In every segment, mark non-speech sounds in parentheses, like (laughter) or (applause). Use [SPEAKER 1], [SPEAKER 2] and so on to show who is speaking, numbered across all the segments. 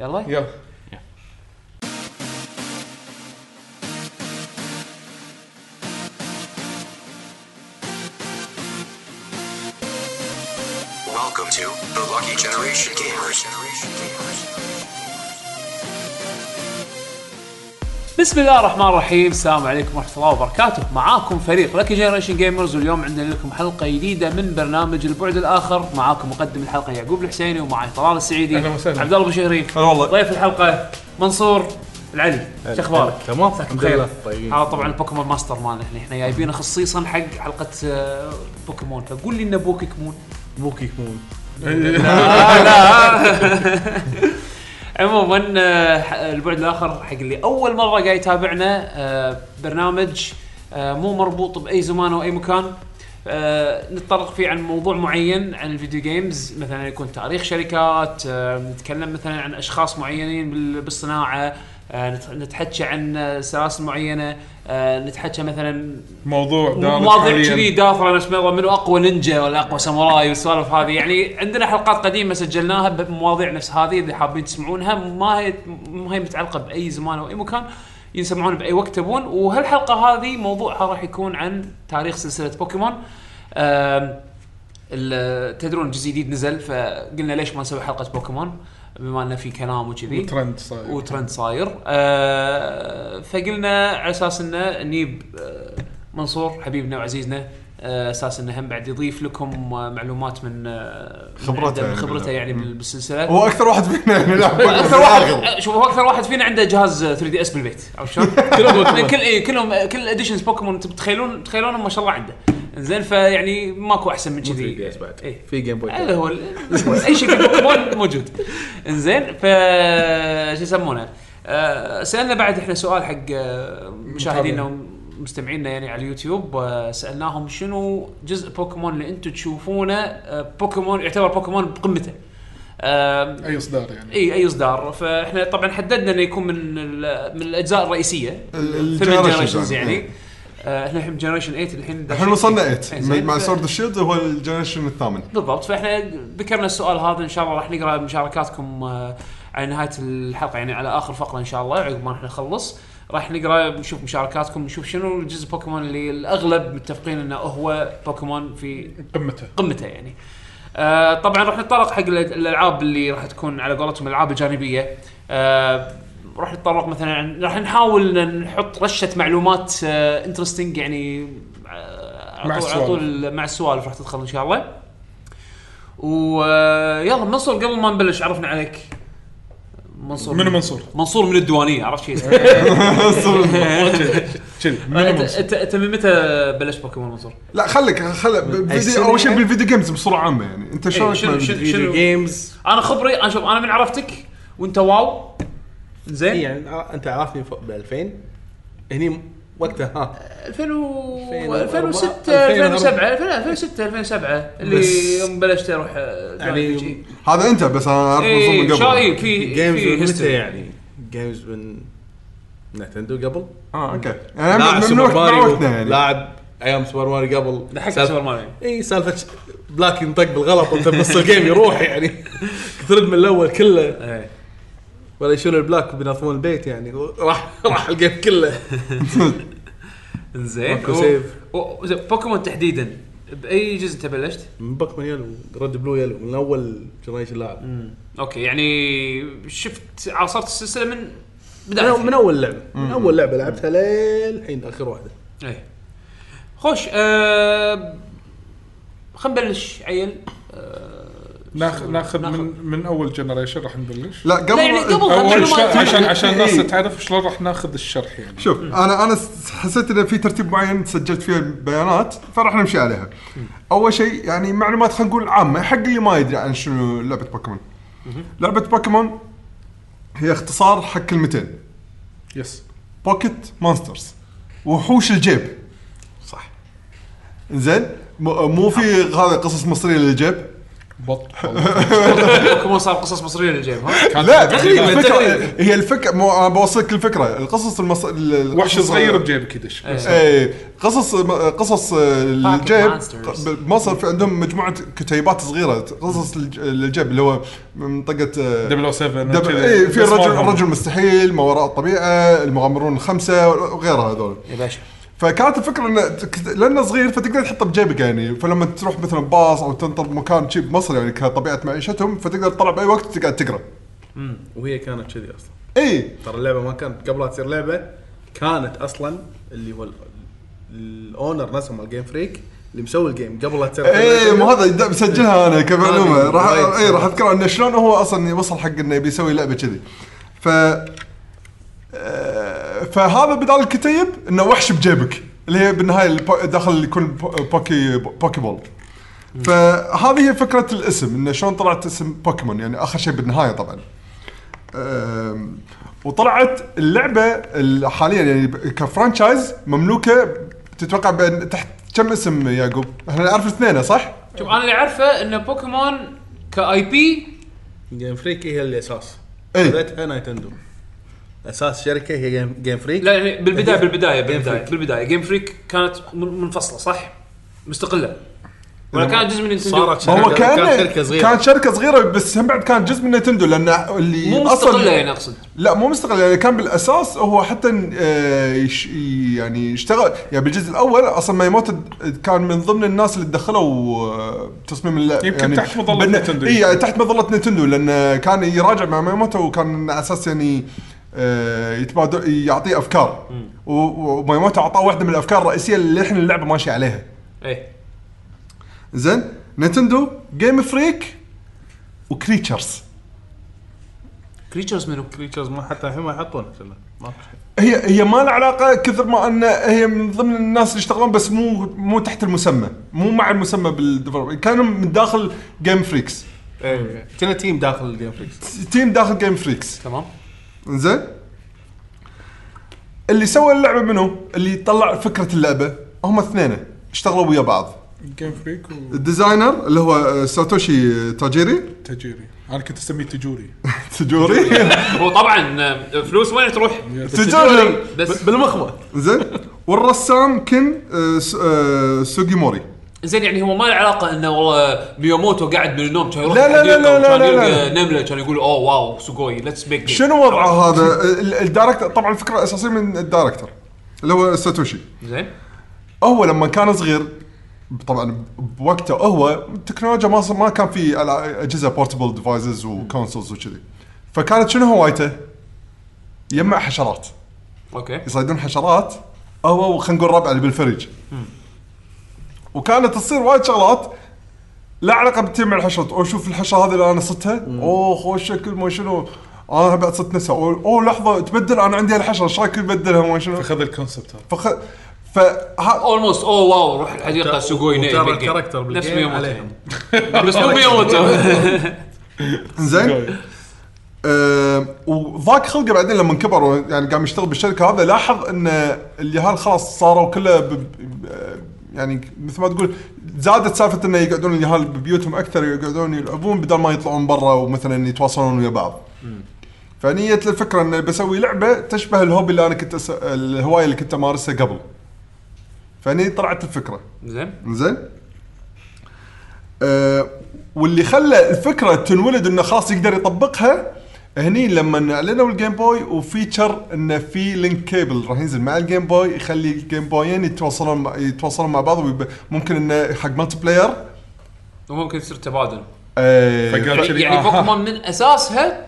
[SPEAKER 1] يلا
[SPEAKER 2] يلا
[SPEAKER 3] Welcome to the Lucky Generation Gamers.
[SPEAKER 1] بسم الله الرحمن الرحيم السلام عليكم ورحمه الله وبركاته معاكم فريق لكي جنريشن جيمرز واليوم عندنا لكم حلقه جديده من برنامج البعد الاخر معاكم مقدم الحلقه يعقوب الحسيني ومعي طلال السعيدي
[SPEAKER 2] أهلا وسهلا.
[SPEAKER 1] إيه. عبد الله ابو شهري
[SPEAKER 2] هلا والله
[SPEAKER 1] ضيف الحلقه منصور العلي شو اخبارك؟
[SPEAKER 2] تمام
[SPEAKER 1] مساك
[SPEAKER 2] الحمد
[SPEAKER 1] بخير
[SPEAKER 2] لله
[SPEAKER 1] هذا طبعا البوكيمون ماستر مالنا احنا احنا جايبينه خصيصا حق حلقه آه، بوكيمون فقول لي انه بوكيمون
[SPEAKER 2] بوكي يكون
[SPEAKER 1] (laughs) عموما آه، ح- البعد الاخر حق اللي اول مره قاعد يتابعنا آه، برنامج آه، مو مربوط باي زمان او اي مكان آه، نتطرق فيه عن موضوع معين عن الفيديو جيمز مثلا يكون تاريخ شركات آه، نتكلم مثلا عن اشخاص معينين بال- بالصناعه آه، نت- نتحكى عن آه، سلاسل معينه آه، نتحكى مثلا
[SPEAKER 2] موضوع دار
[SPEAKER 1] مواضيع كذي دافره نفس موضوع منو اقوى نينجا ولا اقوى ساموراي والسوالف هذه يعني عندنا حلقات قديمه سجلناها بمواضيع نفس هذه اللي حابين تسمعونها ما هي ما هي متعلقه باي زمان او اي مكان يسمعون باي وقت تبون وهالحلقه هذه موضوعها راح يكون عن تاريخ سلسله بوكيمون أم، ال- تدرون جزء جديد نزل فقلنا ليش ما نسوي حلقه بوكيمون بما انه في كلام وكذي
[SPEAKER 2] ترند صاير
[SPEAKER 1] وترند صاير آه فقلنا على اساس انه نجيب آه، منصور حبيبنا وعزيزنا آه، اساس انه هم بعد يضيف لكم آه، معلومات من آه، من
[SPEAKER 4] خبرته
[SPEAKER 1] عنده- من
[SPEAKER 4] يعني
[SPEAKER 1] خبرته
[SPEAKER 4] بالله.
[SPEAKER 1] يعني بال- بالسلسله
[SPEAKER 4] هو اكثر واحد فينا يعني يلعب
[SPEAKER 1] (laughs)
[SPEAKER 4] بوكيمون
[SPEAKER 1] اكثر واحد
[SPEAKER 4] بالآخر.
[SPEAKER 1] شوف هو اكثر واحد فينا عنده جهاز 3 دي اس بالبيت عرفت
[SPEAKER 4] (laughs)
[SPEAKER 1] شلون؟ كلهم كل إيه كلهم كل الاديشنز بوكيمون انتم تتخيلون تتخيلونهم ما شاء الله عنده زين فيعني ماكو احسن من كذي
[SPEAKER 2] 3DS بعد.
[SPEAKER 1] إيه.
[SPEAKER 2] في جيم بوي
[SPEAKER 1] هذا هو ال- اي شيء في بوكيمون موجود انزين ف شو يسمونه آه، سالنا بعد احنا سؤال حق آه، مشاهدينا ومستمعينا يعني على اليوتيوب آه، سالناهم شنو جزء بوكيمون اللي انتم تشوفونه آه، بوكيمون يعتبر بوكيمون بقمته آه،
[SPEAKER 2] اي اصدار يعني
[SPEAKER 1] اي اي اصدار فاحنا طبعا حددنا انه يكون من ال- من الاجزاء الرئيسيه
[SPEAKER 4] ال-
[SPEAKER 1] ثمان
[SPEAKER 4] الgenerations
[SPEAKER 1] جنريشنز
[SPEAKER 4] يعني.
[SPEAKER 1] يعني
[SPEAKER 4] إيه.
[SPEAKER 1] آه، احنا الحين جنريشن 8 الحين
[SPEAKER 4] الحين وصلنا 8
[SPEAKER 1] إنزين،
[SPEAKER 4] مع
[SPEAKER 1] ف-
[SPEAKER 4] سورد الشيلد هو الجنريشن الثامن
[SPEAKER 1] بالضبط فاحنا ذكرنا السؤال هذا ان شاء الله راح نقرا مشاركاتكم آه، على نهايه الحلقه يعني على اخر فقره ان شاء الله عقب ما احنا نخلص راح نقرا نشوف مشاركاتكم نشوف شنو الجزء بوكيمون اللي الاغلب متفقين انه هو بوكيمون في
[SPEAKER 2] قمته
[SPEAKER 1] قمته يعني آه طبعا راح نتطرق حق الأ- الالعاب اللي راح تكون على قولتهم الالعاب الجانبيه آه راح نتطرق مثلا عن- راح نحاول إن نحط رشه معلومات آه انترستنج يعني آه
[SPEAKER 2] مع
[SPEAKER 1] على طول- على
[SPEAKER 2] السوالف.
[SPEAKER 1] طول مع السوالف راح تدخل ان شاء الله ويلا منصور قبل ما نبلش عرفنا عليك منصور
[SPEAKER 2] منو
[SPEAKER 1] (laughs)
[SPEAKER 4] (laughs)
[SPEAKER 2] منصور؟ إيه،
[SPEAKER 1] منصور من الديوانيه عرفت شيء
[SPEAKER 2] (laughs)
[SPEAKER 1] (laughs)
[SPEAKER 2] كذي منو
[SPEAKER 1] انت
[SPEAKER 2] منصور؟
[SPEAKER 1] أنت- أنت من متى بلشت بوكيمون منصور؟
[SPEAKER 4] لا خليك خلي بالفيديو اول شيء بالفيديو جيمز بصوره عامه يعني انت شلونك
[SPEAKER 1] شنو-
[SPEAKER 4] مع
[SPEAKER 1] شنو-
[SPEAKER 4] الفيديو؟
[SPEAKER 1] شنو-
[SPEAKER 5] فيديو جيمز
[SPEAKER 1] انا خبري انا شوف انا من عرفتك وانت واو زين
[SPEAKER 5] إي يعني آه، انت عرفتني ب 2000 هني م- وقتها ها
[SPEAKER 1] 2000
[SPEAKER 5] 2004
[SPEAKER 1] 2006
[SPEAKER 5] 2004
[SPEAKER 1] 2007 2006 2007 اللي
[SPEAKER 5] بس-
[SPEAKER 1] يوم بلشت اروح
[SPEAKER 5] يعني
[SPEAKER 1] يعني
[SPEAKER 4] هذا انت بس انا اعرف منصور
[SPEAKER 1] اي
[SPEAKER 4] من
[SPEAKER 1] شو
[SPEAKER 4] قبل
[SPEAKER 1] اي إيه، في
[SPEAKER 5] جيمز
[SPEAKER 1] في
[SPEAKER 5] من متى
[SPEAKER 1] history.
[SPEAKER 5] يعني؟ جيمز من نتندو قبل؟
[SPEAKER 4] اه اوكي يعني
[SPEAKER 5] لاعب
[SPEAKER 4] من- من
[SPEAKER 5] سوبر
[SPEAKER 4] وقت مع
[SPEAKER 5] ماريو
[SPEAKER 4] وقتنا يعني
[SPEAKER 5] لاعب ايام سوبر ماريو قبل
[SPEAKER 1] لحقت
[SPEAKER 5] سالفة-
[SPEAKER 1] سوبر ماريو
[SPEAKER 5] اي سالفه ش- بلاك إيه، ينطق بالغلط انت بنص الجيم يروح يعني (laughs) ترد من الاول كله
[SPEAKER 1] إيه.
[SPEAKER 5] ولا يشيل البلاك وبينظمون البيت يعني راح (laughs) راح الجيم كله
[SPEAKER 1] انزين
[SPEAKER 5] ماكو
[SPEAKER 1] و-
[SPEAKER 5] save.
[SPEAKER 1] و- زين، بوكيمون تحديدا باي جزء انت بلشت؟
[SPEAKER 5] من بوكمان يلو ريد بلو يلو من اول جنريشن لاعب
[SPEAKER 1] اوكي يعني شفت عاصرت السلسله من بدايه
[SPEAKER 5] من, من اول لعبه من اول لعبه لعبتها للحين اخر واحده
[SPEAKER 1] ايه خوش آه خلينا نبلش عيل آه
[SPEAKER 2] ناخذ ناخذ من من اول جنريشن راح نبلش
[SPEAKER 4] لا قبل
[SPEAKER 1] لا، يعني قبل-
[SPEAKER 2] اول شيء
[SPEAKER 1] معلومات.
[SPEAKER 2] عشان عشان الناس
[SPEAKER 4] إيه.
[SPEAKER 2] تعرف شلون راح ناخذ الشرح يعني
[SPEAKER 4] شوف انا انا س- حسيت انه في ترتيب معين سجلت فيه البيانات فراح نمشي عليها. اول شيء يعني معلومات خلينا نقول عامه حق اللي ما يدري عن شنو لعبه بوكيمون. لعبه بوكيمون هي اختصار حق كلمتين
[SPEAKER 2] يس
[SPEAKER 4] بوكيت مونسترز وحوش الجيب. صح. زين مو في هذا قصص مصريه للجيب (laughs)
[SPEAKER 2] بط
[SPEAKER 1] بوكيمون صار قصص مصريه للجيم ها
[SPEAKER 4] لا
[SPEAKER 2] يعني
[SPEAKER 5] تقريباً،
[SPEAKER 4] الفكرة
[SPEAKER 5] تقريباً.
[SPEAKER 4] هي الفكره مو انا بوصلك الفكره القصص المص... ال- القصص-
[SPEAKER 2] وحش صغير بجيبك يدش
[SPEAKER 1] إيه.
[SPEAKER 2] بس.
[SPEAKER 4] ايه قصص قصص الجيب
[SPEAKER 1] monsters.
[SPEAKER 4] بمصر في عندهم مجموعه كتيبات صغيره قصص الج- الجيب اللي هو منطقه آه،
[SPEAKER 2] 007
[SPEAKER 4] دب...
[SPEAKER 2] كذا.
[SPEAKER 4] ايه في
[SPEAKER 2] بس ما
[SPEAKER 4] الرجل
[SPEAKER 2] لهم.
[SPEAKER 4] الرجل مستحيل ما وراء الطبيعه المغامرون الخمسه وغيرها هذول
[SPEAKER 1] يا باشا
[SPEAKER 4] فكانت الفكره انه تك- لانه صغير فتقدر تحطه بجيبك يعني فلما تروح مثلا باص او تنطر مكان شيء بمصر يعني كطبيعه معيشتهم فتقدر تطلع باي وقت تقعد إيه، تقرا
[SPEAKER 5] وهي كانت كذي اصلا
[SPEAKER 4] اي
[SPEAKER 5] ترى اللعبه ما كانت قبل لا تصير لعبه كانت اصلا اللي هو ال- الاونر نفسه مال جيم فريك اللي مسوي الجيم قبل لا تصير
[SPEAKER 4] ايه مو هذا دا- مسجلها انا كمعلومه
[SPEAKER 5] هذه
[SPEAKER 4] راح
[SPEAKER 5] وايد.
[SPEAKER 4] اي راح اذكر انه شلون هو اصلا وصل حق انه بيسوي لعبه كذي ف آه، فهذا بدال الكتيب انه وحش بجيبك اللي هي بالنهايه الب- داخل اللي يكون بو- بوكي بوكي بول فهذه هي فكره الاسم انه شلون طلعت اسم بوكيمون يعني اخر شيء بالنهايه طبعا أم، وطلعت اللعبه ال- حاليا يعني ب- كفرانشايز مملوكه تتوقع بين تحت كم اسم يعقوب؟ احنا نعرف اثنين صح؟
[SPEAKER 1] شوف انا اللي اعرفه ان بوكيمون كاي بي
[SPEAKER 5] جيم فريك هي الاساس
[SPEAKER 4] إيه.
[SPEAKER 5] بدتها نايتندو اساس شركه هي جيم- جيم فريك
[SPEAKER 1] لا يعني بالبدايه بالبدايه بالبدايه
[SPEAKER 5] Freak.
[SPEAKER 1] بالبدايه جيم فريك كانت من- منفصله صح؟ مستقله ولا كانت جزء من نينتندو؟
[SPEAKER 5] صارت
[SPEAKER 4] هو
[SPEAKER 5] كان-
[SPEAKER 4] كان
[SPEAKER 5] كان شركة صغيرة.
[SPEAKER 4] كانت شركه صغيره بس هم بعد كانت جزء من نتندو لان اللي
[SPEAKER 1] مو مستقله يعني اقصد
[SPEAKER 4] لا مو مستقل يعني كان بالاساس هو حتى آه، يش يعني اشتغل يعني بالجزء الاول اصلا ما يموت كان من ضمن الناس اللي تدخلوا آه، تصميم اللعبه
[SPEAKER 2] يمكن تحت مظلة نينتندو.
[SPEAKER 4] اي يعني تحت مظله نينتندو لان كان يراجع مع مايموتو وكان على اساس يعني آه، يتبادل يعطيه افكار و- و- ومايموتو اعطاه واحده من الافكار الرئيسيه اللي احنا اللعبه ماشيه عليها
[SPEAKER 1] ايه
[SPEAKER 4] زين نينتندو جيم فريك وكريتشرز
[SPEAKER 1] كريتشرز منو؟
[SPEAKER 5] كريتشرز ما حتى الحين ما يحطونها شلا. ما
[SPEAKER 4] هي هي ما لها علاقه كثر ما ان هي من ضمن الناس اللي يشتغلون بس مو مو تحت المسمى مو مع المسمى بالديفلوب كانوا من داخل جيم فريكس
[SPEAKER 5] إيه. كنا تيم داخل الجيم فريك
[SPEAKER 4] تيم داخل جيم فريكس
[SPEAKER 1] تمام
[SPEAKER 4] زين اللي سوى اللعبه منو اللي طلع فكره اللعبه هم اثنين اشتغلوا ويا بعض
[SPEAKER 2] جيم فريك
[SPEAKER 4] الديزاينر اللي هو آه، ساتوشي تاجيري
[SPEAKER 2] وتجيري انا كنت اسميه
[SPEAKER 4] (laughs)
[SPEAKER 2] تجوري
[SPEAKER 4] تجوري
[SPEAKER 1] هو طبعا آه، فلوس وين تروح؟
[SPEAKER 4] تجوري
[SPEAKER 1] بس
[SPEAKER 5] بالمخبه
[SPEAKER 4] زين والرسام كن آه، س- آه، سوجيموري
[SPEAKER 1] زين يعني هو ما له علاقه انه والله مياموتو قاعد من النوم كان يروح
[SPEAKER 4] لا، لا، لا،
[SPEAKER 1] الحديقة
[SPEAKER 4] لا، لا،
[SPEAKER 1] وكان
[SPEAKER 4] لا، لا.
[SPEAKER 1] يلقى نمله كان يقول اوه واو سوغوي ليتس ميك
[SPEAKER 4] شنو وضعه هذا؟ آه، ال- الدايركتور طبعا الفكره الاساسيه من الدايركتور اللي هو ساتوشي
[SPEAKER 1] زين
[SPEAKER 4] هو لما كان صغير طبعا بوقته هو التكنولوجيا ما ما كان في ألع- اجهزه بورتبل ديفايسز وكونسولز وكذي فكانت شنو هوايته؟ يجمع حشرات
[SPEAKER 1] اوكي
[SPEAKER 4] يصيدون حشرات هو وخلينا نقول ربعه اللي بالفريج وكانت تصير وايد شغلات لا علاقه بتجمع الحشرات او شوف الحشره هذه اللي انا صدتها اوه خوش شكل ما شنو انا بعد صدت نفسها اوه, أوه لحظه تبدل انا عندي الحشره ايش رايك نبدلها ما شنو
[SPEAKER 2] اخذ الكونسبت هذا
[SPEAKER 4] فخ... فها
[SPEAKER 1] اولموست اوه واو روح الحديقه سوغوي نعم،
[SPEAKER 5] وترى
[SPEAKER 1] نيم بيج جيم.
[SPEAKER 5] الكاركتر
[SPEAKER 1] نفس
[SPEAKER 5] بالجيم
[SPEAKER 1] مياموتو (laughs)
[SPEAKER 5] عليهم
[SPEAKER 1] يعني. بس مو مياموتو
[SPEAKER 4] زين آه، وضاق خلقه بعدين لما كبر و- يعني قام يشتغل بالشركه هذا لاحظ ان اليهال خلاص صاروا كله ب... ب- يعني مثل ما تقول زادت سالفه انه يقعدون اليهال ببيوتهم اكثر يقعدون يلعبون بدل ما يطلعون برا ومثلا يتواصلون ويا بعض. فنية الفكره انه بسوي لعبه تشبه الهوبي اللي انا كنت أس... الهوايه اللي كنت امارسها قبل. فهني طلعت الفكره.
[SPEAKER 1] (laughs) زين
[SPEAKER 4] زين أه واللي خلى الفكره تنولد انه خلاص يقدر يطبقها هني لما اعلنوا الجيم بوي وفيتشر انه في لينك كيبل راح ينزل مع الجيم بوي يخلي الجيم بويين يتواصلون مع يتواصلون مع بعض ويب- ممكن انه حق مالتي بلاير
[SPEAKER 1] وممكن يصير تبادل
[SPEAKER 4] آه،
[SPEAKER 2] فقال
[SPEAKER 4] ف-
[SPEAKER 2] شذي،
[SPEAKER 1] يعني
[SPEAKER 2] آها.
[SPEAKER 1] بوكيمون من اساسها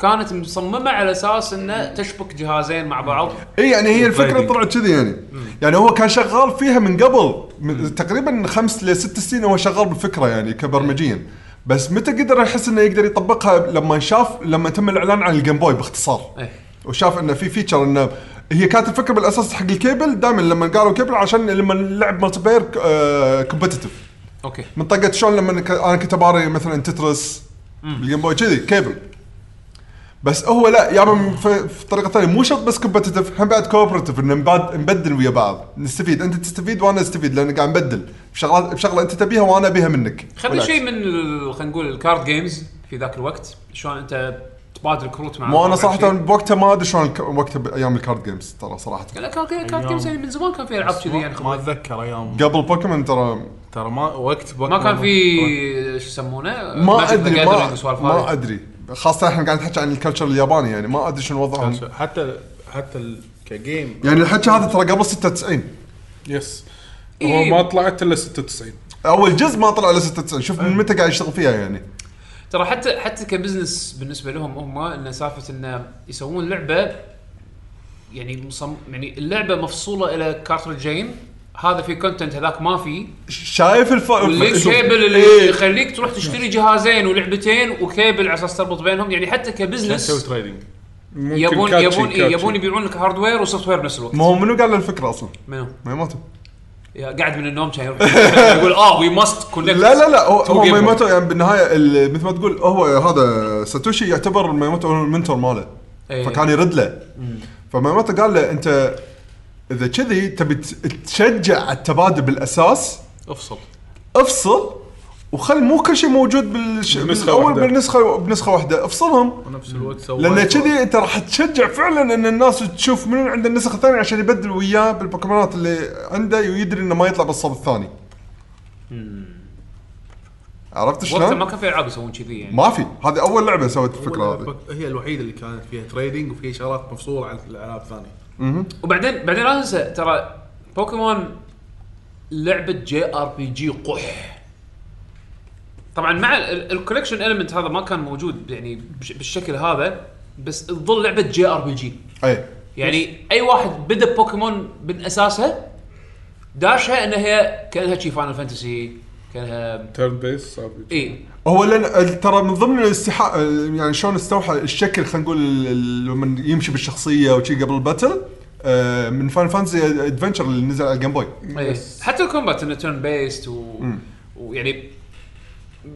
[SPEAKER 1] كانت مصممه على اساس انه تشبك جهازين مع بعض
[SPEAKER 4] اي يعني هي الفكره
[SPEAKER 5] Trading.
[SPEAKER 4] طلعت كذي يعني يعني هو كان شغال فيها من قبل من تقريبا خمس لست سنين هو شغال بالفكره يعني كبرمجيا بس متى قدر يحس انه يقدر يطبقها لما شاف لما تم الاعلان عن الجيم بوي باختصار
[SPEAKER 1] إيه.
[SPEAKER 4] وشاف انه في فيتشر انه هي كانت الفكره بالاساس حق الكيبل دائما لما قالوا كيبل عشان لما آه، نلعب مالتي بلاير كومبتتف
[SPEAKER 1] اوكي
[SPEAKER 4] منطقه شلون لما ك- انا كنت اباري مثلا تترس بالجيم بوي كذي كيبل بس هو لا يا من في في طريقه ثانيه مو شرط بس كومبتتف هم بعد كوبرتيف انه نباد- نبدل ويا بعض نستفيد انت تستفيد وانا استفيد لان قاعد نبدل بشغلات بشغله انت تبيها وانا ابيها منك
[SPEAKER 1] خلينا
[SPEAKER 4] بالعكس.
[SPEAKER 1] شيء من ال- خلينا نقول الكارد جيمز في ذاك الوقت شلون انت تبادل كروت مع
[SPEAKER 4] مو انا
[SPEAKER 1] مع
[SPEAKER 4] صراحه
[SPEAKER 1] شيء.
[SPEAKER 4] بوقتها ما ادري شلون ك- وقتها بايام الكارد جيمز ترى صراحه
[SPEAKER 1] لا كارد كارد جيمز يعني من زمان كان في العاب كذي يعني
[SPEAKER 5] ما
[SPEAKER 1] خبر.
[SPEAKER 5] اتذكر ايام
[SPEAKER 4] قبل بوكيمون ترى
[SPEAKER 5] ترى ما وقت
[SPEAKER 1] ما كان في شو يسمونه
[SPEAKER 4] ما ادري ما,
[SPEAKER 1] ما
[SPEAKER 4] ما ادري خاصه احنا قاعد نحكي عن الكلتشر الياباني يعني ما ادري شنو وضعهم
[SPEAKER 5] حتى حتى ال- كجيم
[SPEAKER 4] يعني الحكي هذا ترى قبل 96
[SPEAKER 2] يس هو
[SPEAKER 1] إيه.
[SPEAKER 2] ما طلعت الا 96
[SPEAKER 4] اول جزء ما طلع الا 96 شوف من متى قاعد يشتغل فيها يعني
[SPEAKER 1] ترى حتى حتى كبزنس بالنسبه لهم هم ان سالفه ان يسوون لعبه يعني مصم يعني اللعبه مفصوله الى كارترجين هذا في كونتنت هذاك ما في
[SPEAKER 4] شايف الفرق
[SPEAKER 1] والليك كيبل
[SPEAKER 4] إيه.
[SPEAKER 1] اللي يخليك تروح تشتري جهازين ولعبتين وكيبل على اساس تربط بينهم يعني حتى
[SPEAKER 5] تسوي
[SPEAKER 1] كبزنس
[SPEAKER 5] تريدنج
[SPEAKER 2] ممكن
[SPEAKER 1] يبون
[SPEAKER 2] كاتشي-
[SPEAKER 1] يبون
[SPEAKER 2] كاتشي.
[SPEAKER 1] يبون يبيعون لك هاردوير وسوفت وير بنفس الوقت
[SPEAKER 4] ما هو منو قال له الفكره اصلا؟
[SPEAKER 1] منو
[SPEAKER 4] ميموتو
[SPEAKER 1] يا- قاعد من النوم كان يروح (laughs) يقول اه وي ماست كونكت
[SPEAKER 4] لا لا لا هو,
[SPEAKER 1] Two
[SPEAKER 4] هو
[SPEAKER 1] game
[SPEAKER 4] ميموتو يعني بالنهايه ال- مثل ما تقول هو هذا ساتوشي يعتبر ميموتو هو المنتور ماله
[SPEAKER 1] إيه.
[SPEAKER 4] فكان يرد له فميموتو قال له انت اذا كذي تبي ت- تشجع على التبادل بالاساس
[SPEAKER 5] افصل
[SPEAKER 4] افصل وخل مو كل شيء موجود بالش...
[SPEAKER 2] بنسخة
[SPEAKER 4] بالاول
[SPEAKER 2] واحدة.
[SPEAKER 4] بالنسخه بنسخه واحده افصلهم
[SPEAKER 5] ونفس الوقت سوى
[SPEAKER 4] لان كذي انت راح تشجع فعلا ان الناس تشوف من عنده النسخ الثانيه عشان يبدل وياه بالبوكيمونات اللي عنده ويدري انه ما يطلع بالصوب الثاني. عرفت
[SPEAKER 1] وقتها ما
[SPEAKER 4] شلون؟
[SPEAKER 1] كان في العاب يسوون كذي يعني
[SPEAKER 4] ما في هذه اول لعبه سوت الفكره هذه.
[SPEAKER 5] الفكره هي الوحيده اللي كانت فيها تريدنج وفيها شغلات مفصوله عن الالعاب الثانيه
[SPEAKER 1] وبعدين بعدين لا تنسى ترى بوكيمون لعبه جي ار بي جي قح طبعا مع الكولكشن المنت هذا ما كان موجود يعني بش- بالشكل هذا بس تظل لعبه جي ار بي جي
[SPEAKER 4] اي
[SPEAKER 1] يعني اي واحد بدا بوكيمون من اساسها داشها ان هي كانها شي فاينل فانتسي كانها
[SPEAKER 2] تيرن بيس صار بيجي.
[SPEAKER 1] اي
[SPEAKER 4] هو لان ترى من ضمن الاستحاء يعني شلون استوحى الشكل خلينا نقول ال- ال- لما يمشي بالشخصيه وشي قبل الباتل آه، من فان فانتسي ادفنشر اللي نزل على الجيم بوي
[SPEAKER 1] إيه. حتى الكومبات انه تيرن بيست و... ويعني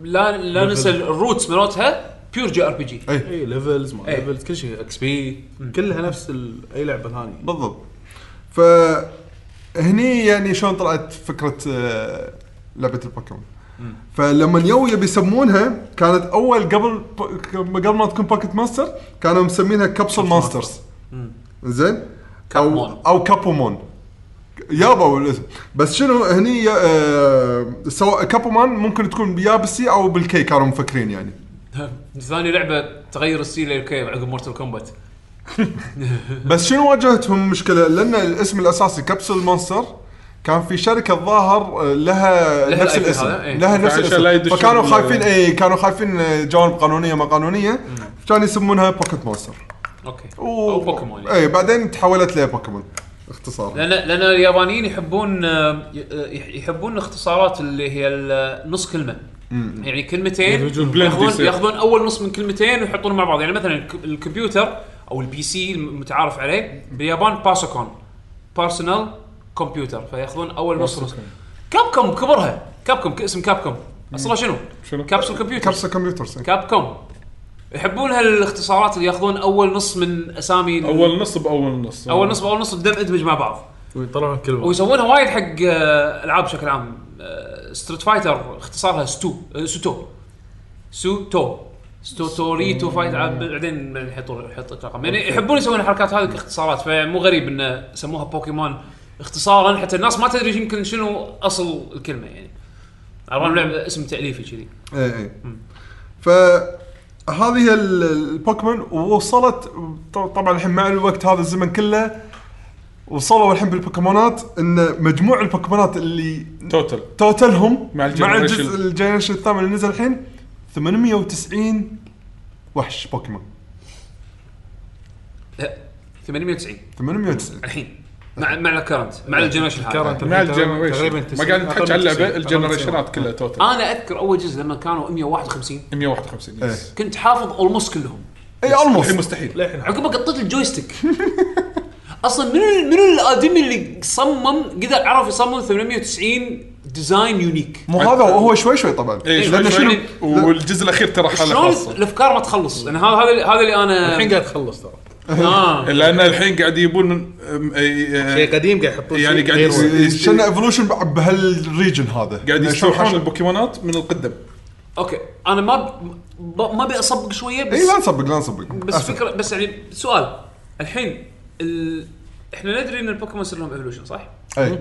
[SPEAKER 1] لا لا ننسى الروتس مالتها بيور جي ار بي جي
[SPEAKER 4] اي
[SPEAKER 5] اي ليفلز ما
[SPEAKER 1] إيه.
[SPEAKER 5] ليفلز كل شيء اكس بي كلها نفس ال- اي لعبه ثانيه
[SPEAKER 4] بالضبط ف هني يعني شلون طلعت فكره آه، لعبه البوكيمون فلما يو يبي يسمونها كانت اول قبل قبل ما تكون بوكيت ماستر كانوا مسمينها كابسول ماسترز زين او
[SPEAKER 1] كابمون.
[SPEAKER 4] او كابومون يابا الاسم بس شنو هني يا- آه، سواء كابومان ممكن تكون يابسي او بالكي كانوا مفكرين يعني
[SPEAKER 1] (laughs) ثاني لعبه تغير السيل اوكي عقب مورتال كومبات
[SPEAKER 4] بس شنو واجهتهم مشكله لان الاسم الاساسي كبسول مونستر كان في شركه ظاهر آه، لها,
[SPEAKER 1] لها
[SPEAKER 4] نفس
[SPEAKER 1] ال IP
[SPEAKER 4] الاسم
[SPEAKER 1] هذا، إيه.
[SPEAKER 4] لها نفس
[SPEAKER 2] فعشان لا
[SPEAKER 4] الاسم
[SPEAKER 2] يدشون
[SPEAKER 4] فكانوا
[SPEAKER 2] بال-
[SPEAKER 4] خايفين اي كانوا خايفين آه، جوانب قانونيه ما قانونيه كانوا يسمونها بوكيت مونستر
[SPEAKER 1] اوكي
[SPEAKER 4] و-
[SPEAKER 1] او بوكيمون يعني.
[SPEAKER 4] اي بعدين تحولت لبوكيمون اختصار
[SPEAKER 1] لان لان اليابانيين يحبون آه، ي- آه، يحبون الاختصارات اللي هي ال- نص كلمه يعني كلمتين
[SPEAKER 2] يدمجون بلند
[SPEAKER 1] ياخذون
[SPEAKER 2] يصير.
[SPEAKER 1] ياخذون اول نص من كلمتين ويحطونه مع بعض يعني مثلا الك- الكمبيوتر او البي سي المتعارف عليه باليابان باسوكون بارسونال كمبيوتر فياخذون اول نص نص كابكوم كبرها كابكوم ك- اسم كابكوم اصلا شنو؟
[SPEAKER 2] شنو؟
[SPEAKER 1] كابسول كمبيوتر
[SPEAKER 4] كبسه كمبيوترز إي.
[SPEAKER 1] كابكوم يحبون هالاختصارات اللي ياخذون اول نص من اسامي ال-
[SPEAKER 2] اول نص باول نص
[SPEAKER 1] اول نص باول نص بدم ادمج مع بعض
[SPEAKER 5] ويطلعون كل واحد
[SPEAKER 1] ويسوونها وايد حق آه، العاب بشكل عام ستريت فايتر اختصارها ستو آه، سوتو سوتو ستوتوريتو فايت عاد بعدين يحطون يحط رقم يعني يحبون يسوون الحركات هذه كاختصارات فمو غريب انه سموها بوكيمون اختصارا حتى الناس ما تدري يمكن شنو اصل الكلمه يعني عرفان لعبه اسم تاليفي كذي
[SPEAKER 4] اي اي ف هذه هي إيه، ال- البوكيمون ووصلت طب- طبعا الحين مع الوقت هذا الزمن كله وصلوا الحين بالبوكيمونات ان مجموع البوكيمونات اللي
[SPEAKER 2] توتال
[SPEAKER 4] توتلهم
[SPEAKER 2] مع
[SPEAKER 4] مع,
[SPEAKER 2] الجنريشن-
[SPEAKER 4] مع الجزء الجنريشن الثامن اللي نزل الحين 890 وحش بوكيمون
[SPEAKER 1] لا، 890
[SPEAKER 4] 890
[SPEAKER 1] الحين مع مع الكرنت مع الجنريشن
[SPEAKER 5] آه،
[SPEAKER 1] الحالي
[SPEAKER 2] مع الجنريشن ما قاعد نتحكي عن اللعبه الجنريشنات كلها توتال
[SPEAKER 1] انا اذكر اول جزء لما كانوا 151
[SPEAKER 2] 151 يس
[SPEAKER 1] كنت حافظ اولموست كلهم
[SPEAKER 4] اي الموس
[SPEAKER 2] إيه، الحين مستحيل
[SPEAKER 1] عقبها قطيت الجويستيك
[SPEAKER 4] (laughs)
[SPEAKER 1] اصلا من من الادمي اللي صمم قدر عرف يصمم 890 ديزاين يونيك
[SPEAKER 4] مو هذا هو شوي شوي طبعا
[SPEAKER 2] اي
[SPEAKER 1] إيه،
[SPEAKER 2] شوي
[SPEAKER 1] لأن
[SPEAKER 2] شوي
[SPEAKER 1] شنو-
[SPEAKER 2] والجزء الاخير ترى حاله
[SPEAKER 1] شلون
[SPEAKER 2] خاصه
[SPEAKER 1] الافكار ما تخلص انا هذا هذا اللي- هذا اللي انا
[SPEAKER 5] الحين قاعد تخلص ترى
[SPEAKER 1] اه
[SPEAKER 2] لان إيه، الحين قاعد يبون من- أم- أي- آه،
[SPEAKER 5] شيء قديم قاعد يحطون
[SPEAKER 2] يعني
[SPEAKER 5] شيء
[SPEAKER 2] قاعد
[SPEAKER 5] غير
[SPEAKER 2] يصير.
[SPEAKER 5] وايد.
[SPEAKER 4] كان ايفولوشن بهالريجن هذا
[SPEAKER 2] قاعد
[SPEAKER 4] يعني
[SPEAKER 2] يستوحون
[SPEAKER 4] شلون حش-
[SPEAKER 2] البوكيمونات من القدم
[SPEAKER 1] اوكي انا ما ب... ما ابي اصبق شويه بس
[SPEAKER 4] اي لا نصبق لا نصبق
[SPEAKER 1] بس
[SPEAKER 4] أحسن.
[SPEAKER 1] فكره بس يعني سؤال الحين ال... احنا ندري ان البوكيمون يصير لهم ايفولوشن صح؟
[SPEAKER 4] اي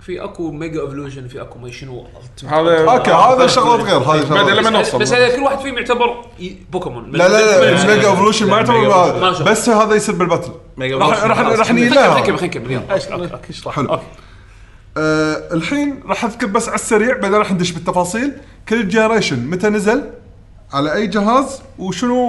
[SPEAKER 1] في اكو ميجا ايفولوشن في اكو ما شنو Ultimate.
[SPEAKER 2] هذا آه،
[SPEAKER 4] اوكي هذا شغلات غير هذا
[SPEAKER 2] بعد
[SPEAKER 4] شغلات
[SPEAKER 2] لما نوصل
[SPEAKER 1] بس هذا كل واحد فيهم يعتبر ي- يعني بوكيمون
[SPEAKER 4] لا لا لا ميجا ايفولوشن ما
[SPEAKER 5] ميجا
[SPEAKER 4] يعتبر
[SPEAKER 1] ما
[SPEAKER 4] هذا.
[SPEAKER 1] شاء.
[SPEAKER 4] بس هذا يصير بالباتل
[SPEAKER 5] ميجا
[SPEAKER 4] راح
[SPEAKER 5] بوكس.
[SPEAKER 4] راح راح نجي
[SPEAKER 1] خلينا
[SPEAKER 4] لها.
[SPEAKER 1] نكمل خلينا نكمل يلا
[SPEAKER 4] حلو آه الحين راح اذكر بس على السريع بعدين راح ندش بالتفاصيل كل جنريشن متى نزل على اي جهاز وشنو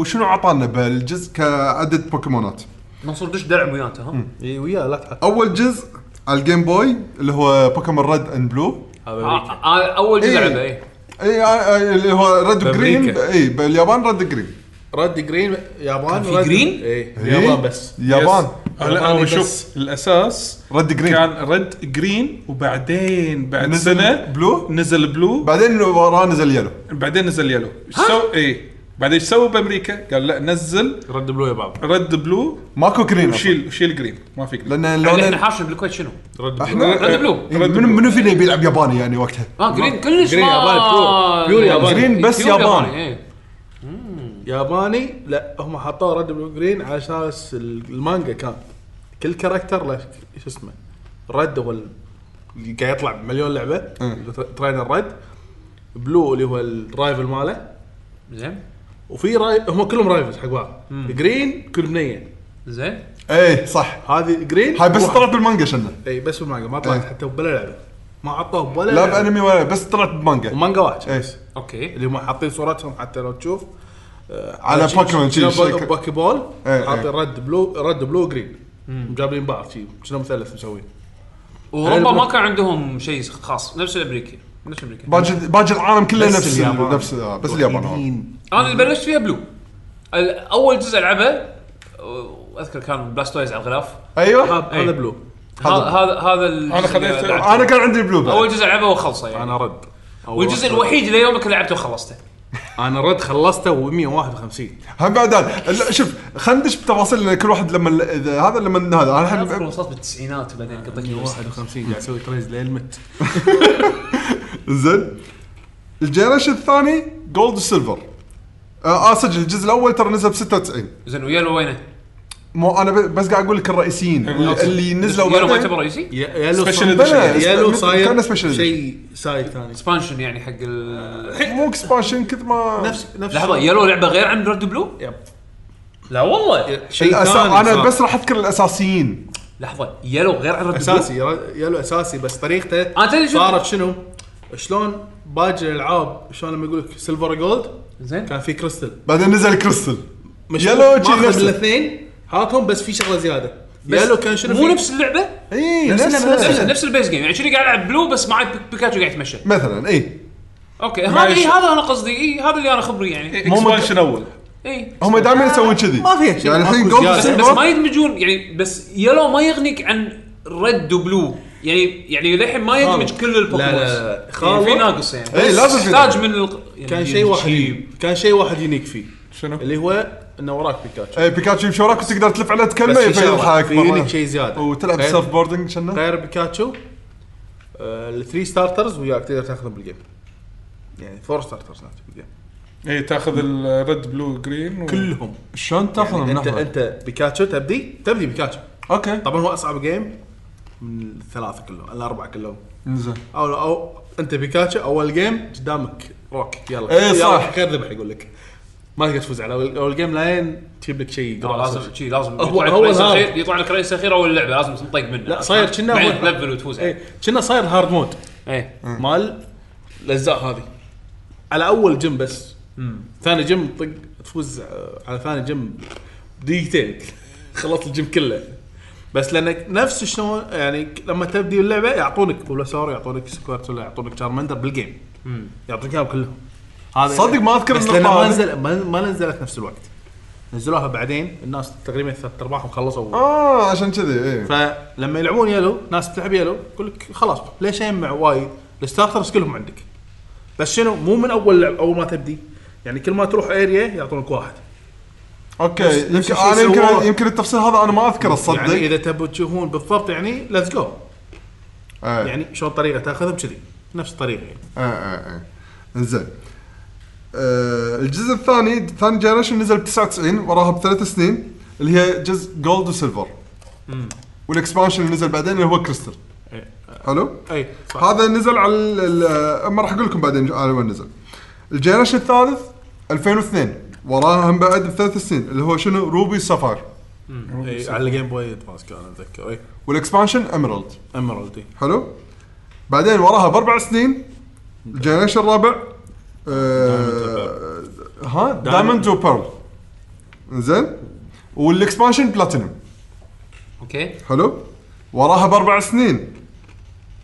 [SPEAKER 4] وشنو عطانا بالجزء كعدد بوكيمونات
[SPEAKER 1] منصور دش دلع وياه انت ها؟
[SPEAKER 5] اي وياه إيه، لا تحط
[SPEAKER 4] اول جزء على الجيم بوي اللي هو بوكيمون ريد اند بلو
[SPEAKER 5] هذا
[SPEAKER 1] آه،
[SPEAKER 5] أمريكا.
[SPEAKER 1] آه، اول جزء
[SPEAKER 4] إيه.
[SPEAKER 1] لعبه اي
[SPEAKER 4] اي آه، آه، اللي هو ريد جرين
[SPEAKER 5] بأمريكا.
[SPEAKER 4] اي إيه، باليابان ريد جرين
[SPEAKER 5] رد جرين يابان
[SPEAKER 1] في
[SPEAKER 5] رد-
[SPEAKER 1] جرين؟
[SPEAKER 5] اي
[SPEAKER 2] إيه؟
[SPEAKER 5] يابان بس
[SPEAKER 4] إيه، يابان
[SPEAKER 2] هلا
[SPEAKER 5] ياباني
[SPEAKER 2] هو
[SPEAKER 5] بس.
[SPEAKER 2] شوف الاساس
[SPEAKER 4] ريد جرين
[SPEAKER 2] كان ريد جرين وبعدين بعد
[SPEAKER 4] نزل
[SPEAKER 2] سنه
[SPEAKER 4] بلو؟
[SPEAKER 2] نزل بلو
[SPEAKER 4] بعدين وراه نزل يلو
[SPEAKER 2] بعدين نزل يلو ايش سو اي بعدين ايش سووا بامريكا؟ قال لا نزل
[SPEAKER 6] رد بلو يا بعض
[SPEAKER 2] رد بلو
[SPEAKER 4] ماكو جرين أصلاً.
[SPEAKER 2] وشيل شيل جرين ما في جرين
[SPEAKER 4] لان
[SPEAKER 1] يعني احنا
[SPEAKER 4] اللون
[SPEAKER 1] حاشر بالكويت شنو؟ آه،
[SPEAKER 6] رد
[SPEAKER 4] احنا
[SPEAKER 6] بلو
[SPEAKER 1] رد بلو
[SPEAKER 4] إيه، منو منو فينا يبي يلعب ياباني يعني وقتها
[SPEAKER 1] اه جرين كلش
[SPEAKER 5] جرين
[SPEAKER 1] ما-
[SPEAKER 5] ياباني، بيور- بيور ياباني.
[SPEAKER 4] جرين بس
[SPEAKER 1] بيور
[SPEAKER 4] ياباني.
[SPEAKER 1] إيه.
[SPEAKER 5] ياباني لا هم حطوه رد بلو جرين على اساس المانجا كان كل كاركتر له ش- شو اسمه رد هو ال- اللي قاعد يطلع بمليون لعبه
[SPEAKER 4] إيه.
[SPEAKER 5] التر- ترينر رد بلو اللي هو الرايفل ماله
[SPEAKER 1] زين
[SPEAKER 5] وفي راي هم كلهم رايفلز حق بعض جرين كل بنيه
[SPEAKER 1] زين
[SPEAKER 4] اي إيه، صح
[SPEAKER 5] هذه جرين
[SPEAKER 4] هاي بس
[SPEAKER 5] واحد.
[SPEAKER 4] طلعت بالمانجا شنو
[SPEAKER 5] اي بس بالمانجا ما طلعت
[SPEAKER 4] إيه.
[SPEAKER 5] حتى بلا لعبه ما حطوه
[SPEAKER 4] لا
[SPEAKER 5] بلا لعبة.
[SPEAKER 4] بانمي ولا بس طلعت بمانجا
[SPEAKER 5] ومانجا واحد
[SPEAKER 4] ايه
[SPEAKER 1] اوكي
[SPEAKER 5] اللي هم حاطين صورتهم حتى لو تشوف آه،
[SPEAKER 4] على
[SPEAKER 5] شي-
[SPEAKER 4] بوكيمون، شي-
[SPEAKER 5] شي-
[SPEAKER 4] شي-
[SPEAKER 5] بوك- بوكي بول
[SPEAKER 4] إيه،
[SPEAKER 5] حاطين
[SPEAKER 4] إيه.
[SPEAKER 5] رد بلو رد بلو جرين مجابلين بعض شي شنو مثلث مسوين
[SPEAKER 1] اوروبا
[SPEAKER 5] البلو-
[SPEAKER 1] ما كان عندهم شيء خاص نفس الامريكي نفس الامريكي
[SPEAKER 4] باقي باقي العالم كله
[SPEAKER 5] بس
[SPEAKER 4] نفس
[SPEAKER 5] اليابان.
[SPEAKER 4] ال- نفس آه، بس اليابان آه.
[SPEAKER 1] انا اللي بلشت فيها بلو ال- اول جزء لعبه أو- اذكر كان بلاستويز على الغلاف
[SPEAKER 4] ايوه
[SPEAKER 5] هذا
[SPEAKER 1] إيه.
[SPEAKER 5] هذا بلو
[SPEAKER 1] هذا هذا هذا الجزء
[SPEAKER 2] أنا خذيت-
[SPEAKER 1] اللي لعبته.
[SPEAKER 4] انا كان عندي البلو
[SPEAKER 1] اول
[SPEAKER 4] بعد
[SPEAKER 1] جزء لعبه وخلصه يعني
[SPEAKER 5] انا رد أول
[SPEAKER 1] والجزء
[SPEAKER 5] واحد.
[SPEAKER 1] الوحيد اللي يومك لعبته وخلصته
[SPEAKER 5] انا رد خلصته و 151
[SPEAKER 4] هم بعدين لا، شوف خلينا ندش بتفاصيل لأن كل واحد لما إذا هذا لما هذا انا
[SPEAKER 1] انا اذكر
[SPEAKER 4] الحين
[SPEAKER 1] وصلت بالتسعينات وبعدين قضيت الوسط.
[SPEAKER 5] 51 قاعد اسوي تريز للمت
[SPEAKER 4] زين الجنريشن الثاني جولد وسيلفر اه آه، سجل الجزء الاول ترى نزل ب 96
[SPEAKER 1] زين ويلو وينه؟
[SPEAKER 4] مو انا ب- بس قاعد اقول لك الرئيسيين اللي اللي نزلوا
[SPEAKER 1] يلو ما
[SPEAKER 4] بعدين.
[SPEAKER 1] يعتبر رئيسي؟
[SPEAKER 5] يلو
[SPEAKER 2] Special
[SPEAKER 5] صاير-
[SPEAKER 4] Edition.
[SPEAKER 5] يلو
[SPEAKER 4] كان
[SPEAKER 5] صاير
[SPEAKER 4] Special Edition.
[SPEAKER 5] شيء سايد ثاني
[SPEAKER 1] اكسبانشن يعني حق ال
[SPEAKER 4] مو اكسبانشن كثر ما
[SPEAKER 5] نفس نفس
[SPEAKER 1] لحظه
[SPEAKER 5] الشيء.
[SPEAKER 1] يلو لعبه غير عن ريد بلو؟
[SPEAKER 5] يب.
[SPEAKER 1] لا والله
[SPEAKER 5] شيء
[SPEAKER 4] الأسا-
[SPEAKER 5] ثاني
[SPEAKER 4] انا
[SPEAKER 5] صار.
[SPEAKER 4] بس راح اذكر الاساسيين
[SPEAKER 1] لحظه يلو غير عن ريد بلو؟
[SPEAKER 5] اساسي يلو اساسي بس طريقته
[SPEAKER 1] أنا آه، تدري شنو؟
[SPEAKER 5] صارت شنو؟ شلون باجي الالعاب شلون لما يقول لك سيلفر جولد
[SPEAKER 1] زين
[SPEAKER 5] كان في كريستل
[SPEAKER 4] بعدين نزل كريستل
[SPEAKER 5] مش
[SPEAKER 4] يلو شي
[SPEAKER 5] ماخذ
[SPEAKER 4] نفسه.
[SPEAKER 5] الاثنين حاطهم بس في شغله زياده
[SPEAKER 1] بس
[SPEAKER 5] يلو كان شنو
[SPEAKER 1] مو
[SPEAKER 5] في-
[SPEAKER 1] نفس اللعبه؟
[SPEAKER 4] اي
[SPEAKER 5] نفس اللعبة، نفس
[SPEAKER 1] نفس
[SPEAKER 4] نفسه
[SPEAKER 5] اللعبة.
[SPEAKER 1] نفس البيس جيم يعني شنو قاعد العب بلو بس معي بي- بيكاتشو قاعد يتمشى
[SPEAKER 4] مثلا اي
[SPEAKER 1] اوكي هذا
[SPEAKER 2] يش-
[SPEAKER 1] إيه هذا انا قصدي اي هذا اللي انا خبري يعني
[SPEAKER 4] مو مت-
[SPEAKER 2] اكسبانشن اول
[SPEAKER 1] اي
[SPEAKER 4] هم دائما يسوون كذي
[SPEAKER 5] ما فيها شيء،
[SPEAKER 4] يعني الحين
[SPEAKER 5] ماكو
[SPEAKER 4] جولد
[SPEAKER 5] زيادة.
[SPEAKER 1] بس, بس ما
[SPEAKER 4] سيلفر
[SPEAKER 1] يدمجون يعني بس يلو ما يغنيك عن ريد وبلو يعني يعني للحين ما يدمج كل البوكيمون
[SPEAKER 5] لا، لا، لا.
[SPEAKER 1] يعني في
[SPEAKER 5] خالو.
[SPEAKER 1] ناقص يعني
[SPEAKER 4] إيه، لازم في
[SPEAKER 1] يحتاج
[SPEAKER 4] ناقص.
[SPEAKER 1] من ال... يعني
[SPEAKER 5] كان شيء واحد
[SPEAKER 1] يجيب.
[SPEAKER 5] كان شيء واحد يونيك فيه
[SPEAKER 2] شنو؟
[SPEAKER 5] اللي هو انه وراك بيكاتشو
[SPEAKER 4] اي بيكاتشو إيه، يمشي وراك وتقدر تلف عليه تكلمه
[SPEAKER 5] بس في شغلة،
[SPEAKER 4] يضحك
[SPEAKER 5] في
[SPEAKER 4] مرة.
[SPEAKER 5] يونيك شيء زيادة. إيه.
[SPEAKER 4] وتلعب
[SPEAKER 5] غير-
[SPEAKER 4] سيلف بوردنج شنو
[SPEAKER 5] غير بيكاتشو آه، الثري ستارترز وياك تقدر تاخذهم بالجيم يعني فور ستارترز ناتج بالجيم
[SPEAKER 2] اي تاخذ الريد بلو جرين و...
[SPEAKER 5] كلهم
[SPEAKER 4] شلون
[SPEAKER 5] يعني انت
[SPEAKER 4] منحة؟
[SPEAKER 5] انت بيكاتشو تبدي تبدي بيكاتشو
[SPEAKER 4] اوكي
[SPEAKER 5] طبعا هو اصعب جيم من الثلاثه كلهم الاربعه كلهم
[SPEAKER 4] انزين
[SPEAKER 5] او او انت بيكاتشو اول جيم قدامك روك يلا
[SPEAKER 4] إيه
[SPEAKER 5] يلا،
[SPEAKER 4] صح.
[SPEAKER 5] خير ذبح يقول لك ما تقدر تفوز على اول أول جيم لين تجيب لك شيء
[SPEAKER 1] لا، لازم شيء لازم
[SPEAKER 5] هو-
[SPEAKER 1] يطلع لك
[SPEAKER 5] هو
[SPEAKER 1] رئيس
[SPEAKER 5] هذا.
[SPEAKER 1] اخير يطلع لك رئيس اخير اول اللعبه لازم تنطق منه
[SPEAKER 5] لا صاير كنا
[SPEAKER 1] بعدين
[SPEAKER 5] هو-
[SPEAKER 1] تلفل وتفوز عليه
[SPEAKER 5] ايه كنا صاير هارد مود إيه.
[SPEAKER 1] ايه
[SPEAKER 5] مال الاجزاء هذه على اول جيم بس ثاني جيم طق تفوز آه، على ثاني جيم دقيقتين (laughs) خلصت الجيم كله بس لانك نفس شلون يعني ك- لما تبدي اللعبه يعطونك بولوسور يعطونك سكوارتولا يعطونك شارمندر بالجيم يعطونك اياهم كلهم هذا
[SPEAKER 4] صدق ما أذكر
[SPEAKER 5] بس
[SPEAKER 4] النقطة
[SPEAKER 5] لأن ما
[SPEAKER 4] هذه.
[SPEAKER 5] نزل ما ما نزلت نفس الوقت نزلوها بعدين الناس تقريبا ثلاث ارباعهم خلصوا
[SPEAKER 4] اه عشان كذي اي
[SPEAKER 5] فلما يلعبون يلو ناس تلعب يلو يقول لك خلاص ليش اجمع وايد؟ الستارترز كلهم عندك. بس شنو مو من اول لعب اول ما تبدي يعني كل ما تروح اريا يعطونك واحد.
[SPEAKER 4] اوكي
[SPEAKER 5] نفس
[SPEAKER 4] يمكن
[SPEAKER 5] الشيء
[SPEAKER 4] انا يمكن
[SPEAKER 5] سووه.
[SPEAKER 4] يمكن التفصيل هذا انا ما اذكره تصدق
[SPEAKER 5] يعني اذا تبوا تشوفون بالضبط يعني ليتس جو
[SPEAKER 4] إيه.
[SPEAKER 5] يعني شلون طريقه تاخذهم كذي نفس الطريقه يعني
[SPEAKER 4] آه آه آه. زين آه الجزء الثاني ثاني جنريشن نزل ب 99 وراها بثلاث سنين اللي هي جزء جولد وسيلفر والاكسبانشن اللي نزل بعدين اللي هو كريستال
[SPEAKER 5] إيه.
[SPEAKER 4] حلو
[SPEAKER 5] اي صح
[SPEAKER 4] هذا نزل على ال- ال- آه، ما راح اقول لكم بعدين على وين نزل الجنريشن الثالث 2002 وراها هم بعد بثلاث سنين اللي هو شنو روبي سفاير
[SPEAKER 5] إيه، على الجيم بوي ادفانس كان اتذكر اي
[SPEAKER 4] والاكسبانشن اميرالد
[SPEAKER 5] امرالدي
[SPEAKER 4] حلو بعدين وراها باربع سنين الجنريشن الرابع آه ها دايموند وبيرل زين والاكسبانشن بلاتينم
[SPEAKER 1] اوكي
[SPEAKER 4] حلو وراها باربع سنين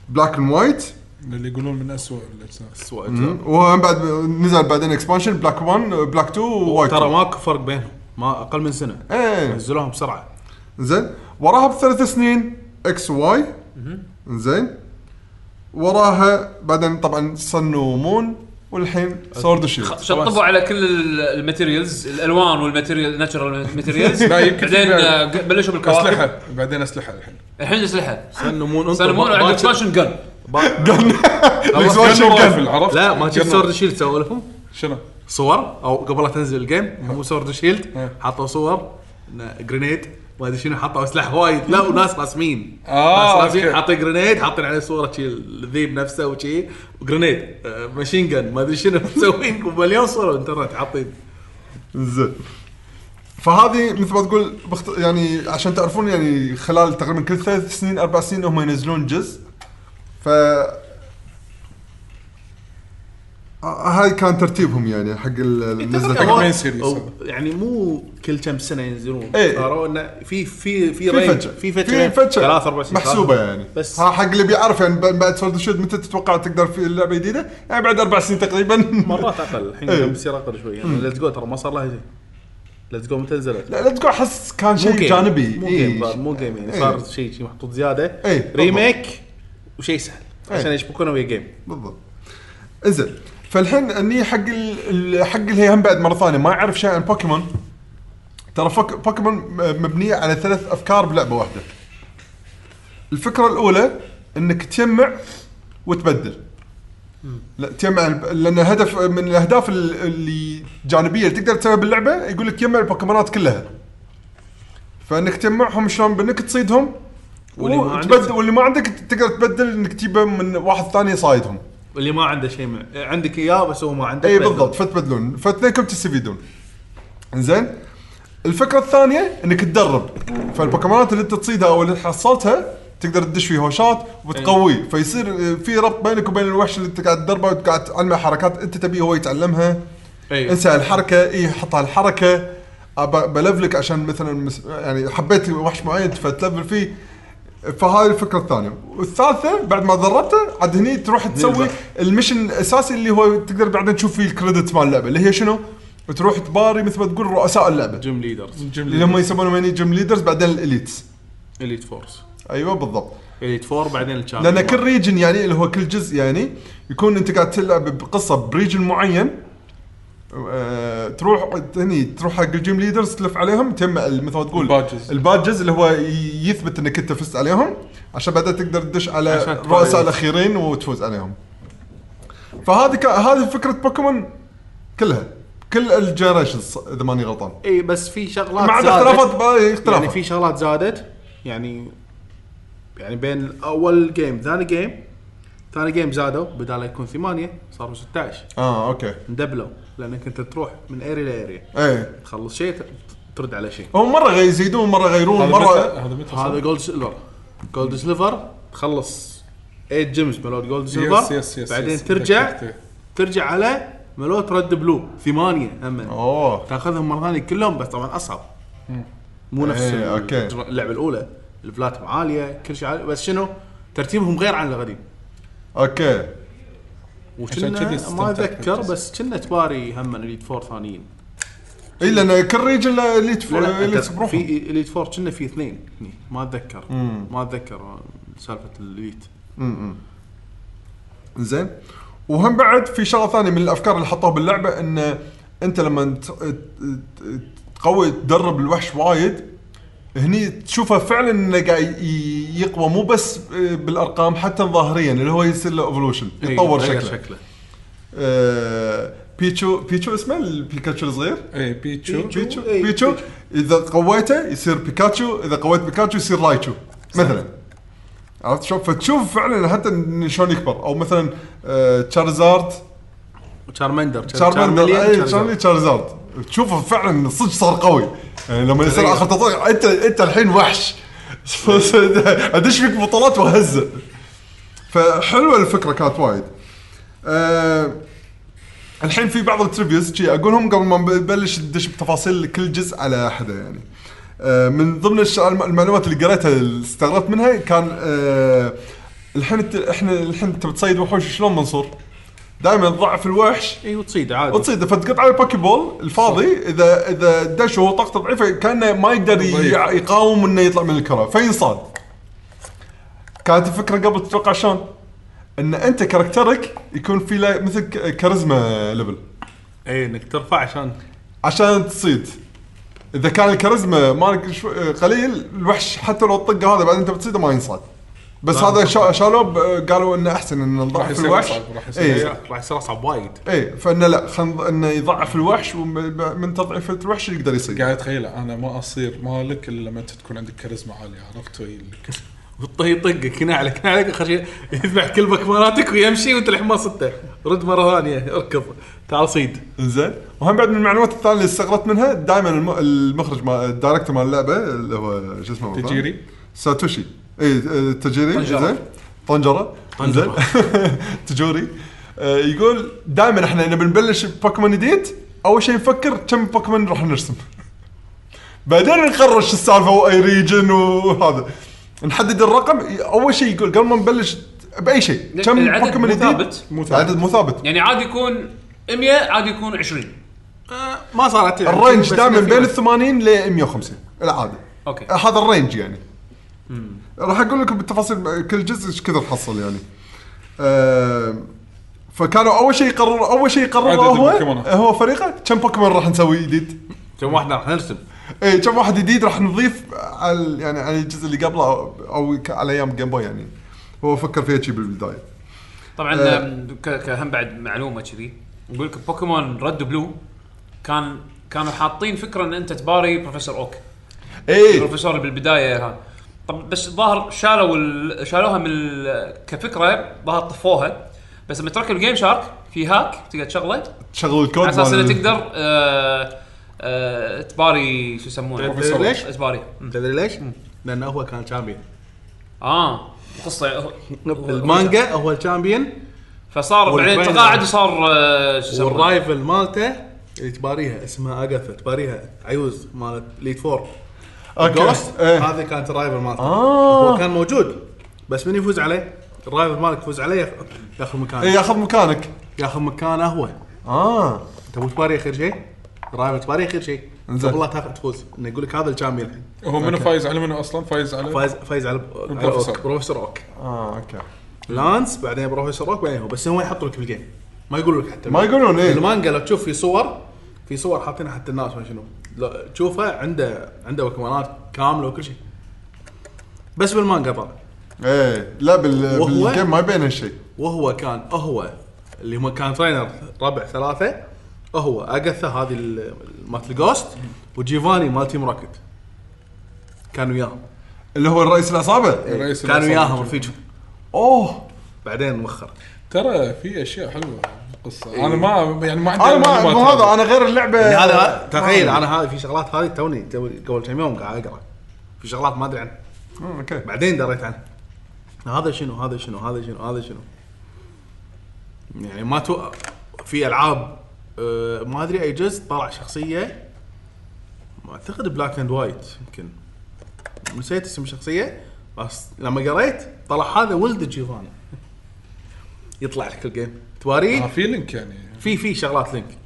[SPEAKER 4] بلاك اند وايت
[SPEAKER 2] اللي يقولون من اسوء الاجزاء
[SPEAKER 5] سوى
[SPEAKER 4] وهم بعد نزل بعدين اكسبانشن بلاك 1 بلاك 2 ووايت
[SPEAKER 5] ترى ماكو فرق بينهم ما اقل من سنه
[SPEAKER 4] ايه
[SPEAKER 5] نزلوهم بسرعه
[SPEAKER 4] زين وراها بثلاث سنين اكس واي زين وراها بعدين طبعا سن ومون والحين سورد وشيلد
[SPEAKER 1] شطبوا على كل ال- الماتيريالز الالوان والماتيريال ناتشرال
[SPEAKER 5] (laughs)
[SPEAKER 1] ماتيريالز
[SPEAKER 2] لا، يمكن في
[SPEAKER 1] بعدين
[SPEAKER 2] بعد.
[SPEAKER 1] آه، بلشوا بالكواكب
[SPEAKER 2] اسلحه بعدين اسلحه الحين
[SPEAKER 1] الحين اسلحه
[SPEAKER 5] سنه مون انطر
[SPEAKER 1] سلمون
[SPEAKER 5] ما-
[SPEAKER 1] على
[SPEAKER 5] ما-
[SPEAKER 1] الاكسبانشن جن
[SPEAKER 2] Expansion
[SPEAKER 4] Gun.
[SPEAKER 2] rifle، عرفت؟
[SPEAKER 5] لا ما شفت
[SPEAKER 2] Gun.
[SPEAKER 5] سورد شيلد سووا لهم
[SPEAKER 2] شنو؟
[SPEAKER 5] صور او قبل لا تنزل الجيم مو سورد شيلد
[SPEAKER 2] إيه.
[SPEAKER 5] حطوا صور إنه جرينيد ما ادري شنو حطوا سلاح وايد لا وناس راسمين
[SPEAKER 2] آه،
[SPEAKER 5] ناس راسمين
[SPEAKER 2] أوكي.
[SPEAKER 5] حاطين جرينيد حاطين عليه صوره شي الذيب نفسه وشي وجرينيد آه، ماشين جن ما ادري شنو (laughs) مسوين ومليون صوره بالانترنت حاطين
[SPEAKER 4] زين فهذه مثل ما تقول بخت... يعني عشان تعرفون يعني خلال تقريبا كل ثلاث سنين اربع سنين هم ينزلون جزء ف آه، هاي كان ترتيبهم يعني حق ال- النزله
[SPEAKER 5] هو-
[SPEAKER 2] main series.
[SPEAKER 5] أو- يعني مو كل كم سنه ينزلون
[SPEAKER 4] إيه.
[SPEAKER 5] صاروا انه في في في
[SPEAKER 4] في
[SPEAKER 5] range،
[SPEAKER 4] فتشه
[SPEAKER 5] في فتشه ثلاث اربع سنين
[SPEAKER 4] محسوبه يعني بس
[SPEAKER 5] بس-
[SPEAKER 4] ها حق اللي بيعرف يعني بعد- بعد سولد شيد متى تتوقع تقدر في اللعبه جديده يعني بعد اربع سنين تقريبا
[SPEAKER 5] مرات اقل الحين
[SPEAKER 4] إيه.
[SPEAKER 5] بيصير اقل شوي يعني ليتس جو ترى ما صار لها شيء ليتس جو متى
[SPEAKER 4] (laughs)
[SPEAKER 5] نزلت
[SPEAKER 4] لا لا تقول احس كان
[SPEAKER 5] مو
[SPEAKER 4] شيء
[SPEAKER 5] جيم.
[SPEAKER 4] جانبي
[SPEAKER 5] مو
[SPEAKER 4] إيه.
[SPEAKER 5] جيم ظاهر، مو جيم يعني
[SPEAKER 4] إيه.
[SPEAKER 5] صار شيء شيء محطوط زياده
[SPEAKER 4] إيه، بالضبط.
[SPEAKER 5] ريميك وشيء سهل
[SPEAKER 4] إيه.
[SPEAKER 5] عشان يشبكونه ويا جيم
[SPEAKER 4] بالضبط انزين فالحين اني حق ال... ال- حق اللي هي هم بعد مره ثانيه ما يعرف شيء عن بوكيمون ترى فك... بوكيمون م- مبنيه على ثلاث افكار بلعبه واحده الفكره الاولى انك تجمع وتبدل لا تجمع الب- لان هدف من الاهداف ال- اللي جانبيه اللي تقدر تسويها باللعبه يقول لك جمع البوكيمونات كلها فانك تجمعهم شلون بانك تصيدهم
[SPEAKER 5] واللي ما عندك-
[SPEAKER 4] وتبدل واللي ما عندك تقدر تبدل انك تجيبه من واحد ثاني صايدهم
[SPEAKER 5] اللي ما عنده شيء مع... عندك اياه بس هو ما عنده
[SPEAKER 4] اي إيه، بالضبط فتبدلون فاثنينكم تستفيدون زين الفكره الثانيه انك تدرب فالبوكيمونات اللي انت تصيدها او اللي حصلتها تقدر تدش فيه هوشات وتقويه فيصير في ربط بينك وبين الوحش اللي انت قاعد تدربه وقاعد تعلمه حركات انت تبيه هو يتعلمها
[SPEAKER 5] أي.
[SPEAKER 4] انسى الحركه اي حط أه، هالحركه أب- بلفلك عشان مثلا مس- يعني حبيت وحش معين فتلفل فيه فهاي الفكره الثانيه والثالثه بعد ما دربته عاد هني تروح تسوي المشن الاساسي اللي هو تقدر بعدين تشوف فيه الكريدت مال اللعبه اللي هي شنو تروح تباري مثل ما تقول رؤساء اللعبه
[SPEAKER 5] جيم ليدرز
[SPEAKER 4] اللي هم يسمونهم هني جيم ليدرز بعدين الاليتس
[SPEAKER 5] اليت فورس
[SPEAKER 4] ايوه بالضبط
[SPEAKER 5] اليت فور بعدين الشامبيون
[SPEAKER 4] لان كل ريجن يعني اللي هو كل جزء يعني يكون انت قاعد تلعب بقصه بريجن معين آه، تروح هني تروح حق الجيم ليدرز تلف عليهم تجمع ال- مثل ما تقول
[SPEAKER 2] البادجز.
[SPEAKER 4] البادجز اللي هو ي- يثبت انك انت فزت عليهم عشان بعدها تقدر تدش على
[SPEAKER 5] عشان تباري.
[SPEAKER 4] الرؤساء الاخيرين وتفوز عليهم. فهذه كا- هذه فكره بوكيمون كلها كل الجنريشنز اذا ماني غلطان
[SPEAKER 5] اي إيه، بس في شغلات
[SPEAKER 4] مع
[SPEAKER 5] زادت.
[SPEAKER 4] اختلافات باقي اختلافات
[SPEAKER 5] يعني في شغلات زادت يعني يعني بين اول جيم ثاني جيم ثاني جيم زادوا بدال لا يكون ثمانية صاروا 16
[SPEAKER 4] اه اوكي
[SPEAKER 5] ندبلوا لانك انت تروح من اريا لاريا
[SPEAKER 4] ايه
[SPEAKER 5] تخلص شيء ت- ترد على شيء
[SPEAKER 4] هو مره غي- يزيدون مره يغيرون مره
[SPEAKER 2] هذا متى
[SPEAKER 5] هذا
[SPEAKER 2] هذا
[SPEAKER 5] جولد سيلفر جولد سيلفر تخلص 8 جيمز ملوت جولد
[SPEAKER 2] يس
[SPEAKER 5] سيلفر
[SPEAKER 2] يس يس
[SPEAKER 5] بعدين
[SPEAKER 2] يس.
[SPEAKER 5] ترجع
[SPEAKER 2] تذكرت.
[SPEAKER 5] ترجع على ملوت رد بلو ثمانية هم
[SPEAKER 4] اوه
[SPEAKER 5] تاخذهم مره ثانيه كلهم بس طبعا اصعب مو نفس
[SPEAKER 4] إيه،
[SPEAKER 5] ال-
[SPEAKER 4] أوكي.
[SPEAKER 5] اللعبه الاولى الفلاتهم عاليه كل شيء عالي بس شنو ترتيبهم غير عن القديم
[SPEAKER 4] اوكي
[SPEAKER 2] عشان كذي
[SPEAKER 5] وكنا ما
[SPEAKER 2] استمتعت
[SPEAKER 5] اتذكر
[SPEAKER 2] بالقصة.
[SPEAKER 5] بس كنا تباري هم اليد فور ثانيين
[SPEAKER 4] اي لان كل ريجن له اللي تف...
[SPEAKER 5] لا لا
[SPEAKER 4] اللي
[SPEAKER 5] أنت
[SPEAKER 4] تبروحه.
[SPEAKER 5] في اليد فور كنا في اثنين هني. ما اتذكر ما اتذكر سالفه اليد
[SPEAKER 4] زين وهم بعد في شغله ثانيه من الافكار اللي حطوها باللعبه ان انت لما ت- ت- ت- قوي تدرب الوحش وايد هني تشوفه فعلا انه قاعد ي- يقوى مو بس آه، بالارقام حتى ظاهريا اللي هو يصير له ايفولوشن يتطور
[SPEAKER 5] غير
[SPEAKER 4] شكله, شكله. آه بيتشو بيتشو اسمه البيكاتشو الصغير
[SPEAKER 2] اي بيتشو
[SPEAKER 4] بيتشو
[SPEAKER 5] إيه،
[SPEAKER 4] بيتشو اذا قويته يصير بيكاتشو اذا قويت بيكاتشو يصير رايتشو مثلا عرفت شلون؟ فتشوف فعلا حتى إن شلون يكبر او مثلا آه، تشارزارد
[SPEAKER 5] شارمندر
[SPEAKER 4] تشارمندر
[SPEAKER 5] شارمليان،
[SPEAKER 4] اي
[SPEAKER 5] شارزارد.
[SPEAKER 4] تشارلي تشارزارد تشوفه فعلا صدق صار قوي يعني لما يصير اخر تطور انت انت الحين وحش (laughs) ادش فيك بطولات وهزه فحلوه الفكره كانت وايد أه الحين في بعض التريفيوز شي اقولهم قبل ما نبلش ندش بتفاصيل كل جزء على حدا يعني أه من ضمن الش- الم- المعلومات اللي قريتها اللي استغربت منها كان أه الحين الت- احنا الحين انت بتصيد وحوش شلون منصور؟ دائما ضعف الوحش
[SPEAKER 5] اي إيه، وتصيد عادي
[SPEAKER 4] وتصيده فتقطع البوكي بول الفاضي اذا اذا دش وهو طاقته ضعيفه كانه ما يقدر
[SPEAKER 2] ضعيف.
[SPEAKER 4] ي- يقاوم انه يطلع من الكره فينصاد. كانت الفكره قبل تتوقع شلون؟ ان انت كاركترك يكون في له مثل ك- كاريزما ليفل
[SPEAKER 5] اي انك إيه، ترفع عشان
[SPEAKER 4] عشان تصيد. اذا كان الكاريزما مالك شو- قليل الوحش حتى لو الطقه هذا بعدين انت بتصيده ما ينصاد. بس هذا شا- شالوه ب- قالوا انه احسن ان نضعف
[SPEAKER 2] يصير
[SPEAKER 4] الوحش
[SPEAKER 2] أصعب، راح يصير
[SPEAKER 4] إيه.
[SPEAKER 2] أصعب.
[SPEAKER 5] راح يصير اصعب وايد
[SPEAKER 4] ايه فانه لا خن... انه يضعف الوحش ومن تضعيف الوحش يقدر يصيد
[SPEAKER 2] قاعد اتخيل انا ما اصير مالك الا لما انت تكون عندك كاريزما عاليه عرفت وي-
[SPEAKER 5] والطهي يطقك هنا عليك هنا عليك خشي يذبح كل مالاتك ويمشي وانت الحين ما صدته رد مره ثانيه اركض تعال صيد
[SPEAKER 4] زين وهم بعد من المعلومات الثانيه اللي استغربت منها دائما الم... المخرج ما الدايركتور مال اللعبه اللي هو شو اسمه بالضبط؟
[SPEAKER 2] تجيري.
[SPEAKER 4] ساتوشي اي آه، تجيري
[SPEAKER 1] طنجرة.
[SPEAKER 4] زين طنجره زين (laughs) تجوري آه، يقول دائما احنا نبي نبلش بوكيمون جديد اول شيء نفكر كم بوكيمون راح نرسم بعدين نقرر شو السالفه واي ريجن وهذا نحدد الرقم اول شيء يقول قبل ما نبلش باي شيء كم
[SPEAKER 1] العدد
[SPEAKER 4] بوكيمون
[SPEAKER 1] مو
[SPEAKER 4] جديد
[SPEAKER 1] ثابت.
[SPEAKER 4] مو ثابت عدد مو ثابت
[SPEAKER 1] يعني عادي يكون 100 عادي يكون 20
[SPEAKER 5] آه، ما صارت
[SPEAKER 4] الرينج
[SPEAKER 5] بس
[SPEAKER 4] دائما
[SPEAKER 5] كثير.
[SPEAKER 4] بين ال 80 ل 150 العادي
[SPEAKER 1] أوكي.
[SPEAKER 4] هذا الرينج يعني راح اقول لكم بالتفاصيل كل جزء ايش كثر حصل يعني آه فكانوا اول شيء يقرر اول شيء يقرر
[SPEAKER 2] عدد
[SPEAKER 4] هو
[SPEAKER 2] البوكيمونات.
[SPEAKER 4] هو فريقه كم بوكيمون راح نسوي جديد
[SPEAKER 5] كم واحد راح نرسم
[SPEAKER 4] اي كم واحد جديد راح نضيف على يعني على الجزء اللي قبله او, أو ك- على ايام جيم بوي يعني هو فكر فيها شي بالبدايه
[SPEAKER 1] طبعا
[SPEAKER 4] آه.
[SPEAKER 1] ك- كهم بعد معلومه كذي يقول لك بوكيمون رد بلو كان كانوا حاطين فكره ان انت تباري بروفيسور اوك
[SPEAKER 5] إيه.
[SPEAKER 4] اي
[SPEAKER 1] البروفيسور اللي بالبدايه ها طب بس الظاهر شالوا ال... شالوها من ال... كفكره ظهر طفوها بس لما تركب الجيم شارك في هاك تقدر تشغله
[SPEAKER 4] تشغل الكود
[SPEAKER 1] على اساس
[SPEAKER 4] مال-
[SPEAKER 1] انه تقدر آه... آه... تباري شو يسمونه
[SPEAKER 5] بروفيسور. ليش؟
[SPEAKER 1] تباري
[SPEAKER 5] تدري ليش؟ لانه هو كان شامبيون
[SPEAKER 1] اه قصه هو- هو-
[SPEAKER 5] المانجا هو الشامبيون
[SPEAKER 1] فصار بعدين
[SPEAKER 5] والبين-
[SPEAKER 1] تقاعد وصار آه... شو يسمونه
[SPEAKER 5] والرايفل مالته اللي تباريها اسمها اجاثا تباريها عيوز مالت ليد فور
[SPEAKER 4] أوكي.
[SPEAKER 5] جوست
[SPEAKER 4] إيه.
[SPEAKER 5] هذه كانت الرايفل مالته
[SPEAKER 4] آه.
[SPEAKER 5] هو كان موجود بس من يفوز عليه؟ الرايفل مالك يفوز عليه ياخ- ياخذ
[SPEAKER 4] إي،
[SPEAKER 5] مكانه
[SPEAKER 4] إيه، ياخذ مكانك
[SPEAKER 5] ياخذ مكانه هو
[SPEAKER 4] اه
[SPEAKER 5] انت مو تباري خير شيء الرايفل تباري خير شيء
[SPEAKER 4] إنزين.
[SPEAKER 5] قبل لا تاخذ تفوز انه يقول لك هذا الشامبيون الحين
[SPEAKER 2] هو منو فايز على منو اصلا فايز
[SPEAKER 4] إيه.
[SPEAKER 2] على
[SPEAKER 5] فايز فايز على على
[SPEAKER 2] بروفيسور.
[SPEAKER 5] أوك، بروفيسور اوك
[SPEAKER 4] اه اوكي
[SPEAKER 5] لانس بعدين بروفيسور اوك بعدين هو بس هم يحطوا لك بالجيم ما يقولوا لك حتى
[SPEAKER 4] ما يقولون ايه
[SPEAKER 5] المانجا لو تشوف في صور في صور حاطينها حتى الناس ما شنو لو تشوفه عنده عنده وكمانات كامله وكل شيء بس بالمانجا طبعا
[SPEAKER 4] ايه لا بال...
[SPEAKER 5] وهو-
[SPEAKER 4] بالجيم ما يبين هالشيء
[SPEAKER 5] وهو كان هو اللي هو كان ترينر ربع ثلاثه هو اجاثا هذه ال- مالت الجوست وجيفاني مال تيم روكت كانوا وياهم
[SPEAKER 4] اللي هو الرئيس العصابه
[SPEAKER 2] الرئيس
[SPEAKER 5] كانوا
[SPEAKER 2] العصابة.
[SPEAKER 5] وياهم رفيجهم
[SPEAKER 4] اوه
[SPEAKER 5] بعدين وخر
[SPEAKER 2] ترى في اشياء حلوه
[SPEAKER 5] إيه.
[SPEAKER 2] بالقصه انا ما يعني ما عندي
[SPEAKER 4] انا ما
[SPEAKER 2] معلومات
[SPEAKER 4] مو هذا انا غير اللعبه
[SPEAKER 5] يعني هذا تخيل انا هذه في شغلات هذه توني توني قبل كم يوم قاعد اقرا في شغلات ما ادري عنها
[SPEAKER 4] أمم، اوكي
[SPEAKER 5] بعدين دريت عنها هذا شنو هذا شنو هذا شنو هذا شنو يعني ما تو في العاب آه، ما ادري اي جزء طلع شخصيه ما اعتقد بلاك اند وايت يمكن نسيت اسم الشخصيه بس لما قريت طلع هذا ولد جيفاني يطلع لك الجيم
[SPEAKER 2] آه،
[SPEAKER 5] تواريه
[SPEAKER 2] في لينك يعني
[SPEAKER 5] في في شغلات لينك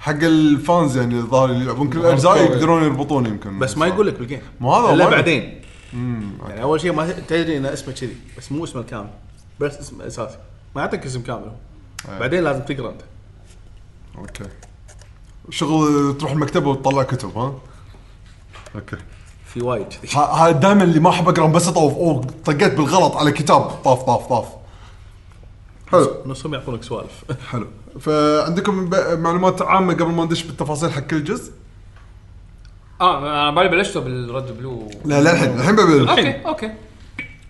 [SPEAKER 4] حق الفانز يعني الظاهر اللي يلعبون كل الاجزاء
[SPEAKER 2] أوكي.
[SPEAKER 4] يقدرون يربطون يمكن
[SPEAKER 5] بس ما يقول لك بالجيم
[SPEAKER 4] مو هذا
[SPEAKER 5] الا
[SPEAKER 4] وايد.
[SPEAKER 5] بعدين يعني اول شيء ما تدري ان اسمه كذي بس مو اسمه الكامل بس اسمه اساسي ما يعطيك اسم كامل
[SPEAKER 4] أي.
[SPEAKER 5] بعدين لازم تقرا انت
[SPEAKER 4] اوكي شغل تروح المكتبه وتطلع كتب ها اوكي
[SPEAKER 5] في وايد كذي
[SPEAKER 4] ه- هذا دائما اللي ما احب اقرا بس اطوف اوه طقيت بالغلط على كتاب طاف طاف طاف حلو
[SPEAKER 5] نصهم يعطونك سوالف (laughs)
[SPEAKER 4] حلو فعندكم ب- معلومات عامه قبل ما ندش بالتفاصيل حق كل جزء
[SPEAKER 1] اه انا بالي بلشتوا بالرد بلو
[SPEAKER 4] لا لا الحين الحين ببدا
[SPEAKER 1] اوكي اوكي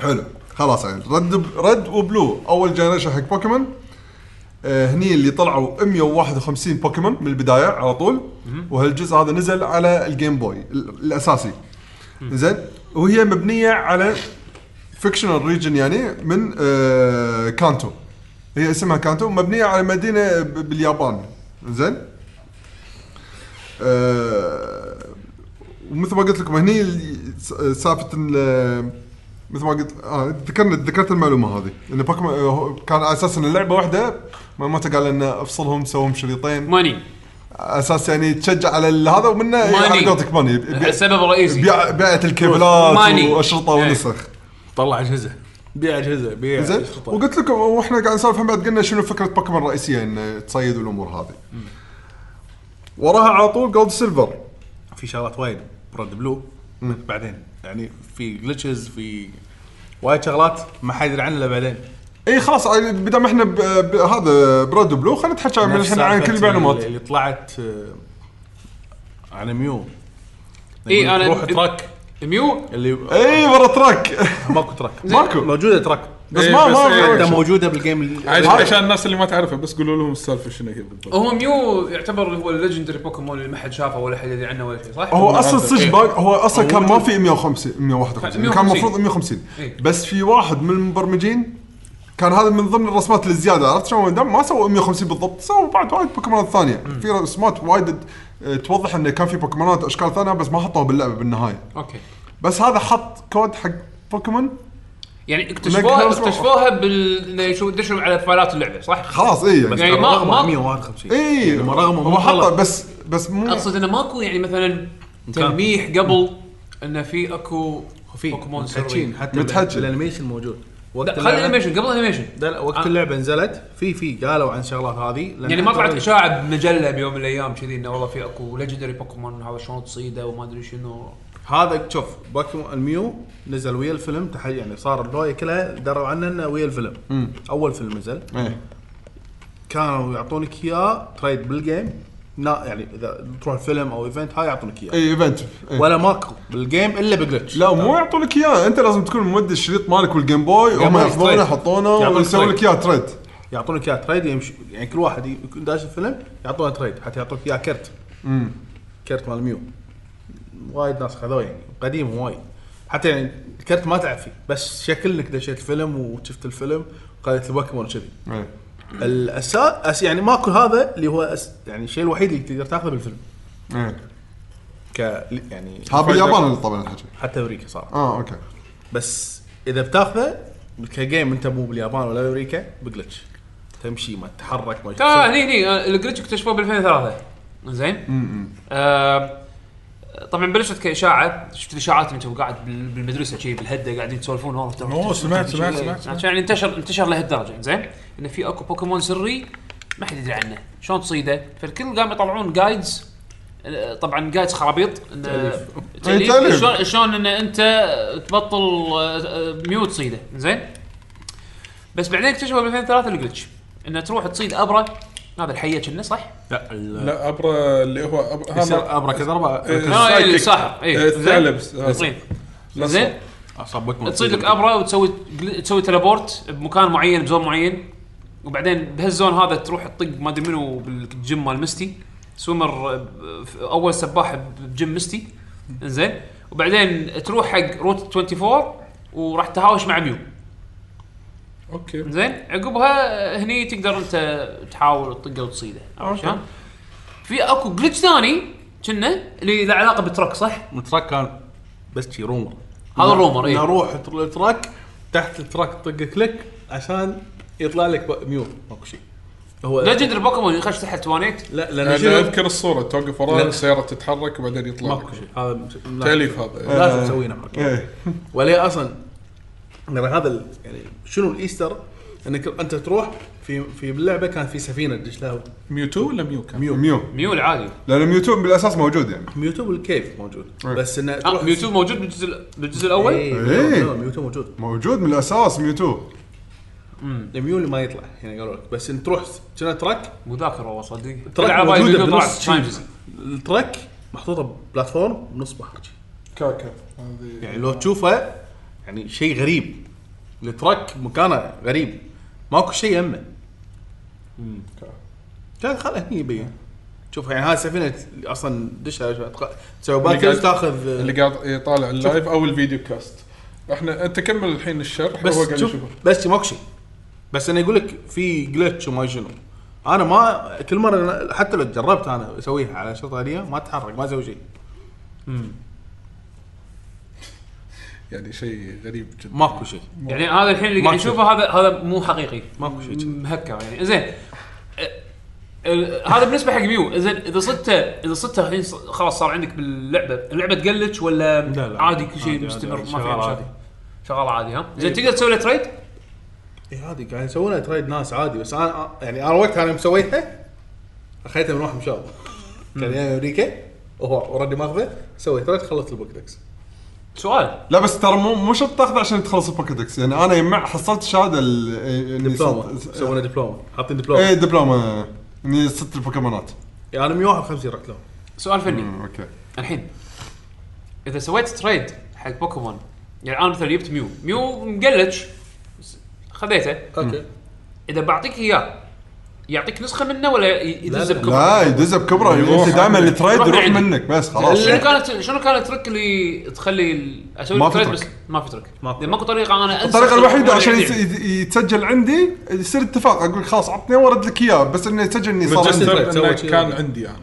[SPEAKER 4] حلو خلاص يعني رد رد وبلو اول جنريشن حق بوكيمون آه هني اللي طلعوا 151 بوكيمون من البدايه على طول وهالجزء هذا نزل على الجيم بوي ال- الاساسي زين وهي مبنيه على فيكشنال ريجن يعني من آه كانتو هي اسمها كانتو مبنيه على مدينه ب- باليابان زين آه ومثل ما قلت لكم هني ال- س- سالفه ال- مثل ما قلت آه ذكرنا ذكرت المعلومه هذه ان بوكيمون آه، هو- كان على اساس ان اللعبه واحده ما ما قال ان افصلهم سوهم شريطين
[SPEAKER 1] ماني
[SPEAKER 4] على اساس يعني تشجع على ال- هذا ومنه
[SPEAKER 1] ماني.
[SPEAKER 4] على قولتك ماني يبيع-
[SPEAKER 1] السبب الرئيسي
[SPEAKER 4] بيع بيعت الكيبلات
[SPEAKER 1] ماني.
[SPEAKER 4] واشرطه
[SPEAKER 1] إيه.
[SPEAKER 4] ونسخ
[SPEAKER 5] طلع اجهزه بيع اجهزه بيع
[SPEAKER 4] زين
[SPEAKER 5] شرطة.
[SPEAKER 4] وقلت لكم واحنا قاعد نسولف عن بعد قلنا شنو فكره بوكيمون الرئيسيه ان تصيد والامور هذه وراها على طول جولد سيلفر
[SPEAKER 5] في شغلات وايد براد بلو بعدين يعني في جلتشز في وايد شغلات ما حد يدري عنها إلا بعدين
[SPEAKER 4] اي خلاص بدل ما احنا ب- ب- هذا براد بلو خلينا نتحكى من
[SPEAKER 5] نفس
[SPEAKER 4] طيب، الحين عن كل
[SPEAKER 5] سالفة
[SPEAKER 4] المعلومات
[SPEAKER 5] اللي طلعت آه، على ميو
[SPEAKER 1] إي، إيه، أنا-
[SPEAKER 5] طيب، روح تراك
[SPEAKER 1] ميو
[SPEAKER 5] اللي
[SPEAKER 4] اي برا تراك
[SPEAKER 5] ماكو تراك
[SPEAKER 4] ماكو.
[SPEAKER 5] موجوده تراك
[SPEAKER 4] بس
[SPEAKER 2] إيه،
[SPEAKER 4] ما
[SPEAKER 2] بس إيه.
[SPEAKER 4] ما
[SPEAKER 5] حتى موجوده بالجيم اللي-
[SPEAKER 2] عش- عشان الناس اللي ما تعرفها بس قولوا لهم السالفه شنو هي بالضبط
[SPEAKER 1] هو ميو يعتبر هو الليجندري بوكيمون اللي ما حد شافه ولا حد يدري عنه ولا شيء صح؟
[SPEAKER 4] هو اصلا صدق
[SPEAKER 5] إيه.
[SPEAKER 4] باق هو اصلا
[SPEAKER 5] هو
[SPEAKER 4] كان ما
[SPEAKER 5] موجود.
[SPEAKER 4] في 150 151 كان
[SPEAKER 1] 150.
[SPEAKER 4] المفروض 150
[SPEAKER 1] إيه.
[SPEAKER 4] بس في واحد من المبرمجين كان هذا من ضمن الرسمات الزياده عرفت شلون دام ما سووا 150 بالضبط سووا بعد وايد بوكيمونات ثانيه في رسمات وايد آه، توضح انه كان في بوكيمونات اشكال ثانيه بس ما حطوها باللعبه بالنهايه
[SPEAKER 1] اوكي
[SPEAKER 4] بس هذا حط كود حق بوكيمون
[SPEAKER 1] يعني
[SPEAKER 4] لكن-
[SPEAKER 1] اكتشفوها اكتشفوها بال إنه شو دشوا على فايلات اللعبه
[SPEAKER 5] إيه.
[SPEAKER 1] صح؟
[SPEAKER 4] خلاص اي يعني إيه.
[SPEAKER 5] بس
[SPEAKER 1] يعني
[SPEAKER 5] ترى
[SPEAKER 1] ما-
[SPEAKER 5] رغم
[SPEAKER 1] ما-
[SPEAKER 5] 151
[SPEAKER 4] اي
[SPEAKER 5] يعني رغم
[SPEAKER 4] هو حطه بس بس مو
[SPEAKER 1] اقصد انه ماكو يعني مثلا تلميح قبل انه في اكو
[SPEAKER 5] في
[SPEAKER 1] بوكيمون
[SPEAKER 5] متحجين
[SPEAKER 1] سري
[SPEAKER 5] حتى
[SPEAKER 4] متحجين.
[SPEAKER 5] الانيميشن موجود وقت
[SPEAKER 1] لا خلي
[SPEAKER 5] اللعبة-
[SPEAKER 1] الانيميشن قبل الانيميشن
[SPEAKER 5] لا لا،
[SPEAKER 1] آه.
[SPEAKER 5] وقت اللعبه نزلت في في قالوا عن الشغلات هذه لأن
[SPEAKER 1] يعني ما
[SPEAKER 5] حتى إيه.
[SPEAKER 1] طلعت
[SPEAKER 5] لو-
[SPEAKER 1] اشاعه بمجله بيوم من الايام كذي انه والله في اكو ليجندري بوكيمون هذا شلون تصيده وما ادري شنو
[SPEAKER 5] هذا شوف بوكيمون الميو نزل ويا الفيلم تح- يعني صار الرؤيه كلها دروا عنه انه ويا الفيلم اول فيلم نزل
[SPEAKER 4] إيه.
[SPEAKER 5] كانوا يعطونك اياه تريد بالجيم نا يعني اذا تروح فيلم او ايفنت هاي يعطونك اياه
[SPEAKER 4] اي ايفنت إيه.
[SPEAKER 5] ولا ماكو بالجيم الا بجلتش
[SPEAKER 4] لا مو يعطونك اياه انت لازم تكون مودي الشريط مالك والجيم بوي هم
[SPEAKER 5] بوي
[SPEAKER 4] ياخذونه
[SPEAKER 5] تريد.
[SPEAKER 4] يحطونه
[SPEAKER 5] يعطونك
[SPEAKER 4] ويسوي
[SPEAKER 5] تريد.
[SPEAKER 4] لك اياه تريد
[SPEAKER 5] يعطونك اياه تريد يمشي يعني كل واحد يكون داش الفيلم يعطونه تريد حتى يعطوك اياه كرت كرت مال ميو وايد ناس خذوه يعني قديم وايد حتى يعني الكرت ما تعب فيه بس شكل انك دشيت الفيلم وشفت الفيلم وخذت البوكيمون وكذي
[SPEAKER 4] إيه.
[SPEAKER 5] الاساس يعني ماكو هذا اللي هو أس يعني الشيء الوحيد اللي تقدر تاخذه بالفيلم
[SPEAKER 4] إيه.
[SPEAKER 5] ك يعني
[SPEAKER 4] هذا باليابان اللي طبعا الحكي
[SPEAKER 5] حتى امريكا صار
[SPEAKER 4] اه اوكي
[SPEAKER 5] بس اذا بتاخذه كجيم انت مو باليابان ولا امريكا بجلتش تمشي ما تتحرك ما
[SPEAKER 1] تا
[SPEAKER 5] تسوي.
[SPEAKER 1] هني هني الجلتش اكتشفوه ب 2003
[SPEAKER 2] Mm,
[SPEAKER 1] زين آه، طبعا بلشت كاشاعه شفت الاشاعات انتم قاعد بال- بالمدرسه شي بالهده قاعدين تسولفون والله ترى
[SPEAKER 2] أوه، سمعت- سمعت- سمعت.
[SPEAKER 1] عشان يعني انتشر انتشر لهالدرجه زين انه في اكو بوكيمون سري ما حد يدري عنه شلون تصيده فالكل قام يطلعون جايدز آه، طبعا جايدز خرابيط إنه-
[SPEAKER 4] أي
[SPEAKER 1] تأليف.
[SPEAKER 4] تأليف.
[SPEAKER 1] شلون شلون ان انت تبطل آه، آه، ميوت تصيده زين بس بعدين اكتشفوا ب 2003 الجلتش انه تروح تصيد ابره هذا الحيه كنا صح؟
[SPEAKER 5] لا ال-
[SPEAKER 2] لا ابره اللي هو أبرة-
[SPEAKER 5] يصير
[SPEAKER 2] هذا
[SPEAKER 5] ابره كذربه
[SPEAKER 2] آه،
[SPEAKER 1] لا، إيه،
[SPEAKER 2] السايكيك.
[SPEAKER 1] الساحر، إيه،
[SPEAKER 2] آه،
[SPEAKER 1] زين.
[SPEAKER 2] الثعلبس هذا.
[SPEAKER 1] تصيد
[SPEAKER 2] لا
[SPEAKER 1] زين
[SPEAKER 2] صح.
[SPEAKER 5] اصابك
[SPEAKER 1] تصيد لك ابره وتسوي جل- تسوي تليبورت بمكان معين بزون معين وبعدين بهالزون هذا تروح تطق ما ادري منو بالجيم مال مستي سويمر آه، ب- اول سباح ب- بجيم مستي زين وبعدين تروح حق روت 24 وراح تهاوش مع ميو
[SPEAKER 2] اوكي
[SPEAKER 5] يعني
[SPEAKER 1] زين عقبها هني تقدر انت تحاول تطقه وتصيده عرفت شلون؟ في اكو جلتش ثاني كنا اللي له علاقه بالترك صح؟
[SPEAKER 5] التراك كان بس شي رومر نعم.
[SPEAKER 1] هذا الرومر، إيه.
[SPEAKER 5] نروح تر- التراك تحت التراك طق كليك عشان يطلع لك ب- ميو ماكو شيء هو
[SPEAKER 1] ليجندري بوكيمون يخش تحت توانيت
[SPEAKER 5] لا لان
[SPEAKER 2] انا
[SPEAKER 5] شنو
[SPEAKER 2] اذكر الصوره توقف
[SPEAKER 5] لا.
[SPEAKER 2] وراها السياره تتحرك وبعدين يطلع
[SPEAKER 5] ماكو شيء هذا مش- لا.
[SPEAKER 2] تاليف هذا
[SPEAKER 5] لازم تسوينا حركه
[SPEAKER 4] ايه
[SPEAKER 5] ولا هي اصلا يعني هذا ال- يعني شنو الايستر انك انت تروح في في باللعبه كان في سفينه تدش لها
[SPEAKER 2] ميوتو ولا ميو كان؟
[SPEAKER 5] ميو
[SPEAKER 4] ميو
[SPEAKER 1] ميو العادي
[SPEAKER 4] لان ميوتو بالاساس موجود يعني
[SPEAKER 5] ميوتو بالكيف موجود
[SPEAKER 4] إيه.
[SPEAKER 5] بس انه
[SPEAKER 1] اه ميوتو موجود بالجزء بالجزء الاول؟
[SPEAKER 4] إيه.
[SPEAKER 5] اي ميوتو موجود
[SPEAKER 4] موجود من الاساس ميوتو
[SPEAKER 5] الميو اللي ما يطلع يعني قالوا لك بس ان تروح كنا ترك
[SPEAKER 1] مذاكره والله صدق
[SPEAKER 5] ترك
[SPEAKER 1] تلعب هاي
[SPEAKER 5] موجودة
[SPEAKER 1] فيديو طلعت
[SPEAKER 5] بنص
[SPEAKER 1] شايف
[SPEAKER 5] شي.
[SPEAKER 1] جزء.
[SPEAKER 5] الترك محطوطه بلاتفورم بنص بحر شي.
[SPEAKER 6] كاكا هذه
[SPEAKER 5] يعني لو تشوفه يعني شيء غريب الترك مكانه غريب ماكو شيء يمه كان خله هني يبين شوف يعني هاي السفينه اصلا دشها تق- تسوي باتل
[SPEAKER 2] قاعد-
[SPEAKER 5] تاخذ
[SPEAKER 2] اللي قاعد يطالع اللايف او الفيديو كاست احنا انت كمل الحين الشرح هو
[SPEAKER 5] بس
[SPEAKER 2] قاعد
[SPEAKER 5] شوف
[SPEAKER 2] يشوفه.
[SPEAKER 5] بس ماكو شيء بس انا يقول لك في جلتش وما شنو انا ما كل مره أنا- حتى لو جربت انا اسويها على الشرطه هذه ما اتحرك ما اسوي شيء
[SPEAKER 2] يعني شيء غريب جدا
[SPEAKER 5] ماكو شيء
[SPEAKER 1] يعني هذا الحين اللي قاعد
[SPEAKER 5] ماكو.
[SPEAKER 1] نشوفه هذا هذا مو حقيقي
[SPEAKER 5] ماكو شيء جديد.
[SPEAKER 1] مهكر يعني زين أه، أه، هذا بالنسبه حق ميو زين اذا صدته اذا صدته الحين ص- خلاص صار عندك باللعبه اللعبه تقلتش ولا
[SPEAKER 5] لا، لا.
[SPEAKER 1] عادي كل شيء
[SPEAKER 5] عادي،
[SPEAKER 1] مستمر ما
[SPEAKER 5] عادي،
[SPEAKER 1] في
[SPEAKER 5] شغال
[SPEAKER 1] عادي
[SPEAKER 5] عادي. إيه.
[SPEAKER 1] شغال عادي ها زين تقدر تسوي له تريد
[SPEAKER 5] اي إيه، عادي قاعد يسوونها تريد ناس عادي بس انا يعني انا وقتها انا مسويتها اخذتها من واحد مشاغب كان جاي من امريكا وهو اوريدي ماخذه سويت تريد خلصت البوكدكس
[SPEAKER 1] سؤال
[SPEAKER 4] لا بس ترى مو مو شرط تاخذه عشان تخلص الباكيتكس يعني انا يمع حصلت شهاده ال- إيه، إني
[SPEAKER 5] دبلومه
[SPEAKER 4] صرت-
[SPEAKER 5] سوينا دبلومه حاطين
[SPEAKER 4] ايه
[SPEAKER 5] دبلومه
[SPEAKER 4] دبلومه اني صرت البوكيمونات
[SPEAKER 5] يعني 151 رحت لهم
[SPEAKER 1] سؤال فني
[SPEAKER 4] أمم، اوكي
[SPEAKER 1] الحين اذا سويت تريد حق بوكيمون يعني انا مثلا جبت ميو ميو مقلتش س- خذيته
[SPEAKER 5] اوكي
[SPEAKER 1] اذا بعطيك اياه يعطيك نسخه منه ولا ي- يدز
[SPEAKER 5] لا.
[SPEAKER 1] بكم؟
[SPEAKER 4] لا يدز بكبره
[SPEAKER 2] يروح
[SPEAKER 4] انت دائما
[SPEAKER 2] عندك.
[SPEAKER 4] التريد
[SPEAKER 1] يروح
[SPEAKER 4] يروح
[SPEAKER 1] عندك.
[SPEAKER 4] منك بس خلاص
[SPEAKER 1] شنو كانت شنو كان الترك اللي تخلي ال- اسوي
[SPEAKER 4] ما
[SPEAKER 1] ما
[SPEAKER 4] في
[SPEAKER 1] ترك
[SPEAKER 4] ترك.
[SPEAKER 1] بس ما في ترك
[SPEAKER 5] ما في
[SPEAKER 1] لأن ماكو طريقه انا انسى
[SPEAKER 4] الطريقه الوحيده عشان
[SPEAKER 1] يعني.
[SPEAKER 4] يت- يت- يتسجل عندي يصير اتفاق اقول خلاص عطني وارد لك اياه بس انه يتسجل اني صار عندي
[SPEAKER 5] تريد،
[SPEAKER 2] متجسد
[SPEAKER 5] سوي
[SPEAKER 2] انه
[SPEAKER 5] شيء.
[SPEAKER 2] كان عندي انا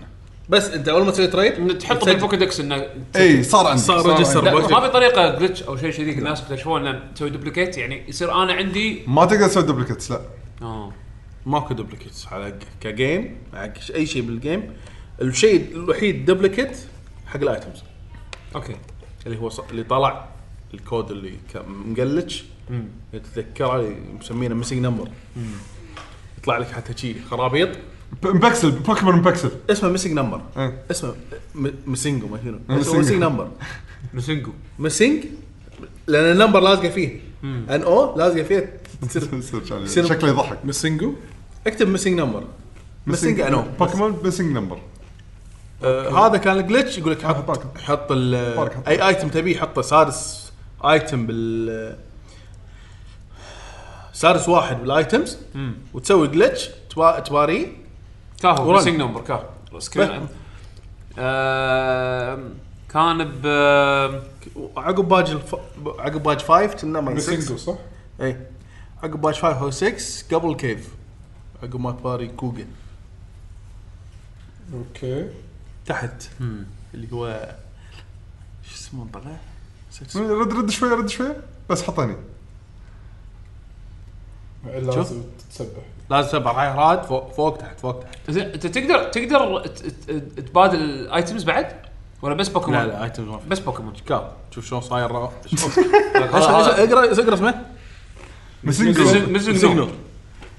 [SPEAKER 5] بس انت اول ما تسوي تريد
[SPEAKER 1] إن تحطه بالبوكيدكس انه
[SPEAKER 4] اي صار عندي
[SPEAKER 5] صار
[SPEAKER 2] صار
[SPEAKER 5] ريجستر
[SPEAKER 2] عندي.
[SPEAKER 1] لا ما
[SPEAKER 5] بوكيت.
[SPEAKER 1] في طريقه جلتش او شيء شذي الناس اكتشفوا انه تسوي دوبليكيت يعني يصير انا عندي
[SPEAKER 4] ما تقدر تسوي دوبليكتس لا
[SPEAKER 1] اه
[SPEAKER 5] ماكو دوبليكيتس على كجيم على ش- اي شيء بالجيم الشيء الوحيد دوبليكيت حق الايتمز
[SPEAKER 1] اوكي
[SPEAKER 5] اللي هو ص- اللي طلع الكود اللي كان مقلتش تتذكره اللي مسمينه ميسنج نمبر يطلع لك حتى شي خرابيط
[SPEAKER 4] ب- مبكسل بوكيمون مبكسل
[SPEAKER 5] اسمه ميسنج نمبر
[SPEAKER 4] إيه.
[SPEAKER 5] اسمه مسنج وما شنو
[SPEAKER 4] إيه،
[SPEAKER 5] اسمه ميسنج
[SPEAKER 4] missing.
[SPEAKER 5] نمبر
[SPEAKER 1] مسنجو
[SPEAKER 5] ميسنج لان النمبر لازقه فيه ان او لازقه فيه تصير- سير-
[SPEAKER 4] شكله يضحك
[SPEAKER 2] مسنجو
[SPEAKER 5] اكتب ميسنج نمبر ميسنج ان او
[SPEAKER 4] بوكيمون ميسنج نمبر
[SPEAKER 5] آه، هذا كان الجلتش يقول لك
[SPEAKER 4] آه، باك.
[SPEAKER 5] حط حط ال
[SPEAKER 4] باك، حط.
[SPEAKER 5] اي ايتم تبيه حطه سادس ايتم بال سادس واحد بالايتمز وتسوي جلتش تباريه
[SPEAKER 1] كاهو
[SPEAKER 5] ورن.
[SPEAKER 1] مسنج نمبر كاهو سكرين آه، كان ب آه،
[SPEAKER 5] عقب باج الف... عقب باج 5 كنا ما
[SPEAKER 2] مسنجو صح؟
[SPEAKER 5] اي عقب باج 5 هو 6 قبل كيف عقب ما تباري كوجن
[SPEAKER 2] اوكي
[SPEAKER 5] تحت اللي هو شو اسمه المنطقه؟ نسيت اسمه.
[SPEAKER 4] رد رد شوي رد شوي بس حطني
[SPEAKER 5] شوف.
[SPEAKER 6] لازم تتسبح
[SPEAKER 5] لازم سبع حيرات فوق فوق تحت فوق تحت
[SPEAKER 1] زين انت تقدر تقدر ت- ت- تبادل الايتمز بعد ولا بس بوكيمون؟
[SPEAKER 5] لا لا ايتمز ما في
[SPEAKER 1] بس بوكيمون
[SPEAKER 5] كاب شوف شلون صاير را- شوف. اقرا اقرا اسمه
[SPEAKER 4] ميسنج
[SPEAKER 1] مسنجو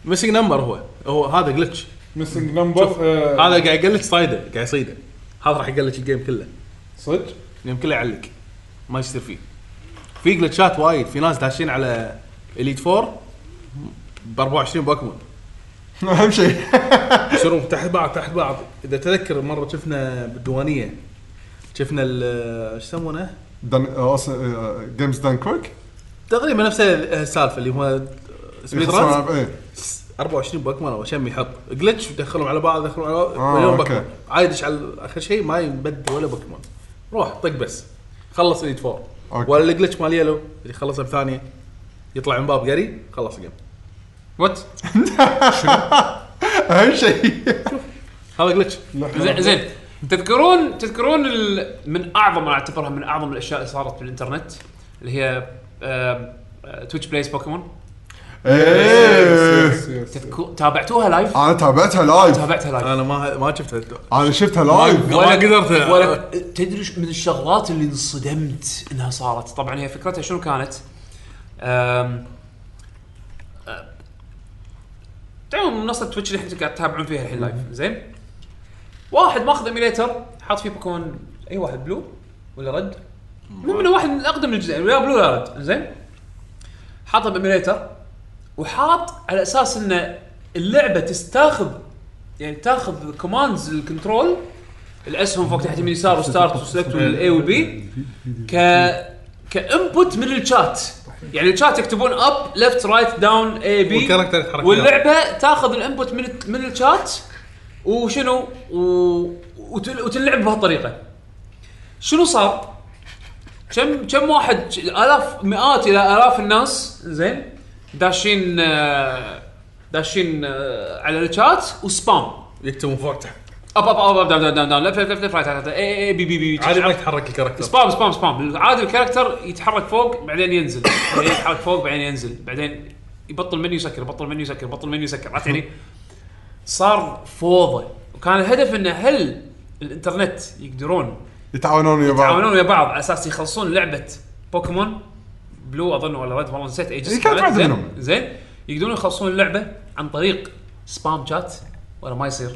[SPEAKER 5] مسنج نمبر هو هو هذا جلتش
[SPEAKER 2] مسنج نمبر آه،
[SPEAKER 5] هذا قاعد يقلتش صايده قاعد يصيده هذا راح يقلتش الجيم كله
[SPEAKER 2] صدق؟
[SPEAKER 5] الجيم كله يعلق ما يصير فيه في جلتشات وايد في ناس داشين على اليت فور ب 24 بوكيمون
[SPEAKER 4] (laughs) اهم شيء
[SPEAKER 5] يصيرون تحت بعض تحت بعض اذا تذكر مره شفنا بالديوانيه شفنا ال- شو يسمونه
[SPEAKER 4] آه، جيمز دان كويك
[SPEAKER 5] تقريبا نفس السالفه اللي هو سبيد رانز
[SPEAKER 4] إيه.
[SPEAKER 5] 24 بوكيمون او شم يحط جلتش يدخلهم على بعض يدخلهم على بعض
[SPEAKER 4] آه،
[SPEAKER 5] مليون
[SPEAKER 4] أوكي.
[SPEAKER 5] بوكيمون عايدش على اخر شيء ما ينبدي ولا بوكيمون روح طق بس خلص ايد فور
[SPEAKER 4] أوكي.
[SPEAKER 5] ولا الجلتش مال يلو اللي خلصها بثانيه يطلع من باب قري خلص الجيم
[SPEAKER 1] وات
[SPEAKER 4] اهم شيء
[SPEAKER 5] هذا جلتش
[SPEAKER 1] زين زين تذكرون تذكرون ال- من اعظم انا اعتبرها من اعظم الاشياء اللي صارت بالانترنت اللي هي آه، تويتش بلايز بوكيمون
[SPEAKER 4] إيه.
[SPEAKER 2] يس، يس، يس.
[SPEAKER 1] تذكر- تابعتوها
[SPEAKER 5] آه.
[SPEAKER 1] لايف
[SPEAKER 4] انا تابعتها لايف
[SPEAKER 1] تابعتها لايف
[SPEAKER 5] انا ما ما شفته
[SPEAKER 4] انا شفتها لايف
[SPEAKER 5] ما قدرت.
[SPEAKER 1] ولا تدري شو من الشغلات اللي انصدمت انها صارت طبعا هي فكرتها شنو كانت أم، أه، تعالوا منصه تويتش اللي احنا قاعد تتابعون فيها الحين لايف زين واحد ماخذ ايميليتر حاط فيه بوكيمون اي واحد بلو ولا رد المهم انه واحد من اقدم الجزئين ولا بلو ولا رد زين حاطه بايميليتر وحاط على اساس ان اللعبه تستاخذ يعني تاخذ كوماندز الكنترول الاسهم فوق تحت يمين يسار وستارت وسلكت والاي والبي ك كانبوت من الشات يعني الشات يكتبون اب ليفت رايت داون اي بي
[SPEAKER 5] والكاركتر يتحرك
[SPEAKER 1] واللعبه تاخذ الانبوت من من الشات وشنو و... وتل... وتلعب بهالطريقه شنو صار؟ كم كم واحد الاف مئات الى الاف الناس زين داشين آه، داشين آه، على الشات وسبام
[SPEAKER 5] يكتبون فوق تحت
[SPEAKER 1] اب اب اب اب داون داون داون داون لفت لفت لفت رايت رايت اي اي بي بي بي
[SPEAKER 5] عادي ما يتحرك الكاركتر
[SPEAKER 1] سبام سبام سبام عادي الكاركتر يتحرك فوق بعدين
[SPEAKER 4] (coughs)
[SPEAKER 1] ينزل بعدين يتحرك فوق بعدين ينزل بعدين يبطل منيو يسكر يبطل منيو يسكر يبطل منيو يسكر عرفت يعني صار فوضى وكان الهدف انه هل الانترنت يقدرون
[SPEAKER 4] يتعاونون ويا بعض
[SPEAKER 1] يتعاونون ويا بعض على اساس يخلصون لعبه بوكيمون بلو اظن ولا ريد والله نسيت
[SPEAKER 4] إيه،
[SPEAKER 1] ايجز
[SPEAKER 4] كانت واحدة
[SPEAKER 1] زين-
[SPEAKER 4] منهم.
[SPEAKER 1] زين يقدرون يخلصون اللعبه عن طريق سبام شات ولا ما يصير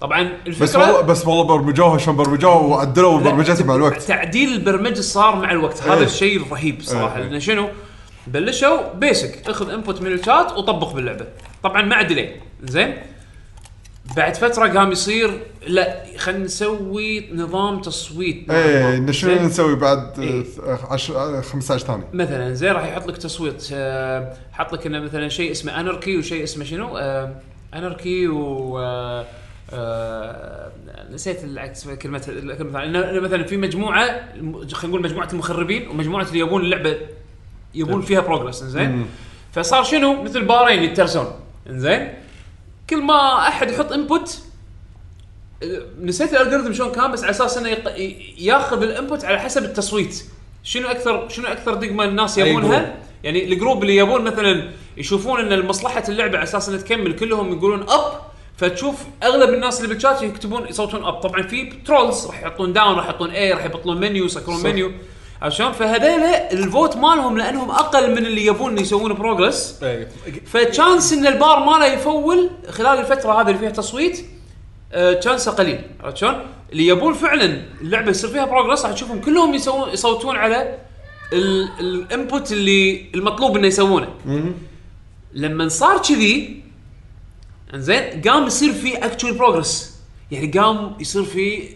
[SPEAKER 1] طبعا الفكره
[SPEAKER 4] بس والله بس والله برمجوها شلون برمجوها وعدلوا
[SPEAKER 1] لا،
[SPEAKER 4] برمجتها مع الوقت
[SPEAKER 1] تعديل البرمجه صار مع الوقت هذا
[SPEAKER 4] إيه.
[SPEAKER 1] الشيء الرهيب صراحه
[SPEAKER 4] إيه.
[SPEAKER 1] لانه شنو بلشوا بيسك اخذ انبوت من الشات وطبق باللعبه طبعا مع ديلي زين بعد فتره قام يصير لا خلينا نسوي نظام تصويت
[SPEAKER 4] ايه إن شنو
[SPEAKER 1] زين؟
[SPEAKER 4] نسوي بعد
[SPEAKER 1] إيه.
[SPEAKER 4] آه، عش- آه، 15 ثانيه
[SPEAKER 1] مثلا زين راح يحط لك تصويت آه، حط لك انه مثلا شيء اسمه اناركي وشيء اسمه شنو آه، اناركي و آه، آه، نسيت العكس كلمه الكلمه إنه- إنه مثلا في مجموعه الم- خلينا نقول مجموعه المخربين ومجموعه اللي يبون اللعبه يبون فيها بروجرس زين فصار شنو مثل بارين يترسون زين كل ما احد يحط انبوت نسيت الالجوريثم شلون كان بس على اساس انه يق... ي- ياخذ الانبوت على حسب التصويت شنو اكثر شنو اكثر دقمه الناس
[SPEAKER 5] أي
[SPEAKER 1] يبونها
[SPEAKER 5] جروب.
[SPEAKER 1] يعني الجروب اللي يبون مثلا يشوفون ان مصلحه اللعبه على اساس انها تكمل كلهم يقولون اب فتشوف اغلب الناس اللي بالشات يكتبون يصوتون اب طبعا في ترولز راح يحطون داون راح يحطون اي راح يبطلون منيو يسكرون منيو عرفت شلون فهذيلا الفوت مالهم لانهم اقل من اللي يبون يسوون بروجرس
[SPEAKER 5] إيه.
[SPEAKER 1] فتشانس ان البار ماله يفول خلال الفتره هذه اللي فيها تصويت آه، تشانسه قليل عرفت شلون؟ اللي يبون فعلا اللعبه يصير فيها بروجرس راح تشوفهم كلهم يسوون يصوتون على ال- الانبوت اللي المطلوب انه يسوونه. لما صار كذي انزين قام يصير في اكتشوال بروجرس يعني قام يصير في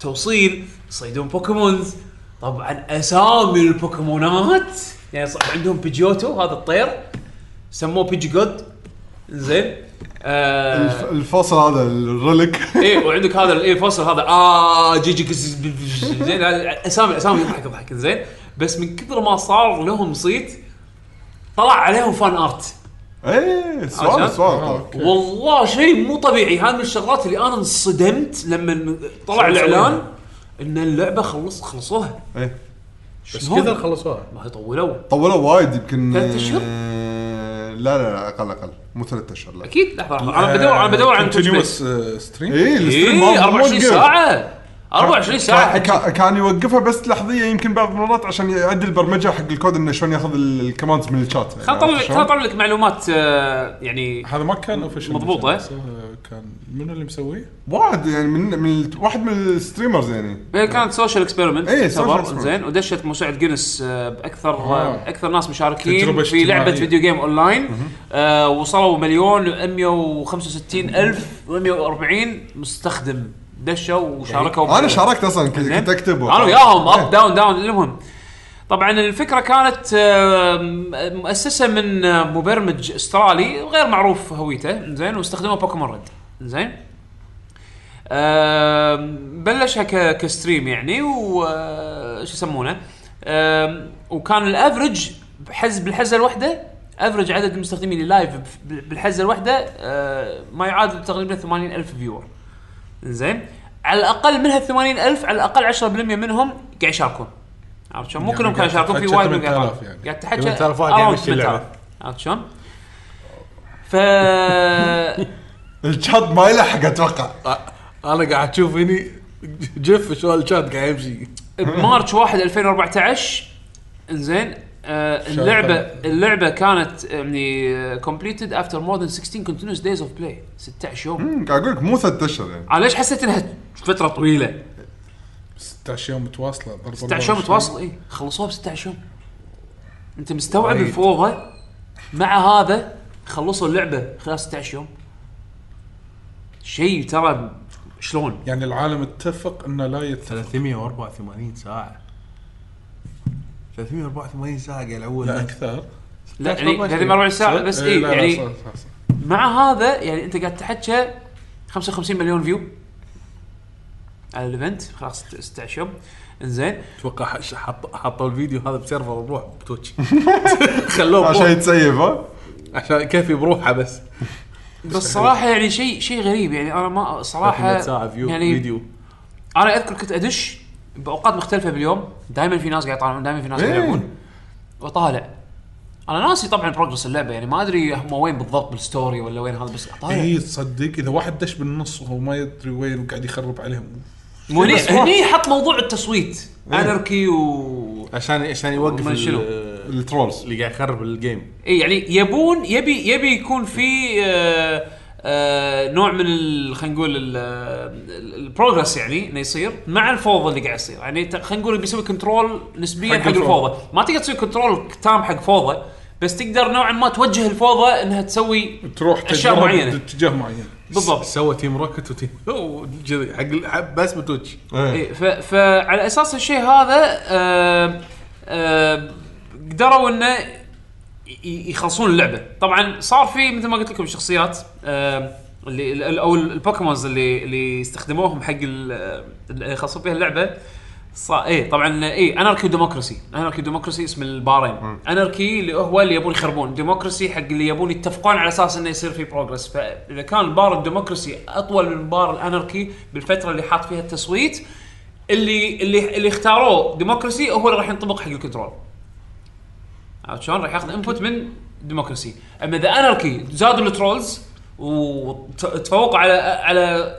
[SPEAKER 1] توصيل يصيدون بوكيمونز طبعا اسامي البوكيمونات يعني صار عندهم بيجيوتو هذا الطير سموه بيجي جود زين
[SPEAKER 4] الف-
[SPEAKER 1] آه
[SPEAKER 4] الفصل هذا الريلك (laughs)
[SPEAKER 1] ايه وعندك هذا الايه فصل هذا اه جي جي كس- ب- ب- زين هذا اسامي اسامي يضحك يضحك زين بس من كثر ما صار لهم صيت طلع عليهم فان ارت
[SPEAKER 4] ايه
[SPEAKER 1] عشان؟ آه.
[SPEAKER 4] سؤال سؤال
[SPEAKER 1] والله شيء مو طبيعي هذا من الشغلات اللي انا انصدمت لما طلع الاعلان ان اللعبه خلص خلصوها
[SPEAKER 4] ايه
[SPEAKER 5] بس
[SPEAKER 1] شلون؟
[SPEAKER 5] كذا خلصوها
[SPEAKER 1] ما هي طولوا
[SPEAKER 4] طولوا وايد يمكن
[SPEAKER 1] ثلاث أشهر؟
[SPEAKER 4] آه، لا لا لا اقل اقل مو ثلاث اشهر لا
[SPEAKER 1] اكيد لحظه لحظة. انا بدور انا بدور عن تويتش بلاي.
[SPEAKER 2] كونتينيوس ستريم
[SPEAKER 4] ايه الستريم
[SPEAKER 1] ايه
[SPEAKER 4] مال-
[SPEAKER 1] 24
[SPEAKER 4] مال قبل.
[SPEAKER 1] ساعه 24 ساعه
[SPEAKER 4] كان- كان- كان يوقفها بس لحظيه يمكن بعض المرات عشان يعدل البرمجه حق الكود انه شلون ياخذ ال- الكوماندز من الشات يعني
[SPEAKER 1] خل اطلع لك
[SPEAKER 4] عرفت
[SPEAKER 1] خل
[SPEAKER 4] شلون؟
[SPEAKER 1] اطلع لك معلومات آه، يعني
[SPEAKER 2] هذا ما كان اوفشل
[SPEAKER 1] مضبوطة. إيه؟
[SPEAKER 2] كان منو اللي مسويه؟
[SPEAKER 4] واحد يعني من من ال- واحد من الستريمرز يعني
[SPEAKER 1] هي كانت سوشيال اكسبيرمنت
[SPEAKER 4] إيه،
[SPEAKER 1] تعتبر
[SPEAKER 4] social experiment.
[SPEAKER 1] زين ودشت مساعد جينيس آه، باكثر آه. اكثر ناس مشاركين
[SPEAKER 2] تجربة
[SPEAKER 1] في لعبه
[SPEAKER 2] اجتماعية.
[SPEAKER 1] فيديو جيم اونلاين آه وصلوا مليون و165 الف و140 مستخدم دشوا وشاركوا
[SPEAKER 4] انا
[SPEAKER 1] بال-
[SPEAKER 4] شاركت اصلا كنت
[SPEAKER 1] زين.
[SPEAKER 4] كنت اكتب
[SPEAKER 1] انا وياهم اب
[SPEAKER 4] إيه.
[SPEAKER 1] داون داون المهم طبعا الفكره كانت آه، م- مؤسسه من آه، مبرمج استرالي غير معروف هويته زين واستخدموا بوكيمون ريد زين آم، بلشها ك- كستريم يعني و آه، شو يسمونه آم، وكان الافرج بحز بالحزه الواحده افرج عدد المستخدمين اللي لايف ب- بالحزه الواحده آه، ما يعادل تقريبا 80000 فيور زين على الاقل من هال 80000 على الاقل 10% منهم قاعد يشاركون عرفت شلون؟ مو
[SPEAKER 2] يعني
[SPEAKER 1] كلهم
[SPEAKER 2] قاعد
[SPEAKER 1] كانوا يشاركون في
[SPEAKER 2] تحكي
[SPEAKER 1] وايد من
[SPEAKER 2] 8000
[SPEAKER 1] قاعد
[SPEAKER 2] يعني.
[SPEAKER 1] قاعد تحكي
[SPEAKER 5] 8000 واحد قاعد
[SPEAKER 1] around
[SPEAKER 5] يمشي اللعبة.
[SPEAKER 1] 8000. عرفت شلون؟ ف
[SPEAKER 4] الشات ما يلحق اتوقع
[SPEAKER 5] انا قاعد اشوف هني
[SPEAKER 1] (laughs)
[SPEAKER 5] جيف شو الشات قاعد يمشي
[SPEAKER 1] بمارش 1 2014 انزين آه، اللعبه اللعبه كانت يعني كومبليتد افتر مور ذان 16 كونتينوس دايز اوف بلاي 16 يوم
[SPEAKER 4] مم، قاعد اقول لك مو ثلاث اشهر يعني
[SPEAKER 1] انا ليش حسيت انها فتره طويله
[SPEAKER 6] 16 يوم متواصله ضرب
[SPEAKER 1] 16 يوم متواصل اي إيه، خلصوها ب 16 يوم انت مستوعب الفوضى مع هذا خلصوا اللعبه خلال 16 يوم شيء ترى شلون
[SPEAKER 6] يعني العالم اتفق انه لا يتفق
[SPEAKER 5] 384 ساعه 384 ساعه قاعد
[SPEAKER 6] لا
[SPEAKER 5] العود
[SPEAKER 6] اكثر
[SPEAKER 1] لا يعني 24 ساعه بس
[SPEAKER 2] إيه،
[SPEAKER 6] صح؟
[SPEAKER 1] اي
[SPEAKER 6] إيه، لا، لا،
[SPEAKER 1] يعني
[SPEAKER 6] صح، صح، صح.
[SPEAKER 1] مع هذا يعني انت قاعد تحكي 55 مليون فيو على الايفنت خلاص 16 يوم انزين
[SPEAKER 5] اتوقع حش- حط حطوا الفيديو هذا بسيرفر بروح (laughs) بتويتش خلوه
[SPEAKER 4] عشان
[SPEAKER 5] عشان
[SPEAKER 4] يتسيف ها
[SPEAKER 5] عشان كيفي بروحه بس
[SPEAKER 1] بس صراحه يعني شيء شيء غريب يعني انا ما صراحه
[SPEAKER 5] 300 ساعه فيو
[SPEAKER 1] يعني
[SPEAKER 5] فيديو
[SPEAKER 1] انا اذكر كنت ادش باوقات مختلفه باليوم دائما في ناس قاعد يطالعون دائما في ناس قاعد
[SPEAKER 4] إيه.
[SPEAKER 1] يلعبون وطالع انا ناسي طبعا بروجرس اللعبه يعني ما ادري هم وين بالضبط بالستوري ولا وين هذا بس اطالع
[SPEAKER 5] إيه.
[SPEAKER 6] اي إيه. تصدق اذا واحد دش بالنص وهو ما يدري وين وقاعد يخرب عليهم
[SPEAKER 1] مو هني-
[SPEAKER 5] بس واحد. إيه.
[SPEAKER 1] هني حط موضوع التصويت انركي و
[SPEAKER 5] عشان عشان يوقف
[SPEAKER 1] ومن شنو؟
[SPEAKER 5] ال-
[SPEAKER 4] الترولز
[SPEAKER 5] اللي قاعد يخرب الجيم
[SPEAKER 1] اي يعني يبون يبي يبي يكون في آه، آه، نوع من ال- خلينا نقول ال- ال- البروجرس يعني انه يصير مع الفوضى اللي قاعد يصير يعني ت- خلينا نقول بيسوي كنترول نسبيا حق,
[SPEAKER 6] حق الفوضى.
[SPEAKER 1] الفوضى ما تقدر تسوي كنترول تام حق فوضى بس تقدر نوعا ما توجه الفوضى انها تسوي
[SPEAKER 6] تروح
[SPEAKER 1] اشياء
[SPEAKER 6] تجرب
[SPEAKER 1] معينه
[SPEAKER 6] باتجاه معين
[SPEAKER 1] بالضبط
[SPEAKER 5] سوى تيم روكت وتيم وجذي حق ال- حق- بس بتويتش
[SPEAKER 4] إيه.
[SPEAKER 1] إيه، ف- فعلى اساس الشيء هذا آه، آه، قدروا انه ي- يخلصون اللعبه طبعا صار في مثل ما قلت لكم شخصيات آه، اللي ال- او ال- البوكيمونز اللي اللي استخدموهم حق ال- اللي خلصوا فيها اللعبه صار اي طبعا اي اناركي وديموكراسي اناركي وديموكراسي اسم البارين اناركي اللي هو اللي يبون يخربون ديموكراسي حق اللي يبون يتفقون على اساس انه يصير في بروجرس فاذا كان بار الديموكراسي اطول من بار الاناركي بالفتره اللي حاط فيها التصويت اللي اللي اللي اختاروه ديموكراسي هو اللي راح ينطبق حق الكنترول عرفت شلون؟ راح ياخذ انبوت من ديموكراسي، اما اذا اناركي زادوا الترولز وتفوقوا على على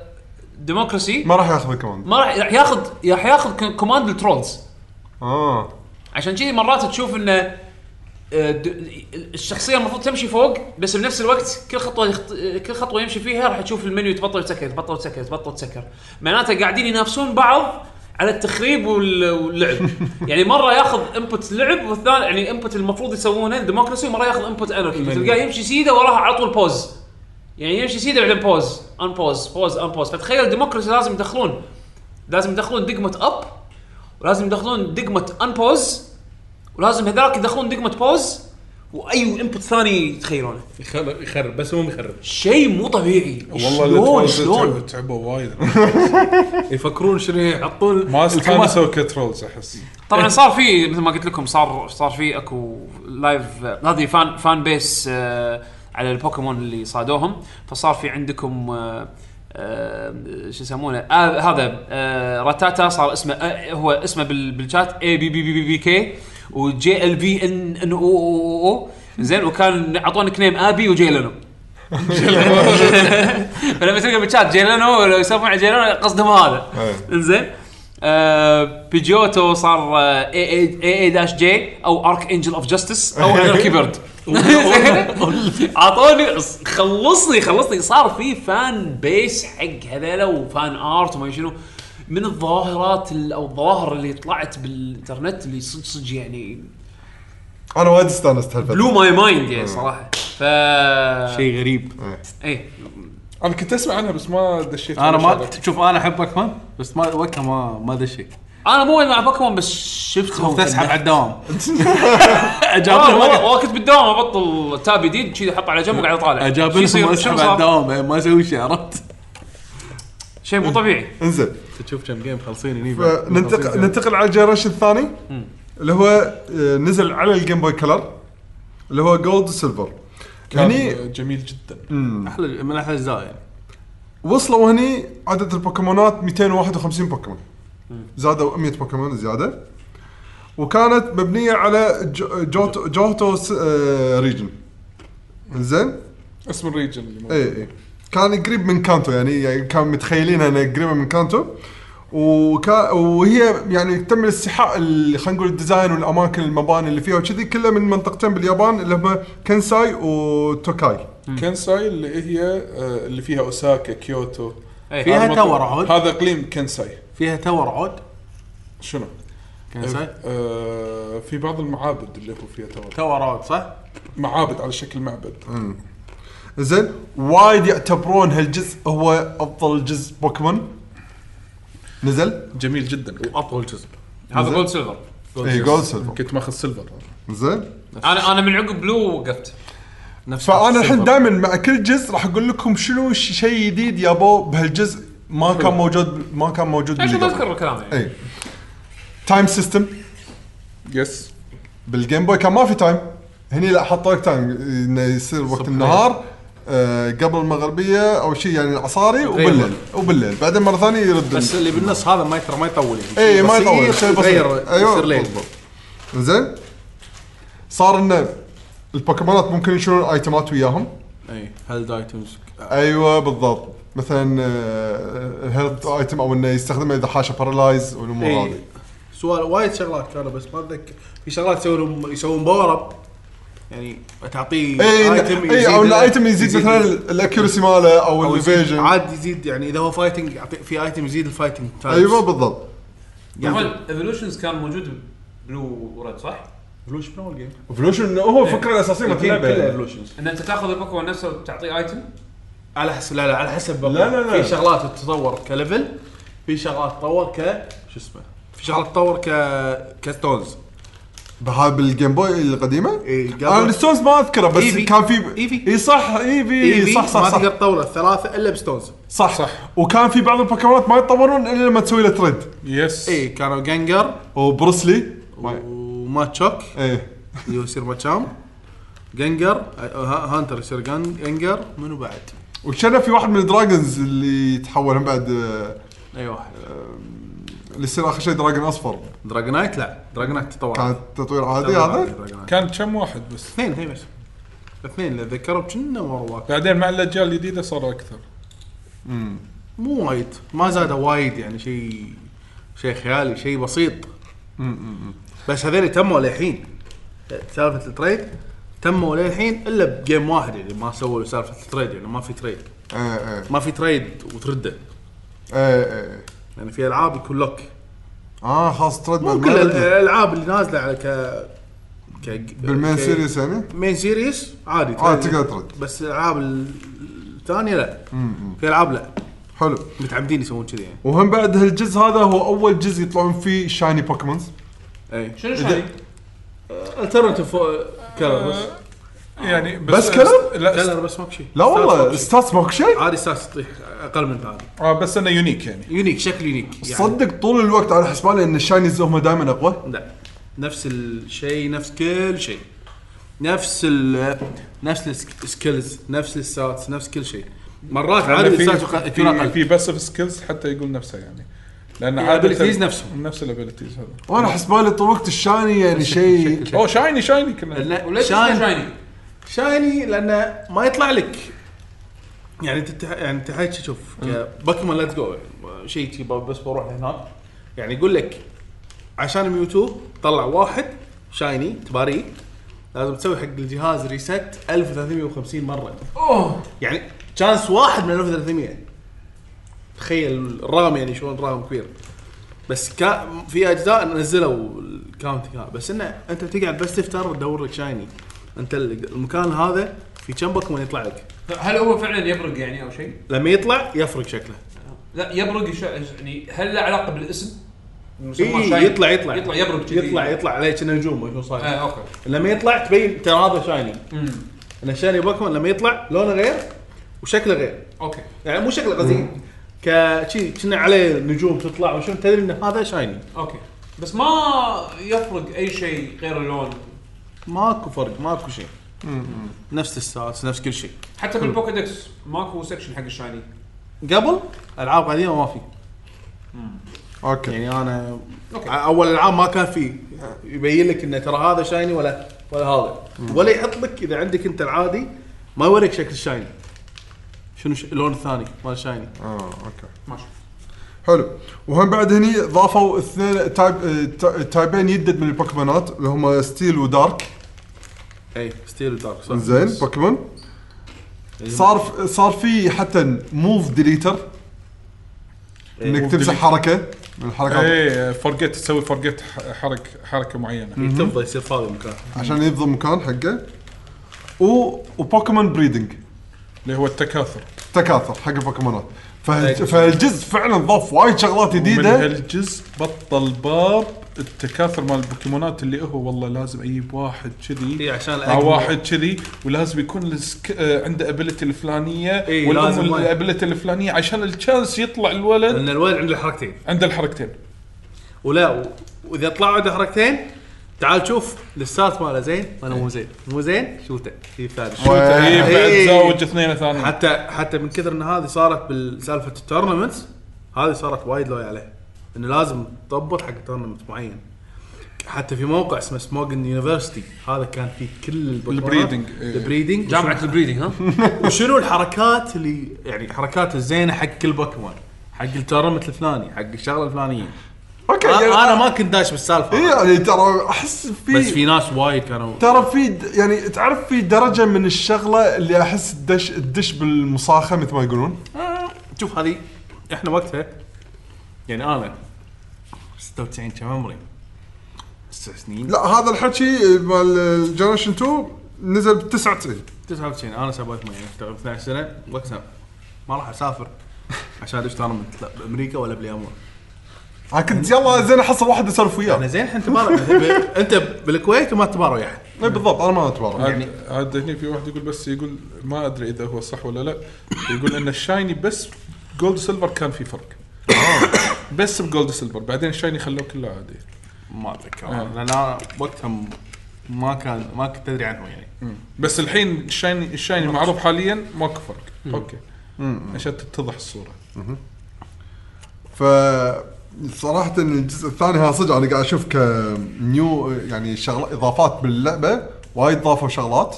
[SPEAKER 1] ديموكراسي
[SPEAKER 4] ما راح ياخذ كمان
[SPEAKER 1] ما راح راح ياخذ راح ياخذ كوماند الترولز
[SPEAKER 4] اه
[SPEAKER 1] عشان كذي مرات تشوف انه آه، د- الشخصيه المفروض تمشي فوق بس بنفس الوقت كل خطوه يخط... كل خطوه يمشي فيها راح تشوف المنيو يتبطل يتسكر يتبطل يتسكر يتبطل يتسكر معناته قاعدين ينافسون بعض على التخريب وال- واللعب يعني مره ياخذ انبوت لعب والثاني يعني انبوت المفروض يسوونه الديموكراسي ومره ياخذ انبوت انركي فتلقاه يمشي سيده وراها على طول بوز يعني يمشي سيده بعدين بوز ان بوز بوز ان بوز فتخيل الديموكراسي لازم يدخلون لازم يدخلون دقمه اب ولازم يدخلون دقمه ان بوز ولازم هذاك يدخلون دقمه بوز واي انبوت ثاني يتخيلونه
[SPEAKER 5] يخرب يخرب بس هو يخرب
[SPEAKER 1] شيء مو طبيعي
[SPEAKER 6] والله
[SPEAKER 1] شلون شلون
[SPEAKER 6] تعبوا وايد
[SPEAKER 5] يفكرون شنو يحطون
[SPEAKER 2] ما
[SPEAKER 5] الكما-
[SPEAKER 2] استانسوا كترولز احس
[SPEAKER 1] طبعا صار في مثل ما قلت لكم صار صار في اكو لايف آه، هذه فان فان بيس آه على البوكيمون اللي صادوهم فصار في عندكم آه آه شو يسمونه آه هذا آه راتاتا صار اسمه آه هو اسمه بال- بالشات اي بي بي بي بي, بي كي وجي ال بي ان ان او او او, أو زين وكان اعطونا كنيم ابي وجيلنو فلما تلقى بالشات جيلانو ولا يسولفون عن جيلانو قصدهم هذا
[SPEAKER 4] أي.
[SPEAKER 1] انزين آه، بيجوتو صار آه، اي اي اي اي داش جي او ارك انجل اوف جاستس او انركي بيرد اعطوني خلصني خلصني صار في فان بيس حق هذيلا وفان ارت وما شنو من الظاهرات ال- او الظواهر اللي طلعت بالانترنت اللي صدق صدق يعني
[SPEAKER 4] انا وايد استانست هالفتره (laughs)
[SPEAKER 1] بلو ماي مايند يعني صراحه ف إيه.
[SPEAKER 5] شيء غريب
[SPEAKER 1] اي
[SPEAKER 6] انا كنت اسمع عنها بس ما دشيت
[SPEAKER 5] انا ما
[SPEAKER 6] فيها.
[SPEAKER 5] شوف انا احب بوكيمون بس ما وقتها ما ما دشيت
[SPEAKER 1] انا مو مع بوكيمون بس شفتهم
[SPEAKER 5] كنت اسحب على الدوام
[SPEAKER 1] آه،
[SPEAKER 5] اجاب
[SPEAKER 1] والله-
[SPEAKER 5] لهم
[SPEAKER 1] والله كنت بالدوام ابطل تاب جديد كذي احطه على جنب وقاعد اطالع
[SPEAKER 5] اجاب
[SPEAKER 1] شو يصير؟
[SPEAKER 5] لهم
[SPEAKER 1] شنو
[SPEAKER 5] اسحب
[SPEAKER 1] صار؟
[SPEAKER 5] على الدوام بعدين ما اسوي شيء عرفت
[SPEAKER 1] شيء مو طبيعي
[SPEAKER 4] انزين
[SPEAKER 5] تشوف كم جيم خلصين هني بعد.
[SPEAKER 4] فننتقل ننتقل على الجنريشن الثاني اللي هو آه، نزل على الجيم بوي كلر اللي هو جولد وسيلفر
[SPEAKER 6] كان
[SPEAKER 4] هني
[SPEAKER 6] جميل جدا
[SPEAKER 5] احلى من احلى الاجزاء يعني
[SPEAKER 4] وصلوا هني عدد البوكيمونات 251 بوكيمون زادوا 100 بوكيمون زياده وكانت مبنيه على جو- جوتو جوتو س- آه، ريجن زين
[SPEAKER 6] اسم
[SPEAKER 4] إيه.
[SPEAKER 6] الريجن اللي موجود.
[SPEAKER 4] اي اي كان قريب من كانتو يعني, يعني كان متخيلين انه قريبه من كانتو وكا وهي يعني تم الاستيحاء ال- خلينا نقول الديزاين والاماكن المباني اللي فيها وكذي كلها من منطقتين باليابان اللي هم كنساي وتوكاي
[SPEAKER 6] كنساي اللي هي آه، اللي فيها اوساكا كيوتو
[SPEAKER 1] إيه.
[SPEAKER 6] هذا
[SPEAKER 5] فيها
[SPEAKER 6] مطلع-
[SPEAKER 5] تاور عود.
[SPEAKER 6] هذا اقليم كنساي
[SPEAKER 5] فيها تاور عود
[SPEAKER 6] شنو؟
[SPEAKER 5] كنساي
[SPEAKER 6] آه، في بعض المعابد اللي هو فيها تاور
[SPEAKER 5] تاور عود صح؟
[SPEAKER 6] معابد على شكل معبد
[SPEAKER 4] زين وايد يعتبرون هالجزء هو افضل جزء بوكيمون نزل
[SPEAKER 6] جميل جدا كان.
[SPEAKER 5] واطول جزء
[SPEAKER 1] هذا جولد سيلفر
[SPEAKER 4] اي جولد سيلفر
[SPEAKER 6] كنت ماخذ سيلفر
[SPEAKER 4] زين
[SPEAKER 1] انا انا من عقب بلو وقفت
[SPEAKER 5] نفس
[SPEAKER 4] فانا الحين
[SPEAKER 5] السيلفر.
[SPEAKER 4] دائما مع كل جزء راح اقول لكم شنو شيء جديد يابوه بهالجزء ما كان موجود ما كان موجود
[SPEAKER 1] عشان
[SPEAKER 4] باللي قبل. إيه.
[SPEAKER 1] بذكر الكلام يعني
[SPEAKER 4] اي تايم سيستم
[SPEAKER 6] يس
[SPEAKER 4] بالجيم بوي كان ما في تايم هني لا حطوا لك تايم انه يصير وقت النهار آه قبل المغربيه او شيء يعني العصاري وبالليل وبالليل بعدين مره ثانيه يرد
[SPEAKER 5] بس اللي بالنص هذا ما ترى ما يطول يعني.
[SPEAKER 4] اي إيه، ما
[SPEAKER 5] بس
[SPEAKER 4] يطول
[SPEAKER 5] يصير
[SPEAKER 4] شيء بسيط أيوه.
[SPEAKER 5] يتغير يصير ليل
[SPEAKER 4] بالضبط. زين صار انه البوكيمونات ممكن يشيلون ايتمات وياهم
[SPEAKER 5] اي هيلد ايتمز أيوة،
[SPEAKER 4] ايوه بالضبط مثلا آه، الهيلث ايتم او انه يستخدمه اذا حاشه بارالايز والامور هذه
[SPEAKER 5] اي إيه. سؤال وايد شغلات كانوا بس ما اتذكر في شغلات يسوون يسوون باور اب يعني تعطيه
[SPEAKER 4] اي اي او
[SPEAKER 5] يزيد
[SPEAKER 4] انه
[SPEAKER 5] له-
[SPEAKER 4] ايتم يزيد مثلا الاكيورسي ماله او
[SPEAKER 5] أو يزيد-
[SPEAKER 4] الفيجن
[SPEAKER 5] عاد يزيد يعني اذا هو فايتنج يعطي في ايتم يزيد يعني- الفايتنج تايمز.
[SPEAKER 4] ايوه بالضبط
[SPEAKER 1] هو الايفولوشنز كان موجود بلو وريد صح؟
[SPEAKER 5] ايفولوشن اول جيم
[SPEAKER 4] ايفولوشن هو الفكره الاساسيه مال
[SPEAKER 5] الجيم
[SPEAKER 4] اللعبه
[SPEAKER 5] كله
[SPEAKER 4] يعني.
[SPEAKER 5] ايفولوشنز
[SPEAKER 1] ان انت تاخذ البوكيمون نفسه وتعطيه ايتم
[SPEAKER 5] على حسب لا لا على حسب بقى.
[SPEAKER 4] لا، لا، لا.
[SPEAKER 5] في شغلات تتطور كليفل في شغلات تطور ك شو اسمه في شغلات تطور ك كستونز
[SPEAKER 4] بها بالجيم بوي القديمه؟
[SPEAKER 5] إي، إيه، قبل.
[SPEAKER 4] انا الستونز ما اذكره بس
[SPEAKER 5] إيفي.
[SPEAKER 4] كان في
[SPEAKER 5] إيفي.
[SPEAKER 4] اي صح ايفي إي صح صح
[SPEAKER 5] ما تقدر
[SPEAKER 4] صح,
[SPEAKER 5] تطور الثلاثه الا بستونز
[SPEAKER 4] صح صح وكان في بعض البوكيمونات ما يتطورون الا لما تسوي له تريد
[SPEAKER 6] يس
[SPEAKER 5] اي كانوا جنجر
[SPEAKER 4] وبروسلي
[SPEAKER 5] وماتشوك
[SPEAKER 4] ايه
[SPEAKER 5] اللي هو يصير ماتشام جنجر آه، ها- هانتر يصير جن- جنجر منو بعد؟
[SPEAKER 4] وكان في واحد من الدراجونز اللي تحول هم بعد آه،
[SPEAKER 5] اي واحد
[SPEAKER 4] اللي يصير اخر شيء دراجون اصفر
[SPEAKER 5] دراجونايت لا دراجونايت تطور
[SPEAKER 4] كان تطوير عادي هذا
[SPEAKER 5] دراجونايت.
[SPEAKER 6] كان كم واحد بس
[SPEAKER 5] اثنين هي بس اثنين اللي اتذكرهم كنا ورا
[SPEAKER 6] بعدين مع الاجيال الجديده صار اكثر
[SPEAKER 5] مو وايد ما زادوا وايد يعني شيء شيء خيالي شيء بسيط بس هذول تموا للحين سالفه التريد تموا للحين الا بجيم واحد يعني ما سووا له سالفه التريد يعني ما في تريد
[SPEAKER 4] ايه ايه
[SPEAKER 5] ما في تريد وترده
[SPEAKER 4] ايه ايه
[SPEAKER 5] يعني في العاب يكون لوك
[SPEAKER 4] اه خلاص تريد
[SPEAKER 5] مو
[SPEAKER 4] بعد
[SPEAKER 5] كل
[SPEAKER 4] ما
[SPEAKER 5] ال-
[SPEAKER 4] يرد.
[SPEAKER 5] الالعاب اللي نازله على ك ك
[SPEAKER 4] بالمين
[SPEAKER 5] ك-
[SPEAKER 4] سيريس يعني
[SPEAKER 5] مين سيريس عادي
[SPEAKER 4] آه،
[SPEAKER 5] ترد.
[SPEAKER 4] تقدر ترد.
[SPEAKER 5] بس الالعاب ال- الثانيه لا في العاب لا
[SPEAKER 4] حلو
[SPEAKER 5] متعمدين يسوون كذي يعني
[SPEAKER 4] وهم بعد هالجزء هذا هو اول جزء يطلعون فيه شايني بوكيمونز
[SPEAKER 5] اي
[SPEAKER 1] شنو شايف؟
[SPEAKER 5] الترنتيف كلر بس
[SPEAKER 6] يعني
[SPEAKER 4] بس كلام؟
[SPEAKER 6] لا
[SPEAKER 5] كلر Uh, بس ماكو شيء
[SPEAKER 4] لا والله
[SPEAKER 5] ستاتس
[SPEAKER 4] ستاتس ماكو شيء
[SPEAKER 5] عادي ستاتس تطيح اقل من هذا
[SPEAKER 6] آه بس انه يونيك يعني
[SPEAKER 5] يونيك شكل يونيك يعني
[SPEAKER 4] صدق طول الوقت على حسبالي ان الشاينيز هم دائما اقوى
[SPEAKER 5] لا نفس الشيء نفس كل شيء نفس ال نفس السكيلز نفس الستاتس نفس كل شيء مرات عادي
[SPEAKER 6] يعني في-
[SPEAKER 5] الستاتس يق- يكون
[SPEAKER 6] في
[SPEAKER 5] اقل
[SPEAKER 6] في باسف سكيلز حتى يقول نفسه يعني لان
[SPEAKER 5] إيه، abilities نفسهم.
[SPEAKER 6] نفس الابيلتيز هذا
[SPEAKER 4] وانا حسبالي طول الوقت الشايني (laughs) يعني شيء
[SPEAKER 6] اوه شايني شايني كنا
[SPEAKER 5] لأن
[SPEAKER 1] وليش اسمه شايني؟
[SPEAKER 5] شايني لانه ما يطلع لك يعني انت تح- يعني انت حكي شوف بوكيمون ليتس جو شيء تي ب- بس بروح هناك يعني يقول لك عشان ميوتو طلع واحد شايني تباري لازم تسوي حق الجهاز ريست 1350 مره اوه يعني تشانس واحد من 1300 تخيل الرام يعني شلون رام كبير بس كا في اجزاء نزلوا الكاونتنج هذا بس انه انت تقعد بس تفتر وتدور لك شايني انت ال- المكان هذا في كم بوكيمون يطلع لك
[SPEAKER 1] هل هو فعلا يبرق يعني او شيء؟
[SPEAKER 5] لما يطلع يفرق شكله
[SPEAKER 1] لا يبرق يش- يعني هل له علاقه بالاسم؟ المسمى
[SPEAKER 5] إيه
[SPEAKER 1] شايني؟
[SPEAKER 5] يطلع يطلع
[SPEAKER 1] يطلع يبرق كذي.
[SPEAKER 5] يطلع يطلع عليك انه نجوم شنو
[SPEAKER 1] آه،
[SPEAKER 5] صاير
[SPEAKER 1] اوكي
[SPEAKER 5] لما يطلع تبين ترى هذا شايني
[SPEAKER 1] امم
[SPEAKER 5] ان شايني بوكيمون لما يطلع لونه غير وشكله غير
[SPEAKER 1] اوكي
[SPEAKER 5] يعني مو شكله قصدي ك شي كنا عليه نجوم تطلع وشنو تدري ان هذا شايني
[SPEAKER 1] اوكي بس ما يفرق اي شيء غير اللون
[SPEAKER 5] ماكو فرق ماكو شيء نفس الستاتس نفس كل شيء
[SPEAKER 1] حتى بالبوكيدكس ماكو سكشن حق الشايني
[SPEAKER 5] قبل العاب قديمه ما في
[SPEAKER 4] اوكي
[SPEAKER 5] يعني انا
[SPEAKER 1] أوكي.
[SPEAKER 5] اول العاب ما كان في يبين لك انه ترى هذا شايني ولا ولا هذا ولا يحط لك اذا عندك انت العادي ما يوريك شكل الشايني شنو ش... اللون الثاني مال شايني
[SPEAKER 4] اه اوكي
[SPEAKER 1] ماشي
[SPEAKER 4] حلو وهم بعد هني ضافوا اثنين تايب اه، تا- تايبين جدد من البوكيمونات اللي هم ستيل ودارك
[SPEAKER 5] اي إيه، ستيل دارك صح
[SPEAKER 4] زين بوكيمون
[SPEAKER 5] إيه.
[SPEAKER 4] صار ف- صار في حتى موف ديليتر
[SPEAKER 5] إيه،
[SPEAKER 4] انك تمسح حركه من الحركات
[SPEAKER 2] ايه
[SPEAKER 6] إيه،
[SPEAKER 2] فورجيت تسوي فورجيت حركه حركه معينه
[SPEAKER 5] تفضل يصير فاضي مكان
[SPEAKER 4] عشان يفضل مكان حقه و... وبوكيمون بريدنج
[SPEAKER 2] اللي هو التكاثر
[SPEAKER 4] تكاثر حق البوكيمونات فهال-
[SPEAKER 5] أي.
[SPEAKER 4] فهالجزء فعلا ضاف وايد شغلات
[SPEAKER 2] من
[SPEAKER 4] جديده
[SPEAKER 2] هالجزء بطل باب التكاثر مال البوكيمونات اللي هو والله لازم اجيب واحد كذي
[SPEAKER 5] إيه، عشان
[SPEAKER 2] مع
[SPEAKER 5] الأقوى.
[SPEAKER 2] آه، واحد كذي ولازم يكون السك... آه، عنده ابيلتي الفلانيه
[SPEAKER 5] إيه، لازم واحد.
[SPEAKER 2] الابيلتي الفلانيه عشان الشانس يطلع الولد
[SPEAKER 5] لان الولد عنده حركتين
[SPEAKER 2] عنده الحركتين
[SPEAKER 5] ولا و- واذا طلع عنده حركتين تعال شوف الستارت ماله زين ولا
[SPEAKER 2] إيه.
[SPEAKER 5] مو زين مو زين شوته في ثالث
[SPEAKER 4] و-
[SPEAKER 2] اي طيب، بعد
[SPEAKER 5] إيه.
[SPEAKER 2] زاوج اثنين ثانيين
[SPEAKER 5] حتى حتى من كثر ان هذه صارت بالسالفه التورنمنت هذه صارت وايد لوي عليه انه لازم تضبط حق تورنمنت معين حتى في موقع اسمه سموجن يونيفرستي هذا كان فيه كل
[SPEAKER 2] البريدنج، إيه.
[SPEAKER 5] البريدنج
[SPEAKER 1] جامعه البريدنج ها
[SPEAKER 5] وشنو الحركات اللي يعني الحركات الزينه حق كل بوكيمون حق التورنمنت الفلاني حق الشغله الفلانيه
[SPEAKER 4] اوكي
[SPEAKER 2] إيه.
[SPEAKER 5] أنا-
[SPEAKER 4] يعني
[SPEAKER 5] انا ما كنت داش بالسالفه
[SPEAKER 4] إيه يعني ترى احس في
[SPEAKER 5] بس في ناس وايد كانوا
[SPEAKER 4] ترى في د- يعني تعرف في درجه من الشغله اللي احس الدش الدش بالمصاخه مثل ما يقولون
[SPEAKER 5] شوف هذه احنا وقتها يعني انا 96 كم عمري؟ تسع سنين
[SPEAKER 4] لا هذا الحكي مال الجنريشن 2 نزل ب 99
[SPEAKER 5] 99 انا 87 اشتغل 12 سنه وقتها ما راح اسافر عشان ادش تورنمنت لا بامريكا ولا باليابان
[SPEAKER 4] انا كنت يلا زين احصل واحد اسولف
[SPEAKER 5] انا
[SPEAKER 4] وياه
[SPEAKER 5] زين انت تبارك (laughs) انت بالكويت وما تبارك يعني. ويا احد
[SPEAKER 4] إي بالضبط انا ما اتبرع
[SPEAKER 5] يعني-
[SPEAKER 2] عاد عاد هني في واحد يقول بس يقول ما ادري اذا هو صح ولا لا يقول ان الشايني بس جولد سيلفر كان في فرق
[SPEAKER 5] آه.
[SPEAKER 2] بس بجولد سيلفر بعدين الشايني خلوه كله عادي
[SPEAKER 5] ما اتذكر لان انا آه. وقتها م- ما كان ما كنت ادري عنه يعني
[SPEAKER 2] بس الحين الشايني الشايني المعروف حاليا ماكو فرق اوكي عشان تتضح الصوره
[SPEAKER 4] ف صراحة الجزء الثاني هذا صدق انا قاعد اشوف كنيو يعني شغل اضافات باللعبة وايد ضافوا شغلات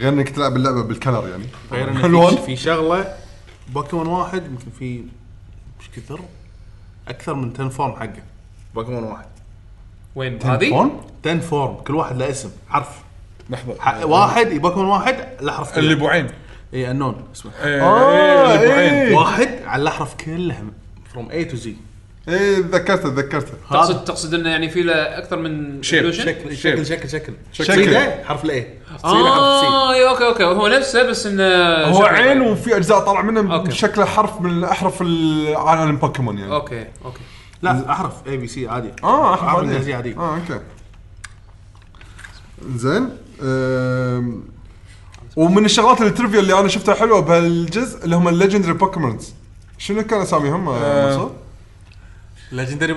[SPEAKER 4] غير انك تلعب اللعبة بالكلر يعني
[SPEAKER 5] غير
[SPEAKER 4] (laughs)
[SPEAKER 5] انه
[SPEAKER 4] الوان.
[SPEAKER 5] في- في شغله بوكيمون واحد يمكن في مش كثر اكثر من 10 فورم حقه بوكيمون واحد
[SPEAKER 1] وين هذه؟
[SPEAKER 5] 10 فورم كل واحد له اسم حرف ح-
[SPEAKER 2] لحظه
[SPEAKER 5] واحد بوكيمون واحد له حرف
[SPEAKER 2] آه. اللي ابو عين
[SPEAKER 5] اي النون اسمه
[SPEAKER 2] إيه، إيه، اللي ابو عين
[SPEAKER 4] إيه.
[SPEAKER 5] واحد على الاحرف كلها فروم اي تو زي
[SPEAKER 4] ايه تذكرته تذكرته
[SPEAKER 1] تقصد تقصد انه يعني في له اكثر من
[SPEAKER 2] شيب،
[SPEAKER 1] evolution؟
[SPEAKER 5] شكل شكل
[SPEAKER 2] شيب.
[SPEAKER 5] شكل شكل
[SPEAKER 4] شكل.
[SPEAKER 5] سيدا حرف الاي
[SPEAKER 1] اه اي اوكي اوكي هو نفسه بس انه
[SPEAKER 4] هو
[SPEAKER 1] شكله
[SPEAKER 4] عين وفي اجزاء طلع منه
[SPEAKER 1] أوكي.
[SPEAKER 4] شكله حرف من احرف العالم بوكيمون يعني
[SPEAKER 1] اوكي اوكي
[SPEAKER 5] لا احرف اي بي سي عادي
[SPEAKER 4] اه
[SPEAKER 5] احرف
[SPEAKER 4] احرف
[SPEAKER 5] انجليزي
[SPEAKER 4] عادي
[SPEAKER 5] عادي
[SPEAKER 4] اه اوكي زين أم، ومن الشغلات الترivia اللي انا شفتها حلوه بهالجزء اللي هم الليجندري بوكيمونز شنو كان اساميهم أه. منصور؟
[SPEAKER 5] ليجندري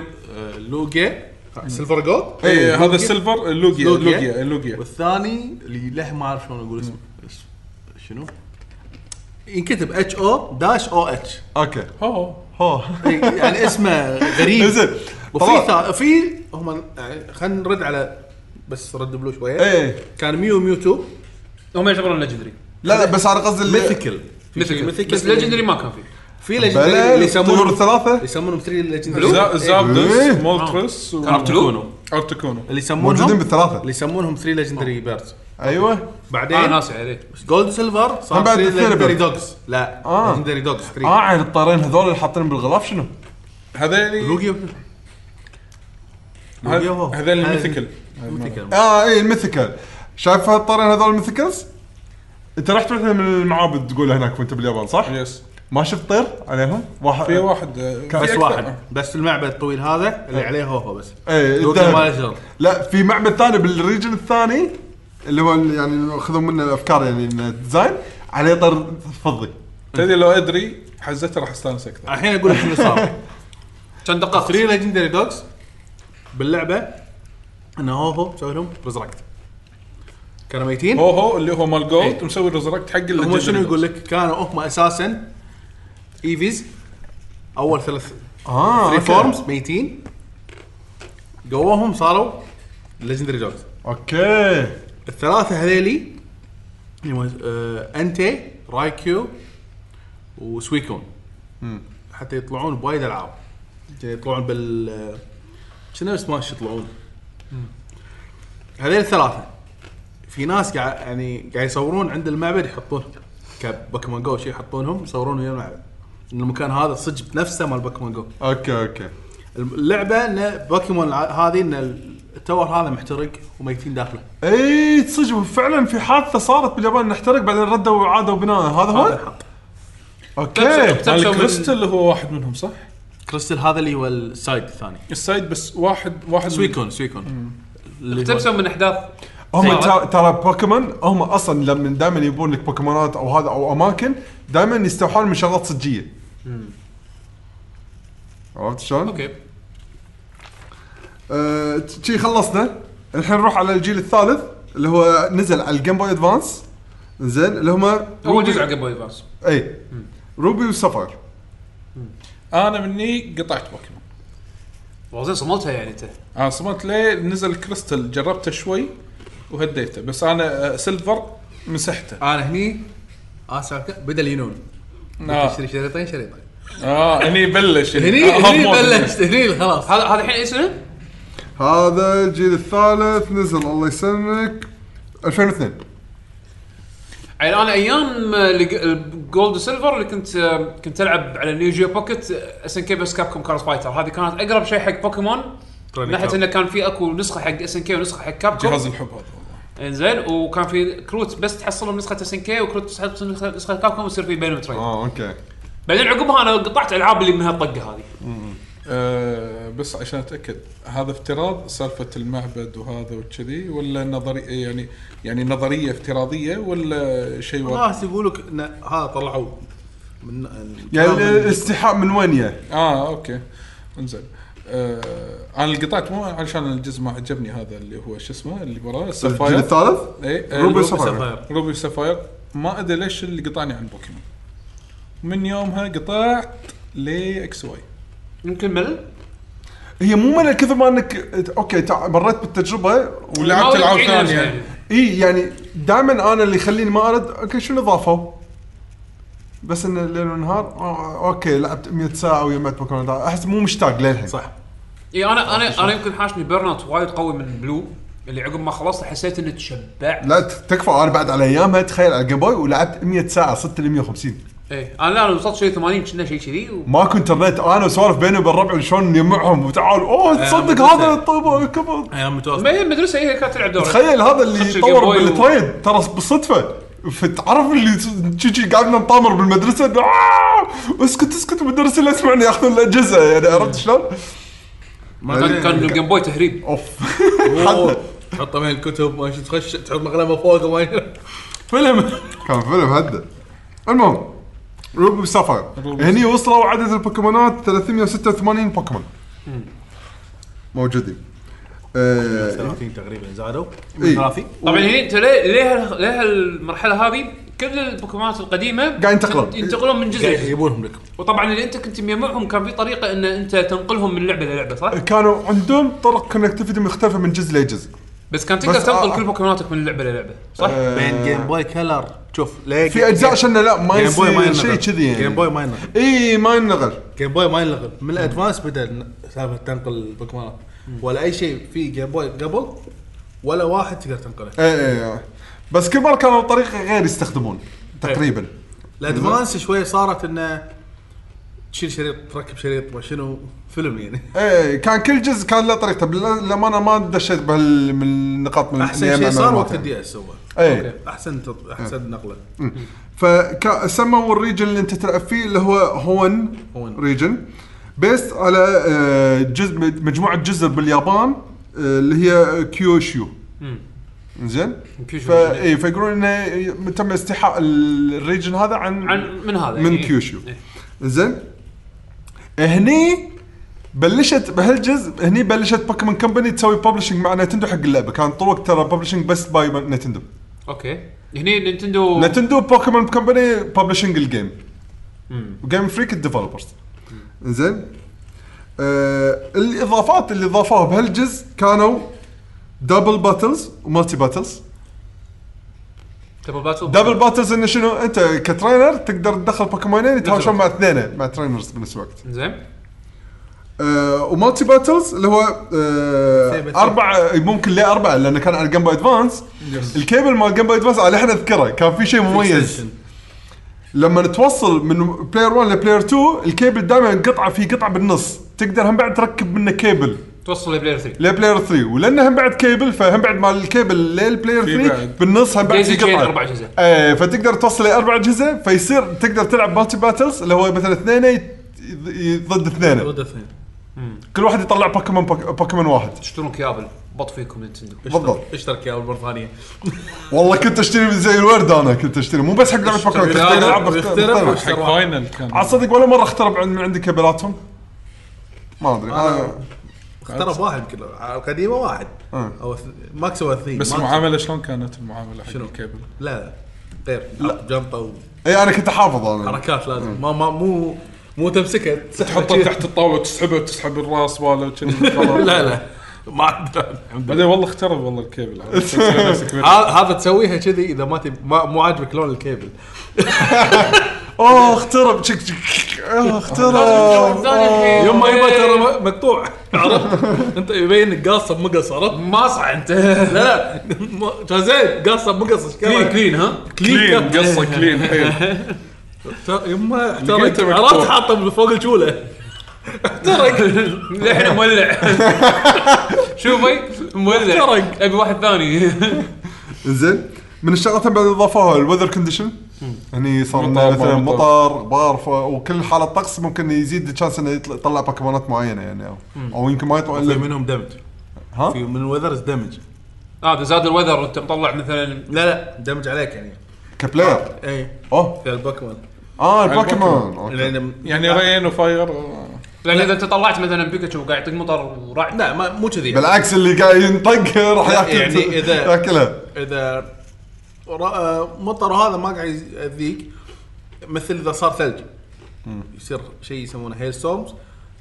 [SPEAKER 5] لوجيا سيلفر جولد
[SPEAKER 2] إيه، هذا السيلفر لوجيا
[SPEAKER 5] لوجيا.
[SPEAKER 2] لوجيا لوجيا
[SPEAKER 5] والثاني اللي له ما اعرف شلون اقول اسمه اس- شنو؟ ينكتب اتش او داش او اتش
[SPEAKER 4] اوكي
[SPEAKER 2] هو
[SPEAKER 4] هو
[SPEAKER 5] يعني اسمه غريب
[SPEAKER 4] (laughs) زين
[SPEAKER 5] وفي
[SPEAKER 4] طبعا
[SPEAKER 5] ثا- في هم يعني خلينا نرد على بس رد بلو شويه
[SPEAKER 4] ايه
[SPEAKER 5] كان ميو ميوتو
[SPEAKER 1] هم يعتبرون ليجندري
[SPEAKER 4] لا لا بس انا قصدي اللي-
[SPEAKER 5] ميثيكال
[SPEAKER 1] مثل بس ليجندري ما كان فيه
[SPEAKER 5] في
[SPEAKER 4] بلا
[SPEAKER 5] ليجندري اللي
[SPEAKER 4] الطيور
[SPEAKER 5] يسمونهم
[SPEAKER 4] الثلاثة؟
[SPEAKER 5] اللي يسمونهم تري
[SPEAKER 2] زا-
[SPEAKER 5] ليجندري
[SPEAKER 4] إيه.
[SPEAKER 2] زابدس مولترس و-
[SPEAKER 1] ارتلو
[SPEAKER 2] ارتكونو
[SPEAKER 5] اللي
[SPEAKER 4] موجودين
[SPEAKER 5] يسمونهم
[SPEAKER 4] بالثلاثة آه.
[SPEAKER 5] اللي يسمونهم ثري ليجندري بيردز
[SPEAKER 4] ايوه
[SPEAKER 1] اه
[SPEAKER 5] بعدين
[SPEAKER 1] ناسي عليه
[SPEAKER 5] جولد وسيلفر
[SPEAKER 4] هم
[SPEAKER 5] صار
[SPEAKER 4] بعد
[SPEAKER 5] ثري
[SPEAKER 4] الثيري
[SPEAKER 5] ليجندري
[SPEAKER 4] بيردز.
[SPEAKER 5] دوجز لا
[SPEAKER 4] آه.
[SPEAKER 5] ليجندري دوجز
[SPEAKER 4] اه
[SPEAKER 5] 3
[SPEAKER 4] عن الطيرين هذول اللي حاطينهم بالغلاف شنو؟
[SPEAKER 2] هذيلي
[SPEAKER 5] لوجيا لوجيا هو.
[SPEAKER 2] هذيلي
[SPEAKER 5] هذا-
[SPEAKER 2] الميثيكال
[SPEAKER 5] ميثيكال.
[SPEAKER 4] اه اي الميثيكال شايف هالطيرين هذول الميثيكالز؟ انت رحت واحدة من المعابد تقول هناك وانت باليابان صح؟
[SPEAKER 2] يس
[SPEAKER 4] ما شفت طير عليهم؟ واحد
[SPEAKER 2] في واحد آه، في
[SPEAKER 5] بس
[SPEAKER 2] أكثر.
[SPEAKER 5] واحد بس في المعبد الطويل هذا اللي عليه هوهو بس
[SPEAKER 4] ايه
[SPEAKER 5] لوجيا
[SPEAKER 4] الذهب.
[SPEAKER 5] ما له شغل
[SPEAKER 4] لا في معبد ثاني بالريجن الثاني اللي هو اللي يعني اخذوا منه الافكار يعني إنه ديزاين عليه طير فضي
[SPEAKER 2] تدري لو ادري حزتها راح استانس اكثر
[SPEAKER 5] الحين اقول لك شنو صار
[SPEAKER 1] كان دقات
[SPEAKER 5] 3 ليجندري دوجز باللعبه انه هوهو سوي لهم ريزركت كانوا ميتين
[SPEAKER 2] هو هو اللي هو مال جولد
[SPEAKER 5] إيه.
[SPEAKER 2] مسوي ريزركت حق اللي
[SPEAKER 5] هم شنو يقول لك؟ كانوا هم اساسا ايفيز اول ثلاث
[SPEAKER 4] اه
[SPEAKER 5] ثري
[SPEAKER 4] أوكي.
[SPEAKER 5] فورمز ميتين قووهم صاروا ليجندري دوجز
[SPEAKER 4] اوكي
[SPEAKER 5] الثلاثه هذيلي اللي هو، آه انتي رايكيو وسويكون حتى يطلعون بوايد العاب يطلعون بال آه، شنو سماش يطلعون هذيل الثلاثه في ناس قاعد يعني قاعد يصورون عند المعبد يحطون كبوكيمون جو شي يحطونهم يصورون ويا المعبد ان المكان هذا صدق نفسه مال بوكيمون جو
[SPEAKER 4] اوكي اوكي
[SPEAKER 5] اللعبه ان بوكيمون الع- هذه ان التور هذا محترق وميتين داخله
[SPEAKER 4] اي صدق فعلا إيه، في حادثه صارت باليابان نحترق بعدين ردوا وعادوا بناء هذا
[SPEAKER 5] هذا
[SPEAKER 4] هو؟
[SPEAKER 5] الحط
[SPEAKER 4] اوكي
[SPEAKER 1] تمشوا من-
[SPEAKER 2] الكريستل هو واحد منهم صح؟
[SPEAKER 5] كريستال هذا اللي هو السايد الثاني
[SPEAKER 4] Mm.
[SPEAKER 2] السايد بس واحد واحد من-
[SPEAKER 5] سويكون سويكون اللي هو-
[SPEAKER 1] تبسم من احداث
[SPEAKER 4] هم
[SPEAKER 1] سيارات.
[SPEAKER 4] ترى- ترى بوكيمون هم اصلا لما دائما يبون لك بوكيمونات او هذا او اماكن دائما يستوحون من شغلات صجيه. عرفت شلون؟
[SPEAKER 1] اوكي
[SPEAKER 4] آه، شي خلصنا الحين نروح على الجيل الثالث اللي هو نزل على الجيم بوي ادفانس زين اللي هم إيه.
[SPEAKER 1] اول جزء على جيم بوي ادفانس
[SPEAKER 4] اي روبي وسفر
[SPEAKER 2] انا مني قطعت بوكيمون
[SPEAKER 1] والله زين صملتها يعني انت
[SPEAKER 2] انا صمت ليه نزل كريستل جربته شوي وهديته بس انا آه، سيلفر مسحته
[SPEAKER 5] انا هني اسف بدا الينون
[SPEAKER 2] آه.
[SPEAKER 5] تشتري شريطين شريطين
[SPEAKER 2] اه هني بلش
[SPEAKER 5] هني
[SPEAKER 2] آه،
[SPEAKER 5] هني
[SPEAKER 2] هرمون.
[SPEAKER 5] بلشت هني خلاص
[SPEAKER 1] هذا هذا الحين اي سنه؟
[SPEAKER 4] هذا الجيل الثالث نزل الله يسلمك 2002
[SPEAKER 1] يعني انا ايام الجولد وسيلفر اللي كنت كنت العب على نيو جيو بوكيت اس ان كي بس كاب كوم كارز فايتر هذه كانت اقرب شيء حق بوكيمون من ناحيه انه كان في اكو نسخه حق اس ان كي ونسخه حق كاب كوم
[SPEAKER 2] جهاز الحب هذا والله
[SPEAKER 1] انزين وكان في كروت بس تحصلهم نسخه اس ان كي وكروت تحصل نسخه نسخه كاب كوم ويصير في بينهم تريد
[SPEAKER 4] اه اوكي
[SPEAKER 1] بعدين عقبها انا قطعت العاب اللي من هالطقه هذه
[SPEAKER 2] آه بس عشان اتاكد هذا افتراض سالفه المعبد وهذا وكذي ولا نظري يعني يعني نظريه افتراضية ولا شيء واقعي؟
[SPEAKER 5] ناس يقول لك ان هذا طلعوا من
[SPEAKER 4] يعني
[SPEAKER 5] كلام ال-
[SPEAKER 4] الاستيحاء من وين يا؟
[SPEAKER 2] اه اوكي انزين آه انا اللي قطعت مو علشان الجزء ما عجبني هذا اللي هو شو اسمه اللي وراه
[SPEAKER 4] الجيل
[SPEAKER 2] السفاير
[SPEAKER 4] الثالث؟
[SPEAKER 2] اي آه،
[SPEAKER 4] روبي
[SPEAKER 2] روبي
[SPEAKER 4] سفر
[SPEAKER 2] روبي سفاير ما ادري ليش اللي قطعني عن بوكيمون من يومها قطعت لي اكس واي
[SPEAKER 1] يمكن ملل
[SPEAKER 4] هي مو ملل كثر ما انك اوكي تع- مريت بالتجربه
[SPEAKER 2] ولعبت
[SPEAKER 1] ما
[SPEAKER 2] العاب
[SPEAKER 1] بعيد عن نفسي
[SPEAKER 2] ثانيه
[SPEAKER 1] يعني.
[SPEAKER 4] اي يعني دائما انا اللي يخليني ما ارد اوكي شنو ضافوا؟ بس انه ليل ونهار آه، اوكي لعبت 100 ساعه ويا مات بوكيمون احس مو مشتاق للحين
[SPEAKER 5] صح
[SPEAKER 1] اي انا انا انا يمكن حاشني بيرن اوت وايد قوي من بلو اللي عقب ما خلصت حسيت اني تشبعت
[SPEAKER 4] لا ت- تكفى انا بعد على ايامها تخيل على الجيم بوي ولعبت 100 ساعه صرت ل 150
[SPEAKER 1] ايه انا لا انا وصلت شيء 80 كنا شيء كذي و...
[SPEAKER 4] ماكو انترنت انا وسوالف بيني وبين ربعي شلون نجمعهم وتعال اوه تصدق
[SPEAKER 5] آه، بالضبط.
[SPEAKER 4] هذا طيب كبر
[SPEAKER 5] ايام
[SPEAKER 1] ما
[SPEAKER 5] متوسط
[SPEAKER 1] هي المدرسه هي كانت تلعب دور
[SPEAKER 4] تخيل هذا اللي
[SPEAKER 1] خش
[SPEAKER 4] طور
[SPEAKER 1] الجيم بوي و-
[SPEAKER 4] بالتريد ترى بالصدفه فتعرف اللي تشي شي قاعد نطامر بالمدرسه آه، اسكت اسكت المدرس اللي يسمعني ياخذون الاجهزه يعني عرفت شلون؟
[SPEAKER 1] كان كان الجيم بوي تهريب
[SPEAKER 4] اوف
[SPEAKER 5] أوه، تحط بين الكتب ما شي تخش تحط مقلمه فوق وما شي- فيلم
[SPEAKER 4] كان فيلم هده المهم روبي وسافاير
[SPEAKER 2] روبي
[SPEAKER 4] هني وصلوا عدد البوكيمونات 386 بوكيمون موجودين آه،
[SPEAKER 5] 30 تقريبا زادوا
[SPEAKER 4] إيه.
[SPEAKER 5] ثلاثي
[SPEAKER 1] طبعا هني انت ليه ليه هال- ليه المرحله هذه كل البوكيمونات القديمه
[SPEAKER 4] قاعد ينتقلون.
[SPEAKER 1] ينتقلون من جزء لجزء.
[SPEAKER 5] يجيبونهم لكم
[SPEAKER 1] وطبعا اللي انت كنت مجمعهم كان في طريقه ان انت تنقلهم من لعبه للعبه صح؟
[SPEAKER 4] كانوا عندهم طرق كونكتيفيتي مختلفه من جزء لجزء
[SPEAKER 1] بس كان تقدر
[SPEAKER 4] بس آه.
[SPEAKER 1] تنقل كل بوكيموناتك من لعبه للعبه صح؟
[SPEAKER 5] بين جيم بوي كلر شوف ليه
[SPEAKER 4] في اجزاء عشان لا ما
[SPEAKER 5] جيم بوي ما
[SPEAKER 4] يصير شيء
[SPEAKER 5] ينغل
[SPEAKER 4] كذي يعني
[SPEAKER 5] جيم بوي ما ينغل
[SPEAKER 4] اي ما ينغل
[SPEAKER 5] جيم بوي ما ينلغى من الادفانس بدا ن- سالفه تنقل البوكيمونات ولا اي شيء في جيم بوي قبل ولا واحد تقدر تنقله
[SPEAKER 4] اي اي اي. إيه، بس كل مره كانوا طريقه غير يستخدمون
[SPEAKER 5] إيه.
[SPEAKER 4] تقريبا
[SPEAKER 5] الادفانس شوي صارت انه تشيل شريط تركب شريط ما شنو فيلم يعني
[SPEAKER 4] اي إيه، كان كل جزء كان له طريقته بال- للامانه ما دشيت بهال من النقاط من
[SPEAKER 5] احسن شيء
[SPEAKER 2] نعم.
[SPEAKER 5] صار وقت الدي اس هو
[SPEAKER 2] إيه.
[SPEAKER 4] اي
[SPEAKER 5] احسن تط- احسن نقله
[SPEAKER 4] فسموا الريجن اللي انت تلعب فيه اللي هو هون
[SPEAKER 5] هون.
[SPEAKER 4] ريجن بيست على آه، جزء مجموعه جزر باليابان آه، اللي هي كيوشيو زين
[SPEAKER 1] كيوشيو.
[SPEAKER 4] فا اي فيقولون انه تم استيحاء الريجن هذا عن
[SPEAKER 1] عن من هذا
[SPEAKER 4] من
[SPEAKER 1] يعني.
[SPEAKER 4] كيوشيو
[SPEAKER 1] إيه.
[SPEAKER 4] زين هني بلشت بهالجزء هني بلشت بوكيمون كمباني تسوي ببلشنج مع نتندو حق اللعبه كان طول الوقت ترى ببلشنج بس باي نتندو
[SPEAKER 1] اوكي هني نينتندو
[SPEAKER 4] نتندو بوكيمون كمباني ببلشنج الجيم وجيم فريك الديفلوبرز زين آه الاضافات اللي ضافوها بهالجزء كانوا دبل باتلز ومالتي باتلز
[SPEAKER 1] دبل باتل
[SPEAKER 4] دبل باتلز انه شنو انت كترينر تقدر تدخل بوكيمونين يتهاوشون مع اثنين مع ترينرز بنفس الوقت
[SPEAKER 1] زين
[SPEAKER 4] آه ومالتي باتلز اللي هو آه
[SPEAKER 5] ثيبة.
[SPEAKER 4] اربع آه، ممكن ليه اربعه لانه كان على الجيم بوي ادفانس الكيبل مال الجيم بوي ادفانس على احنا اذكره كان في شيء مميز لما توصل من بلاير 1 لبلاير 2 الكيبل دائما قطعه في قطعه بالنص تقدر هم بعد تركب منه كيبل
[SPEAKER 1] توصل لبلاير 3
[SPEAKER 4] لبلاير 3 ولانه هم بعد كيبل فهم بعد مال الكيبل للبلاير
[SPEAKER 2] في
[SPEAKER 4] 3
[SPEAKER 2] بعد.
[SPEAKER 4] بالنص هم بعد
[SPEAKER 1] Daisy
[SPEAKER 4] في
[SPEAKER 1] Chain
[SPEAKER 4] قطعه
[SPEAKER 1] أربع أجهزة.
[SPEAKER 4] ايه فتقدر توصل لاربع اجهزه فيصير تقدر تلعب مالتي باتلز اللي هو مثلا اثنين يت- يت- ضد اثنين
[SPEAKER 5] ود اثنين
[SPEAKER 4] كل واحد يطلع بوكيمون بوك- بوكيمون واحد
[SPEAKER 1] تشترون كيابل بط فيكم نينتندو
[SPEAKER 4] بالضبط
[SPEAKER 5] اشترك يا أول مره ثانيه
[SPEAKER 4] والله كنت اشتري زي الورد انا كنت اشتري مو بس حق لعبه بوكيمون كنت اشتري العاب بخت- بخترع.
[SPEAKER 5] واخترع.
[SPEAKER 2] حق فاينل كان
[SPEAKER 4] على صدق ولا مره اخترب عن- من عندي كابلاتهم ما ادري أنا-
[SPEAKER 5] اخترب واحد يمكن القديمه واحد
[SPEAKER 4] آه.
[SPEAKER 5] او اثنين- ماكسيموم اثنين
[SPEAKER 2] بس
[SPEAKER 5] ماكسيموم.
[SPEAKER 2] المعامله شلون كانت المعامله حق
[SPEAKER 5] شنو؟
[SPEAKER 2] الكيبل؟
[SPEAKER 5] لا لا غير لا جنطه
[SPEAKER 4] اي انا كنت حافظ انا
[SPEAKER 5] وحركات لازم ما ما مو مو تمسكها
[SPEAKER 2] تحطه تحت الطاوله وتسحبه وتسحب الراس ماله وكذي
[SPEAKER 5] (laughs) لا لا ما عندنا
[SPEAKER 2] بعدين والله اخترب والله
[SPEAKER 5] (laughs)
[SPEAKER 2] الكيبل عاد تسوي نفسك بيت.
[SPEAKER 5] ه- هذا تسويها كذي اذا ما تب... ما مو عاجبك لون الكيبل
[SPEAKER 4] اوه اخترب شك شك آه، اخترب
[SPEAKER 5] يوم ما يبا ترى م- مقطوع عرفت انت يبين انك قاصه بمقص عرفت
[SPEAKER 1] ماصع (laughs) انت
[SPEAKER 5] لا لا ما- كان زين قاصه بمقص ايش
[SPEAKER 1] طيب، كلين
[SPEAKER 5] كان؟
[SPEAKER 1] كلين ها
[SPEAKER 2] كلين
[SPEAKER 5] كان.
[SPEAKER 2] قصه
[SPEAKER 5] (laughs)
[SPEAKER 2] كلين أيوه.
[SPEAKER 5] ترى يما احترق
[SPEAKER 2] لقيته مقطوع.
[SPEAKER 5] عرفت حاطه من فوق الجوله احترق (laughs)
[SPEAKER 1] لحنا مولع شوف مي مولع
[SPEAKER 5] احترق.
[SPEAKER 1] ابي واحد ثاني
[SPEAKER 5] (laughs)
[SPEAKER 4] زين من الشغلات اللي بعد اضافوها الوذر كونديشن هني يعني صار إنه
[SPEAKER 2] مطر،
[SPEAKER 4] مثلا
[SPEAKER 2] مطر.
[SPEAKER 4] مطر غبار ف- وكل حاله طقس ممكن يزيد الشانس انه يطلع- يطلع بوكيمونات معينه يعني او, أو يمكن ما يطلع
[SPEAKER 5] في
[SPEAKER 4] الا
[SPEAKER 5] منهم دمج
[SPEAKER 4] ها؟
[SPEAKER 5] في من الوذرز دمج
[SPEAKER 1] اه إذا زاد الوذر وانت مطلع مثلا
[SPEAKER 5] لا لا دمج عليك يعني
[SPEAKER 4] كبلاير
[SPEAKER 5] اي
[SPEAKER 4] اوه
[SPEAKER 5] في البوكيمون
[SPEAKER 4] اه البوكيمون أوكي.
[SPEAKER 5] لأن-
[SPEAKER 2] يعني رين وفاير آه.
[SPEAKER 1] لان اذا انت طلعت مثلا بيكاتشو وقاعد يطق مطر ورعد
[SPEAKER 5] لا ما مو كذي يعني.
[SPEAKER 4] بالعكس اللي قاعد ينطق راح
[SPEAKER 5] لا،
[SPEAKER 4] ياكل
[SPEAKER 5] يعني
[SPEAKER 4] (laughs)
[SPEAKER 5] إذا-
[SPEAKER 4] ياكلها
[SPEAKER 5] اذا رأى مطر هذا ما قاعد يأذيك مثل اذا صار ثلج يصير شيء يسمونه هيل ستورمز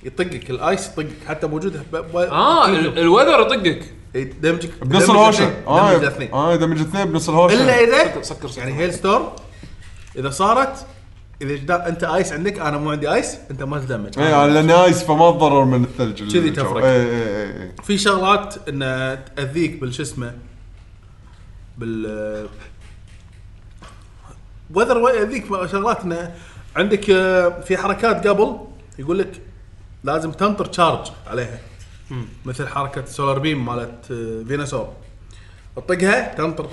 [SPEAKER 5] يطقك الايس يطقك حتى موجود ب- إيه، ب-
[SPEAKER 1] اه ال- الوذر يطقك
[SPEAKER 5] يدمجك
[SPEAKER 4] بنص
[SPEAKER 5] يدمج
[SPEAKER 4] الهوشه
[SPEAKER 5] الاثنين،
[SPEAKER 4] اه
[SPEAKER 5] يدمج الاثنين
[SPEAKER 4] اه دمج اثنين بنص الهوشه
[SPEAKER 5] الا
[SPEAKER 1] سكر-
[SPEAKER 5] اذا
[SPEAKER 1] سكر.
[SPEAKER 5] يعني هيل ستورم اذا صارت اذا جدا- انت ايس عندك انا مو عندي ايس انت ما تدمج
[SPEAKER 4] اي انا لاني ايس إيه، فما اتضرر من الثلج إيه،
[SPEAKER 5] كذي تفرق.
[SPEAKER 4] اي اي اي اي
[SPEAKER 5] في شغلات انها تاذيك بالش اسمه بال وذر ياذيك شغلات انه عندك آه، في حركات قبل يقول لك لازم تنطر تشارج عليها مثل حركه سولار بيم مالت آه، فيناسور تطقها تنطر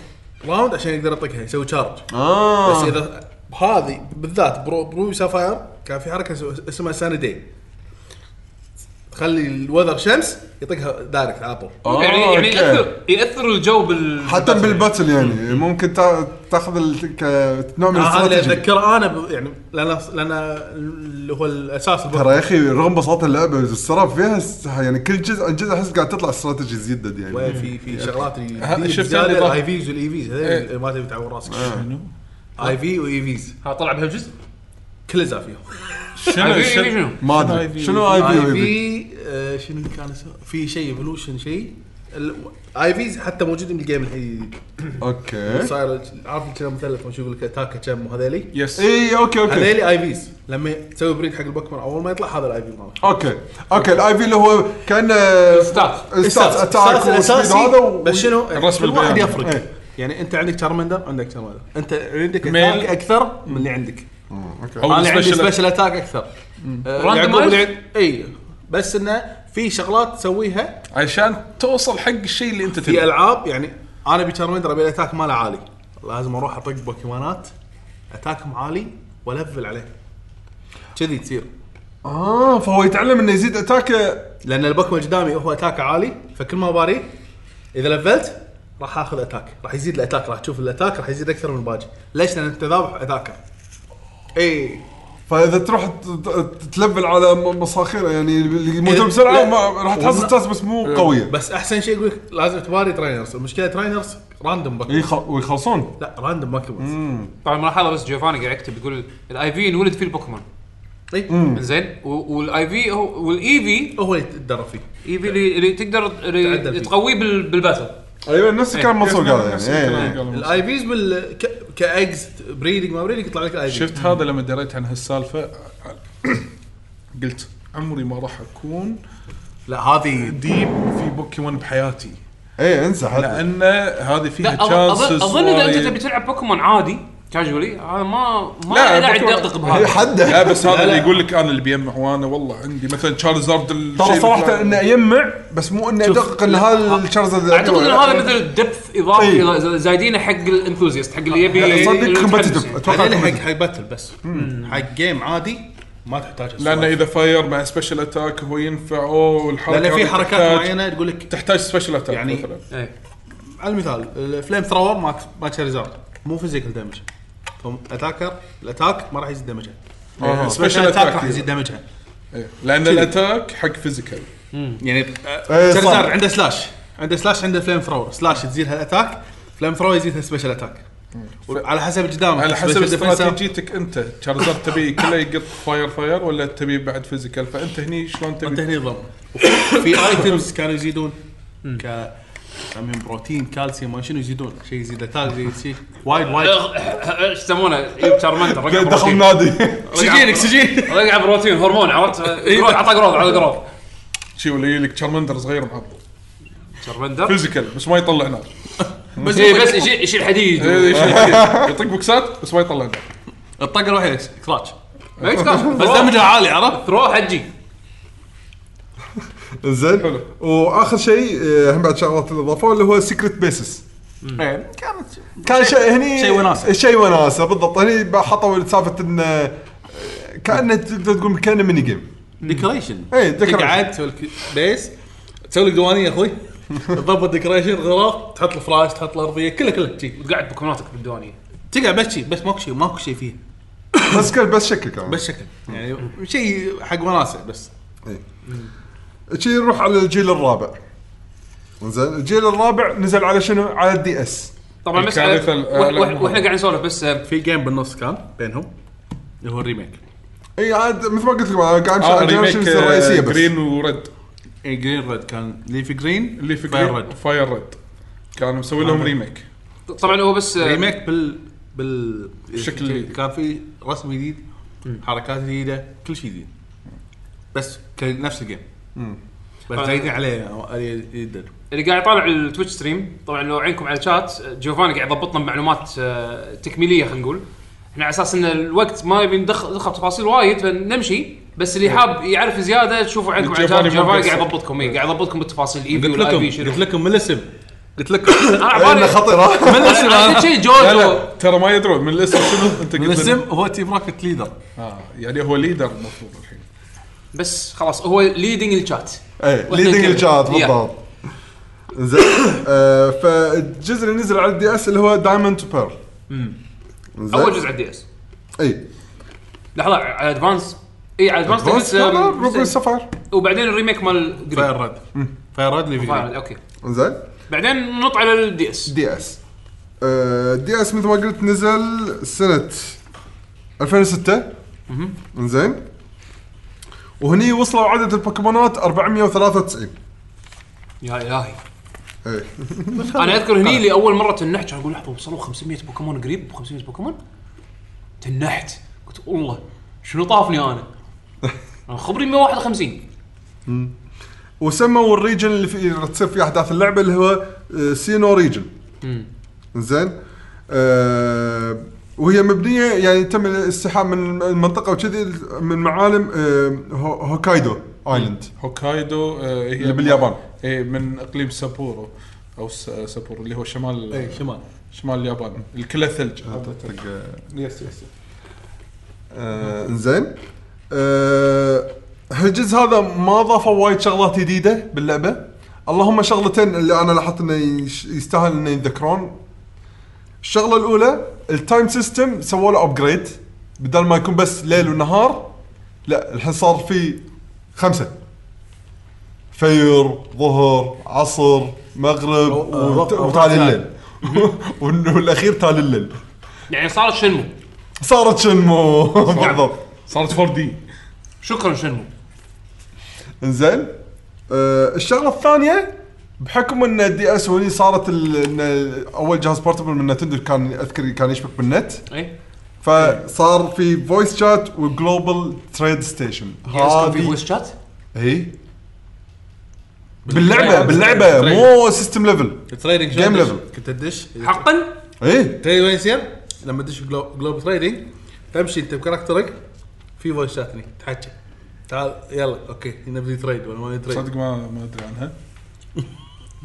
[SPEAKER 5] راوند عشان يقدر يطقها يسوي تشارج
[SPEAKER 4] اه
[SPEAKER 5] بس اذا هذه بالذات برو برو سافاير كان في حركه اسمها- اسمها سان داي تخلي الوذر شمس يطقها دايركت على طول
[SPEAKER 4] آه،
[SPEAKER 1] يعني يعني
[SPEAKER 4] أوكي.
[SPEAKER 1] ياثر يأثر الجو بال
[SPEAKER 4] حتى بالباتل يعني ممكن تا- تاخذ ال- ك- نوع من
[SPEAKER 5] آه، هذا اللي
[SPEAKER 4] الاستراتيجي
[SPEAKER 5] اتذكره انا ب- يعني لان لان اللي هو الاساس
[SPEAKER 4] ترى يا اخي رغم بساطه اللعبه السراب فيها س- يعني كل جزء عن جزء احس قاعد تطلع استراتيجي زيدد يعني
[SPEAKER 5] في في شغلات
[SPEAKER 2] ها، شفت إيه. اللي طلع-
[SPEAKER 5] الاي فيز والاي فيز E هذول ما تبي تعور راسك اي في واي فيز
[SPEAKER 1] ها طلع بهالجزء
[SPEAKER 5] E كل زاف فيهم
[SPEAKER 1] شنو
[SPEAKER 2] شنو
[SPEAKER 1] شنو؟
[SPEAKER 2] شنو
[SPEAKER 4] ما
[SPEAKER 2] شنو
[SPEAKER 4] ادري
[SPEAKER 2] IV؟
[SPEAKER 4] شنو اي
[SPEAKER 2] E
[SPEAKER 5] اي
[SPEAKER 4] بي
[SPEAKER 5] في آه، شنو كان اسمه؟ في شيء ايفولوشن شيء اي فيز حتى موجودين بالجيم الحين
[SPEAKER 2] إيه؟
[SPEAKER 4] اوكي
[SPEAKER 5] صاير عارف كم مثلث ما شو يقول لك اتاكا كم وهذيلي
[SPEAKER 2] يس
[SPEAKER 4] اي اوكي اوكي
[SPEAKER 5] هذيلي اي فيز لما تسوي بريد حق البوكيمون اول ما يطلع هذا الاي في مالك
[SPEAKER 4] اوكي اوكي الاي بي اللي هو كان
[SPEAKER 1] ستات
[SPEAKER 4] استاذ اتاك وسبيد
[SPEAKER 5] الاساسي
[SPEAKER 4] هذا و-
[SPEAKER 5] بس شنو
[SPEAKER 2] الرسم
[SPEAKER 5] كل واحد
[SPEAKER 2] البياني.
[SPEAKER 5] يفرق
[SPEAKER 4] إيه.
[SPEAKER 5] يعني انت عندك تشارمندر عندك تشارمندر انت عندك
[SPEAKER 2] ميل.
[SPEAKER 5] اتاك اكثر من اللي عندك
[SPEAKER 2] او
[SPEAKER 5] انا عندي
[SPEAKER 2] السبيشل
[SPEAKER 5] سبيشل اتاك اكثر آه،
[SPEAKER 1] Randomized؟
[SPEAKER 5] يعقوب اللي عند- اي إيه. بس انه في شغلات تسويها
[SPEAKER 2] عشان توصل حق الشيء اللي انت
[SPEAKER 5] في
[SPEAKER 2] تبيه
[SPEAKER 5] العاب يعني انا بتشارمندر ابي الاتاك ماله عالي لازم اروح اطق بوكيمونات اتاكهم عالي والفل عليه كذي تصير
[SPEAKER 4] اه فهو يتعلم انه يزيد اتاك
[SPEAKER 5] لان البوكيمون قدامي هو اتاك عالي فكل ما باري اذا لفلت راح اخذ اتاك راح يزيد الاتاك راح تشوف الاتاك راح يزيد اكثر من الباقي ليش؟ لان انت ذابح اتاكر اي
[SPEAKER 4] فاذا تروح ت- ت- تلفل على م- مصاخير يعني اللي يموتون
[SPEAKER 5] إيه،
[SPEAKER 4] بسرعه
[SPEAKER 5] لا.
[SPEAKER 4] ما- راح تحصل
[SPEAKER 5] والله.
[SPEAKER 4] ستاتس بس مو قويه
[SPEAKER 5] بس احسن شيء يقول لك لازم تباري ترينرز المشكله ترينرز راندوم بوكيمون
[SPEAKER 4] يخ- إيه، ويخلصون
[SPEAKER 5] لا راندوم بوكيمون
[SPEAKER 1] طبعا ملاحظه بس جيوفاني قاعد يكتب يقول الاي في انولد فيه البوكيمون
[SPEAKER 5] اي
[SPEAKER 1] زين والاي في هو E والاي في
[SPEAKER 5] هو اللي يتدرب فيه
[SPEAKER 1] اي في E اللي, اللي تقدر
[SPEAKER 5] تعدل
[SPEAKER 1] اللي
[SPEAKER 5] فيه.
[SPEAKER 1] تقويه بال- بالباتل
[SPEAKER 4] ايوه نفس الكلام منصور قال
[SPEAKER 2] نفس
[SPEAKER 4] يعني
[SPEAKER 2] الكلام
[SPEAKER 4] إيه.
[SPEAKER 2] قالوا.
[SPEAKER 5] الاي بيز بال ك- كاجز بريدنج ما بريدنج يطلع لك الاي بي
[SPEAKER 2] شفت هذا لما دريت عن هالسالفه (coughs) قلت عمري ما راح اكون
[SPEAKER 5] لا هذه
[SPEAKER 2] ديب في بوكيمون بحياتي
[SPEAKER 4] ايه انسى حتى
[SPEAKER 2] لان هذه فيها
[SPEAKER 1] لا اظن
[SPEAKER 2] تشانسز
[SPEAKER 1] اظن اذا انت تبي تلعب بوكيمون عادي كاجولي هذا ما ما
[SPEAKER 2] لا،
[SPEAKER 1] لا داعي
[SPEAKER 2] بوكيمون-
[SPEAKER 1] تدقق
[SPEAKER 4] هي
[SPEAKER 1] بهذا
[SPEAKER 2] لا
[SPEAKER 4] حده
[SPEAKER 2] بس هذا
[SPEAKER 5] لا،
[SPEAKER 2] اللي
[SPEAKER 5] لا.
[SPEAKER 2] يقول لك انا اللي بيجمع وانا والله عندي مثلا تشارلزارد الشيء
[SPEAKER 4] ترى
[SPEAKER 2] اللي
[SPEAKER 4] صراحه
[SPEAKER 2] طلع.
[SPEAKER 4] انه يجمع بس مو انه يدقق ان هذا الشرزة
[SPEAKER 1] اعتقد ان هذا مثل دبث
[SPEAKER 4] إيه.
[SPEAKER 1] اضافي إلى- زايدينه حق الانثوزيست حق اللي يبي اللي
[SPEAKER 4] صدق
[SPEAKER 1] متحمس.
[SPEAKER 4] كومبتتف اتوقع
[SPEAKER 5] خلينا حق
[SPEAKER 4] competitive.
[SPEAKER 5] حق باتل بس حق جيم عادي ما تحتاج
[SPEAKER 2] لان
[SPEAKER 5] السوالف.
[SPEAKER 2] اذا فاير مع سبيشل اتاك هو ينفع اوه الحركه
[SPEAKER 5] لان في
[SPEAKER 2] هذه
[SPEAKER 5] حركات
[SPEAKER 2] تحتاج-
[SPEAKER 5] معينه تقول لك
[SPEAKER 2] تحتاج سبيشل اتاك
[SPEAKER 5] يعني-
[SPEAKER 2] مثلا
[SPEAKER 1] إيه.
[SPEAKER 5] على المثال الفليم ثراور ما ما تشاريزارد مو فيزيكال دامج اتاكر الاتاك ما راح يزيد دمجها
[SPEAKER 2] آه.
[SPEAKER 5] سبيشل اتاك راح يزيد دمجها
[SPEAKER 2] إيه. لان الاتاك حق فيزيكال
[SPEAKER 5] يعني
[SPEAKER 4] إيه، صح.
[SPEAKER 5] تشاريزارد عنده سلاش عنده سلاش عنده فليم ثراور سلاش تزيدها الاتاك فليم ثراور يزيدها سبيشل اتاك على حسب قدامك
[SPEAKER 2] على حسب
[SPEAKER 5] special defense-
[SPEAKER 2] استراتيجيتك انت تشارلزارد تبي كله يقط فاير فاير ولا تبي بعد فيزيكال فانت هني شلون
[SPEAKER 5] انت
[SPEAKER 2] تبي
[SPEAKER 5] هني ضم في ايتمز كانوا يزيدون ك يسميهم بروتين كالسيوم ما شنو يزيدون شيء يزيد اتاك زي شيء وايد وايد
[SPEAKER 1] أغ- ايش يسمونه يوب شارمندر رقع
[SPEAKER 4] دخل
[SPEAKER 1] بروتين
[SPEAKER 4] نادي (laughs)
[SPEAKER 5] (laughs) اكسجين اكسجين
[SPEAKER 1] رقع بروتين هرمون عرفت جروث، عطى جروث عطى جروث
[SPEAKER 2] شي ولا يجي لك تشارمندر صغير معضل
[SPEAKER 1] شارمندر
[SPEAKER 2] فيزيكال بس ما يطلع نار
[SPEAKER 1] بس إيه، بس يشيل- يشيل حديد و-
[SPEAKER 2] إيه، شي
[SPEAKER 5] (laughs)
[SPEAKER 2] كذي. يطق بوكسات بس ما يطلع نار
[SPEAKER 5] الطاقه الوحيده كراتش
[SPEAKER 1] ما يتكاش.
[SPEAKER 5] بس دمجها عالي عرفت
[SPEAKER 1] تروح حجي
[SPEAKER 4] زين واخر شيء آه، هم بعد شغلات اللي ضافوها اللي هو سيكرت بيسس
[SPEAKER 5] إيه، كانت
[SPEAKER 4] كان شيء هني
[SPEAKER 5] شيء وناسة.
[SPEAKER 4] شيء وناسه بالضبط هني حطوا سالفه انه آه، كانه تقدر تقول كانه ميني جيم
[SPEAKER 5] ديكوريشن
[SPEAKER 4] إيه، decoration.
[SPEAKER 5] تقعد تسوي لك بيس تسوي لك ديوانيه يا (laughs) اخوي تضبط ديكوريشن غرف تحط الفراش تحط الارضيه كله كله شي
[SPEAKER 1] وتقعد بكوناتك بالديوانيه
[SPEAKER 5] تقعد بس شي بس ماكو شيء ماكو شيء فيه
[SPEAKER 4] بس كان بس شكل كان
[SPEAKER 5] بس شكل يعني شيء حق وناسه بس
[SPEAKER 4] شي نروح على الجيل الرابع زين الجيل الرابع نزل على شنو؟ على الدي اس
[SPEAKER 1] طبعا بس
[SPEAKER 2] الكارثة
[SPEAKER 1] آه، وإح-
[SPEAKER 2] الأعلى
[SPEAKER 1] وإح- واحنا قاعدين نسولف بس آه،
[SPEAKER 5] في جيم بالنص كان بينهم اللي هو الريميك
[SPEAKER 4] اي عاد مثل ما قلت لكم أنا قاعد امشي
[SPEAKER 2] اه
[SPEAKER 5] آه،
[SPEAKER 4] على الجنريشنز
[SPEAKER 2] ريميك
[SPEAKER 4] الرئيسيه بس
[SPEAKER 2] جرين وريد
[SPEAKER 5] اي جرين ريد إيه، كان ليفي جرين
[SPEAKER 2] اللي في
[SPEAKER 5] فاير
[SPEAKER 2] جرين
[SPEAKER 5] ريد
[SPEAKER 2] فاير ريد كانوا مسوي لهم ريميك
[SPEAKER 1] طبعا هو بس آه،
[SPEAKER 5] ريميك بال بال
[SPEAKER 2] الشكل الجديد.
[SPEAKER 5] كان في رسم جديد حركات جديده كل شيء جديد بس كان نفس الجيم بس
[SPEAKER 1] طبعاً.
[SPEAKER 5] زايدين عليه عليه جدا
[SPEAKER 1] اللي قاعد يطالع التويتش ستريم طبعا لو عينكم على الشات جوفاني قاعد يضبطنا بمعلومات آه، تكميليه خلينا نقول احنا على اساس ان الوقت ما نبي ندخل ندخل تفاصيل وايد فنمشي بس اللي حاب يعرف زياده تشوفوا عندكم على الشات
[SPEAKER 2] جوفاني ما
[SPEAKER 1] جوفاني قاعد
[SPEAKER 2] مقصر.
[SPEAKER 1] يضبطكم إيه، قاعد يضبطكم بالتفاصيل الاي بي
[SPEAKER 5] قلت
[SPEAKER 1] والاي
[SPEAKER 5] لكم
[SPEAKER 1] بي شنو آه،
[SPEAKER 5] قلت لكم من الاسم قلت
[SPEAKER 1] (coughs)
[SPEAKER 5] لكم (coughs)
[SPEAKER 1] انا
[SPEAKER 4] لانه
[SPEAKER 1] عبالي
[SPEAKER 5] (laughs)
[SPEAKER 4] خطر
[SPEAKER 5] من الاسم
[SPEAKER 1] أنا قلت
[SPEAKER 5] أنا.
[SPEAKER 1] شيء
[SPEAKER 2] لا
[SPEAKER 1] جوجو
[SPEAKER 2] لا ترى ما يدرون من الاسم
[SPEAKER 5] (laughs)
[SPEAKER 2] شنو انت قلت
[SPEAKER 5] من
[SPEAKER 2] لنا.
[SPEAKER 5] الاسم إيه. هو تيم راكت ليدر
[SPEAKER 2] اه يعني هو ليدر المفروض الحين
[SPEAKER 1] بس خلاص هو ليدنج الشات
[SPEAKER 4] ايه
[SPEAKER 1] وإحنا
[SPEAKER 4] ليدنج
[SPEAKER 1] نتكلم.
[SPEAKER 4] الجات
[SPEAKER 1] يا.
[SPEAKER 4] بالضبط زين آه، فالجزء اللي نزل على الدي اس اللي هو دايموند بيرل
[SPEAKER 1] اول جزء على الدي اس
[SPEAKER 4] اي
[SPEAKER 1] لحظه على ادفانس اي على
[SPEAKER 5] um،
[SPEAKER 1] ادفانس
[SPEAKER 4] روبن
[SPEAKER 1] تحس، آم،
[SPEAKER 4] السفر
[SPEAKER 1] وبعدين الريميك مال
[SPEAKER 5] فاير
[SPEAKER 1] جرين.
[SPEAKER 5] ريد فاير ريد ليفي
[SPEAKER 1] فاير،
[SPEAKER 5] جرين
[SPEAKER 1] اوكي
[SPEAKER 4] زين
[SPEAKER 1] بعدين نط على الدي اس
[SPEAKER 4] دي اس دي اس مثل ما قلت نزل سنة 2006 زين وهني وصلوا عدد البوكيمونات 493
[SPEAKER 1] يا الهي (laughs)
[SPEAKER 4] ايه
[SPEAKER 1] انا اذكر
[SPEAKER 4] طيب.
[SPEAKER 1] هني اللي اول مره تنحت كان اقول لحظه وصلوا 500 بوكيمون قريب 500 بوكيمون تنحت قلت والله شنو طافني
[SPEAKER 4] (laughs)
[SPEAKER 1] انا؟ انا خبري 151
[SPEAKER 4] وسموا الريجن اللي في اللي تصير فيه احداث اللعبه اللي هو آه، سينو ريجن زين آه وهي مبنيه يعني تم الاستحام من المنطقه وكذي من معالم آه هو- هوكايدو ايلاند
[SPEAKER 2] هوكايدو آه هي
[SPEAKER 4] اللي باليابان.
[SPEAKER 2] اي من اقليم سابورو او س- سابورو اللي هو شمال
[SPEAKER 5] اي إيه، شمال
[SPEAKER 2] شمال اليابان الكله ثلج
[SPEAKER 4] طق آه،
[SPEAKER 2] يس يس
[SPEAKER 4] آه، زين آه هالجزء هذا ما ضافوا وايد شغلات جديده باللعبه اللهم شغلتين اللي انا لاحظت انه يش- يستاهل انه يذكرون الشغله الاولى التايم سيستم سووا له ابجريد بدل ما يكون بس ليل ونهار لا الحين صار في خمسه فير ظهر عصر مغرب وت-
[SPEAKER 5] أوقات
[SPEAKER 4] وتالي
[SPEAKER 5] ثانية.
[SPEAKER 4] الليل (laughs) وال- والاخير تالي الليل
[SPEAKER 1] يعني صارت شنمو
[SPEAKER 4] صارت شنمو (laughs) بالضبط
[SPEAKER 2] صارت 4 دي
[SPEAKER 5] طيب.
[SPEAKER 1] شكرا شنمو
[SPEAKER 4] انزين أه الشغله الثانيه بحكم ان الدي اس هوني صارت ال- إن ال- اول جهاز بورتبل من نتندو كان اذكر كان يشبك بالنت
[SPEAKER 1] اي
[SPEAKER 4] فصار في فويس شات وجلوبال تريد ستيشن
[SPEAKER 1] يسكن يعني في فويس
[SPEAKER 4] هذه إيه؟
[SPEAKER 1] شات
[SPEAKER 4] اي باللعبه باللعبه مو سيستم ليفل
[SPEAKER 5] تريدنج
[SPEAKER 4] Game
[SPEAKER 5] شلون تدش؟
[SPEAKER 4] level.
[SPEAKER 5] كنت تدش
[SPEAKER 1] حقا
[SPEAKER 4] اي
[SPEAKER 5] تدري وين يصير؟ لما تدش جلو- جلوب تريدنج تمشي انت بكاركترك في فويس شات هني تحكي تعال يلا اوكي نبي تريد ولا ما نتريد
[SPEAKER 2] صدق ما ما ادري عنها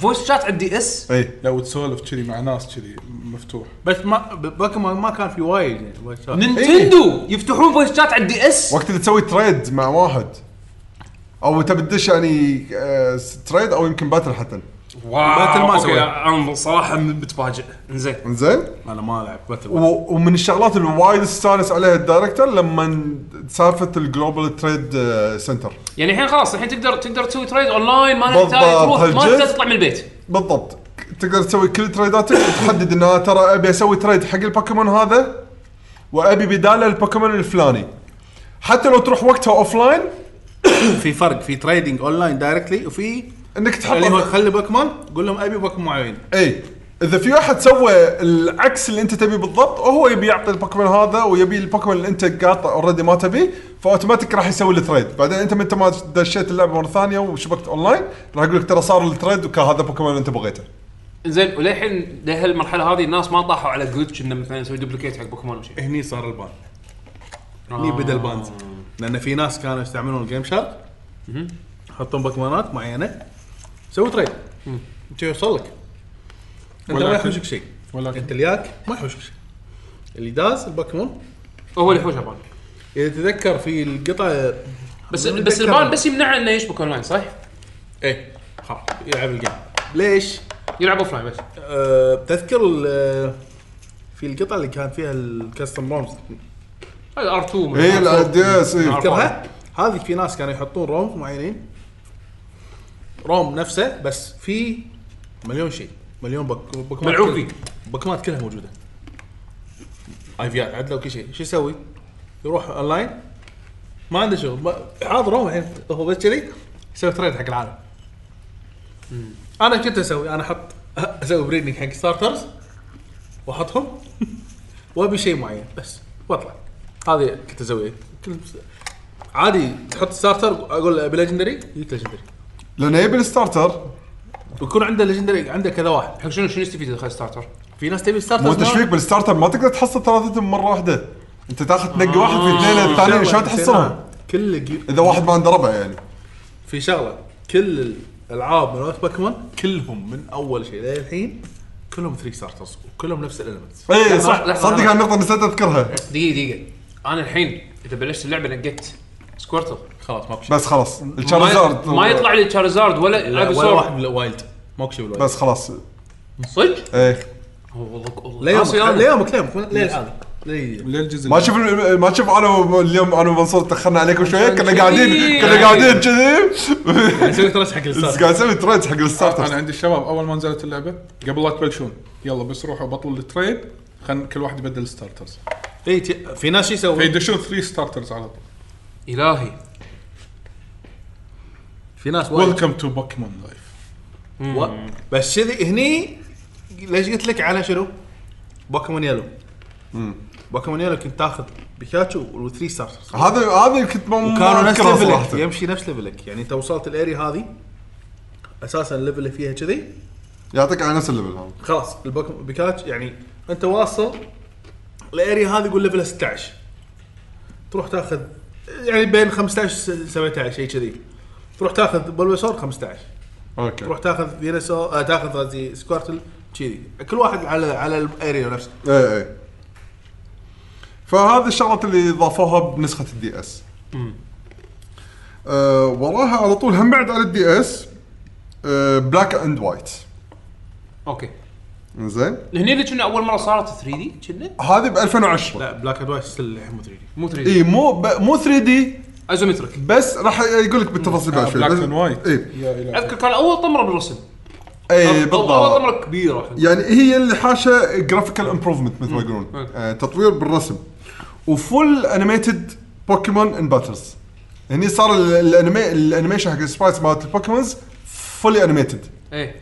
[SPEAKER 1] فويس شات على الدي اس
[SPEAKER 4] اي
[SPEAKER 2] لا وتسولف كذي مع ناس كذي مفتوح
[SPEAKER 5] بس ما ب- بوكيمون ما كان في وايد يعني فويس
[SPEAKER 4] إيه.
[SPEAKER 5] شات
[SPEAKER 1] نينتندو يفتحون فويس شات على الدي اس
[SPEAKER 4] وقت اللي تسوي تريد مع واحد او تبي تدش يعني آه، تريد او يمكن باتل حتى
[SPEAKER 1] واو
[SPEAKER 5] باتل ما
[SPEAKER 1] أوكي،
[SPEAKER 5] سويت.
[SPEAKER 1] انا صراحه متفاجئ انزين
[SPEAKER 4] انزين
[SPEAKER 5] انا ما العب باتل
[SPEAKER 4] و- ومن الشغلات اللي وايد استانس عليها الدايركتر لما سالفه الجلوبال تريد آه، سنتر
[SPEAKER 1] يعني الحين خلاص الحين تقدر تقدر تسوي تريد اونلاين ما
[SPEAKER 4] بالضبط،
[SPEAKER 1] تحتاج تروح ما
[SPEAKER 4] هالجزء.
[SPEAKER 1] تحتاج تطلع من البيت
[SPEAKER 4] بالضبط تقدر تسوي كل تريداتك وتحدد ان أنا ترى ابي اسوي تريد حق البوكيمون هذا وابي بداله البوكيمون الفلاني حتى لو تروح وقتها اوف لاين
[SPEAKER 5] في فرق في تريدنج اونلاين دايركتلي وفي
[SPEAKER 4] انك تحط
[SPEAKER 5] اللي هو خلي بوكيمون قول لهم ابي بوكيمون معين
[SPEAKER 4] اي اذا إيه، في واحد سوى العكس اللي انت تبيه بالضبط وهو يبي يعطي البوكيمون هذا ويبي البوكيمون اللي انت قاطع اوريدي ما تبيه فاوتوماتيك راح يسوي التريد بعدين انت من انت ما دشيت اللعبه مره ثانيه وشبكت اونلاين راح يقول لك ترى صار التريد وكان هذا البوكيمون اللي انت بغيته
[SPEAKER 1] زين وللحين لهالمرحله هذه الناس ما طاحوا على جلتش انه مثلا نسوي دوبليكيت حق بوكيمون وشي
[SPEAKER 5] هني صار البان
[SPEAKER 1] آه.
[SPEAKER 5] هني بدا البان لان في ناس كانوا يستعملون الجيم شارك يحطون بوكيمونات معينه سوي تريد انت يوصل لك انت
[SPEAKER 2] ولكن-
[SPEAKER 5] ما يحوشك شيء
[SPEAKER 2] ولكن-
[SPEAKER 5] انت اللي ياك ما يحوشك شيء اللي داز البوكيمون
[SPEAKER 1] هو اللي يحوش البان
[SPEAKER 5] اذا تذكر في القطع
[SPEAKER 1] بس
[SPEAKER 5] أتذكر-
[SPEAKER 1] بس البان بس يمنعه انه يشبك اونلاين صح؟
[SPEAKER 5] ايه خلاص يلعب الجيم ليش؟
[SPEAKER 1] يلعب اوف لاين بس
[SPEAKER 5] أه تذكر ال- في القطع اللي كان فيها الكاستم رومز
[SPEAKER 1] هذا ار 2
[SPEAKER 4] اي الاديس اي
[SPEAKER 5] تذكرها؟ هذه في ناس كانوا يحطون روم معينين روم نفسه بس في مليون شيء مليون بك بكمات
[SPEAKER 1] ملعوب
[SPEAKER 5] كلها-
[SPEAKER 1] فيه.
[SPEAKER 5] بكمات كلها موجوده اي فيات عدله وكل شيء شو يسوي؟ يروح اونلاين ما عنده شغل ما- حاضر روم الحين هو بس كذي يسوي تريد حق العالم انا كنت اسوي انا احط (laughs) اسوي بريدنج حق ستارترز واحطهم (laughs) وابي شيء معين بس واطلع هذه كنت اسويها كل عادي تحط ستارتر اقول ابي ليجندري يجيك ليجندري
[SPEAKER 4] لان يبي الستارتر
[SPEAKER 5] ويكون عنده ليجندري عنده كذا واحد
[SPEAKER 1] حق شنو شنو يستفيد اذا خذ ستارتر؟
[SPEAKER 5] في ناس تبي ستارتر
[SPEAKER 4] مو انت ايش فيك بالستارتر ما تقدر تحصل ثلاثتهم مره واحده انت تاخذ
[SPEAKER 1] آه،
[SPEAKER 4] تنقي واحد في اثنين الثانيين يعني، شلون تحصلهم؟
[SPEAKER 5] كل جي-
[SPEAKER 4] اذا واحد ما عنده ربع يعني
[SPEAKER 5] في شغله كل الالعاب مالت بوكيمون كلهم من اول شيء للحين كلهم 3 ستارترز وكلهم نفس الالمنتس
[SPEAKER 4] اي
[SPEAKER 1] لحظة،
[SPEAKER 4] إيه، صح
[SPEAKER 1] لحظة،
[SPEAKER 4] صدق
[SPEAKER 1] لحظة.
[SPEAKER 4] هالنقطه نسيت اذكرها
[SPEAKER 1] دقيقه دقيقه انا الحين اذا بلشت اللعبه نقيت سكورتر
[SPEAKER 5] خلاص ماكو شيء
[SPEAKER 4] بس خلاص
[SPEAKER 1] ما-
[SPEAKER 4] الشارزارد
[SPEAKER 1] ما يطلع لي تشارزارد
[SPEAKER 5] لا،
[SPEAKER 1] ولا
[SPEAKER 5] ولا واحد
[SPEAKER 1] اجسور
[SPEAKER 5] بال- وايلد ماكو شيء بالوايلد
[SPEAKER 4] يعني بس خلاص
[SPEAKER 1] صدق؟
[SPEAKER 4] ايه
[SPEAKER 5] ليومك
[SPEAKER 1] ناسي أنا.
[SPEAKER 5] ليومك ليومك للحين ليه
[SPEAKER 2] ليه الجزء
[SPEAKER 4] ما تشوف ما تشوف انا اليوم انا ومنصور تاخرنا عليكم شويه كنا
[SPEAKER 1] كذي.
[SPEAKER 4] قاعدين كنا
[SPEAKER 1] يعني.
[SPEAKER 4] قاعدين كذي
[SPEAKER 5] أيوه. نسوي ترس حق الستارتر
[SPEAKER 4] قاعد اسوي تريدز حق
[SPEAKER 2] انا
[SPEAKER 4] الستارترز
[SPEAKER 2] عندي الشباب اول ما نزلت اللعبه قبل لا تبلشون يلا بس روحوا بطلوا التريد خلينا كل واحد يبدل ستارترز
[SPEAKER 5] إي، إيه، ت- في ناس شو يسوي
[SPEAKER 2] فيدشون ثري ستارترز على طول
[SPEAKER 1] الهي
[SPEAKER 5] في ناس وايد
[SPEAKER 2] ويلكم تو بوكيمون لايف
[SPEAKER 5] و... بس كذي هني ليش قلت لك على شنو؟ بوكيمون يلو بوكيمون يلو كنت تاخذ بيكاتشو والثري ستارز
[SPEAKER 4] هذا هذا كنت ما ما
[SPEAKER 5] وكانوا نفس
[SPEAKER 4] أذكره
[SPEAKER 5] ليفلك
[SPEAKER 4] صراحة.
[SPEAKER 5] يمشي نفس ليفلك يعني انت وصلت الاري هذه اساسا الليفل اللي فيها كذي
[SPEAKER 4] يعطيك على نفس الليفل هذا
[SPEAKER 5] خلاص البوكيمون بيكاتشو يعني انت واصل الاري هذه يقول ليفلها 16 تروح تاخذ يعني بين 15 و 17 شيء كذي تروح تاخذ بلوسور 15
[SPEAKER 4] اوكي
[SPEAKER 5] تروح تاخذ فينسو آه تاخذ قصدي سكوارتل كذي كل واحد على على الاريا نفسه
[SPEAKER 4] ايه ايه فهذه الشغلات اللي ضافوها بنسخه الدي اس أه وراها على طول هم بعد على الدي اس أه بلاك اند وايت
[SPEAKER 1] اوكي
[SPEAKER 4] زين
[SPEAKER 1] هني اللي كنا اول مره صارت 3 دي كنا
[SPEAKER 4] هذه ب 2010
[SPEAKER 5] لا بلاك اند وايت ستيل الحين مو
[SPEAKER 1] مو 3
[SPEAKER 5] 3 دي
[SPEAKER 1] دي
[SPEAKER 4] اي مو ب- مو 3 دي
[SPEAKER 1] ازومتريك
[SPEAKER 4] بس راح يقول لك بالتفاصيل بعد شوي
[SPEAKER 2] بلاك
[SPEAKER 4] بس-
[SPEAKER 2] اند وايت
[SPEAKER 4] اي
[SPEAKER 1] اذكر كان اول طمره بالرسم
[SPEAKER 4] اي
[SPEAKER 1] أول- اول
[SPEAKER 4] إيه، بالضبط
[SPEAKER 1] طمره كبيره
[SPEAKER 4] يعني هي اللي حاشه جرافيكال امبروفمنت مثل ما يقولون آه، تطوير بالرسم وفول انيميتد بوكيمون ان باتلز هني صار ال- الانمي الانيميشن حق السبرايتس مالت البوكيمونز فولي انيميتد
[SPEAKER 1] ايه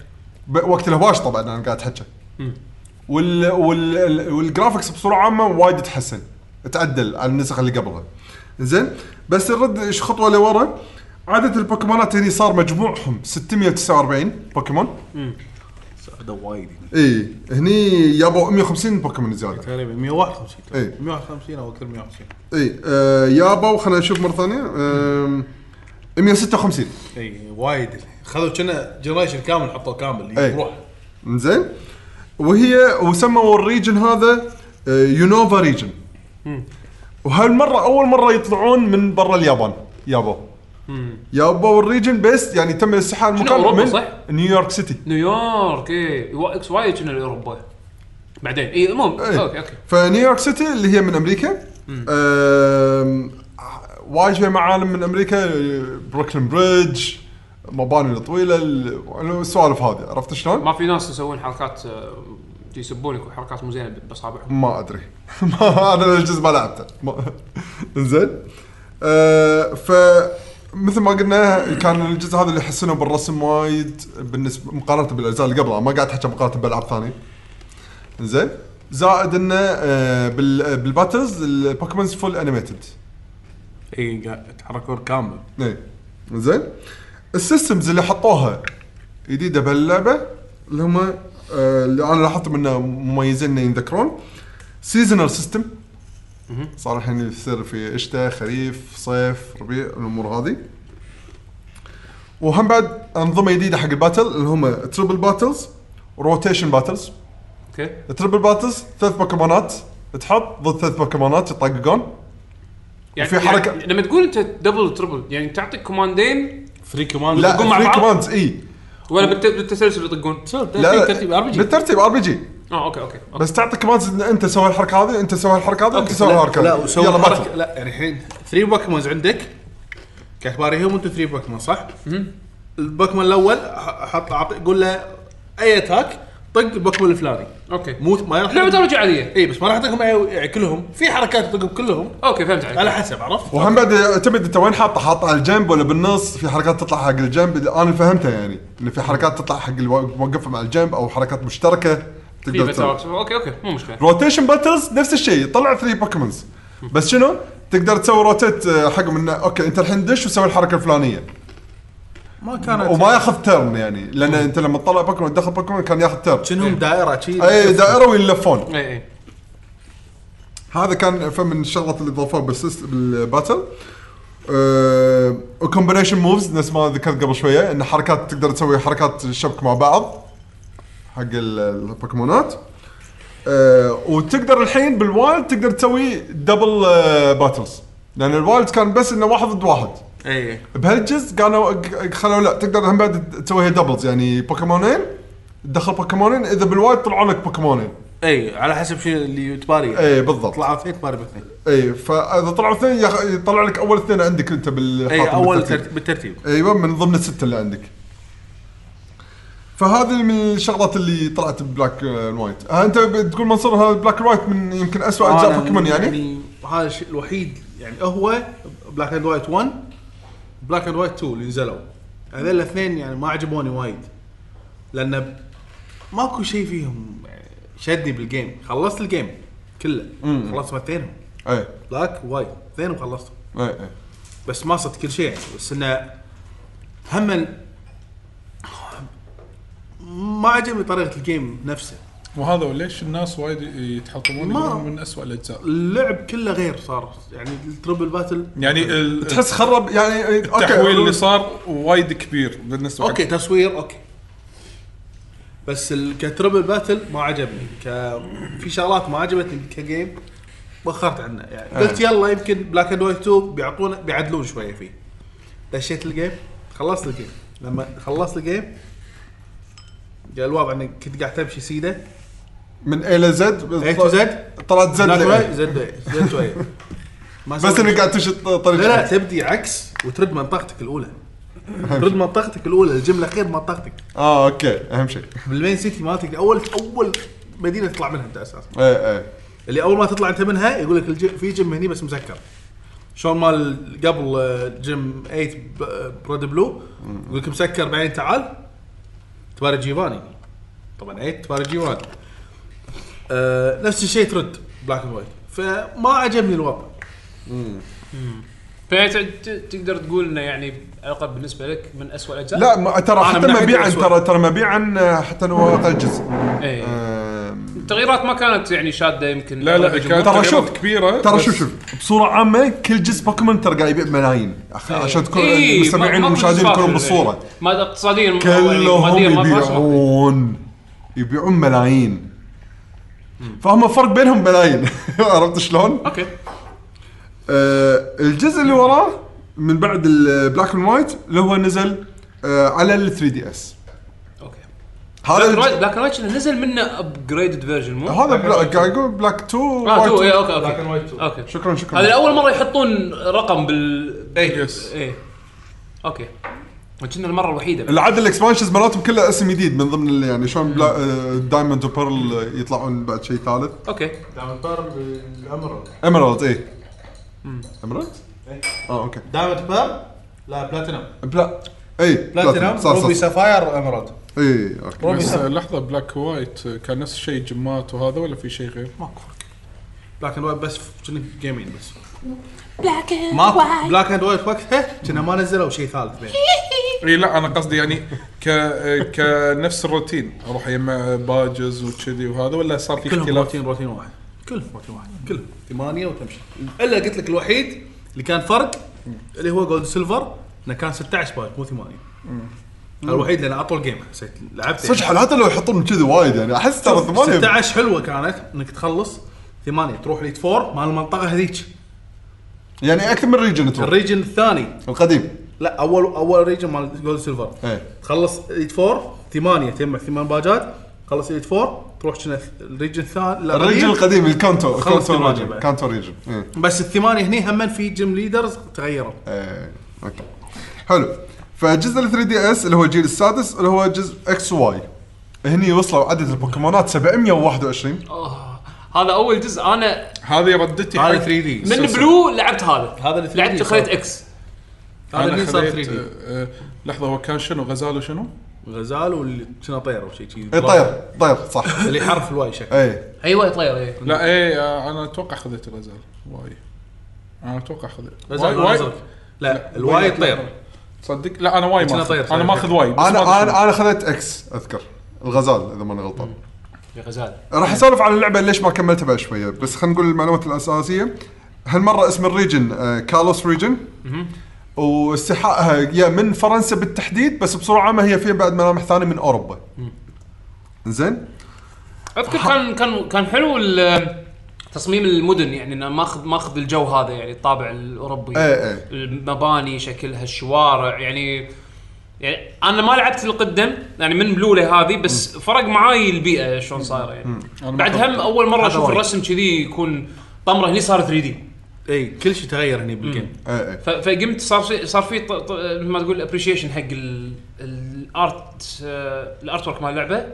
[SPEAKER 4] وقت الهواش طبعا انا قاعد احكي وال وال ال- والجرافكس بصوره عامه وايد تحسن تعدل على النسخ اللي قبلها زين بس نرد ايش خطوه لورا عدد البوكيمونات هني صار مجموعهم 649 بوكيمون
[SPEAKER 5] هذا وايد
[SPEAKER 4] اي هني يابوا 150 بوكيمون زياده
[SPEAKER 5] تقريبا 151
[SPEAKER 4] إيه.
[SPEAKER 5] 151 او اكثر من 150
[SPEAKER 4] اي آه يابوا خلينا نشوف مره ثانيه آم، 156
[SPEAKER 5] اي وايد خذوا كنا جنريشن كامل حطوه كامل
[SPEAKER 4] إيه.
[SPEAKER 5] يروح
[SPEAKER 4] زين وهي وسموا الريجن هذا آه، يونوفا ريجن وهالمره اول مره يطلعون من برا اليابان يابو يابو الريجن بس يعني تم استحال مكان
[SPEAKER 1] أوروبا،
[SPEAKER 4] من
[SPEAKER 1] صح؟
[SPEAKER 4] نيويورك سيتي
[SPEAKER 1] نيويورك اي وا- اكس واي كنا لاوروبا بعدين اي المهم
[SPEAKER 4] إيه.
[SPEAKER 1] اوكي اوكي
[SPEAKER 4] فنيويورك سيتي اللي هي من امريكا آم، وايد فيها معالم من امريكا بروكلين بريدج مباني الطويله ال- السوالف هذه عرفت شلون؟
[SPEAKER 1] ما في ناس يسوون حركات آه، يسبونك وحركات مو زينه باصابعهم
[SPEAKER 4] ما ادري (laughs) ما انا الجزء ما لعبته ما- زين آه ف مثل ما قلنا كان الجزء هذا اللي حسنوا بالرسم وايد بالنسبه مقارنه بالاجزاء اللي قبلها ما قاعد احكي مقارنه بالعاب ثانيه زين زائد انه آه بال- بالباتلز البوكيمونز فول انيميتد
[SPEAKER 5] اي قاعد يتحركون كامل
[SPEAKER 4] ايه زين السيستمز اللي حطوها جديده بهاللعبه اللي هم آه، اللي انا لاحظتهم انه مميزين إنه يذكرون سيزونال سيستم صار الحين يصير في شتاء خريف صيف ربيع الامور هذه وهم بعد انظمه جديده حق الباتل اللي هم تربل باتلز روتيشن باتلز
[SPEAKER 1] اوكي
[SPEAKER 4] التربل باتلز ثلاث بوكيمونات تحط ضد ثلاث بوكيمونات يطققون
[SPEAKER 1] يعني
[SPEAKER 4] وفي حركة-
[SPEAKER 1] يعني لما تقول انت دبل تربل يعني تعطي كوماندين
[SPEAKER 5] فري كمان
[SPEAKER 4] لا
[SPEAKER 1] يطقون مع
[SPEAKER 4] three
[SPEAKER 1] بعض؟
[SPEAKER 4] commands، اي
[SPEAKER 1] ولا بالت- بالتسلسل يطقون
[SPEAKER 4] لا
[SPEAKER 5] ترتيب ار بي جي
[SPEAKER 4] بالترتيب ار بي جي
[SPEAKER 1] اه اوكي اوكي أوكي.
[SPEAKER 4] بس تعطي كمان ان انت سوي الحركه هذه انت سوي الحركه هذه انت سوي الحركه
[SPEAKER 5] لا
[SPEAKER 4] هذه.
[SPEAKER 5] وسوي
[SPEAKER 4] يلا
[SPEAKER 5] حركة-
[SPEAKER 4] بطل
[SPEAKER 5] لا يعني الحين 3 بوكيمونز عندك كاكباريهم وانت 3 بوكيمون صح؟ البوكيمون الاول ح- حط عط- قول له اي اتاك طق البوكيمون الفلاني
[SPEAKER 1] اوكي
[SPEAKER 5] مو ما راح
[SPEAKER 1] لعبه رجع عاديه
[SPEAKER 5] اي بس ما راح اعطيكم أي- يعني كلهم في حركات تطقهم كلهم
[SPEAKER 1] اوكي فهمت عليك
[SPEAKER 5] على حسب عرفت؟
[SPEAKER 4] وهم بعد يعتمد انت وين حاطه حاطه على الجنب ولا بالنص في حركات تطلع حق الجنب انا اللي فهمتها يعني ان في حركات تطلع حق الو- موقفه مع الجنب او حركات مشتركه
[SPEAKER 1] في
[SPEAKER 4] تقدر
[SPEAKER 1] بس
[SPEAKER 4] تسوي
[SPEAKER 1] عكس. اوكي اوكي مو مشكله
[SPEAKER 4] روتيشن باتلز نفس الشيء طلع ثري بوكيمونز بس شنو؟ تقدر تسوي روتيت آه، حقهم انه اوكي انت الحين دش وسوي الحركه الفلانيه
[SPEAKER 5] ما كانت
[SPEAKER 4] وما ياخذ تيرن يعني لان انت لما تطلع بوكيمون تدخل بوكيمون كان ياخذ تيرن
[SPEAKER 5] شنهم دائره شي
[SPEAKER 4] اي دائره ويلفون
[SPEAKER 1] اي اي
[SPEAKER 4] هذا كان فمن الشغلات اللي ضافوها بالسيست بالباتل أه وكومبينيشن موفز نفس ما ذكرت قبل شويه ان حركات تقدر تسوي حركات الشبك مع بعض حق ال- البوكيمونات أه وتقدر الحين بالوايلد تقدر تسوي دبل أه باتلز لان الوايلد كان بس انه واحد ضد واحد
[SPEAKER 5] اي
[SPEAKER 4] بهالجزء كانوا ق- خلوا لا تقدر هم بعد تسويها دبلز يعني بوكيمونين تدخل بوكيمونين اذا بالوايلد طلعوا لك بوكيمونين
[SPEAKER 5] اي على حسب شنو اللي يتباري
[SPEAKER 4] اي بالضبط
[SPEAKER 5] طلعوا اثنين تباري باثنين
[SPEAKER 4] اي فاذا طلعوا اثنين يخ- يطلع لك اول اثنين عندك انت بال
[SPEAKER 5] اي
[SPEAKER 4] حاطهم
[SPEAKER 5] اول
[SPEAKER 4] بالترتيب.
[SPEAKER 5] ترتيب- بالترتيب
[SPEAKER 4] ايوه من ضمن السته اللي عندك فهذه من الشغلات اللي طلعت ببلاك آه، وايت آه، انت بتقول منصور هذا بلاك اند وايت من يمكن اسوء
[SPEAKER 5] أنا
[SPEAKER 4] اجزاء بوكيمون يعني
[SPEAKER 5] هذا الشيء الوحيد يعني هو بلاك اند وايت 1 بلاك اند وايت 2 اللي نزلوا هذول الاثنين يعني ما عجبوني وايد لان ب- ماكو شيء فيهم شدني بالجيم خلصت الجيم كله خلصت اثنينهم
[SPEAKER 4] اي
[SPEAKER 5] بلاك وايت اثنينهم خلصتهم
[SPEAKER 4] اي اي
[SPEAKER 5] بس ما صدق كل شيء يعني بس انه هم ما عجبني طريقه الجيم نفسه
[SPEAKER 2] وهذا وليش الناس وايد يتحطمون
[SPEAKER 5] ما-
[SPEAKER 2] يقولون من أسوأ الاجزاء
[SPEAKER 5] اللعب كله غير صار يعني التربل باتل
[SPEAKER 2] يعني ال-
[SPEAKER 4] تحس خرب يعني آه، اوكي
[SPEAKER 2] التحويل اللي صار وايد كبير بالنسبه
[SPEAKER 5] اوكي تصوير اوكي بس ال- كتربل باتل ما عجبني ك في شغلات ما عجبتني كجيم وخرت عنه
[SPEAKER 4] آه.
[SPEAKER 5] يعني قلت يلا يمكن بلاك اند وايت 2 بيعطونا بيعدلون شويه فيه دشيت الجيم خلصت الجيم لما خلصت الجيم جاء الوضع انك كنت قاعد تمشي سيده
[SPEAKER 4] من اي لزد
[SPEAKER 5] A to Z.
[SPEAKER 4] طلعت زد
[SPEAKER 5] بلاك
[SPEAKER 4] ل
[SPEAKER 5] وايد
[SPEAKER 4] A.
[SPEAKER 5] زد وايد، زد وايد. ما
[SPEAKER 4] بس
[SPEAKER 5] سويت
[SPEAKER 4] انك قاعد تمشي طريق
[SPEAKER 5] لا لا تبدي عكس وترد منطقتك الاولى
[SPEAKER 4] (laughs)
[SPEAKER 5] ترد منطقتك الاولى الجمله غير منطقتك
[SPEAKER 4] اه اوكي اهم شيء
[SPEAKER 5] بالمين سيتي مالتك اول اول مدينه تطلع منها انت اساسا
[SPEAKER 4] اي اي
[SPEAKER 5] اللي اول ما تطلع انت منها يقول لك الجي... في جيم هني بس مسكر شلون مال قبل آه، جيم 8 ب- آه، براد بلو يقول لك مسكر بعدين تعال تباري جيفاني طبعا 8 تباري جيفاني آه نفس الشيء ترد بلاك اند وايت فما عجبني الوضع
[SPEAKER 1] فتقدر تقول انه يعني القب بالنسبه لك من اسوء الاجزاء
[SPEAKER 4] لا ما ترى
[SPEAKER 5] أنا
[SPEAKER 4] حتى
[SPEAKER 5] من ناحية
[SPEAKER 4] مبيعا
[SPEAKER 5] الأسود.
[SPEAKER 4] ترى ترى مبيعا آه، حتى لو هو آه، اقل جزء
[SPEAKER 1] إيه.
[SPEAKER 4] آم،
[SPEAKER 1] التغييرات ما كانت يعني شاده يمكن
[SPEAKER 2] لا لا
[SPEAKER 1] الجمهور.
[SPEAKER 2] كانت
[SPEAKER 4] ترى شوف.
[SPEAKER 2] تغييرات كبيره
[SPEAKER 4] ترى
[SPEAKER 2] بس
[SPEAKER 4] شوف شوف بصوره عامه كل جزء بوكيمون ترى قاعد يبيع ملايين أخ- عشان تكون
[SPEAKER 1] إيه، ما-
[SPEAKER 4] المستمعين
[SPEAKER 1] ما
[SPEAKER 4] والمشاهدين
[SPEAKER 1] بالصافي
[SPEAKER 4] يكونون
[SPEAKER 1] يعني.
[SPEAKER 4] بالصوره
[SPEAKER 1] ما اقتصاديا
[SPEAKER 4] كلهم
[SPEAKER 1] مادياً إيه، ما فيهاش مقصد.
[SPEAKER 4] يبيعون يبيعون ملايين فهم فرق بينهم ملايين (laughs) عرفت شلون؟
[SPEAKER 5] اوكي
[SPEAKER 4] آه، الجزء اللي وراه من بعد البلاك اند وايت اللي هو نزل آه، على ال 3 دي اس
[SPEAKER 1] اوكي
[SPEAKER 4] هذا
[SPEAKER 1] بلاك
[SPEAKER 4] الج-
[SPEAKER 1] رايت- بلاك رايت شنو نزل منه ابجريدد فيرجن مو؟
[SPEAKER 4] هذا بلاك قاعد اقول بلاك 2
[SPEAKER 1] اه تو إيه،
[SPEAKER 4] وايت
[SPEAKER 1] اوكي اوكي اوكي
[SPEAKER 4] 2. شكرا شكرا
[SPEAKER 1] هذا اول مره يحطون رقم بال
[SPEAKER 2] اي يس
[SPEAKER 1] ايه اوكي كنا المره الوحيده بعد.
[SPEAKER 4] العدد الاكسبانشنز مالتهم كلها اسم جديد من ضمن ال- يعني شلون بلا- آه، دايموند وبيرل يطلعون بعد شيء ثالث
[SPEAKER 1] اوكي
[SPEAKER 7] دعم البار بالامرالد
[SPEAKER 4] ايمرالد اي ايمرالد؟ اه اوكي
[SPEAKER 7] دعم البار لا بلاتينم
[SPEAKER 4] بلا إيه، اي
[SPEAKER 7] بلاتينم
[SPEAKER 4] صار
[SPEAKER 7] روبي
[SPEAKER 4] صار
[SPEAKER 7] سافاير امرالد
[SPEAKER 4] اي اوكي
[SPEAKER 2] بس لحظه بلاك وايت كان نفس الشيء جمات وهذا ولا في شيء غير؟
[SPEAKER 5] بلاك اند وايت بس ف- كنا جيمين بس
[SPEAKER 8] Black and
[SPEAKER 5] ماكو
[SPEAKER 8] white.
[SPEAKER 5] بلاك اند وايت وقتها كنا ما نزلوا شيء ثالث بين
[SPEAKER 2] اي لا انا قصدي يعني ك كنفس الروتين اروح يم باجز وكذي وهذا ولا صار في
[SPEAKER 5] كلهم
[SPEAKER 2] اختلاف؟
[SPEAKER 5] روتين روتين واحد كلهم روتين واحد كلهم ثمانيه وتمشي الا قلت لك الوحيد اللي كان فرق اللي هو جولد سيلفر انه كان 16 باج مو ثمانيه الوحيد لان اطول جيم حسيت لعبت
[SPEAKER 4] صدق حتى لو يحطون كذي وايد يعني احس ترى ثمانيه
[SPEAKER 5] 16 حلوه كانت انك تخلص ثمانيه تروح ليت فور مال المنطقه هذيك
[SPEAKER 4] يعني اكثر من ريجن تروح
[SPEAKER 5] الريجن الثاني
[SPEAKER 4] القديم
[SPEAKER 5] لا اول اول ريجن مال جولد سيلفر
[SPEAKER 4] ايه
[SPEAKER 5] تخلص ايد فور ثمانية تجمع ثمان باجات تخلص ايد فور تروح شنو الريجن الثاني لا،
[SPEAKER 4] الريجن القديم الكانتو
[SPEAKER 5] خلص
[SPEAKER 4] كانتو
[SPEAKER 5] ثمانية
[SPEAKER 4] ريجن
[SPEAKER 5] بعد.
[SPEAKER 4] كانتو ريجن إيه.
[SPEAKER 5] بس الثمانية هني هم في جيم ليدرز تغيروا
[SPEAKER 4] إيه. اوكي حلو فجزء ال 3 دي اس اللي هو الجيل السادس اللي هو جزء اكس واي هني وصلوا عدد البوكيمونات 721
[SPEAKER 1] هذا اول جزء انا
[SPEAKER 2] هذه ردتي
[SPEAKER 5] هذا
[SPEAKER 2] حق-
[SPEAKER 5] 3 دي
[SPEAKER 1] من بلو لعبت هذا
[SPEAKER 5] هذا اللي 3D
[SPEAKER 1] لعبت
[SPEAKER 5] صار.
[SPEAKER 1] خليت اكس
[SPEAKER 5] هذا
[SPEAKER 2] انا
[SPEAKER 5] اللي صار 3
[SPEAKER 2] خذيت
[SPEAKER 5] دي
[SPEAKER 2] آه، آه، لحظه هو كان شنو غزال وشنو؟
[SPEAKER 5] غزال واللي كنا طير او شيء شي
[SPEAKER 4] اي إيه، طير إيه. طير طيب،
[SPEAKER 2] (laughs)
[SPEAKER 4] صح
[SPEAKER 5] اللي حرف الواي شكله
[SPEAKER 4] اي
[SPEAKER 1] ايوه طير اي
[SPEAKER 2] لا اي آه، انا اتوقع خذيت الغزال واي انا اتوقع خذيت
[SPEAKER 5] غزال
[SPEAKER 2] واي-
[SPEAKER 5] ولا
[SPEAKER 2] واي-
[SPEAKER 5] أزرق؟ لا الواي طير
[SPEAKER 2] تصدق لا انا واي
[SPEAKER 5] كنا
[SPEAKER 2] ما
[SPEAKER 5] طير
[SPEAKER 2] أخذ.
[SPEAKER 5] صحيح.
[SPEAKER 2] انا ماخذ واي بس ما أدري
[SPEAKER 4] انا
[SPEAKER 2] شنو.
[SPEAKER 4] انا انا خذيت اكس اذكر الغزال اذا ماني غلطان
[SPEAKER 1] يا غزال
[SPEAKER 4] راح اسولف عن اللعبه ليش ما كملتها بعد شويه بس خلينا نقول المعلومات الاساسيه هالمره اسم الريجن آه، كالوس ريجن واستحقاقها يا من فرنسا بالتحديد بس بصوره عامه هي فيها بعد ملامح ثانيه من اوروبا زين
[SPEAKER 1] اذكر كان كان كان حلو ال- تصميم المدن يعني انه ماخذ ماخذ الجو هذا يعني الطابع الاوروبي
[SPEAKER 4] إيه إيه.
[SPEAKER 1] المباني شكلها الشوارع يعني يعني انا ما لعبت القدم يعني من بلولي هذه بس فرق معاي البيئه شلون صايره يعني بعد هم اول مره اشوف
[SPEAKER 5] وايد.
[SPEAKER 1] الرسم كذي يكون طمره هني صار 3 دي
[SPEAKER 5] اي إيه، كل شيء تغير هني بالجيم
[SPEAKER 4] اي اي
[SPEAKER 1] فقمت صار في صار في ط- ط- مثل ما تقول ابريشيشن حق ال- الارت آه، الارت ورك مال اللعبه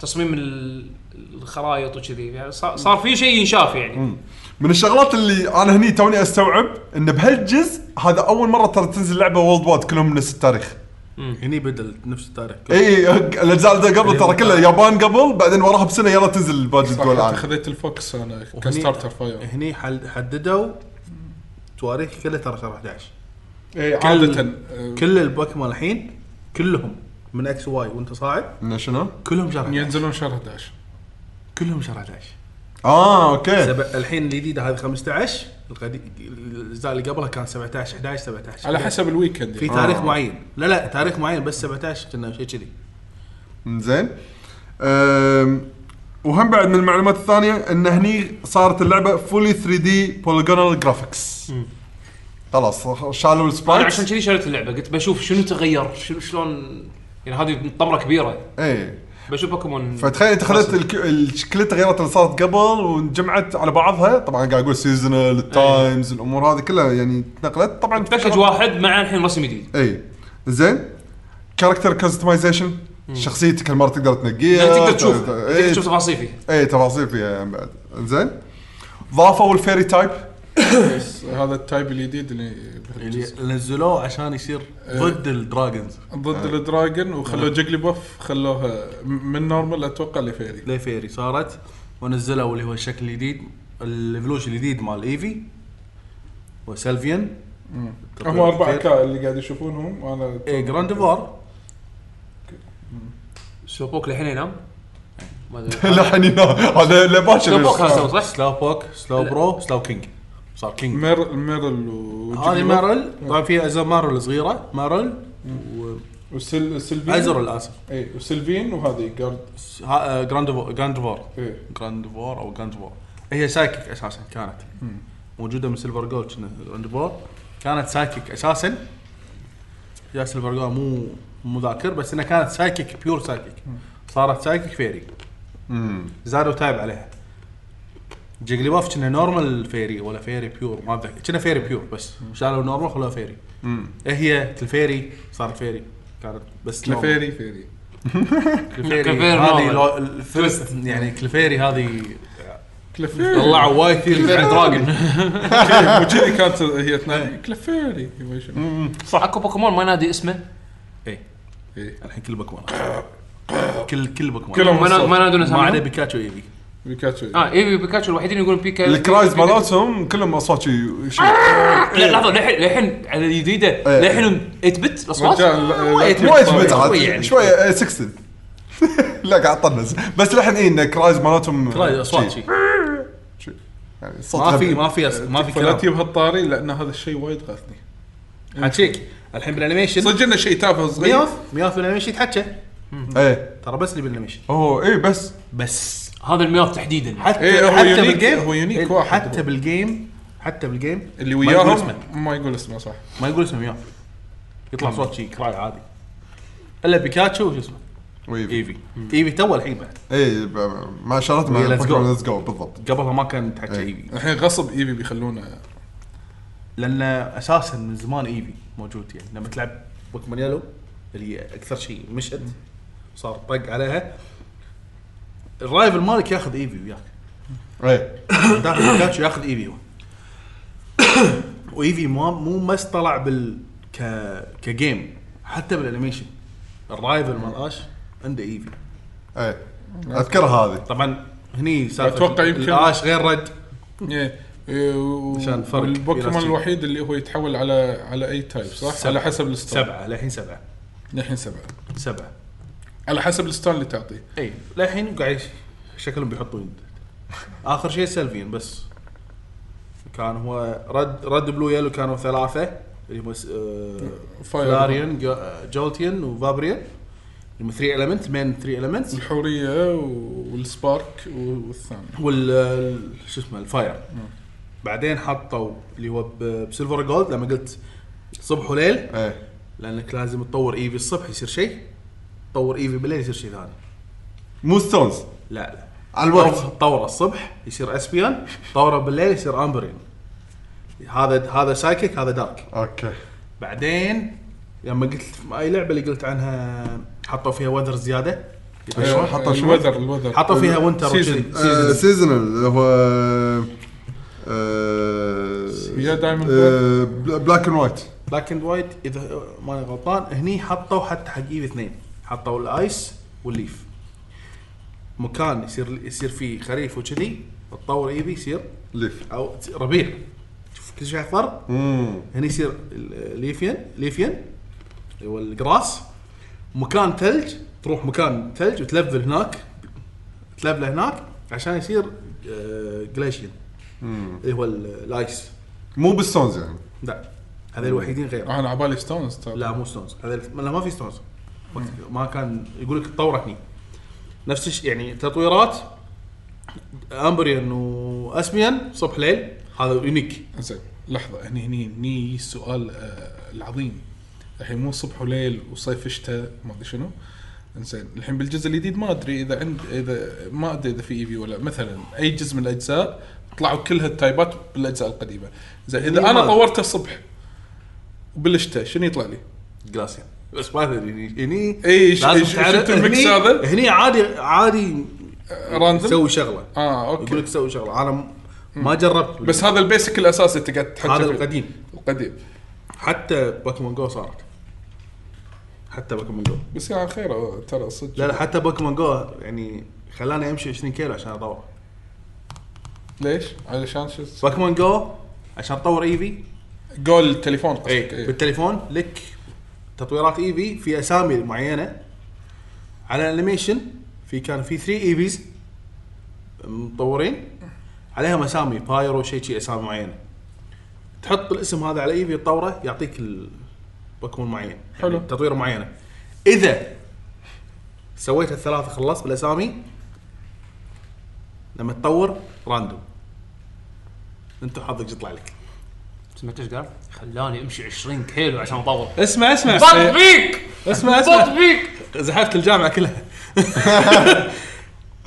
[SPEAKER 1] تصميم ال- الخرائط وكذي يعني صار صار في شيء ينشاف يعني
[SPEAKER 4] من الشغلات اللي انا هني توني استوعب ان بهالجزء هذا اول مره ترى تنزل لعبه وولد وايد كلهم من نفس التاريخ
[SPEAKER 5] هني بدل نفس التاريخ
[SPEAKER 4] اي إي، الاجزاء اللي إيه، قبل ترى كلها يابان قبل بعدين وراها بسنه يلا تنزل الباقي
[SPEAKER 2] صح،
[SPEAKER 4] الدول
[SPEAKER 2] حتى
[SPEAKER 4] العالم
[SPEAKER 2] خذيت الفوكس انا
[SPEAKER 5] وهني-
[SPEAKER 2] كستارتر فاير
[SPEAKER 5] هني حل- حددوا تواريخ كلها ترى شهر 11
[SPEAKER 2] اي
[SPEAKER 5] كل-
[SPEAKER 2] عاده آه،
[SPEAKER 5] كل البوكيمون الحين كلهم من اكس واي وانت صاعد
[SPEAKER 4] إنه شنو؟
[SPEAKER 5] كلهم شهر 11
[SPEAKER 2] ينزلون شهر 11
[SPEAKER 5] كلهم شهر 11
[SPEAKER 4] اه اوكي
[SPEAKER 5] سبع... الحين الجديده هذه 15 القديم الاجزاء اللي قبلها كان 17 11 17
[SPEAKER 2] على حسب الويكند
[SPEAKER 5] في
[SPEAKER 2] يعني.
[SPEAKER 5] تاريخ
[SPEAKER 4] آه.
[SPEAKER 5] معين لا لا تاريخ معين بس 17 كنا شيء كذي
[SPEAKER 4] زين أم، وهم بعد من المعلومات الثانيه ان هني صارت اللعبه فولي 3 دي بوليجونال جرافيكس خلاص شالوا
[SPEAKER 1] انا عشان
[SPEAKER 4] السبرايت
[SPEAKER 1] كذي شريت اللعبه قلت بشوف شنو تغير شنو شلون يعني هذه طمره كبيره
[SPEAKER 4] اي
[SPEAKER 1] بشوف بوكيمون
[SPEAKER 4] إيه. فتخيل انت خذت الك- الشكلات تغيرت اللي صارت قبل وانجمعت على بعضها طبعا قاعد اقول سيزونال التايمز الامور هذه كلها يعني تنقلت طبعا
[SPEAKER 1] باكج واحد مع الحين رسم جديد
[SPEAKER 4] اي زين كاركتر كاستمايزيشن شخصيتك المره تقدر تنقيها
[SPEAKER 1] يعني تقدر تشوف
[SPEAKER 4] إي،
[SPEAKER 1] تقدر تشوف تفاصيل فيه
[SPEAKER 4] اي تفاصيل فيها يعني بعد زين ضافوا الفيري تايب (laughs)
[SPEAKER 2] بس هذا التايب الجديد اللي بهالجزء.
[SPEAKER 5] نزلوه عشان يصير ضد الدراجونز
[SPEAKER 2] ضد الدراجون وخلوه جيجلي بوف خلوها م- من نورمال اتوقع لفيري
[SPEAKER 5] ليه فيري صارت ونزلوا اللي هو الشكل الجديد الايفولوشن الجديد مال ايفي وسلفيان
[SPEAKER 2] هم اربع كا اللي قاعد يشوفونهم وانا
[SPEAKER 5] اي جراندفار
[SPEAKER 1] شوبوك للحين ينام ما ادري
[SPEAKER 4] لحن يعني هذا
[SPEAKER 1] شوبوك
[SPEAKER 4] لباشر
[SPEAKER 1] هذا صح؟
[SPEAKER 5] سلاو بوك سلاو برو سلاو كينج صار كينج
[SPEAKER 2] مير ميرل و
[SPEAKER 5] هذه مارل طبعا في اجزاء مارل صغيره مارل
[SPEAKER 2] وسل سلفين
[SPEAKER 5] ازرل اسف
[SPEAKER 2] اي وسلفين إيه، وهذه جارد
[SPEAKER 5] آه، جراندفور جراندفور
[SPEAKER 2] إيه.
[SPEAKER 5] جراندفور او جراندفور هي سايكيك اساسا كانت موجوده من سيلفر جولد كنا جراندفور كانت سايكيك اساسا يا سيلفر جولد مو مو ذاكر بس انها كانت سايكيك بيور سايكيك صارت سايكيك فيري زادوا تايب عليها جيجلي باف كنا نورمال فيري ولا فيري بيور ما اتذكر كنا فيري بيور بس شالوا نورمال خلوها فيري إيه هي تلفيري صارت فيري كانت بس normal.
[SPEAKER 2] كلفيري فيري
[SPEAKER 5] كلفيري
[SPEAKER 1] كلفيري
[SPEAKER 5] هذه
[SPEAKER 1] نوبل.
[SPEAKER 5] لو- الفيرست يعني كلفيري هذه
[SPEAKER 2] كلفيري (laughs)
[SPEAKER 5] طلعوا وايد كثير دراجون
[SPEAKER 2] مو كذي كانت هي اثنين كلفيري ما شنو.
[SPEAKER 1] صح اكو بوكيمون ما ينادي اسمه
[SPEAKER 5] اي
[SPEAKER 2] إيه.
[SPEAKER 5] الحين كل بوكيمون كل كل بوكيمون
[SPEAKER 2] كلهم
[SPEAKER 1] ما نا- ما ينادون
[SPEAKER 5] ما عدا
[SPEAKER 1] اسمه
[SPEAKER 5] بيكاتشو ايفي
[SPEAKER 2] بيكاتشو
[SPEAKER 1] اه ايفي وبيكاتشو الوحيدين يقولون بيكا
[SPEAKER 4] الكرايز
[SPEAKER 1] بيكا-
[SPEAKER 4] مالتهم كلهم اصوات شي- شي
[SPEAKER 1] آه. لا
[SPEAKER 5] إيه.
[SPEAKER 1] لحظه للحين للحين على الجديده للحين 8 بت الاصوات
[SPEAKER 2] رجال، لا-
[SPEAKER 1] وايد
[SPEAKER 5] إيه،
[SPEAKER 2] لا-
[SPEAKER 4] وايد
[SPEAKER 1] بت.
[SPEAKER 4] بيت عاد.
[SPEAKER 1] شوي يعني.
[SPEAKER 4] شويه آه، 16 (laughs) لا قاعد طنز بس لحن اي ان الكرايز مالتهم
[SPEAKER 5] ترى اصوات شي
[SPEAKER 4] يعني صوت
[SPEAKER 5] ما في
[SPEAKER 4] غبي.
[SPEAKER 5] ما في أص- ما في
[SPEAKER 2] فلا
[SPEAKER 5] كلام
[SPEAKER 2] تجيب هالطاري لان هذا الشيء وايد غاثني
[SPEAKER 5] حكيك الحين بالانيميشن
[SPEAKER 2] صدق انه شيء تافه صغير
[SPEAKER 5] مياف مياف بالانيميشن يتحكى
[SPEAKER 4] ايه
[SPEAKER 5] ترى بس اللي بالانيميشن
[SPEAKER 4] اوه ايه بس
[SPEAKER 5] بس
[SPEAKER 1] هذا المياه تحديدا
[SPEAKER 2] إيه،
[SPEAKER 5] حتى
[SPEAKER 2] هو
[SPEAKER 5] حتى
[SPEAKER 2] يونيك-
[SPEAKER 5] بالجيم
[SPEAKER 2] هو يونيك
[SPEAKER 5] إيه،
[SPEAKER 2] واحد
[SPEAKER 5] حتى
[SPEAKER 2] هو.
[SPEAKER 5] بالجيم حتى بالجيم
[SPEAKER 2] اللي
[SPEAKER 5] ما يقول اسمه.
[SPEAKER 2] وياهم ما يقول اسمه صح
[SPEAKER 5] ما يقول اسمه مياف يطلع صوت شي كراي عادي الا بيكاتشو وش اسمه
[SPEAKER 4] ويفي
[SPEAKER 5] ايفي ايفي تو الحين بعد
[SPEAKER 4] ايه ب- مع شارات مع
[SPEAKER 5] وي، let's go.
[SPEAKER 4] ليتس جو بالضبط
[SPEAKER 5] قبلها ما كان تحكي
[SPEAKER 4] إيه.
[SPEAKER 5] ايفي
[SPEAKER 2] الحين غصب ايفي بيخلونه
[SPEAKER 5] لان اساسا من زمان ايفي موجود يعني لما تلعب بوكيمون يلو اللي هي اكثر شيء مشت صار طق عليها الرايفل مالك ياخذ ايفي وياك (coughs)
[SPEAKER 4] ايه
[SPEAKER 5] داخل بيكاتشو ياخذ ايفي هو (coughs) وايفي ما مو بس طلع بال ك كجيم حتى بالانيميشن الرايفل مال اش عنده ايفي
[SPEAKER 4] ايه اذكرها هذه
[SPEAKER 5] طبعا هني سالفه
[SPEAKER 2] أتوقع يمكن-
[SPEAKER 5] الاش غير رد
[SPEAKER 2] إيه. إيه، و-
[SPEAKER 5] عشان الفرق
[SPEAKER 2] والبوكيمون
[SPEAKER 5] بيناتهم.
[SPEAKER 2] الوحيد اللي هو يتحول على على اي تايب صح؟
[SPEAKER 5] سبعة.
[SPEAKER 2] على حسب الستان
[SPEAKER 5] سبعه للحين سبعه
[SPEAKER 2] الحين سبعه
[SPEAKER 5] سبعه
[SPEAKER 2] على حسب الستان اللي تعطيه
[SPEAKER 5] اي إيه، للحين قاعد يش- شكلهم بيحطوا يد اخر شيء سلفين بس كان هو رد رد بلو يلو كانوا ثلاثه اللي هم س- آه،
[SPEAKER 2] فاير.
[SPEAKER 5] فلاريان جو- جولتيان وفابريان هم 3 المنت مين 3 المنتس
[SPEAKER 2] الحوريه و- والسبارك و- والثاني
[SPEAKER 5] وال ال- شو اسمه الفاير بعدين حطوا اللي هو ب- بسيلفر جولد لما قلت صبح وليل
[SPEAKER 4] ايه
[SPEAKER 5] لانك لازم تطور ايفي الصبح يصير شيء تطور ايفي بالليل يصير شيء ثاني
[SPEAKER 4] مو ستونز
[SPEAKER 5] لا لا
[SPEAKER 4] على الوقت
[SPEAKER 5] طور- طوره الصبح يصير اسبيان طوره بالليل يصير امبرين هذا هذا سايكيك هذا دارك
[SPEAKER 4] اوكي
[SPEAKER 5] بعدين لما قلت في اي لعبه اللي قلت عنها حطوا فيها وذر زياده
[SPEAKER 4] شو حطوا شو؟
[SPEAKER 2] أيوة. الوذر الوذر
[SPEAKER 5] حطوا فيها وينتر
[SPEAKER 2] سيزن.
[SPEAKER 5] وشذي.
[SPEAKER 4] آه،
[SPEAKER 5] سيزن.
[SPEAKER 4] سيزونال اللي هو آه،
[SPEAKER 2] يا دايموند
[SPEAKER 4] آه، بلا- بلاك اند وايت
[SPEAKER 5] بلاك اند وايت اذا ماني غلطان هني حطوا حتى حق ايفي اثنين حطوا الايس والليف مكان يصير يصير فيه خريف وكذي تطور ايفي يصير
[SPEAKER 4] ليف
[SPEAKER 5] او ربيع شوف كل شيء اخضر
[SPEAKER 4] امم
[SPEAKER 5] هنا يصير ال- ليفيان ليفيان اللي هو الجراس مكان ثلج تروح مكان ثلج وتلفل هناك تلفل هناك عشان يصير آه، جليشيان اللي هو ال- الايس
[SPEAKER 4] مو بالستونز يعني
[SPEAKER 5] لا هذول الوحيدين غير
[SPEAKER 2] آه، انا على بالي ستونز ترى.
[SPEAKER 5] لا مو ستونز هذول لا ما في ستونز وقت- ما كان يقول لك تطور هني نفس الشيء يعني تطويرات امبريان واسميان صبح ليل هذا يونيك
[SPEAKER 2] زين لحظه هني هني هني السؤال آه، العظيم الحين مو صبح وليل وصيف شتاء ما ادري شنو زين الحين بالجزء الجديد ما ادري اذا عند اذا ما ادري اذا في اي في ولا مثلا اي جزء من الاجزاء طلعوا كل هالتايبات بالاجزاء القديمه زين اذا انا
[SPEAKER 5] ما-
[SPEAKER 2] طورته الصبح بالشتاء شنو يطلع لي؟
[SPEAKER 5] جلاسيا بس ما ادري هني هني
[SPEAKER 2] إي، ش-
[SPEAKER 5] لازم
[SPEAKER 2] ش-
[SPEAKER 5] تعرف
[SPEAKER 2] شفت الميكس
[SPEAKER 5] هني-
[SPEAKER 2] هذا؟
[SPEAKER 5] هني عادي عادي
[SPEAKER 2] راندوم
[SPEAKER 5] تسوي شغله
[SPEAKER 2] اه
[SPEAKER 5] يقول
[SPEAKER 2] اوكي
[SPEAKER 5] لك سوي شغله انا م- ما جربت
[SPEAKER 2] بس هذا البيسك الاساسي انت قاعد تحكي
[SPEAKER 5] هذا
[SPEAKER 2] فيه.
[SPEAKER 5] القديم
[SPEAKER 2] القديم
[SPEAKER 5] حتى بوكيمون جو صارت حتى بوكيمون جو
[SPEAKER 2] بس يا خير آه، ترى صدق
[SPEAKER 5] لا لا حتى بوكيمون جو يعني خلاني امشي 20 كيلو عشان ادور
[SPEAKER 2] ليش؟ علشان شو اسمه؟
[SPEAKER 5] بوكيمون جو عشان تطور ايفي
[SPEAKER 2] جول التليفون قصدك
[SPEAKER 5] اي
[SPEAKER 2] إيه.
[SPEAKER 5] بالتليفون لك تطويرات اي في في اسامي معينه على الانيميشن في كان في 3 اي فيز مطورين عليهم اسامي بايرو شيء شيء اسامي معينه تحط الاسم هذا على اي في تطوره يعطيك البوكيمون معين
[SPEAKER 2] حلو.
[SPEAKER 5] يعني تطويره معينه اذا سويت الثلاثه خلصت بالاسامي لما تطور راندوم انت حظك يطلع لك
[SPEAKER 1] سمعت ايش قال؟ خلاني امشي 20 كيلو عشان اطور
[SPEAKER 9] اسمع اسمع إيه،
[SPEAKER 1] بط فيك
[SPEAKER 9] اسمع
[SPEAKER 1] بط
[SPEAKER 9] اسمع
[SPEAKER 1] فيك
[SPEAKER 9] زحفت الجامعه كلها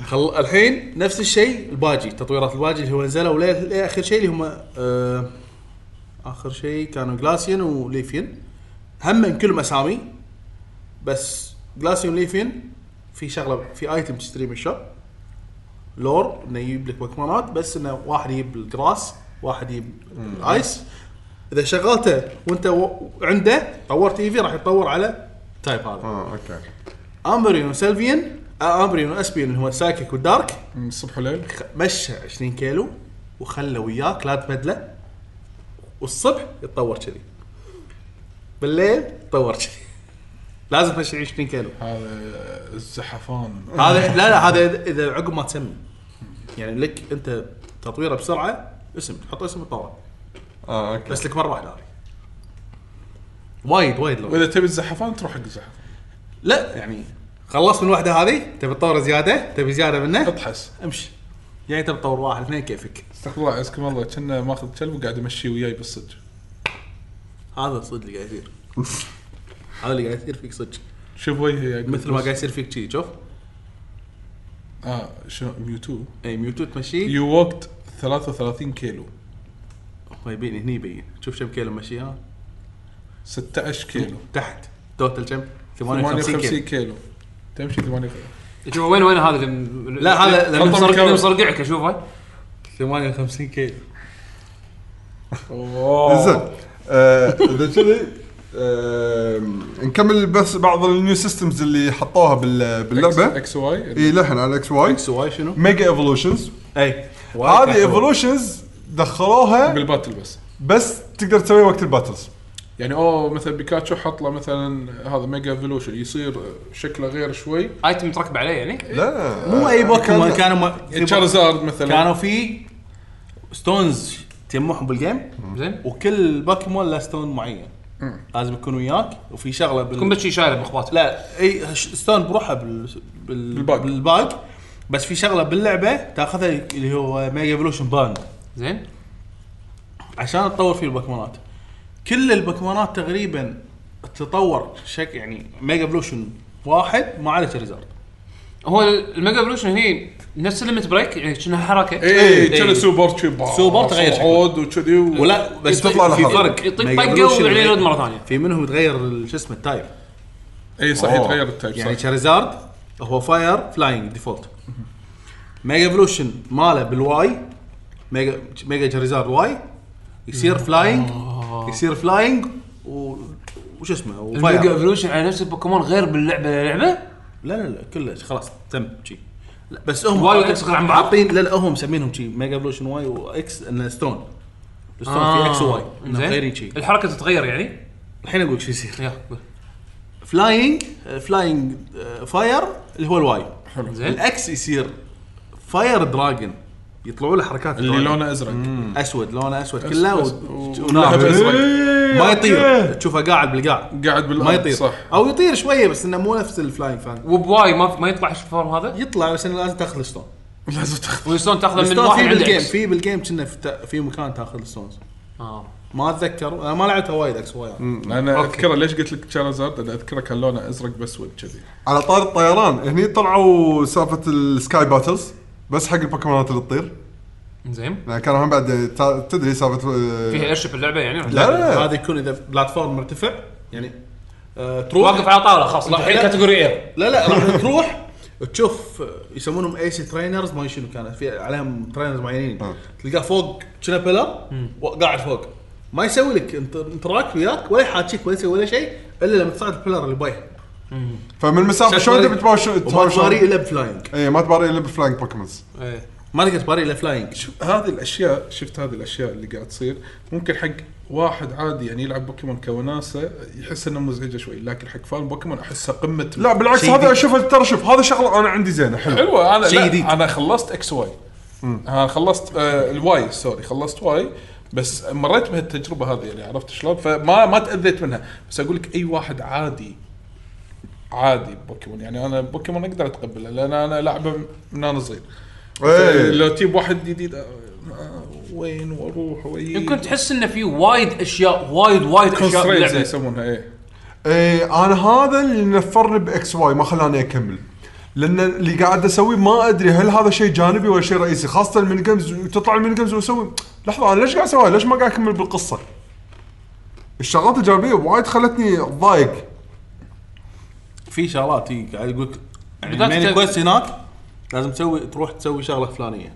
[SPEAKER 9] خل... الحين
[SPEAKER 5] نفس الشيء الباجي تطويرات الباجي اللي هو نزلوا ليه ليه اخر شيء اللي هم آه اخر شيء كانوا جلاسيان وليفين هم من كلهم اسامي بس جلاسيان وليفين في شغله في ايتم تشتريه من الشوب لور انه يجيب لك بوكيمونات بس انه واحد يجيب الجراس واحد يجيب الايس اذا شغلته وانت و... عنده طورت ايفي راح يتطور على تايب هذا
[SPEAKER 4] اه اوكي
[SPEAKER 5] امبريون وسلفيان آه، امبريون واسبيون اللي هو السايكيك والدارك
[SPEAKER 2] من الصبح إيه. وليل
[SPEAKER 5] مشى 20 كيلو وخلى وياك لا تبدله والصبح يتطور كذي بالليل يتطور كذي (laughs) لازم تمشي 20 كيلو
[SPEAKER 2] هذا الزحفان
[SPEAKER 5] هذا لا لا هذا إذا- اذا عقب ما تسمي يعني لك انت تطويره بسرعه اسم تحط اسم يتطور
[SPEAKER 4] اه اوكي
[SPEAKER 5] بس لك مره واحده هذه وايد وايد لو
[SPEAKER 2] واذا تبي الزحفان تروح حق الزحفان
[SPEAKER 5] لا يعني خلصت من الوحده هذه تبي تطور زياده تبي زياده منه
[SPEAKER 2] اتحس
[SPEAKER 5] امشي يعني تبي تطور واحد اثنين كيفك
[SPEAKER 2] استغفر الله عزكم الله كنا ماخذ كلب وقاعد امشيه وياي بالصدق
[SPEAKER 5] هذا الصدق اللي قاعد (laughs) يصير هذا اللي قاعد يصير فيك صدق
[SPEAKER 2] شوف وجهي يا
[SPEAKER 5] مثل ما قاعد يصير فيك شي شوف
[SPEAKER 2] اه شو ميوتو
[SPEAKER 5] اي إيه، ميوتو تمشي
[SPEAKER 2] يو ووكت 33 كيلو
[SPEAKER 5] هو يبين طيب، هني يبين شوف كم كيلو مشيها
[SPEAKER 2] 16 كيلو
[SPEAKER 5] تحت توتال كم 58
[SPEAKER 2] 58
[SPEAKER 5] كيلو
[SPEAKER 2] كيلو تمشي 58
[SPEAKER 1] شوف وين وين هذا اللي
[SPEAKER 5] لا، هذا
[SPEAKER 1] اللي
[SPEAKER 5] لما
[SPEAKER 1] مصرق-
[SPEAKER 2] مكور.
[SPEAKER 1] اللي مصرقعك اشوفه
[SPEAKER 5] 58 كيلو
[SPEAKER 4] زين آه، اذا كذي آم، نكمل بس بعض النيو سيستمز اللي حطوها بال- باللعبه
[SPEAKER 2] اكس واي
[SPEAKER 4] اي لحن على اكس واي
[SPEAKER 5] اكس واي شنو؟ إيه.
[SPEAKER 4] ميجا ايفولوشنز
[SPEAKER 5] اي
[SPEAKER 4] هذه ايفولوشنز دخلوها
[SPEAKER 2] بالباتل بس
[SPEAKER 4] بس تقدر تسويها وقت الباتلز
[SPEAKER 2] يعني اوه مثلا بيكاتشو حط له مثلا هذا ميجا ايفولوشن يصير شكله غير شوي
[SPEAKER 1] ايتم متركب عليه يعني
[SPEAKER 4] لا
[SPEAKER 5] مو اي بوكيمون كانوا ما- في بو-
[SPEAKER 2] تشارزارد مثلا
[SPEAKER 5] كانوا في ستونز تجمعهم بالجيم
[SPEAKER 1] زين
[SPEAKER 5] وكل بوكيمون له ستون معين لازم يكون وياك وفي شغله
[SPEAKER 1] كم
[SPEAKER 5] بال...
[SPEAKER 1] بتشي شايله باخواتك
[SPEAKER 5] لا اي ش- ستون بروحه بال... بال...
[SPEAKER 2] بالباك.
[SPEAKER 5] بالباك بس في شغله باللعبه تاخذها اللي هو ميجا ايفولوشن باند
[SPEAKER 1] زين
[SPEAKER 5] عشان تطور فيه البوكيمونات كل البوكيمونات تقريبا تطور شك يعني ميجا بلوشن واحد ما عليه تشاريزارد
[SPEAKER 1] هو الميجا ايفولوشن هني نفس الليمت بريك يعني كأنها حركه
[SPEAKER 2] اي
[SPEAKER 1] إيه.
[SPEAKER 2] كان سوبر شي با-
[SPEAKER 5] سوبر تغير شكله.
[SPEAKER 2] صعود وكذي و-
[SPEAKER 5] ولا بس
[SPEAKER 4] يطلع
[SPEAKER 5] في-
[SPEAKER 4] له
[SPEAKER 5] في
[SPEAKER 4] حرف.
[SPEAKER 5] فرق
[SPEAKER 1] يطق
[SPEAKER 5] ميجا
[SPEAKER 1] طقه
[SPEAKER 5] إيفولوشن
[SPEAKER 1] ويرجع يرد
[SPEAKER 5] غير-
[SPEAKER 1] مره ثانيه
[SPEAKER 5] في منهم تغير ال- شو اسمه التايب
[SPEAKER 2] اي صح
[SPEAKER 4] أوه.
[SPEAKER 2] يتغير إيه، التايب
[SPEAKER 5] يعني
[SPEAKER 2] يعني
[SPEAKER 5] تشاريزارد هو فاير فلاينج ديفولت ميجا بلوشن ماله بالواي ميجا ميجا تشاريزارد واي يصير فلاينج يصير فلاينج و وش اسمه وفاير
[SPEAKER 1] آه. الميجا ايفولوشن على نفس البوكيمون غير باللعبه للعبه
[SPEAKER 5] لا لا لا كله خلاص تم شي لا بس هم
[SPEAKER 1] واي وإكس غير عن بعض؟
[SPEAKER 5] عاطين لا لا هم مسمينهم شي ميجا ايفولوشن واي واكس انه ستون الستون آه. في اكس وواي انه
[SPEAKER 1] زين.
[SPEAKER 5] غيرين شي
[SPEAKER 1] الحركه تتغير يعني
[SPEAKER 5] الحين اقول لك شو يصير آه،
[SPEAKER 1] يا قول.
[SPEAKER 5] فلاينج فلاينج فاير آه، اللي هو الواي
[SPEAKER 1] زين
[SPEAKER 5] الاكس يصير فاير دراجون يطلعوا له حركات
[SPEAKER 2] اللي
[SPEAKER 5] دراجون.
[SPEAKER 2] لونه ازرق
[SPEAKER 5] اسود لونه اسود كله و...
[SPEAKER 2] أس-
[SPEAKER 5] و... وناعم.
[SPEAKER 2] ولعبة أزرق.
[SPEAKER 4] إيه،
[SPEAKER 5] ما يطير تشوفه قاعد بالقاع
[SPEAKER 2] قاعد بالأرض،
[SPEAKER 5] ما يطير
[SPEAKER 2] صح. (laughs)
[SPEAKER 5] او يطير شويه بس انه مو نفس الفلاينج فان
[SPEAKER 1] وبواي ما ما يطلع الفورم هذا
[SPEAKER 5] يطلع بس انه لازم تاخذ الستون
[SPEAKER 2] لازم تاخذ
[SPEAKER 1] والستون تاخذه من
[SPEAKER 5] الستون
[SPEAKER 1] واحد
[SPEAKER 5] في
[SPEAKER 1] عنده
[SPEAKER 5] بالجيم
[SPEAKER 1] اكس
[SPEAKER 5] في بالجيم كنا في, تا- في مكان تاخذ الستونز
[SPEAKER 1] اه
[SPEAKER 5] ما اتذكر انا ما لعبتها وايد اكس وايد
[SPEAKER 2] انا اذكره ليش قلت لك تشارزارد انا اذكره كان لونه ازرق باسود كذي
[SPEAKER 4] على طار الطيران هني طلعوا سالفه السكاي باتلز بس حق البوكيمونات اللي تطير
[SPEAKER 1] زين
[SPEAKER 4] يعني كانوا هم بعد تا- تدري سالفه
[SPEAKER 1] فيها ايرشيب اللعبه يعني ولا
[SPEAKER 4] لا لا لا.
[SPEAKER 5] هذا يكون اذا بلاتفورم مرتفع يعني آه تروح
[SPEAKER 1] واقف على طاوله خلاص
[SPEAKER 5] راح
[SPEAKER 1] الحين
[SPEAKER 5] لا.
[SPEAKER 1] كاتيجوري اير
[SPEAKER 5] لا لا راح تروح تشوف آه، يسمونهم اي سي ترينرز ما أدري شنو كانت في عليهم ترينرز معينين
[SPEAKER 4] آه.
[SPEAKER 5] تلقاه فوق شنو بيلر قاعد فوق ما يسوي لك انت انتراكت وياك ولا يحاكيك ولا يسوي ولا شيء الا لما تصعد البيلر اللي بايها
[SPEAKER 4] فمن المسافه شلون تبي تباوش
[SPEAKER 5] وما تباري الا بفلاينج
[SPEAKER 4] إيه، اي ما تباري الا بالفلاينج بوكيمونز
[SPEAKER 5] ما تقدر تباري الا فلاينج
[SPEAKER 2] شوف هذه الاشياء شفت هذه الاشياء اللي قاعد تصير ممكن حق واحد عادي يعني يلعب بوكيمون كوناسه يحس انها مزعجه شوي لكن حق فان بوكيمون احسها قمه
[SPEAKER 4] لا بالعكس
[SPEAKER 5] شيء
[SPEAKER 4] هذا
[SPEAKER 5] جديد.
[SPEAKER 4] اشوفه ترى شوف هذا شغله انا عندي زينه حلو
[SPEAKER 2] حلوه انا
[SPEAKER 5] شيء
[SPEAKER 2] شيء
[SPEAKER 5] جديد.
[SPEAKER 2] جديد انا خلصت اكس واي انا خلصت آه الواي سوري خلصت واي بس مريت بهالتجربه هذه يعني عرفت شلون فما ما تاذيت منها بس اقول لك اي واحد عادي عادي بوكيمون يعني انا بوكيمون اقدر اتقبله لان انا لعبه من انا صغير
[SPEAKER 4] إيه.
[SPEAKER 2] لو تجيب واحد جديد آه، آه، وين واروح واجي
[SPEAKER 1] يمكن تحس انه في وايد اشياء وايد وايد اشياء
[SPEAKER 2] constraints
[SPEAKER 1] باللعبه
[SPEAKER 2] يسمونها ايه
[SPEAKER 4] ايه انا هذا اللي نفرني باكس واي ما خلاني اكمل لان اللي قاعد اسويه ما ادري هل هذا شيء جانبي ولا شيء رئيسي خاصه المين جيمز وتطلع المين جيمز واسوي لحظه انا ليش قاعد اسويها؟ ليش ما قاعد اكمل بالقصه؟ الشغلات الجانبيه وايد خلتني اتضايق
[SPEAKER 5] في شغلات هي قاعد يقول لك يعني
[SPEAKER 1] بدك
[SPEAKER 5] المين
[SPEAKER 1] تب-
[SPEAKER 5] كويست هناك لازم تسوي تروح تسوي شغله فلانيه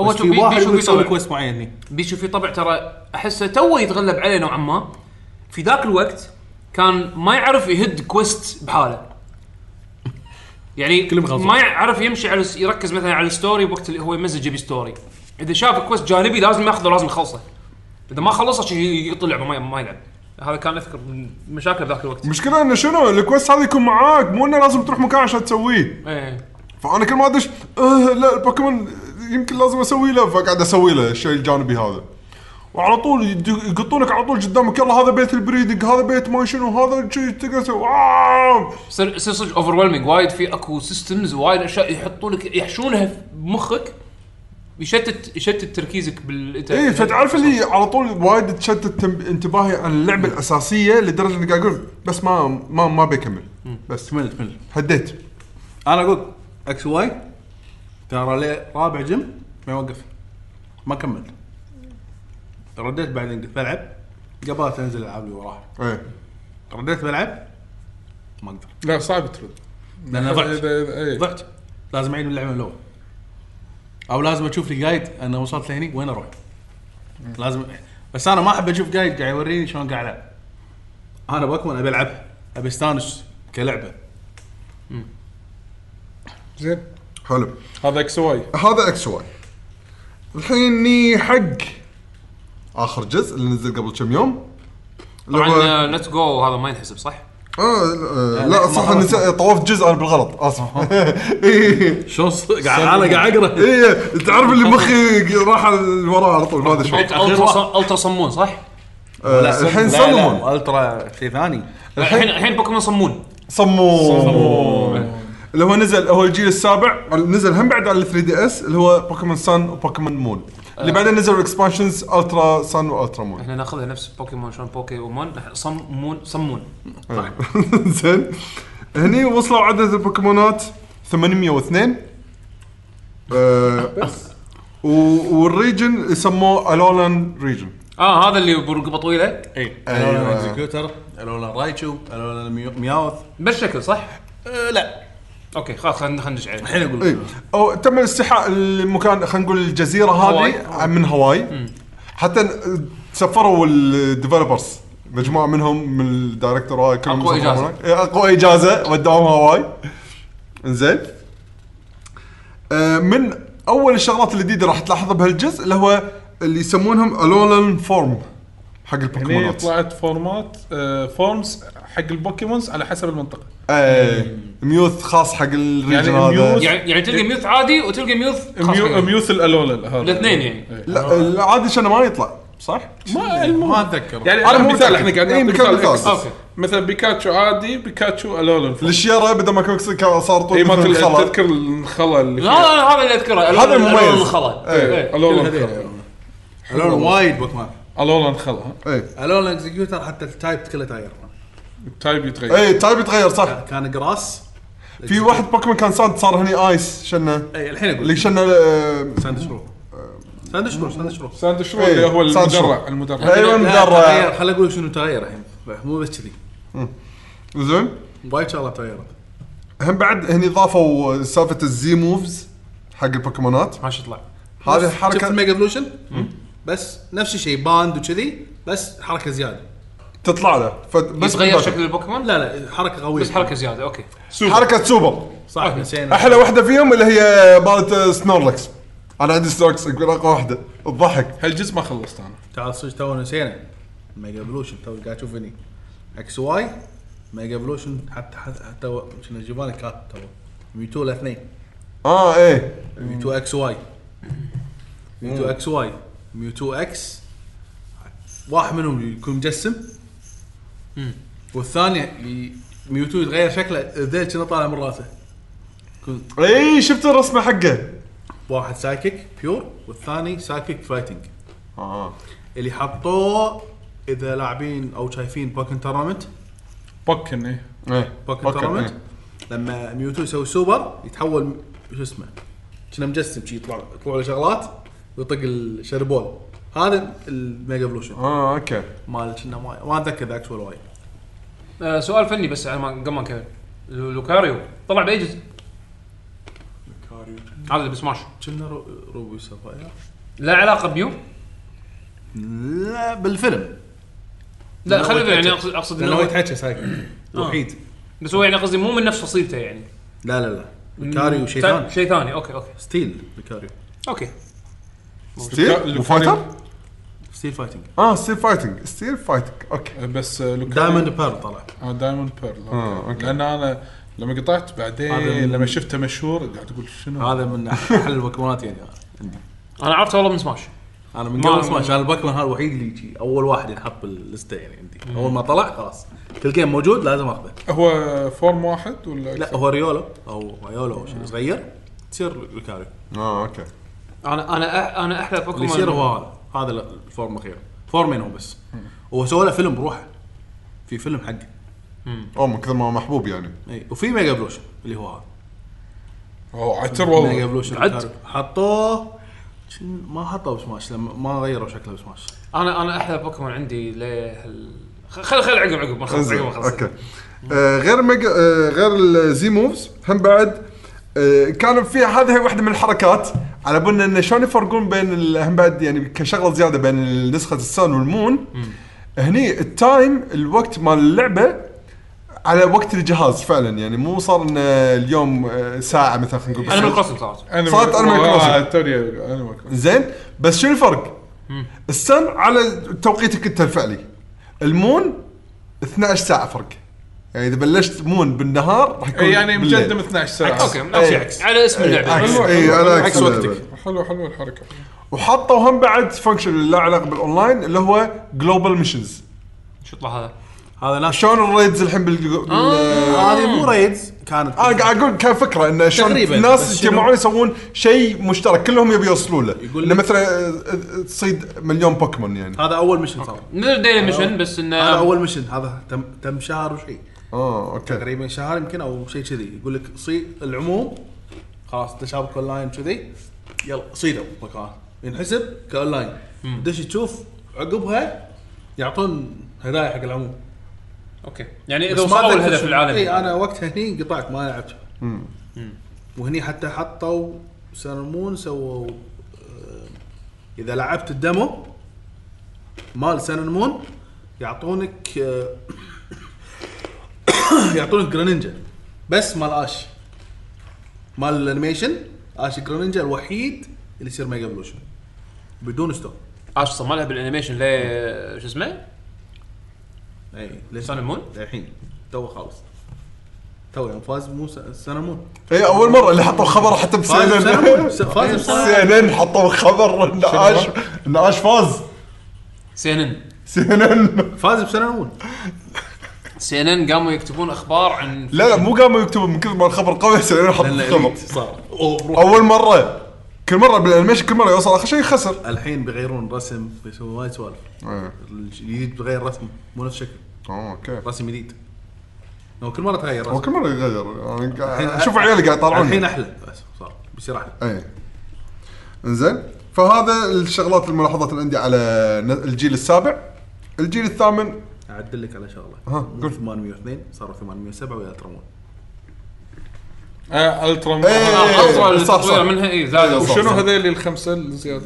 [SPEAKER 1] هو
[SPEAKER 5] هو
[SPEAKER 1] شوف
[SPEAKER 5] في
[SPEAKER 1] بي-
[SPEAKER 5] واحد
[SPEAKER 1] بيشو
[SPEAKER 5] يقول
[SPEAKER 1] في
[SPEAKER 5] سوي
[SPEAKER 1] طبع
[SPEAKER 5] كويست معين هني
[SPEAKER 1] بيشو في طبع ترى احسه تو يتغلب عليه نوعا ما في ذاك الوقت كان ما يعرف يهد كويست بحاله يعني ما يعرف يمشي على الس- يركز مثلا على الستوري وقت اللي هو يمزج يبي ستوري اذا شاف كويست جانبي لازم ياخذه لازم يخلصه اذا ما خلصه شي يطلع ما ما يلعب هذا كان اذكر من مشاكل بذاك الوقت
[SPEAKER 4] المشكله انه شنو الكويست هذا يكون معاك مو انه لازم تروح مكان عشان تسويه
[SPEAKER 1] ايه
[SPEAKER 4] فانا كل ما ادش أه لا البوكيمون يمكن لازم اسوي له فقاعد اسوي له الشيء الجانبي هذا وعلى طول يد- يقطونك على طول قدامك يلا هذا بيت البريدنج هذا بيت ما شنو هذا شيء تقدر تسوي آه.
[SPEAKER 1] يصير يصير صدق اوفرولمينج وايد في اكو سيستمز وايد اشياء يحطون لك يحشونها بمخك يشتت يشتت تركيزك بال انت-
[SPEAKER 4] ايه فتعرف اللي على طول وايد تشتت تم- انتباهي عن اللعبه الاساسيه لدرجه اني قاعد اقول بس ما ما ما بكمل بس
[SPEAKER 5] تمل تمل
[SPEAKER 4] هديت
[SPEAKER 5] انا اقول اكس واي ترى لي رابع جيم ما يوقف ما كملت رديت بعدين قلت بلعب قبل تنزل الالعاب اللي وراها
[SPEAKER 4] ايه
[SPEAKER 5] رديت بلعب ما اقدر
[SPEAKER 2] لا صعب ترد
[SPEAKER 5] لان ضعت
[SPEAKER 2] إذا- إذا- إيه.
[SPEAKER 5] ضعت لازم اعيد من اللعبه من الاول او لازم اشوف لي جايد انا وصلت لهني وين اروح لازم بس انا ما احب اشوف جايد قاعد يوريني شلون قاعد العب انا بوكيمون ابي العب ابي استانس كلعبه
[SPEAKER 2] زين
[SPEAKER 4] حلو
[SPEAKER 2] هذا اكس واي
[SPEAKER 4] هذا اكس واي الحين ني حق اخر جزء اللي نزل قبل كم يوم اللي هو-
[SPEAKER 1] طبعا ليتس جو آه، هذا ما ينحسب صح؟
[SPEAKER 4] آه، آه،
[SPEAKER 5] لا،
[SPEAKER 4] لا صح
[SPEAKER 5] ما
[SPEAKER 4] أنا
[SPEAKER 5] خلصت.
[SPEAKER 4] نسيت- طوفت جزء انا بالغلط اسف (laughs) ايه
[SPEAKER 5] شلون ص- قاعد انا قاعد اقرا
[SPEAKER 4] ايه تعرف اللي مخي راح وراه على طول ما ادري شلون
[SPEAKER 1] الترا ص- الترا صمون صح؟
[SPEAKER 4] آه، الحين صممون
[SPEAKER 5] الترا شيء ثاني
[SPEAKER 1] الحين الحين بوكيمون صمون
[SPEAKER 4] صمون اللي هو نزل هو الجيل السابع نزل هم بعد على 3 دي اس اللي هو بوكيمون سان وبوكيمون مون اللي بعدين نزلوا الاكسبانشنز الترا سان والترا مون
[SPEAKER 1] احنا ناخذها نفس بوكيمون شلون بوكيمون إح- صمون صمون
[SPEAKER 4] (laughs) زين هني وصلوا عدد البوكيمونات 802 آه و- والريجن يسموه الولان ريجن
[SPEAKER 1] اه هذا اللي برقبه طويله
[SPEAKER 5] اي
[SPEAKER 4] أيوة.
[SPEAKER 5] الولا اكزكيوتر الولا رايتشو الولا ميو- مياوث
[SPEAKER 1] بالشكل صح؟
[SPEAKER 5] أه، لا
[SPEAKER 1] اوكي خلاص خلينا خلينا ندش عليه
[SPEAKER 5] الحين اقول
[SPEAKER 4] اي
[SPEAKER 5] لك.
[SPEAKER 4] او إيه. تم الاستيحاء المكان خلينا نقول الجزيره هذه
[SPEAKER 1] هواي.
[SPEAKER 4] من هواي حتى سفروا الديفلوبرز مجموعه منهم من الدايركتور هاي كلهم
[SPEAKER 1] أقوى
[SPEAKER 4] سافروا
[SPEAKER 1] إجازة.
[SPEAKER 4] هناك. إيه، اقوى اجازه وداهم هواي انزين آه، من اول الشغلات الجديده راح تلاحظها بهالجزء اللي هو اللي يسمونهم الولن فورم
[SPEAKER 1] يعني
[SPEAKER 4] حق
[SPEAKER 2] هني
[SPEAKER 4] البوكيمونات
[SPEAKER 2] طلعت فورمات آه، فورمز حق البوكيمونز على حسب المنطقه
[SPEAKER 4] ايه ميوث خاص حق الريجن
[SPEAKER 2] يعني
[SPEAKER 4] هذا
[SPEAKER 2] ميوث
[SPEAKER 1] يعني يعني تلقى ميوث عادي وتلقى ميوث خاص
[SPEAKER 2] ميو-
[SPEAKER 1] فيه.
[SPEAKER 2] ميوث الالولا هذا
[SPEAKER 1] الاثنين يعني.
[SPEAKER 2] إيه.
[SPEAKER 4] لا العادي شنو ما يطلع صح؟
[SPEAKER 2] ما المهم
[SPEAKER 5] ما اتذكر
[SPEAKER 2] يعني
[SPEAKER 4] أنا
[SPEAKER 2] انا
[SPEAKER 4] مو
[SPEAKER 2] مثال
[SPEAKER 4] متأكد.
[SPEAKER 2] احنا قاعدين
[SPEAKER 4] إيه،
[SPEAKER 2] نعطي
[SPEAKER 4] مثال مثال.
[SPEAKER 2] إكس.
[SPEAKER 1] أوكي.
[SPEAKER 2] مثلا بيكاتشو عادي بيكاتشو الولا
[SPEAKER 4] الشيره بدل ما كان صار طول
[SPEAKER 2] اي ما
[SPEAKER 4] مثل
[SPEAKER 2] تل-
[SPEAKER 4] الخلاط.
[SPEAKER 2] تذكر الخلا اللي
[SPEAKER 1] لا
[SPEAKER 2] فيها.
[SPEAKER 1] لا، هذا اللي اذكره
[SPEAKER 4] هذا المميز.
[SPEAKER 1] الخلا
[SPEAKER 4] إيه.
[SPEAKER 2] الولا
[SPEAKER 5] كل
[SPEAKER 2] انخلى
[SPEAKER 5] الولا وايد بوكمان
[SPEAKER 2] الولا انخلى ها.
[SPEAKER 4] ايه
[SPEAKER 5] الولا اكزكيوتر حتى التايب كله تاير
[SPEAKER 2] التايب يتغير
[SPEAKER 4] ايه التايب يتغير صح
[SPEAKER 5] كان جراس
[SPEAKER 4] في واحد بوكيمون كان ساند صار هني ايس شنه
[SPEAKER 5] اي إيه، الحين اقول
[SPEAKER 4] اللي
[SPEAKER 5] لك
[SPEAKER 4] شنه آه،
[SPEAKER 5] ساندش رو ساندش رو ساندش رو
[SPEAKER 2] ساند شرو
[SPEAKER 4] إيه،
[SPEAKER 2] اللي هو
[SPEAKER 4] ساند شرو.
[SPEAKER 2] المدرع المدرع
[SPEAKER 4] ايوه
[SPEAKER 5] لا، تغير.
[SPEAKER 4] مدرع
[SPEAKER 5] خل اقول لك شنو تغير الحين مو بس كذي
[SPEAKER 4] زين
[SPEAKER 5] وايد شغله تغيرت
[SPEAKER 4] هم بعد هني ضافوا سالفه الزي موفز حق البوكيمونات
[SPEAKER 1] ما شو طلع
[SPEAKER 4] هذه
[SPEAKER 5] شفت
[SPEAKER 4] الحركه
[SPEAKER 5] الميجا فلوشن بس نفس الشيء باند وكذي بس حركه زياده
[SPEAKER 4] تطلع له فت-
[SPEAKER 1] بس غير شكل البوكيمون
[SPEAKER 5] لا لا حركه قويه
[SPEAKER 1] بس حركه زياده اوكي
[SPEAKER 4] حركه سوبر
[SPEAKER 5] صح نسينا
[SPEAKER 4] احلى واحده فيهم اللي هي مالت آه، سنورلكس انا عندي ستاركس اقول رقم واحده الضحك
[SPEAKER 2] هالجزء ما خلصت انا
[SPEAKER 5] تعال صدق تو نسينا ميجا ايفولوشن تو قاعد اشوف هني اكس واي ميجا ايفولوشن حتى حتى حتى كنا جبانه كات تو ميتو الاثنين
[SPEAKER 4] اه ايه
[SPEAKER 5] ميوتو اكس واي ميوتو اكس واي ميوتو اكس واحد منهم يكون مجسم والثاني ي- ميوتو يتغير شكله ذيل كنا طالع من راسه يكون
[SPEAKER 4] اي شفت الرسمه حقه
[SPEAKER 5] واحد سايكيك بيور والثاني سايكيك فايتنج
[SPEAKER 4] اه
[SPEAKER 5] اللي حطوه اذا لاعبين او شايفين باكن تورنمنت
[SPEAKER 2] بكن ايه
[SPEAKER 4] ايه
[SPEAKER 5] باكن
[SPEAKER 4] باكن،
[SPEAKER 5] تورنمنت
[SPEAKER 4] إيه.
[SPEAKER 5] لما ميوتو يسوي سوبر يتحول م- شو اسمه كنا مجسم شي يطلع يطلع له شغلات ويطق الشربول هذا الميجا ايفولوشن
[SPEAKER 4] اه اوكي
[SPEAKER 5] مال كنا ما ما اتذكر ذاك شو وايد
[SPEAKER 1] آه، سؤال فني بس على ما- قبل ما نكمل لو- لوكاريو طلع باي جزء؟ هذا اللي بسماش
[SPEAKER 5] كنا رو- روبي سفاير
[SPEAKER 1] لا علاقه بيو
[SPEAKER 5] لا بالفيلم
[SPEAKER 1] لا
[SPEAKER 5] لأنه
[SPEAKER 1] خلي
[SPEAKER 5] هو
[SPEAKER 1] يعني
[SPEAKER 5] يتحكى.
[SPEAKER 1] اقصد اقصد
[SPEAKER 5] لانه هو
[SPEAKER 1] إنه-
[SPEAKER 5] يتحكى سايكل وحيد
[SPEAKER 1] بس هو يعني قصدي مو من نفس فصيلته يعني
[SPEAKER 5] لا لا لا بيكاريو شيء ثاني
[SPEAKER 1] شيء ثاني اوكي اوكي
[SPEAKER 5] ستيل بيكاريو
[SPEAKER 1] اوكي
[SPEAKER 4] ستيل وفايتر
[SPEAKER 5] ستيل فايتنج
[SPEAKER 4] اه ستيل فايتنج ستيل فايتنج اوكي
[SPEAKER 2] بس لوكاريو
[SPEAKER 5] دايموند بيرل طلع
[SPEAKER 2] اه دايموند بيرل
[SPEAKER 4] آه، أوكي.
[SPEAKER 2] اوكي لان انا لما قطعت
[SPEAKER 5] هذا
[SPEAKER 2] بعدين
[SPEAKER 5] من-
[SPEAKER 2] لما شفته مشهور قاعد اقول شنو
[SPEAKER 5] هذا من احلى البوكيمونات يعني أنا.
[SPEAKER 1] انا عرفته والله من سماش
[SPEAKER 5] انا من
[SPEAKER 1] ما-
[SPEAKER 5] قبل سماش انا الباكمان هذا الوحيد اللي يجي اول واحد ينحط باللسته يعني عندي اول ما طلع خلاص كل جيم موجود لازم اخذه
[SPEAKER 2] هو فورم واحد ولا
[SPEAKER 5] لا هو ريولو او ريولو او شيء صغير تصير لوكاريو
[SPEAKER 4] اه اوكي
[SPEAKER 1] انا انا أح- انا احلى بوكيمون
[SPEAKER 5] اللي يصير هو هذا هذا الفورم الاخير فورمين هو بس وهو سوى له فيلم بروحه في فيلم حقه
[SPEAKER 4] اوه من كثر ما هو محبوب يعني
[SPEAKER 5] اي وفي ميجا بلوشن اللي هو هذا
[SPEAKER 2] هو عتر
[SPEAKER 5] ميجا
[SPEAKER 2] والله
[SPEAKER 5] بلوشن
[SPEAKER 1] عد.
[SPEAKER 5] لوكاريو. حطوه شن- ما حطوه بسماش لما ما غيروا شكله بسماش
[SPEAKER 1] انا انا احلى بوكيمون عندي لهال خل خل عقب عقب ما نخلص
[SPEAKER 4] انزين
[SPEAKER 1] عقب ما نخلص
[SPEAKER 4] اوكي آه غير ميجا آه غير الزي موفز هم بعد آه كان في هذه واحده من الحركات على بالنا انه شلون يفرقون بين ال- هم بعد يعني كشغله زياده بين نسخه السون والمون هني التايم الوقت مال اللعبه على وقت الجهاز فعلا يعني مو صار انه اليوم آه، ساعه مثلا خلينا نقول
[SPEAKER 1] انا من
[SPEAKER 4] بالساعة.
[SPEAKER 1] القصد صارت
[SPEAKER 2] أنا-
[SPEAKER 4] صارت أنمي كروسنج.
[SPEAKER 2] آه، توني أنمي كروسنج.
[SPEAKER 4] زين بس شنو الفرق؟ السن على توقيتك انت الفعلي المون 12 ساعه فرق يعني اذا بلشت مون بالنهار راح يكون
[SPEAKER 2] إيه، يعني
[SPEAKER 4] بالليل.
[SPEAKER 2] مجدم 12 ساعه
[SPEAKER 1] اوكي ماشي عكس على اسم اللعبه
[SPEAKER 4] عكس
[SPEAKER 2] حلو،
[SPEAKER 4] اي
[SPEAKER 2] حلو،
[SPEAKER 4] على
[SPEAKER 2] عكس
[SPEAKER 4] عكس وقتك
[SPEAKER 2] حلوه حلوه الحركه
[SPEAKER 4] وحطوا هم بعد فانكشن اللي له علاقه بالاونلاين اللي هو جلوبال ميشنز
[SPEAKER 1] شو طلع هذا؟
[SPEAKER 5] هذا ناس
[SPEAKER 4] شلون الريدز الحين بالجو... بال
[SPEAKER 2] آه.
[SPEAKER 5] هذه مو ريدز كانت
[SPEAKER 4] انا آه، قاعد اقول كان فكره انه شلون
[SPEAKER 5] تقريباً، بس
[SPEAKER 4] الناس
[SPEAKER 5] شنو-
[SPEAKER 4] يتجمعون يسوون شيء مشترك كلهم يبي يوصلون له
[SPEAKER 5] يقول
[SPEAKER 4] انه
[SPEAKER 5] لك-
[SPEAKER 4] مثلا آه، آه، تصيد مليون بوكيمون يعني
[SPEAKER 5] هذا اول ميشن صار
[SPEAKER 1] مثل ديلي ميشن بس
[SPEAKER 5] هذا
[SPEAKER 1] انه
[SPEAKER 5] اول ميشن هذا تم تم شهر وشيء
[SPEAKER 4] اه اوكي
[SPEAKER 5] تقريبا شهر يمكن او شيء كذي يقول لك صي العموم خلاص تشابك اون لاين كذي يلا صيدوا مكان ينحسب كاون لاين دش تشوف عقبها يعطون هدايا حق العموم
[SPEAKER 1] اوكي يعني
[SPEAKER 5] بس
[SPEAKER 1] اذا
[SPEAKER 5] ما
[SPEAKER 1] وصلوا
[SPEAKER 5] أتذكر
[SPEAKER 1] الهدف
[SPEAKER 5] شنو.
[SPEAKER 1] العالمي
[SPEAKER 5] اي انا إيه، وقتها هني قطعت ما لعبت وهني حتى حطوا سنمون سووا آه، اذا لعبت الدمو مال سنمون يعطونك آه، (coughs) يعطونك جرانينجا بس مال اش مال الانيميشن اش جرانينجا الوحيد اللي يصير ميجا بلوشن بدون ستوب
[SPEAKER 1] اش صمالها بالانيميشن ل شو اسمه؟
[SPEAKER 5] اي إيه، ليش
[SPEAKER 1] سان مون
[SPEAKER 5] الحين تو خالص تو يوم فاز مو سنمون
[SPEAKER 4] اي اول مره إيه، اللي حطوا خبر حتى
[SPEAKER 5] فاز
[SPEAKER 4] بسي ان
[SPEAKER 5] بسنمون
[SPEAKER 4] ان
[SPEAKER 5] فاز بسنمون
[SPEAKER 4] سي ان ان حطوا خبر ان عاش ان عاش فاز
[SPEAKER 1] سي ان ان
[SPEAKER 4] سي ان ان
[SPEAKER 5] فاز بسنمون
[SPEAKER 1] سي ان ان قاموا يكتبون اخبار عن
[SPEAKER 4] لا لا مو قاموا يكتبون من كثر ما الخبر قوي سي ان ان حطوا خبر
[SPEAKER 5] الإليت صار أوه، روح.
[SPEAKER 4] اول مره كل مره بالانيميشن كل مره يوصل اخر شيء خسر
[SPEAKER 5] الحين بيغيرون رسم بيسوون وايد سوالف
[SPEAKER 4] إيه.
[SPEAKER 5] الجديد بغير رسم مو نفس الشكل
[SPEAKER 4] اه اوكي
[SPEAKER 5] رسم جديد هو كل مره تغير
[SPEAKER 4] هو
[SPEAKER 5] رسم
[SPEAKER 4] كل مره يغير أنا قاعد- اشوف عيالي قاعد
[SPEAKER 5] الحين
[SPEAKER 4] يطالعوني
[SPEAKER 5] احلى بس صار بيصير احلى
[SPEAKER 4] اي انزين فهذا الشغلات الملاحظات اللي عندي على ن- الجيل السابع الجيل الثامن
[SPEAKER 5] اعدل لك على شغله
[SPEAKER 4] ها،
[SPEAKER 5] مو
[SPEAKER 4] قول.
[SPEAKER 5] 802 صاروا 807 ويا ترمون
[SPEAKER 2] آه، الترا
[SPEAKER 4] إيه.
[SPEAKER 2] آه،
[SPEAKER 1] اطول
[SPEAKER 4] صح، صح.
[SPEAKER 1] تطوير منها إيه، اي زادوا
[SPEAKER 4] صح.
[SPEAKER 2] شنو هذيل الخمسه الزياده؟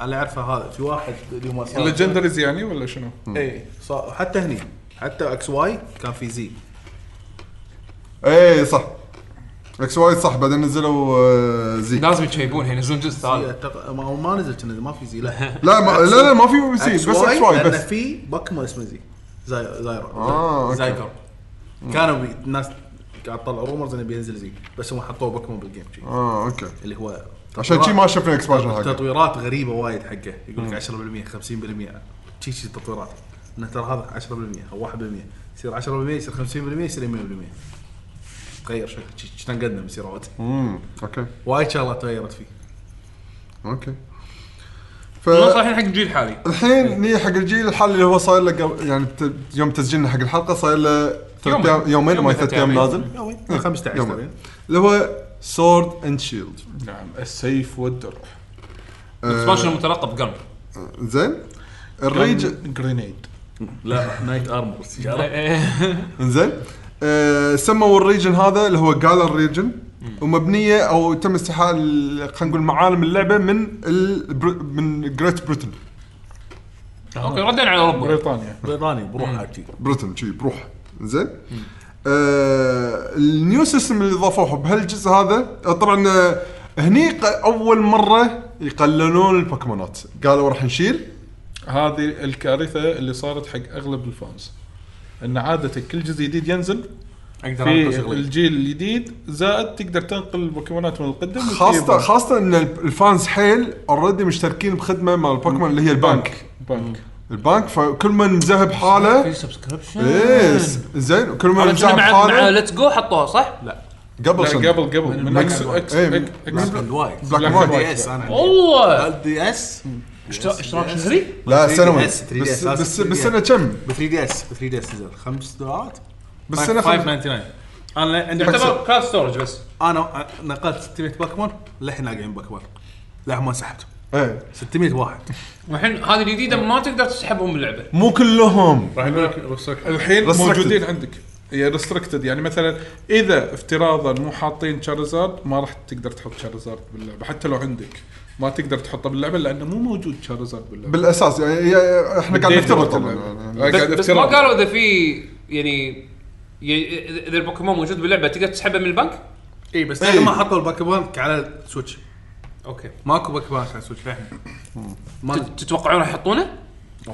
[SPEAKER 5] انا اعرفه هذا في واحد اليوم صار
[SPEAKER 2] الليجندريز يعني ولا شنو؟
[SPEAKER 5] اي صار حتى هني حتى اكس واي كان في زي
[SPEAKER 4] اي إيه، صح اكس وايد صح بعدين نزلوا آه، زي
[SPEAKER 1] لازم يشيبون ينزلون جزء
[SPEAKER 5] هي
[SPEAKER 1] ثالث
[SPEAKER 5] أعتقد- ما هو ما نزل كنا ما في زي لا
[SPEAKER 4] لا ما لا لا ما في بي سي
[SPEAKER 5] X
[SPEAKER 4] بس
[SPEAKER 5] Y،
[SPEAKER 4] اكس واي
[SPEAKER 5] لأن
[SPEAKER 4] بس
[SPEAKER 5] في بوكيمون اسمه زي زاي- زايرو
[SPEAKER 4] اه اوكي
[SPEAKER 5] زايجر كانوا بي... الناس قاعد تطلع رومرز انه بينزل زي بس هم حطوه بوكيمون بالجيم شي.
[SPEAKER 4] اه اوكي
[SPEAKER 5] اللي هو
[SPEAKER 4] عشان شي ما شفنا اكسبانشن حقه
[SPEAKER 5] تطويرات غريبه وايد حقه يقول لك 10% 50% شي شي تطويرات انه ترى هذا 10% او 1% يصير 10% يصير 50% يصير 100% تغير شكل شي- شي تنقدم يصير عود
[SPEAKER 4] امم اوكي
[SPEAKER 5] وايد شغلات تغيرت فيه
[SPEAKER 4] اوكي
[SPEAKER 1] خلاص
[SPEAKER 4] فالحين
[SPEAKER 1] الحين حق الجيل الحالي
[SPEAKER 4] ني حق الجيل الحالي اللي هو صاير له قبل- يعني ت- يوم تسجيلنا حق الحلقه صاير له ثلاث
[SPEAKER 1] يومين.
[SPEAKER 4] أيام- يومين ما
[SPEAKER 1] يومين
[SPEAKER 4] ثلاث
[SPEAKER 1] ثلاث
[SPEAKER 4] ايام
[SPEAKER 1] أيام.
[SPEAKER 4] نازل
[SPEAKER 5] يومين
[SPEAKER 4] إيه،
[SPEAKER 5] 15
[SPEAKER 4] يومين.
[SPEAKER 5] تقريباً.
[SPEAKER 4] اللي هو سورد اند شيلد
[SPEAKER 2] نعم السيف والدرع
[SPEAKER 1] اكسبانشن المترقب قبل
[SPEAKER 4] زين الريج
[SPEAKER 2] جرينيد
[SPEAKER 5] لا نايت ارمور
[SPEAKER 4] (laughs) انزين آه، سموا الريجن هذا اللي هو جالا ريجن ومبنيه او تم استحال خلينا نقول معالم اللعبه من ال... بر- من جريت بريتن
[SPEAKER 1] اوكي ردينا على اوروبا
[SPEAKER 2] بريطانيا
[SPEAKER 5] بريطاني بروح عاد
[SPEAKER 4] بريتن شي بروح زين آه النيو سيستم اللي ضافوه بهالجزء هذا آه، طبعا آه، هني ق- اول مره يقللون البوكيمونات قالوا راح نشيل
[SPEAKER 2] هذه الكارثه اللي صارت حق اغلب الفانز ان عاده كل جزء جديد ينزل
[SPEAKER 7] اقدر
[SPEAKER 2] في
[SPEAKER 7] انقذ شغلي
[SPEAKER 2] الجيل الجديد زائد تقدر تنقل البوكيمونات من القدم
[SPEAKER 4] خاصه
[SPEAKER 2] وتجيبهم.
[SPEAKER 4] خاصه ان الب- الفانز حيل اوريدي مشتركين بخدمه مال البوكيمون اللي هي البنك
[SPEAKER 2] بنك
[SPEAKER 4] البنك فكل من مذهب حاله
[SPEAKER 1] في سبسكربشن
[SPEAKER 4] ايه زين كل
[SPEAKER 1] هذا
[SPEAKER 4] ما
[SPEAKER 1] كنا
[SPEAKER 4] نمزح
[SPEAKER 1] مع مع
[SPEAKER 4] بحاله
[SPEAKER 1] ليتس جو حطوها صح؟
[SPEAKER 4] قبل
[SPEAKER 2] لا
[SPEAKER 4] سنة
[SPEAKER 2] قبل قبل من اكس اكس
[SPEAKER 4] إيه،
[SPEAKER 2] اكس
[SPEAKER 4] من-
[SPEAKER 2] إكس-
[SPEAKER 7] وايد
[SPEAKER 4] بلاك
[SPEAKER 2] بلاك
[SPEAKER 4] وايد.
[SPEAKER 2] وايد.
[SPEAKER 4] (laughs)
[SPEAKER 7] اس انا
[SPEAKER 1] والله
[SPEAKER 7] الدي اس
[SPEAKER 1] اشتراك اشتراك شهري؟
[SPEAKER 4] لا
[SPEAKER 7] 3DS
[SPEAKER 4] سنوي
[SPEAKER 7] بس-
[SPEAKER 4] بس
[SPEAKER 7] 3DS.
[SPEAKER 4] بس بالسنه كم؟
[SPEAKER 7] ب 3 دي اس ب 3 دي اس نزل 5 دولارات
[SPEAKER 4] بالسنه خمس-
[SPEAKER 7] 599 انا عندي
[SPEAKER 1] يعتبر كلاود ستورج بس
[SPEAKER 7] انا نقلت 600 بوكيمون للحين لاقيين بوكيمون للحين ما سحبتهم
[SPEAKER 4] ايه
[SPEAKER 7] 600 واحد
[SPEAKER 1] والحين هذه الجديده ما تقدر تسحبهم من اللعبه
[SPEAKER 4] مو كلهم
[SPEAKER 2] راح يقول لك restricted. الحين
[SPEAKER 4] Restricted.
[SPEAKER 2] موجودين عندك هي ريستركتد يعني مثلا اذا افتراضا مو حاطين شارزارد ما راح تقدر تحط شارزارد باللعبه حتى لو عندك ما تقدر تحطه باللعبه لانه مو موجود شارزارد باللعبه
[SPEAKER 4] بالاساس يعني هي- احنا قاعد
[SPEAKER 2] بالديتا
[SPEAKER 4] نفترض
[SPEAKER 2] باللعبة.
[SPEAKER 4] طبعا
[SPEAKER 2] آه،
[SPEAKER 1] بس,
[SPEAKER 2] قاعد
[SPEAKER 1] بس ما
[SPEAKER 2] افتراض.
[SPEAKER 1] قالوا اذا في يعني ي- اذا البوكيمون موجود باللعبه تقدر تسحبه من البنك؟
[SPEAKER 7] اي بس
[SPEAKER 4] إي.
[SPEAKER 7] للحين ما حطوا البوكيمون على السويتش
[SPEAKER 1] اوكي
[SPEAKER 7] ماكو بوكيمون على السويتش للحين ما
[SPEAKER 1] تتوقعون راح يحطونه؟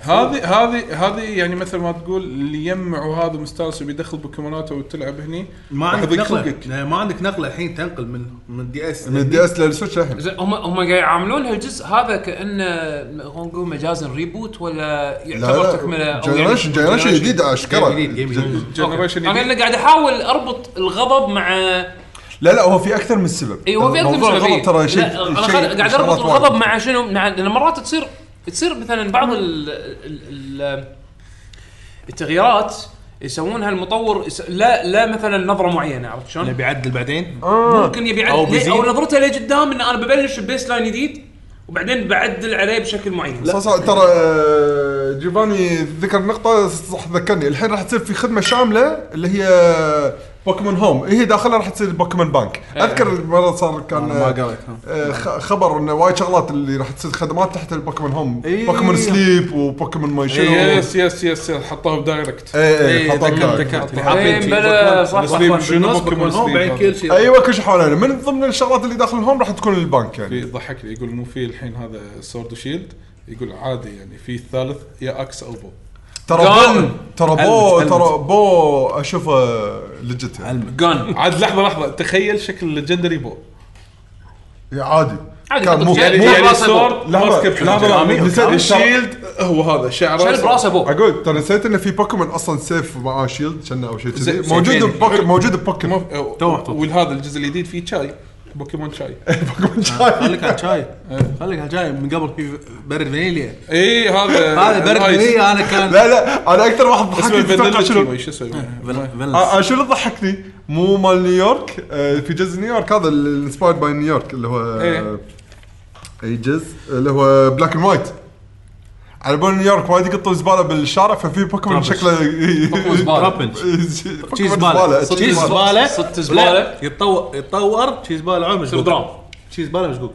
[SPEAKER 2] هذه هذه هذه يعني مثل ما تقول اللي يجمع وهذا مستانس وبيدخل بوكيموناته وتلعب هني
[SPEAKER 7] ما
[SPEAKER 2] راح
[SPEAKER 7] عندك
[SPEAKER 2] يضيق
[SPEAKER 7] نقله
[SPEAKER 2] خلقك.
[SPEAKER 7] لا، ما عندك نقله الحين تنقل من من الدي اس
[SPEAKER 4] من الدي اس للسويتش الحين
[SPEAKER 1] زين هم هم قاعد يعاملون هالجزء هذا كانه خلينا نقول مجازا ريبوت ولا يعتبر تكمله أو يعني
[SPEAKER 4] جنريشن جنريشن جديد اشكره
[SPEAKER 7] جديد، جيم جديد.
[SPEAKER 2] جنريشن
[SPEAKER 1] انا
[SPEAKER 2] جديد.
[SPEAKER 1] اللي قاعد احاول اربط الغضب مع
[SPEAKER 4] لا لا هو في اكثر من سبب
[SPEAKER 1] اي هو في اكثر من
[SPEAKER 4] موضوع
[SPEAKER 1] سبب إيه.
[SPEAKER 4] الغضب ترى شيء
[SPEAKER 1] لا، انا
[SPEAKER 4] شيء-
[SPEAKER 1] خل- قاعد
[SPEAKER 4] شغلات
[SPEAKER 1] اربط
[SPEAKER 4] وايد.
[SPEAKER 1] الغضب مع شنو مع لان مرات تصير تصير مثلا بعض ال ال ال التغييرات يسوونها المطور يس... لا لا مثلا نظره معينه عرفت شلون؟
[SPEAKER 7] نبي يعدل بعدين
[SPEAKER 4] آه.
[SPEAKER 1] ممكن يبي
[SPEAKER 7] أو
[SPEAKER 1] يعدل
[SPEAKER 7] بيزيد.
[SPEAKER 1] او, نظرته لقدام ان انا ببلش ببيس لاين جديد وبعدين بعدل عليه بشكل معين
[SPEAKER 4] صح صح ترى آه، جيفاني ذكر نقطة صح ذكرني الحين راح تصير في خدمة شاملة اللي هي بوكيمون هوم هي داخلها راح تصير بوكيمون بانك
[SPEAKER 1] إيه.
[SPEAKER 4] اذكر مرة صار كان
[SPEAKER 7] ما
[SPEAKER 4] آه،
[SPEAKER 7] قريت،
[SPEAKER 4] آه، خ- خبر انه وايد شغلات اللي راح تصير خدمات تحت البوكيمون هوم
[SPEAKER 7] إيه.
[SPEAKER 4] بوكيمون سليب وبوكيمون ماي شنو إيه، اي
[SPEAKER 2] إيه، يس إيه، يس يس حطوها بدايركت
[SPEAKER 4] اي
[SPEAKER 1] إيه، بلا صح صح
[SPEAKER 2] سليم شنو
[SPEAKER 5] بالنسبه
[SPEAKER 2] بوكيمون
[SPEAKER 5] من هون بعد
[SPEAKER 2] سليم
[SPEAKER 5] كل شيء
[SPEAKER 4] ايوه كل شيء حوالينا من ضمن الشغلات اللي داخل الهوم راح تكون البنك
[SPEAKER 2] إيه.
[SPEAKER 4] يعني
[SPEAKER 2] ضحكني يقول مو في الحين هذا سورد وشيلد يقول عادي يعني في الثالث يا اكس او بو
[SPEAKER 4] ترى
[SPEAKER 1] قال.
[SPEAKER 4] بو ترى بو ترى بو اشوفه لجت يعني
[SPEAKER 1] جن
[SPEAKER 2] عاد لحظه لحظه تخيل شكل الليجندري بو
[SPEAKER 4] إيه، عادي
[SPEAKER 1] عادي،
[SPEAKER 4] كان
[SPEAKER 1] حط
[SPEAKER 4] مو
[SPEAKER 1] الجيل.
[SPEAKER 2] يعني
[SPEAKER 1] مو
[SPEAKER 2] يعني
[SPEAKER 1] براسه بو.
[SPEAKER 2] سورد ماسك
[SPEAKER 4] لحظة،
[SPEAKER 2] بشنو.
[SPEAKER 4] لحظة، لحظة.
[SPEAKER 2] جميل.
[SPEAKER 4] نسيت-
[SPEAKER 2] الشيلد هو هذا شعره
[SPEAKER 1] شال براسه بو
[SPEAKER 4] اقول ترى نسيت انه في بوكيمون اصلا سيف معاه شيلد شنه او شيء كذي
[SPEAKER 2] زي-
[SPEAKER 4] موجود
[SPEAKER 2] زي-
[SPEAKER 4] ببوك موجود ببوكيمون
[SPEAKER 2] مو-
[SPEAKER 7] تو محطوط.
[SPEAKER 2] وهذا الجزء الجديد فيه شاي بوكيمون شاي
[SPEAKER 4] (laughs)
[SPEAKER 2] (laughs)
[SPEAKER 4] بوكيمون
[SPEAKER 7] خليك على الشاي خليك على الشاي من قبل في برد فانيليا
[SPEAKER 2] اي إيه، هذا
[SPEAKER 7] هذا برد
[SPEAKER 2] الآيس.
[SPEAKER 7] فانيليا انا كان
[SPEAKER 4] لا لا انا اكثر واحد
[SPEAKER 2] اسمه
[SPEAKER 4] ضحكني تتوقع
[SPEAKER 2] فانيلا
[SPEAKER 4] شنو؟
[SPEAKER 2] شنو شو اسمه
[SPEAKER 7] فانيلا.
[SPEAKER 4] آه، آه، شنو اللي ضحكني؟ مو مال نيويورك آه، في جزء نيويورك هذا الانسبايرد باي نيويورك اللي هو آه،
[SPEAKER 2] إيه.
[SPEAKER 4] اي جزء اللي هو بلاك اند وايت على بال نيويورك وايد يقطوا زباله بالشارع ففي بوكيمون
[SPEAKER 7] طربش.
[SPEAKER 4] شكله (laughs)
[SPEAKER 1] بوكيمون زبالة.
[SPEAKER 7] طربش.
[SPEAKER 4] شي
[SPEAKER 7] شي زباله شي زباله
[SPEAKER 1] صدق زبالة.
[SPEAKER 7] لا، يتطور يتطور شي زباله عمر
[SPEAKER 1] يصير
[SPEAKER 7] مشقوق
[SPEAKER 1] درام
[SPEAKER 7] شي زباله مشقوق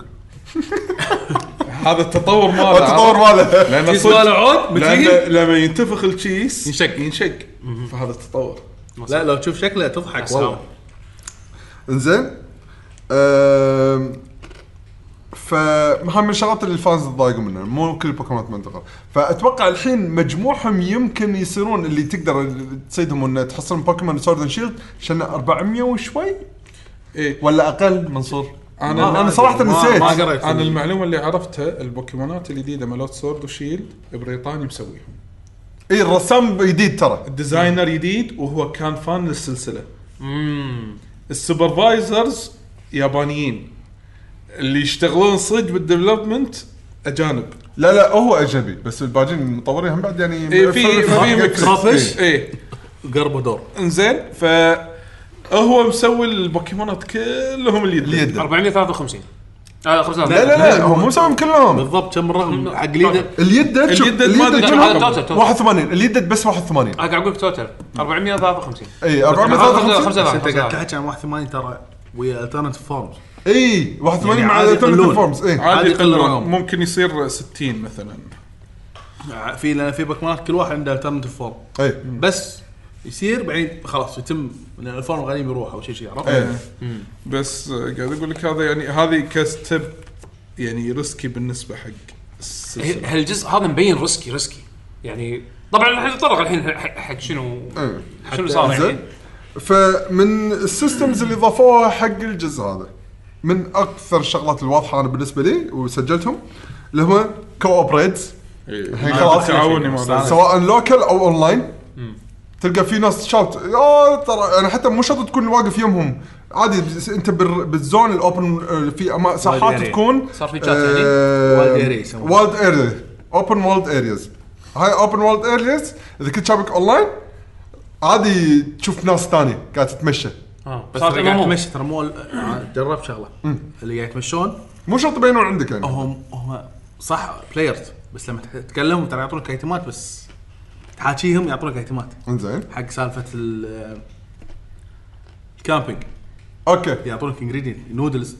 [SPEAKER 2] هذا التطور ماله
[SPEAKER 4] التطور ماله (laughs)
[SPEAKER 2] لان
[SPEAKER 7] شي زباله
[SPEAKER 2] صدق
[SPEAKER 7] عود
[SPEAKER 2] لأن
[SPEAKER 7] مثلي
[SPEAKER 2] لما ينتفخ الشيس
[SPEAKER 7] ينشق.
[SPEAKER 2] ينشق فهذا التطور
[SPEAKER 7] لا لو تشوف شكله تضحك والله
[SPEAKER 4] انزين أم، فهم من الشغلات اللي الفانز تضايقوا منها مو كل البوكيمونات منتقل فاتوقع الحين مجموعهم يمكن يصيرون اللي تقدر تصيدهم ان تحصل بوكيمون سورد اند شيلد عشان 400 وشوي
[SPEAKER 2] إيه.
[SPEAKER 4] ولا اقل منصور
[SPEAKER 2] أنا-
[SPEAKER 4] انا صراحه نسيت
[SPEAKER 5] ما قريت
[SPEAKER 2] انا المعلومه اللي عرفتها البوكيمونات الجديده مالوت سورد وشيلد بريطاني مسويهم
[SPEAKER 4] اي إيه، الرسام جديد ترى
[SPEAKER 2] الديزاينر جديد وهو كان فان للسلسله السوبرفايزرز يابانيين اللي يشتغلون صدق بالديفلوبمنت اجانب
[SPEAKER 4] لا لا هو اجنبي بس الباجين المطورين هم بعد يعني
[SPEAKER 2] إيه، في في مكس
[SPEAKER 4] إيه.
[SPEAKER 2] ايه
[SPEAKER 5] قربوا دور
[SPEAKER 2] انزين ف هو مسوي البوكيمونات كلهم اللي
[SPEAKER 4] اللي
[SPEAKER 2] يده
[SPEAKER 4] يده
[SPEAKER 1] 453 آه 53
[SPEAKER 4] لا لا لا هو مو مسويهم كلهم
[SPEAKER 5] بالضبط كم الرقم حق اليد
[SPEAKER 4] اليد شوف،
[SPEAKER 2] اليد ما أدري
[SPEAKER 4] اليد
[SPEAKER 2] كم
[SPEAKER 4] منهم
[SPEAKER 1] هذا توتال، توتال.
[SPEAKER 4] 81 اليد بس 81
[SPEAKER 1] انا قاعد اقول لك توتال 453
[SPEAKER 4] اي
[SPEAKER 1] خمسة
[SPEAKER 4] 453
[SPEAKER 1] وأربعين.
[SPEAKER 5] انت قاعد تحكي عن 81 ترى ويا الترنتيف فورمز
[SPEAKER 4] اي 81
[SPEAKER 5] يعني
[SPEAKER 4] إيه، مع إيه،
[SPEAKER 5] عادي
[SPEAKER 4] الالترنتيف
[SPEAKER 5] يقلون.
[SPEAKER 4] فورمز اي
[SPEAKER 2] عادي
[SPEAKER 5] عادي يقل
[SPEAKER 2] يقلون
[SPEAKER 5] الرقم.
[SPEAKER 2] ممكن يصير 60 مثلا
[SPEAKER 5] في لان في بكمانات كل واحد عنده الترنتيف فورم
[SPEAKER 4] اي
[SPEAKER 5] بس يصير بعدين خلاص يتم لان الفورم غالبا يروح او شيء شيء عرفت؟
[SPEAKER 4] اي
[SPEAKER 2] بس آه، قاعد اقول لك هذا يعني هذه كستب يعني ريسكي بالنسبه حق السلسله
[SPEAKER 1] هالجزء هذا مبين ريسكي ريسكي يعني طبعا احنا نتطرق الحين حق- حق شنو
[SPEAKER 4] إيه.
[SPEAKER 1] شنو صار
[SPEAKER 4] زين.
[SPEAKER 1] الحين
[SPEAKER 4] فمن السيستمز اللي ضافوها حق الجزء هذا من اكثر الشغلات الواضحه انا بالنسبه لي وسجلتهم اللي هم كوبريتس الحين خلاص
[SPEAKER 2] تعاوني إيه. مع بعض.
[SPEAKER 4] يعني. سواء لوكال او اونلاين تلقى في ناس شاوت يا ترى انا حتى مو شرط تكون واقف يمهم عادي بس انت بال- بالزون الاوبن آه، في أما- ساحات
[SPEAKER 5] area.
[SPEAKER 4] تكون آه،
[SPEAKER 1] صار في chat يعني؟
[SPEAKER 4] والد
[SPEAKER 5] Wild area يسمونه.
[SPEAKER 4] والد اريا اوبن والد ارياز هاي اوبن والد ارياز اذا كنت شابك اونلاين عادي تشوف ناس ثانيه قاعده تتمشى
[SPEAKER 1] اه
[SPEAKER 5] بس
[SPEAKER 1] صارت
[SPEAKER 5] اللي قاعد
[SPEAKER 1] MMO.
[SPEAKER 5] تمشي ترى مو أنا جربت شغله اللي قاعد يتمشون
[SPEAKER 4] مو شرط يبينون عندك يعني
[SPEAKER 5] هم هم صح بلايرز بس لما تح- تتكلم ترى يعطونك ايتمات بس تحاكيهم يعطونك ايتمات
[SPEAKER 4] انزين
[SPEAKER 5] حق سالفه ال- آه، الكامبينج
[SPEAKER 4] اوكي
[SPEAKER 5] يعطونك انجريدينت نودلز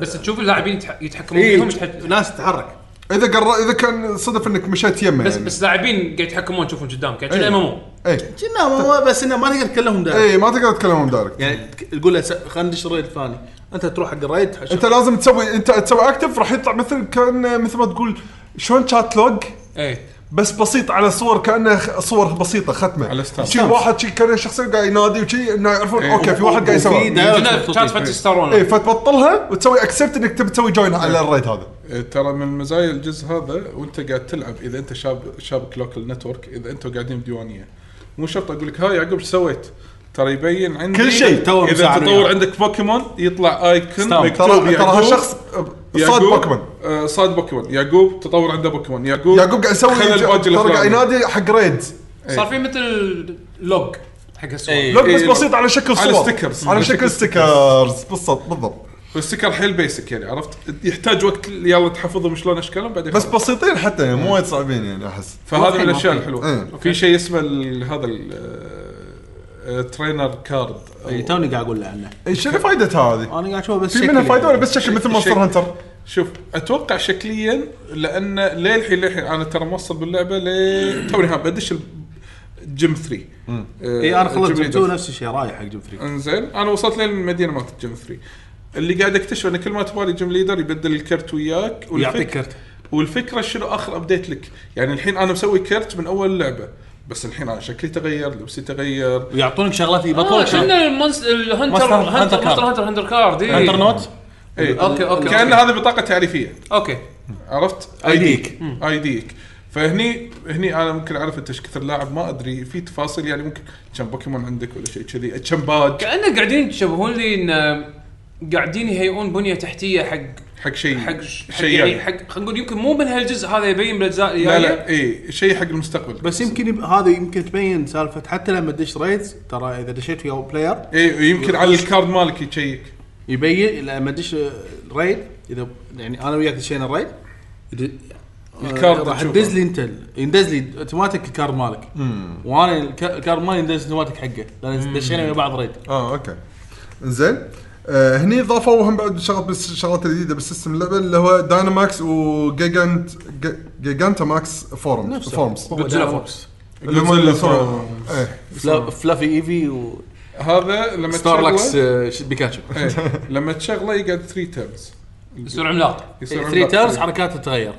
[SPEAKER 1] بس تشوف اللاعبين يتح- يتحكمون فيهم يتح-
[SPEAKER 5] ايه ناس تتحرك
[SPEAKER 4] اذا قر... اذا كان صدف انك مشيت يمه
[SPEAKER 1] بس
[SPEAKER 4] يعني.
[SPEAKER 1] بس لاعبين قاعد يتحكمون تشوفهم قدامك يعني شنو
[SPEAKER 4] إيه.
[SPEAKER 1] ام ام
[SPEAKER 4] اي
[SPEAKER 5] كنا ما- بس انه ما نقدر نتكلم دايركت
[SPEAKER 4] اي ما تقدر تكلمهم دايركت
[SPEAKER 5] يعني تك- تقول له س- خلينا ندش الريد الثاني انت تروح حق الريد تحش-
[SPEAKER 4] انت لازم تسوي انت تسوي اكتف راح يطلع مثل كان مثل ما تقول شلون شات لوج
[SPEAKER 1] اي
[SPEAKER 4] بس بسيط على صور كانه خ- صور بسيطه ختمه
[SPEAKER 2] على إيه، ستار.
[SPEAKER 4] شي واحد شي كان شخصيه قاعد ينادي وشي انه يعرفون اوكي في واحد قاعد
[SPEAKER 5] وفي
[SPEAKER 4] يسوي
[SPEAKER 5] دايركت
[SPEAKER 1] هنا
[SPEAKER 5] مبسوطين.
[SPEAKER 1] كانت فتسترون
[SPEAKER 4] اي فتبطلها وتسوي اكسبت انك تبي تسوي جوين على الريد هذا
[SPEAKER 2] آه، ترى من مزايا الجزء هذا وانت قاعد تلعب اذا انت شاب شابك لوكال نتورك اذا انتم قاعدين بديوانيه مو شرط اقول لك ها يعقوب ايش سويت؟ ترى يبين عندي
[SPEAKER 5] كل شيء تو
[SPEAKER 2] اذا
[SPEAKER 5] مساعد
[SPEAKER 2] تطور
[SPEAKER 5] وياه.
[SPEAKER 2] عندك بوكيمون يطلع ايكون
[SPEAKER 5] ستامب.
[SPEAKER 2] مكتوب
[SPEAKER 4] يعني. ترى ترى
[SPEAKER 2] يعقوب-
[SPEAKER 4] هالشخص صاد
[SPEAKER 2] نعم. يعقوب-
[SPEAKER 4] بوكيمون
[SPEAKER 2] آه، صاد بوكيمون يعقوب تطور عنده بوكيمون يعقوب
[SPEAKER 4] يعقوب قاعد يسوي
[SPEAKER 2] خلى الباج
[SPEAKER 4] ترى قاعد
[SPEAKER 2] الفلاني.
[SPEAKER 4] ينادي حق ريد
[SPEAKER 1] صار في مثل لوج حق السؤال
[SPEAKER 4] لوج بس
[SPEAKER 2] إيه.
[SPEAKER 4] بسيط على شكل
[SPEAKER 2] على
[SPEAKER 4] صور
[SPEAKER 2] stickers.
[SPEAKER 4] على
[SPEAKER 2] على
[SPEAKER 4] شكل
[SPEAKER 2] شكل
[SPEAKER 4] ستيكرز بالضبط بالضبط
[SPEAKER 2] والستيكر حيل بيسك يعني عرفت يحتاج وقت يلا تحفظهم شلون اشكالهم بعدين
[SPEAKER 4] بس
[SPEAKER 2] خلاص.
[SPEAKER 4] بسيطين حتى يعني مو وايد صعبين يعني احس
[SPEAKER 2] فهذه من
[SPEAKER 1] واضحين،
[SPEAKER 2] الاشياء
[SPEAKER 1] واضحين.
[SPEAKER 4] إيه.
[SPEAKER 2] الحلوه في شيء اسمه ال- آه، هذا الترينر كارد
[SPEAKER 5] اي توني قاعد اقول له عنه
[SPEAKER 4] إيه، شنو فائدة هذه؟
[SPEAKER 5] انا قاعد اشوف بس
[SPEAKER 4] في
[SPEAKER 5] شكل
[SPEAKER 4] منها فائدة ولا
[SPEAKER 5] يعني.
[SPEAKER 4] بس شكل مثل مونستر
[SPEAKER 2] شكل.
[SPEAKER 4] هانتر؟
[SPEAKER 2] شوف اتوقع شكليا لان للحين للحين انا ترى موصل باللعبه ل توني ها بدش ال- آه، جيم 3
[SPEAKER 5] اي انا إيه، خلصت
[SPEAKER 2] جيم
[SPEAKER 5] جيم 2
[SPEAKER 2] ليدر.
[SPEAKER 5] نفس الشيء رايح حق جيم 3
[SPEAKER 2] انزين انا وصلت للمدينه مالت الجيم 3 اللي قاعد اكتشف ان كل ما تبالي جيم ليدر يبدل الكرت وياك والفك-
[SPEAKER 5] يعطيك كرت.
[SPEAKER 2] والفكره شنو اخر ابديت لك يعني الحين انا مسوي كرت من اول لعبه بس الحين انا شكلي تغير لبسي تغير
[SPEAKER 5] ويعطونك شغلات
[SPEAKER 1] اه
[SPEAKER 5] يبطلونك شغلات.
[SPEAKER 1] شلنا المونستر الهنتر
[SPEAKER 5] Monster-
[SPEAKER 1] هنتر
[SPEAKER 5] Hunter Card.
[SPEAKER 1] مونستر هنتر هنتر كارد إي.
[SPEAKER 5] انتر نوت إيه،
[SPEAKER 2] اي
[SPEAKER 1] أوكي، أوكي،
[SPEAKER 2] كان
[SPEAKER 1] أوكي.
[SPEAKER 2] هذه بطاقه تعريفيه
[SPEAKER 1] اوكي
[SPEAKER 2] عرفت
[SPEAKER 5] ID يك.
[SPEAKER 2] اي ديك فهني هني انا ممكن اعرف انت ايش كثر لاعب ما ادري في تفاصيل يعني ممكن كم بوكيمون عندك ولا شيء كذي كم باج
[SPEAKER 1] كانه قاعدين يشبهون لي ان آه، قاعدين يهيئون بنيه تحتيه حق
[SPEAKER 2] حق شيء
[SPEAKER 1] حق حق
[SPEAKER 2] شيء
[SPEAKER 1] يعني
[SPEAKER 2] يعني.
[SPEAKER 1] حق يعني. خلينا نقول يمكن مو من هالجزء هذا يبين بالاجزاء اللي
[SPEAKER 2] لا
[SPEAKER 1] جايه
[SPEAKER 2] لا اي شيء حق المستقبل
[SPEAKER 5] بس يمكن يب- هذا يمكن تبين سالفه حتى لما تدش ريدز ترى اذا دشيت ويا بلاير
[SPEAKER 2] اي إيه، يمكن على الكارد مالك يشيك
[SPEAKER 5] يبين لما تدش ريد اذا يعني انا وياك دشينا الريد يد-
[SPEAKER 2] الكارد
[SPEAKER 5] آه، راح
[SPEAKER 2] تشوفه.
[SPEAKER 5] تدز لي انت ال- يندز لي اوتوماتيك الكارد مالك وانا الك- الكارد مالي يندز اوتوماتيك حقه لان دشينا ويا بعض ريد
[SPEAKER 4] اه اوكي زين آه هني ضافوا هم بعد شغلات بس الشغلات الجديده بالسيستم اللعبه اللي هو دايناماكس وجيجانت جيجانتا ماكس فورم فورمز
[SPEAKER 1] Godzilla
[SPEAKER 5] فورمز
[SPEAKER 4] اللي هم اللي سووا- إيه.
[SPEAKER 5] فلافي ايفي و
[SPEAKER 2] هذا لما
[SPEAKER 5] ستارلاكس
[SPEAKER 2] تشغله
[SPEAKER 5] آه، ش- بيكاتشو (laughs)
[SPEAKER 2] إيه، لما تشغله يقعد 3 تيرنز
[SPEAKER 1] يصير عملاق يعني
[SPEAKER 5] 3 تيرنز حركاته تتغير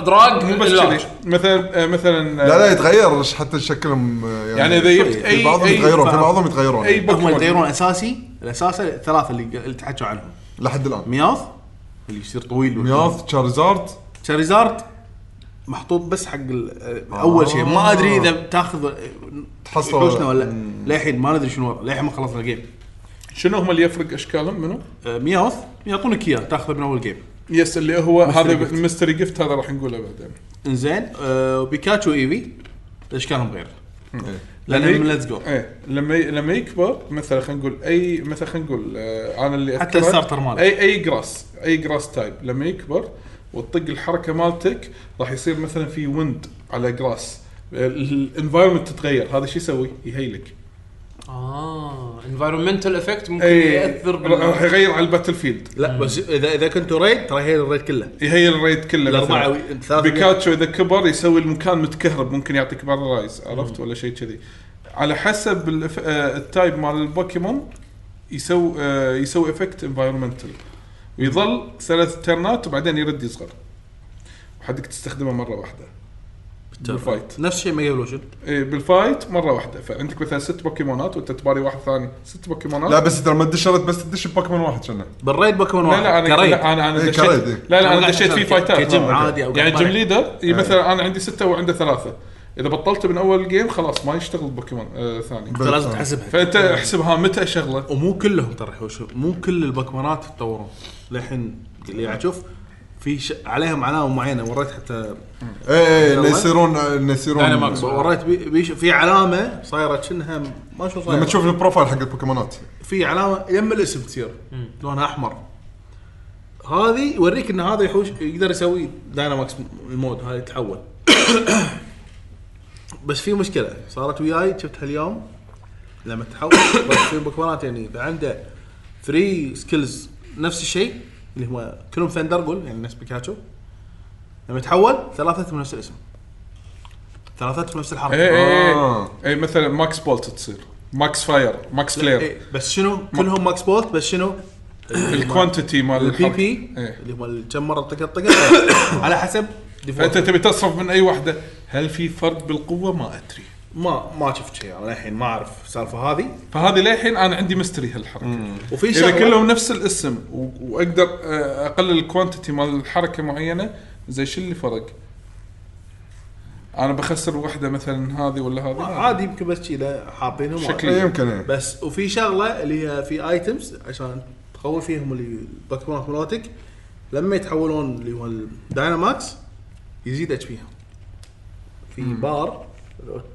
[SPEAKER 1] دراج
[SPEAKER 2] إيه. مو بس كذي مثلا آه، مثلا آه،
[SPEAKER 4] لا لا يتغير حتى شكلهم آه،
[SPEAKER 2] يعني اذا جبت
[SPEAKER 4] في
[SPEAKER 2] اي
[SPEAKER 4] بعضهم
[SPEAKER 2] اي
[SPEAKER 4] يتغيرون في بعضهم يتغيرون
[SPEAKER 2] اي
[SPEAKER 5] هم
[SPEAKER 2] بوكيمون
[SPEAKER 5] يتغيرون اساسي الاساسي الثلاثه اللي اللي تحكوا عنهم
[SPEAKER 4] لحد الان
[SPEAKER 5] مياوث اللي يصير طويل
[SPEAKER 4] مياث تشارزارد
[SPEAKER 5] شاريزارد محطوط بس حق ال- اول شيء ما ادري اذا تاخذ
[SPEAKER 4] تحصل ولا
[SPEAKER 5] حوشنا
[SPEAKER 4] لا.
[SPEAKER 5] ولا للحين ما ندري شنو للحين ما خلصنا الجيم
[SPEAKER 2] شنو هم اللي يفرق اشكالهم منو؟
[SPEAKER 5] آه، مياوث يعطونك اياه تاخذه من اول جيم
[SPEAKER 2] يس اللي هو هذا
[SPEAKER 5] gift.
[SPEAKER 2] الميستري جفت هذا راح نقوله بعدين
[SPEAKER 5] انزين آه، بيكاتشو ايفي اشكالهم غير لانهم
[SPEAKER 2] لما-
[SPEAKER 5] ليتس جو
[SPEAKER 2] ايه لما ي- لما يكبر مثلا خلينا نقول اي مثلا خلينا نقول آه، انا اللي
[SPEAKER 5] حتى إيه،
[SPEAKER 2] أذكره،
[SPEAKER 5] الستارتر ماله.
[SPEAKER 2] اي اي جراس اي جراس تايب لما يكبر وتطق الحركه مالتك راح يصير مثلا في ويند على جراس الانفايرمنت تتغير هذا شو يسوي؟ يهيلك
[SPEAKER 1] اه انفايرمنتال افكت ممكن
[SPEAKER 2] اي
[SPEAKER 1] ياثر بال-
[SPEAKER 2] إيه. راح يغير على الباتل فيلد
[SPEAKER 10] لا بس اذا اذا كنتوا ريد ترى هي الريد كله
[SPEAKER 2] يهيل الريد كله
[SPEAKER 10] الأربعة
[SPEAKER 2] مثلاً.
[SPEAKER 10] وي- ثلاثة
[SPEAKER 2] بيكاتشو اذا كبر يسوي المكان متكهرب ممكن يعطيك بارالايز عرفت ولا شيء كذي على حسب الف... آه، التايب مال البوكيمون يسوي آه، يسوي افكت انفايرمنتال ويظل ثلاث ترنات وبعدين يرد يصغر وحدك تستخدمه مره واحده بالفايت
[SPEAKER 5] نفس الشيء ميجا ايفولوشن
[SPEAKER 2] إيه بالفايت مره واحده فعندك مثلا ست بوكيمونات وانت تباري واحد ثاني ست بوكيمونات
[SPEAKER 4] لا بس ترى ما تدشرت بس تدش بوكيمون واحد كنا
[SPEAKER 5] بالريد بوكيمون
[SPEAKER 2] لا لا
[SPEAKER 5] واحد
[SPEAKER 2] انا
[SPEAKER 5] كريد
[SPEAKER 2] لا انا انا
[SPEAKER 4] إيه،
[SPEAKER 2] دشيت
[SPEAKER 4] كريد،
[SPEAKER 2] لا
[SPEAKER 4] إيه.
[SPEAKER 2] لا
[SPEAKER 5] أنا
[SPEAKER 2] انا
[SPEAKER 5] قاعد
[SPEAKER 2] دشيت
[SPEAKER 5] أحسب
[SPEAKER 2] في
[SPEAKER 5] ك-
[SPEAKER 2] فايتات
[SPEAKER 5] كجيم
[SPEAKER 2] ما-
[SPEAKER 5] عادي أو
[SPEAKER 2] يعني
[SPEAKER 5] قاعد
[SPEAKER 2] جيم
[SPEAKER 5] طالع.
[SPEAKER 2] ليدر إيه، مثلا انا عندي سته وعنده ثلاثه اذا بطلت من اول جيم خلاص ما يشتغل بوكيمون آه ثاني
[SPEAKER 5] انت لازم تحسبها
[SPEAKER 2] فانت احسبها متى اشغله
[SPEAKER 5] ومو كلهم ترى حوشو مو كل البوكيمونات تطورون للحين اللي قاعد تشوف في ش... عليهم علامه معينه وريت حتى
[SPEAKER 4] اي
[SPEAKER 5] والله.
[SPEAKER 4] انه إيه، يصيرون انه يصيرون
[SPEAKER 5] ب- وريت بي... بيش... في علامه صايره شنها ما شو صايره
[SPEAKER 4] لما تشوف البروفايل حق البوكيمونات
[SPEAKER 5] في علامه يم الاسم تصير لونها احمر هذه يوريك ان هذا يحوش يقدر يسوي داينامكس المود هذا يتحول (coughs) بس في مشكله صارت وياي شفتها اليوم لما تحول (coughs) بس في بوكيمونات يعني إذا عنده 3 سكيلز نفس الشيء اللي هو كلهم ثندر قول يعني نفس بيكاتشو لما يتحول ثلاثتهم نفس الاسم ثلاثتهم نفس الحركه
[SPEAKER 2] اي اي
[SPEAKER 4] آه.
[SPEAKER 2] اي مثلا ماكس بولت تصير ماكس فاير ماكس
[SPEAKER 5] إيه،
[SPEAKER 2] فلير
[SPEAKER 5] بس شنو كلهم ماكس بولت بس شنو
[SPEAKER 2] الكوانتيتي مال
[SPEAKER 5] البي
[SPEAKER 2] الحركة.
[SPEAKER 5] بي
[SPEAKER 2] إيه.
[SPEAKER 5] اللي هو كم مره طقت طقت (coughs) على حسب
[SPEAKER 2] فانت
[SPEAKER 5] default.
[SPEAKER 2] تبي تصرف من اي واحده هل في فرق بالقوه ما ادري
[SPEAKER 5] ما ما شفت شيء انا الحين ما اعرف السالفه هذه
[SPEAKER 2] فهذه للحين انا عندي مستري هالحركه
[SPEAKER 5] وفي
[SPEAKER 2] اذا
[SPEAKER 5] شغله
[SPEAKER 2] كلهم نفس الاسم و- واقدر آه، اقلل الكوانتيتي مال الحركه معينه زي شو اللي فرق؟ انا بخسر واحده مثلا هذه ولا
[SPEAKER 5] ما-
[SPEAKER 2] هذه
[SPEAKER 5] آه، عادي يمكن بس كذا حاطينهم
[SPEAKER 2] شكلي.
[SPEAKER 4] إيه، يمكن ايه
[SPEAKER 5] بس وفي شغله اللي هي في ايتمز عشان تخول فيهم اللي البوكيمونات مالتك لما يتحولون اللي هو الدايناماكس يزيد اتش بيهم في بار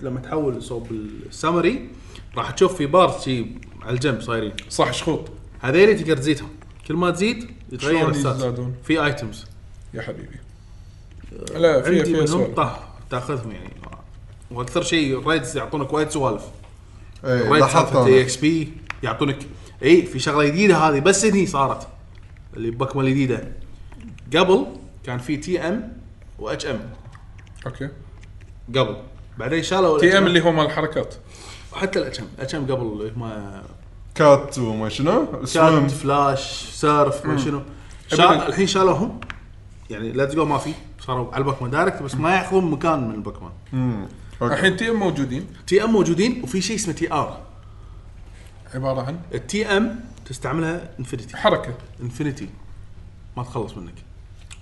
[SPEAKER 5] لما تحول صوب السامري راح تشوف في بار شي على الجنب صايرين
[SPEAKER 2] صح شخوط
[SPEAKER 5] هذيلي تقدر تزيدهم كل ما تزيد يتغير
[SPEAKER 2] شلون
[SPEAKER 5] السات
[SPEAKER 2] يزدادون؟
[SPEAKER 5] في ايتمز
[SPEAKER 2] يا حبيبي لا فيها
[SPEAKER 5] عندي
[SPEAKER 2] فيها
[SPEAKER 5] منهم
[SPEAKER 2] سوالف
[SPEAKER 5] طه تاخذهم يعني واكثر شيء ريدز يعطونك وايد سوالف
[SPEAKER 4] اي
[SPEAKER 5] ريدز
[SPEAKER 4] لاحظت
[SPEAKER 5] اي
[SPEAKER 4] أنا.
[SPEAKER 5] اكس بي يعطونك اي في شغله جديده هذه بس هني صارت اللي بكمه الجديده قبل كان في تي ام واتش ام
[SPEAKER 2] اوكي
[SPEAKER 5] قبل بعدين شالوا
[SPEAKER 2] تي ام
[SPEAKER 5] ال
[SPEAKER 2] اللي هو مال الحركات
[SPEAKER 5] حتى الاتش ام اتش ام قبل اللي هم
[SPEAKER 4] كات وما شنو
[SPEAKER 5] شات
[SPEAKER 4] سويم
[SPEAKER 5] فلاش سيرف ما شنو شال
[SPEAKER 2] أبداً.
[SPEAKER 5] الحين شالوهم يعني ليتس جو ما في صاروا على البوكيمون دايركت بس ما ياخذون مكان من البوكيمون
[SPEAKER 2] الحين تي ام موجودين
[SPEAKER 5] تي ام موجودين وفي شيء اسمه تي ار
[SPEAKER 2] عباره عن
[SPEAKER 5] التي ام تستعملها انفنتي
[SPEAKER 2] حركه
[SPEAKER 5] انفنتي ما تخلص منك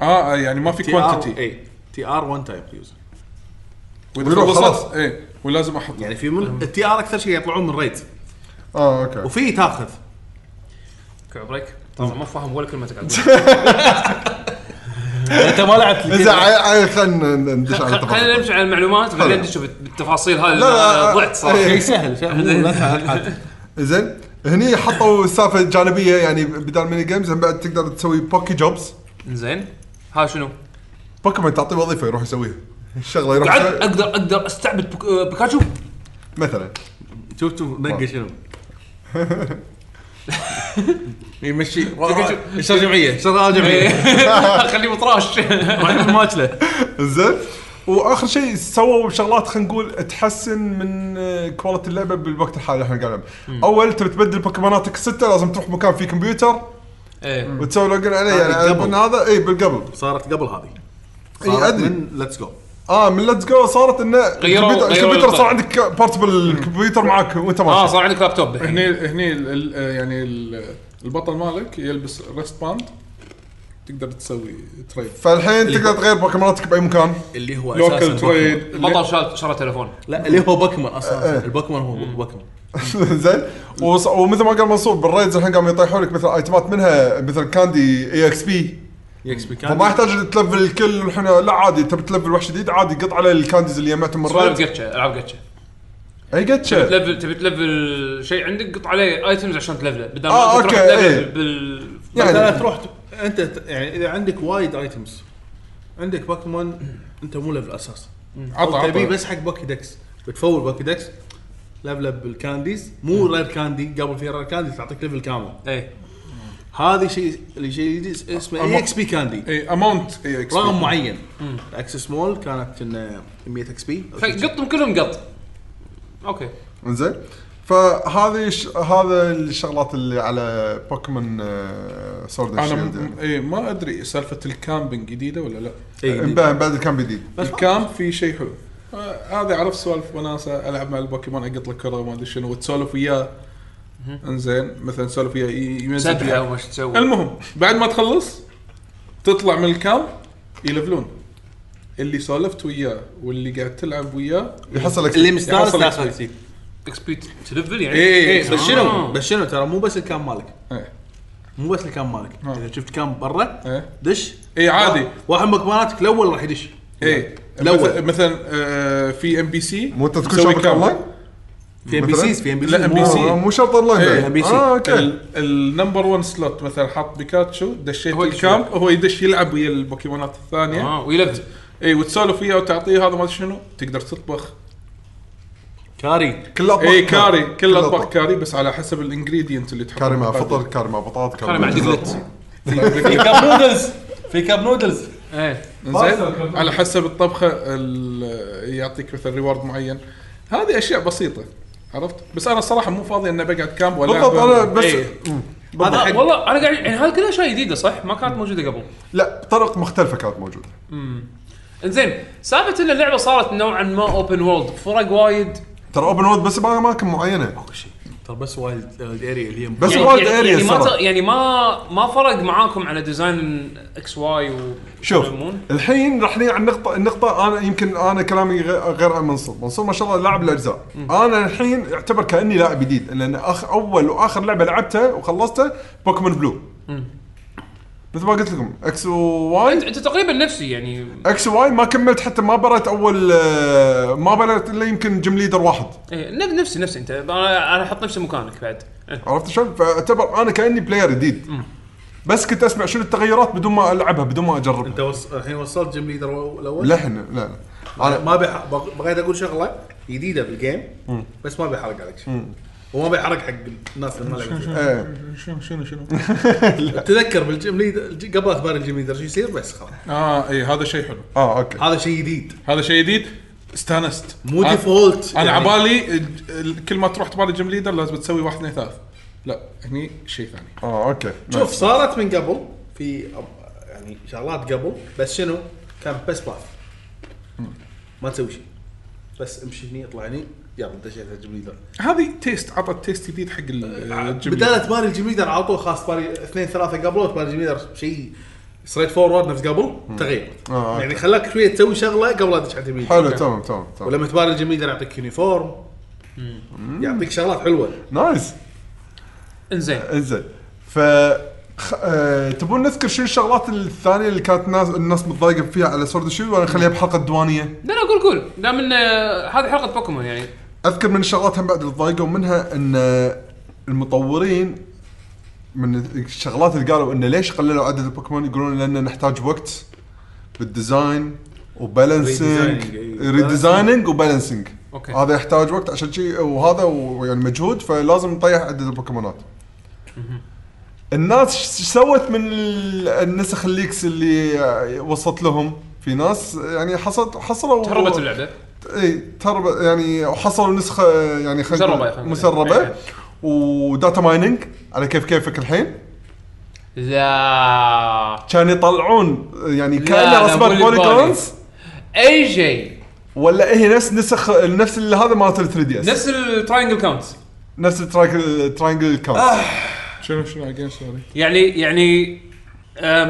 [SPEAKER 5] إيه.
[SPEAKER 2] اه آه، يعني ما في كوانتيتي
[SPEAKER 5] اي تي ار 1 تايم يوز
[SPEAKER 2] واذا
[SPEAKER 4] ويروح
[SPEAKER 2] خلصت
[SPEAKER 4] خلاص.
[SPEAKER 2] اي إيه، ولازم احط
[SPEAKER 5] يعني في من التي ار اكثر شيء يطلعون من ريد
[SPEAKER 4] اه اوكي
[SPEAKER 5] وفي تاخذ
[SPEAKER 1] عمرك طبعا ما فاهم ولا كلمه
[SPEAKER 2] (laughs)
[SPEAKER 1] تقعد
[SPEAKER 5] انت ما لعبت
[SPEAKER 4] اذا عا- عا- خلنا ندش على
[SPEAKER 1] خلينا
[SPEAKER 4] التفاصيل
[SPEAKER 1] نمشي على المعلومات وبعدين
[SPEAKER 4] خلاص.
[SPEAKER 1] نشوف بالتفاصيل هذه اللي
[SPEAKER 4] لا،
[SPEAKER 1] أنا
[SPEAKER 4] لا،
[SPEAKER 1] ضعت صراحه
[SPEAKER 2] (laughs)
[SPEAKER 4] إيه.
[SPEAKER 5] (laughs) شيء سهل شيء مو- لا تحاتي.
[SPEAKER 4] زين هني حطوا سالفه جانبيه يعني بدال ميني جيمز هم بعد تقدر تسوي بوكي جوبز
[SPEAKER 1] زين ها شنو؟
[SPEAKER 4] بوكيمون تعطيه وظيفه يروح يسويها الشغله يروح
[SPEAKER 1] قعد
[SPEAKER 4] يسويها.
[SPEAKER 1] اقدر اقدر استعبد بك- آه،
[SPEAKER 4] (laughs)
[SPEAKER 1] بيكاتشو
[SPEAKER 4] مثلا
[SPEAKER 5] شوف شوف نقي (laughs) شنو يمشي
[SPEAKER 10] صار جمعيه
[SPEAKER 5] إيه. شغال جمعيه
[SPEAKER 1] خليه مطراش
[SPEAKER 5] رايح الماكله
[SPEAKER 4] زين واخر شيء سووا شغلات خلينا نقول تحسن من آه، كواليتي اللعبه بالوقت الحالي اللي احنا قاعدين نلعب. اول تبي تبدل بوكيموناتك سته لازم تروح مكان فيه كمبيوتر
[SPEAKER 1] ايه
[SPEAKER 4] وتسوي لوجن عليه
[SPEAKER 5] هذه
[SPEAKER 4] يعني على
[SPEAKER 5] قبل.
[SPEAKER 4] من هذا اي بالقبل
[SPEAKER 5] صارت قبل هذه
[SPEAKER 4] إي،
[SPEAKER 5] صارت
[SPEAKER 4] إيه، أدري.
[SPEAKER 5] من ليتس جو
[SPEAKER 4] اه من ليتس جو صارت انه الكمبيوتر,
[SPEAKER 1] غيروا
[SPEAKER 4] الكمبيوتر صار
[SPEAKER 1] الطريقة.
[SPEAKER 4] عندك بورتبل كمبيوتر معك وانت
[SPEAKER 1] اه
[SPEAKER 4] ماشي
[SPEAKER 1] صار عندك لابتوب الحين
[SPEAKER 2] هني هني ال- ال- يعني ال- البطل مالك يلبس ريست باند تقدر تسوي تريد
[SPEAKER 4] فالحين تقدر تغير بوكيموناتك باي مكان (laughs)
[SPEAKER 5] اللي هو
[SPEAKER 2] لوكال
[SPEAKER 5] اساسا بوكيمون.
[SPEAKER 2] تريد
[SPEAKER 1] البطل شال شرى تليفون
[SPEAKER 5] لا اللي هو بوكيمون
[SPEAKER 4] إيه.
[SPEAKER 5] اصلا البوكيمون هو بوكيمون
[SPEAKER 4] زين وص- ومثل ما قال منصور بالريدز الحين قاموا يطيحوا لك مثل ايتمات منها مثل كاندي اي اكس بي
[SPEAKER 5] يكس بي كان
[SPEAKER 4] فما يحتاج تلفل الكل الحين لا عادي تبي تلفل واحد جديد عادي قط على الكانديز اللي جمعتهم من
[SPEAKER 1] سوالف
[SPEAKER 4] الريد
[SPEAKER 1] جتشا العاب جتشا
[SPEAKER 4] اي قتشه
[SPEAKER 1] تلفل تبي تلفل شيء عندك قط عليه ايتمز عشان تلفله بدل ما
[SPEAKER 4] آه،
[SPEAKER 1] أنت تروح
[SPEAKER 4] أوكي،
[SPEAKER 1] تلفل
[SPEAKER 4] إيه.
[SPEAKER 1] بال
[SPEAKER 4] يعني.
[SPEAKER 5] مثلا تروح ت- انت ت- يعني اذا عندك وايد ايتمز عندك بوكيمون انت مو ليفل اساس
[SPEAKER 2] عطى
[SPEAKER 5] او تبيه
[SPEAKER 2] عطى
[SPEAKER 5] بس حق بوكي دكس بتفول بوكي دكس ليفله بالكانديز مو
[SPEAKER 4] إيه.
[SPEAKER 5] رير كاندي قبل في رير كاندي تعطيك ليفل كامل
[SPEAKER 1] ايه
[SPEAKER 5] هذا شيء اللي شيء جديد اسمه اي اكس بي كاندي
[SPEAKER 2] اي اماونت اي اكس
[SPEAKER 5] رقم معين اكسس مول كانت كنا 100 اكس بي
[SPEAKER 1] قطهم كلهم قط اوكي
[SPEAKER 4] زين فهذه ش... هذا الشغلات اللي على بوكيمون آه، سورد
[SPEAKER 2] انا
[SPEAKER 4] شيلد
[SPEAKER 2] م- اي ما ادري سالفه الكامبينج جديده ولا لا
[SPEAKER 5] إيه،
[SPEAKER 4] يعني بعد بعد كان جديد
[SPEAKER 2] الكامب في شيء حلو آه، هذا عرفت سوالف وناسه العب مع البوكيمون اقط له كره وما ادري شنو وتسولف وياه انزين مثلا تسولف وياه ي- يمزج
[SPEAKER 1] سبحه
[SPEAKER 2] وياك.
[SPEAKER 1] وش تسوي
[SPEAKER 2] المهم بعد ما تخلص تطلع من الكامب يلفلون اللي سولفت وياه واللي قاعد تلعب وياه
[SPEAKER 4] يحصل لك
[SPEAKER 5] اللي مستانس
[SPEAKER 2] يحصل
[SPEAKER 5] داخل
[SPEAKER 2] XP.
[SPEAKER 5] فيه.
[SPEAKER 1] اكس بي تلفل يعني
[SPEAKER 2] إيه، إيه،
[SPEAKER 5] بس شنو
[SPEAKER 1] آه.
[SPEAKER 5] بس شنو ترى مو بس الكام مالك
[SPEAKER 2] إيه.
[SPEAKER 5] مو بس الكام مالك
[SPEAKER 2] آه.
[SPEAKER 5] اذا شفت كام برا
[SPEAKER 2] إيه.
[SPEAKER 5] دش
[SPEAKER 2] إيه، عادي.
[SPEAKER 5] واحد- واحد من مكماناتك الاول راح يدش
[SPEAKER 2] ايه
[SPEAKER 5] الأول.
[SPEAKER 2] مثلا مثلا آه، في ام بي سي
[SPEAKER 4] مو انت تكون شابك اونلاين؟
[SPEAKER 5] في ام بي
[SPEAKER 4] مثلاً؟
[SPEAKER 5] سيز في ام بي
[SPEAKER 2] لا،
[SPEAKER 5] سيز
[SPEAKER 2] NPC.
[SPEAKER 5] مو-
[SPEAKER 4] آه، مو شرط اونلاين
[SPEAKER 2] إيه،
[SPEAKER 4] بعد.
[SPEAKER 5] بي سي.
[SPEAKER 4] اه اوكي
[SPEAKER 2] النمبر 1 سلوت مثلا حط بيكاتشو دشيت
[SPEAKER 1] هو
[SPEAKER 2] الكامب هو يدش يلعب ويا البوكيمونات الثانيه
[SPEAKER 1] اه ويلفل
[SPEAKER 2] اي وتسولف وياه وتعطيه هذا ما ادري شنو تقدر تطبخ
[SPEAKER 5] كاري
[SPEAKER 4] كل اطباق
[SPEAKER 2] اي إيه، كاري كل اطباق
[SPEAKER 4] أطباق.
[SPEAKER 2] كاري بس على حسب الانجريدينت اللي تحطه
[SPEAKER 4] كاري مع
[SPEAKER 2] بالقادر.
[SPEAKER 4] فطر كاري مع بطاط
[SPEAKER 1] كان مع دقلت
[SPEAKER 5] في كاب نودلز في كاب نودلز
[SPEAKER 1] ايه
[SPEAKER 2] زين على حسب الطبخه ال- يعطيك مثلا ريورد معين هذه اشياء بسيطه عرفت بس انا الصراحه مو فاضي اني بقعد كامب ولا
[SPEAKER 4] بالضبط انا بس
[SPEAKER 2] إيه.
[SPEAKER 4] مم.
[SPEAKER 5] هذا
[SPEAKER 1] آه،
[SPEAKER 5] حق
[SPEAKER 1] والله انا قاعد يعني هذه كلها اشياء جديده صح؟ ما كانت موجوده قبل
[SPEAKER 4] لا بطرق مختلفه كانت موجوده
[SPEAKER 1] انزين سالفه ان اللعبه صارت نوعا ما اوبن وورلد فرق وايد
[SPEAKER 4] ترى اوبن وورد بس باماكن معينه
[SPEAKER 5] كل شيء ترى بس وايد الاريا اللي هي
[SPEAKER 4] بس
[SPEAKER 1] يعني-
[SPEAKER 4] وايد
[SPEAKER 1] يعني-
[SPEAKER 4] اريا
[SPEAKER 1] يعني ما
[SPEAKER 4] الصراحه
[SPEAKER 1] ت- يعني ما ما فرق معاكم على ديزاين اكس واي و
[SPEAKER 4] شوف
[SPEAKER 1] يسمون؟
[SPEAKER 4] الحين راح نيجي على النقطة النقطة انا يمكن انا كلامي غ- غير عن منصور، منصور ما شاء الله لاعب الاجزاء، انا الحين اعتبر كاني لاعب جديد لان اخ اول واخر لعبة لعبتها وخلصتها بوكيمون بلو. مثل ما قلت لكم اكس
[SPEAKER 1] انت
[SPEAKER 4] واي
[SPEAKER 1] انت تقريبا نفسي يعني
[SPEAKER 4] اكس واي ما كملت حتى ما بريت اول آه، ما بريت الا يمكن جيم ليدر واحد
[SPEAKER 1] إيه، نف- نفسي نفسي انت انا انا احط نفسي مكانك بعد إيه.
[SPEAKER 4] عرفت شلون؟ فاعتبر انا كاني بلاير جديد. بس كنت اسمع شنو التغيرات بدون ما العبها بدون ما اجربها.
[SPEAKER 5] انت وص... الحين وصلت جيم ليدر و- الاول
[SPEAKER 4] لحن لا لا انا
[SPEAKER 5] ما بح... بغ- بغيت اقول شغله جديده بالجيم بس ما بيحرق عليك شيء وما بيحرق حق الناس اللي ما لعبت
[SPEAKER 4] (laughs) إيه.
[SPEAKER 2] شنو شنو شنو
[SPEAKER 5] تذكر بالجيم ليدر الج- قبل لا تباري الجيم ليدر شو يصير بس خلاص
[SPEAKER 2] اه اي هذا شيء حلو
[SPEAKER 4] اه اوكي
[SPEAKER 5] هذا شيء جديد
[SPEAKER 2] هذا شيء جديد استانست
[SPEAKER 5] مو
[SPEAKER 2] أنا-
[SPEAKER 5] ديفولت
[SPEAKER 2] انا
[SPEAKER 5] يعني.
[SPEAKER 2] عبالي ال- ال- كل ما تروح تباري جيم ليدر لازم تسوي واحد اثنين ثلاث لا هني شيء ثاني
[SPEAKER 4] اه اوكي
[SPEAKER 5] شوف صارت من قبل في أب- يعني شغلات قبل بس شنو؟ كان بس باث ما تسوي شيء بس امشي هني اطلع هني يلا دشيت على الجيم ليدر
[SPEAKER 2] هذه تيست عطت تيست جديد حق ال-
[SPEAKER 4] آه،
[SPEAKER 2] آه، الجيم ليدر.
[SPEAKER 5] بدال تباري الجيم ليدر على طول خلاص تباري اثنين ثلاثه قبله تباري الجيم ليدر شيء ستريت فورورد نفس قبل تغير
[SPEAKER 4] آه،
[SPEAKER 5] يعني خلاك شويه تسوي شغله قبل لا تدش على الجيم ليدر
[SPEAKER 4] حلو تمام تمام تمام
[SPEAKER 5] ولما تباري الجيم ليدر يعطيك يونيفورم يعطيك شغلات حلوه
[SPEAKER 4] نايس
[SPEAKER 1] انزين
[SPEAKER 4] انزين ف خ... آه... تبون نذكر شنو الشغلات الثانيه اللي كانت الناس الناس متضايقه فيها على سورد شيلد ولا نخليها بحلقه دوانيه
[SPEAKER 1] لا لا قول قول دام ان آه، هذه حلقه بوكيمون يعني
[SPEAKER 4] اذكر من الشغلات هم بعد اللي تضايقوا منها ان آه، المطورين من الشغلات اللي قالوا انه ليش قللوا عدد البوكيمون يقولون لان نحتاج وقت بالديزاين وبالانسنج
[SPEAKER 5] Redesigning، إيه.
[SPEAKER 4] ريديزايننج وبالانسنج
[SPEAKER 1] أوكي.
[SPEAKER 4] هذا يحتاج وقت عشان شيء وهذا ويعني مجهود فلازم نطيح عدد البوكيمونات الناس ش- ش- سوت من ال- النسخ الليكس اللي آه، وصلت لهم في ناس يعني حصلت حصلوا
[SPEAKER 1] تهربت اللعبه
[SPEAKER 4] اي تربى يعني وحصلوا نسخه يعني خلينا
[SPEAKER 1] مسربة
[SPEAKER 4] نقول
[SPEAKER 1] خلينا نقول.
[SPEAKER 4] مسربه
[SPEAKER 1] إيه.
[SPEAKER 4] وداتا مايننج على كيف كيفك الحين
[SPEAKER 1] لا
[SPEAKER 4] كان يطلعون يعني
[SPEAKER 1] لا،
[SPEAKER 4] كانه
[SPEAKER 1] لا،
[SPEAKER 4] رسمات
[SPEAKER 1] مو اللي ببالي.
[SPEAKER 4] بوليجونز
[SPEAKER 1] اي شيء
[SPEAKER 4] ولا هي نفس نسخ نفس اللي هذا مالت ال 3 دي اس
[SPEAKER 1] نفس التراينجل كاونت
[SPEAKER 4] نفس الترايك- تراينجل كاونت
[SPEAKER 1] آه.
[SPEAKER 2] شنو شنو اجين سوري
[SPEAKER 1] يعني يعني أم،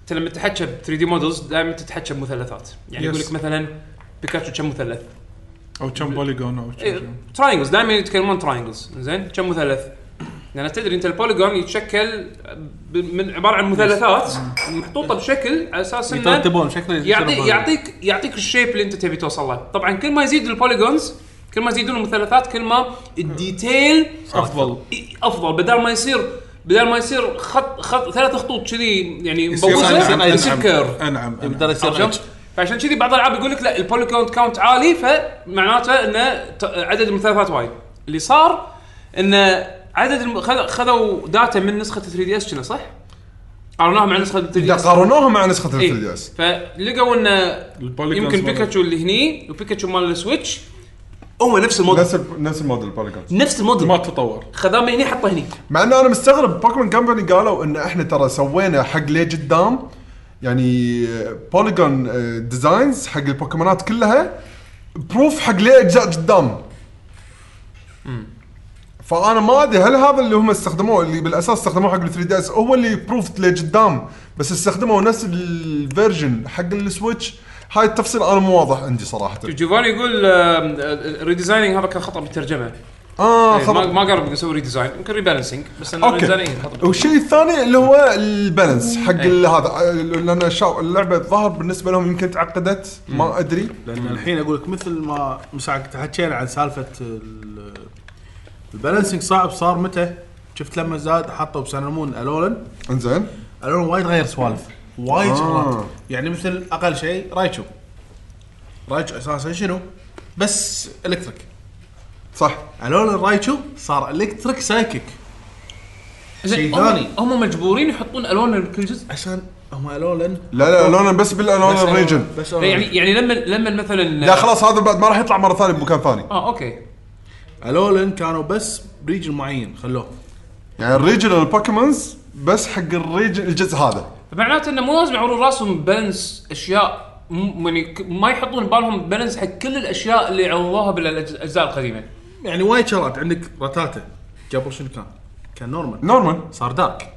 [SPEAKER 1] انت لما تتحكى ب 3 دي مودلز دائما تتحكى بمثلثات يعني
[SPEAKER 2] Yes.
[SPEAKER 1] يقول لك مثلا بيكاتشو كم مثلث
[SPEAKER 2] او كم بوليجون او
[SPEAKER 1] إيه.
[SPEAKER 2] شنو
[SPEAKER 1] تراينجلز دائما يتكلمون تراينجلز زين كم مثلث لان تدري انت البوليجون يتشكل ب- من عباره عن مثلثات محطوطه بشكل على اساس انه
[SPEAKER 5] يترتبون شكله
[SPEAKER 1] يعطيك يعطيك يعطيك الشيب اللي انت تبي توصل له طبعا كل ما يزيد البوليجونز كل ما يزيدون المثلثات كل ما الديتيل
[SPEAKER 2] افضل
[SPEAKER 1] افضل بدل ما يصير بدل ما يصير خط خط ثلاث خطوط كذي يعني مبوظه
[SPEAKER 2] أنعم،
[SPEAKER 1] يصير كيرف
[SPEAKER 2] انعم انعم
[SPEAKER 5] يقدر يصير
[SPEAKER 1] عرفت شلون؟ فعشان كذي بعض الالعاب يقول لك لا البوليكون كاونت عالي فمعناته انه ت- عدد المثلثات وايد اللي صار انه عدد الم... خذ- خذوا داتا من نسخه 3 دي اس كنا صح؟ قارناها مع نسخه 3 دي
[SPEAKER 4] إذا
[SPEAKER 1] اس
[SPEAKER 4] قارنوها مع نسخه ال 3 دي
[SPEAKER 1] إيه.
[SPEAKER 4] اس
[SPEAKER 1] فلقوا انه
[SPEAKER 2] البوليجونز
[SPEAKER 1] يمكن
[SPEAKER 2] مال-
[SPEAKER 1] بيكاتشو اللي هني وبيكاتشو مال السويتش هو نفس الموديل
[SPEAKER 4] نفس ال- نفس الموديل بوليجونز
[SPEAKER 1] نفس
[SPEAKER 2] ما
[SPEAKER 1] الموديل
[SPEAKER 2] تطور
[SPEAKER 1] خذاه من هني حطه هني
[SPEAKER 4] مع انه انا مستغرب بوكيمون كمباني قالوا ان احنا ترى سوينا حق ليه قدام يعني بوليجون ديزاينز حق البوكيمونات كلها بروف حق ليه اجزاء قدام فانا ما ادري هل هذا اللي هم استخدموه اللي بالاساس استخدموه حق ال 3 دي اس هو اللي بروف ليه قدام بس استخدموا نفس الفيرجن حق السويتش هاي التفصيل انا مو واضح عندي صراحه
[SPEAKER 1] جوفاني يقول ريديزايننج هذا كان خطا بالترجمه
[SPEAKER 4] اه
[SPEAKER 1] إيه، ما
[SPEAKER 4] خلاص
[SPEAKER 1] ما قرب يسوي ريديزاين يمكن ريبالانسنج بس انه
[SPEAKER 4] اوكي
[SPEAKER 1] ريديزاين خطا
[SPEAKER 4] والشيء الثاني اللي هو البالانس حق
[SPEAKER 1] إيه.
[SPEAKER 4] ال- هذا لان الشا- اللعبه الظاهر بالنسبه لهم يمكن تعقدت ما ادري
[SPEAKER 5] لان الحين اقول لك مثل ما من ساعه كنت حكينا عن سالفه ال- البالانسنج صعب صار متى؟ شفت لما زاد حطوا بسنمون الولن
[SPEAKER 4] انزين
[SPEAKER 5] الولن وايد غير سوالف وايد
[SPEAKER 4] آه.
[SPEAKER 5] شغلات يعني مثل اقل شيء رايتشو رايتشو اساسا شنو؟ بس الكتريك
[SPEAKER 4] صح
[SPEAKER 5] الولن رايتشو صار الكتريك سايكيك شيء
[SPEAKER 1] زين
[SPEAKER 5] ثاني.
[SPEAKER 1] هم, هم مجبورين يحطون الوان لكل جزء
[SPEAKER 5] عشان هم الولن
[SPEAKER 4] لا لا لونا بس بالالوان
[SPEAKER 5] بس
[SPEAKER 4] الريجن
[SPEAKER 5] ألون- بس
[SPEAKER 1] لا، يعني
[SPEAKER 5] يعني
[SPEAKER 1] يعني لما لما مثلا
[SPEAKER 4] لا خلاص هذا بعد ما راح يطلع مره ثانيه بمكان ثاني
[SPEAKER 1] اه اوكي
[SPEAKER 5] الولن كانوا بس بريجن معين خلوه
[SPEAKER 4] يعني الريجنال بوكيمونز بس حق الريجن الجزء هذا
[SPEAKER 1] فمعناته انه مو لازم يعورون راسهم بالانس اشياء م- يعني ك- ما يحطون بالهم بالانس حق كل الاشياء اللي عوضوها بالاجزاء القديمه
[SPEAKER 5] يعني وايد شغلات عندك رتاتا جابوا شنو كان؟ كان نورمال
[SPEAKER 4] نورمال
[SPEAKER 5] صار دارك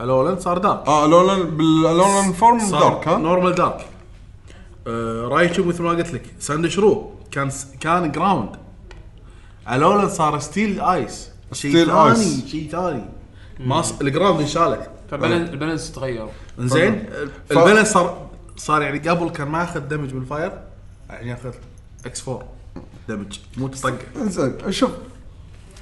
[SPEAKER 5] الولن صار دارك
[SPEAKER 4] اه لونا بالالوان فورم
[SPEAKER 5] صار
[SPEAKER 4] دارك ها
[SPEAKER 5] نورمال دارك آه رايتشو مثل ما قلت لك ساندشرو كان س- كان جراوند الولن صار ستيل ايس شيء
[SPEAKER 4] ستيل آيس.
[SPEAKER 5] ثاني شيء ثاني ما ص... الجراوند انشالك
[SPEAKER 1] فالبالانس تغير
[SPEAKER 5] انزين
[SPEAKER 4] ف-
[SPEAKER 5] البالانس صار صار يعني قبل كان ما ياخذ دمج بالفاير يعني ياخذ اكس 4 دمج مو طقه
[SPEAKER 4] انزين شوف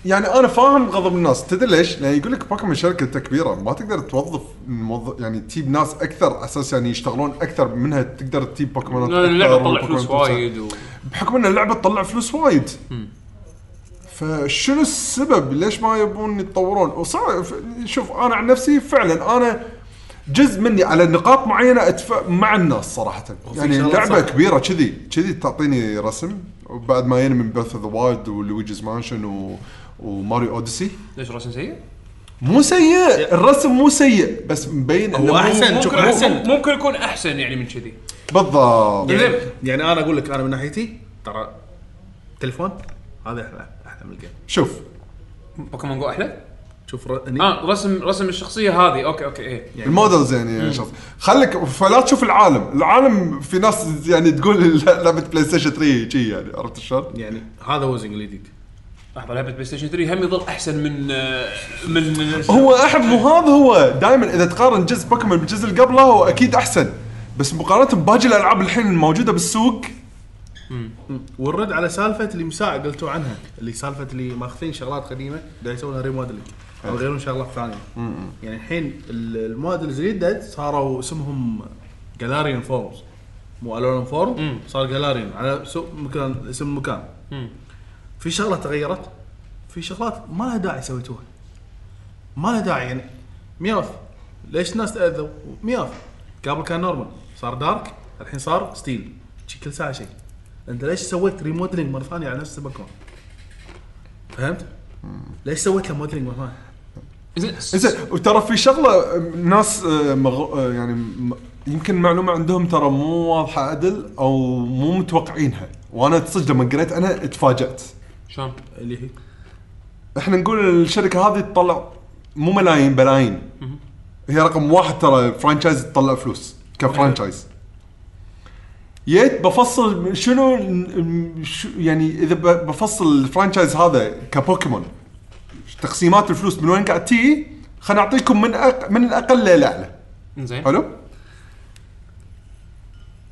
[SPEAKER 4] يعني انا فاهم غضب الناس تدري ليش؟ لان يقول لك بوكيمون شركه كبيره ما تقدر توظف موظف يعني تجيب ناس اكثر على اساس يعني يشتغلون اكثر منها تقدر تجيب بوكيمونات
[SPEAKER 1] لأن
[SPEAKER 4] أكثر
[SPEAKER 1] اللعبه تطلع
[SPEAKER 4] والبوكيمونات
[SPEAKER 1] فلوس
[SPEAKER 4] تنسى.
[SPEAKER 1] وايد و...
[SPEAKER 4] بحكم ان اللعبه تطلع فلوس وايد فشنو السبب ليش ما يبون يتطورون وصار ف- شوف انا عن نفسي فعلا انا جزء مني على نقاط معينه اتفق مع الناس صراحه يعني
[SPEAKER 5] شغلة
[SPEAKER 4] لعبه
[SPEAKER 5] صح.
[SPEAKER 4] كبيره كذي كذي تعطيني رسم وبعد ما ينمي من بث ذا وايلد ولويجز مانشن و... وماريو اوديسي
[SPEAKER 1] ليش راسهم سيء؟
[SPEAKER 4] مو سيء الرسم مو سيء بس مبين إنه
[SPEAKER 5] هو
[SPEAKER 4] مو-
[SPEAKER 5] أحسن. شوف،
[SPEAKER 1] ممكن
[SPEAKER 5] أحسن.
[SPEAKER 1] ممكن- ممكن يكون احسن يعني من كذي
[SPEAKER 4] بالضبط
[SPEAKER 1] زين
[SPEAKER 5] يعني انا اقول لك انا من ناحيتي ترى تليفون هذا احلى احلى من الجيم
[SPEAKER 4] شوف
[SPEAKER 1] بوكيمون جو احلى؟
[SPEAKER 5] شوف ر- يعني هني
[SPEAKER 1] اه رسم رسم الشخصيه هذه اوكي اوكي ايه
[SPEAKER 4] المودلز يعني شخص خليك فلا تشوف العالم العالم في ناس يعني تقول (laughs) لعبه بلاي ستيشن 3 شي يعني عرفت شلون؟
[SPEAKER 5] يعني هذا وزن الجديد
[SPEAKER 1] لحظه لعبه بلاي ستيشن 3 هم يظل احسن من آه، من
[SPEAKER 4] هو احب مو هذا هو دائما اذا تقارن جزء بوكيمون بالجزء اللي قبله هو اكيد احسن بس مقارنه بباقي الالعاب الحين الموجوده بالسوق
[SPEAKER 5] والرد على سالفه اللي مساء قلتوا عنها اللي سالفه اللي ماخذين شغلات قديمه دا يسوونها ريموديلنج او يغيرون شغلات ثانيه يعني الحين ال- المودلز الجدد صاروا اسمهم جالاريان فورمز مو الون فورم صار جالاريان على سو- مكان اسم مكان في شغلات تغيرت في شغلات ما لها داعي سويتوها ما لها داعي يعني مياف ليش الناس تاذوا مياف قبل كان نورمال صار دارك الحين صار ستيل شي كل ساعه شيء انت ليش سويت ريموديلنج مره ثانيه على نفس الباك فهمت؟ ليش سويت له موديلنج مره ثانيه؟
[SPEAKER 4] زين وترى في شغله أم، ناس أه، مغ... أه، يعني م- يمكن معلومه عندهم ترى مو واضحه عدل او مو متوقعينها وانا صدق لما قريت انا اتفاجات
[SPEAKER 1] شلون؟
[SPEAKER 5] اللي هي
[SPEAKER 4] احنا نقول الشركه هذه تطلع مو ملايين بلايين هي رقم واحد ترى فرانشايز تطلع فلوس كفرانشايز جيت بفصل شنو ال- شو- يعني اذا ب- بفصل الفرانشايز هذا كبوكيمون تقسيمات الفلوس من وين قاعد تي خليني اعطيكم من أق... من الاقل للاعلى
[SPEAKER 1] زين
[SPEAKER 4] حلو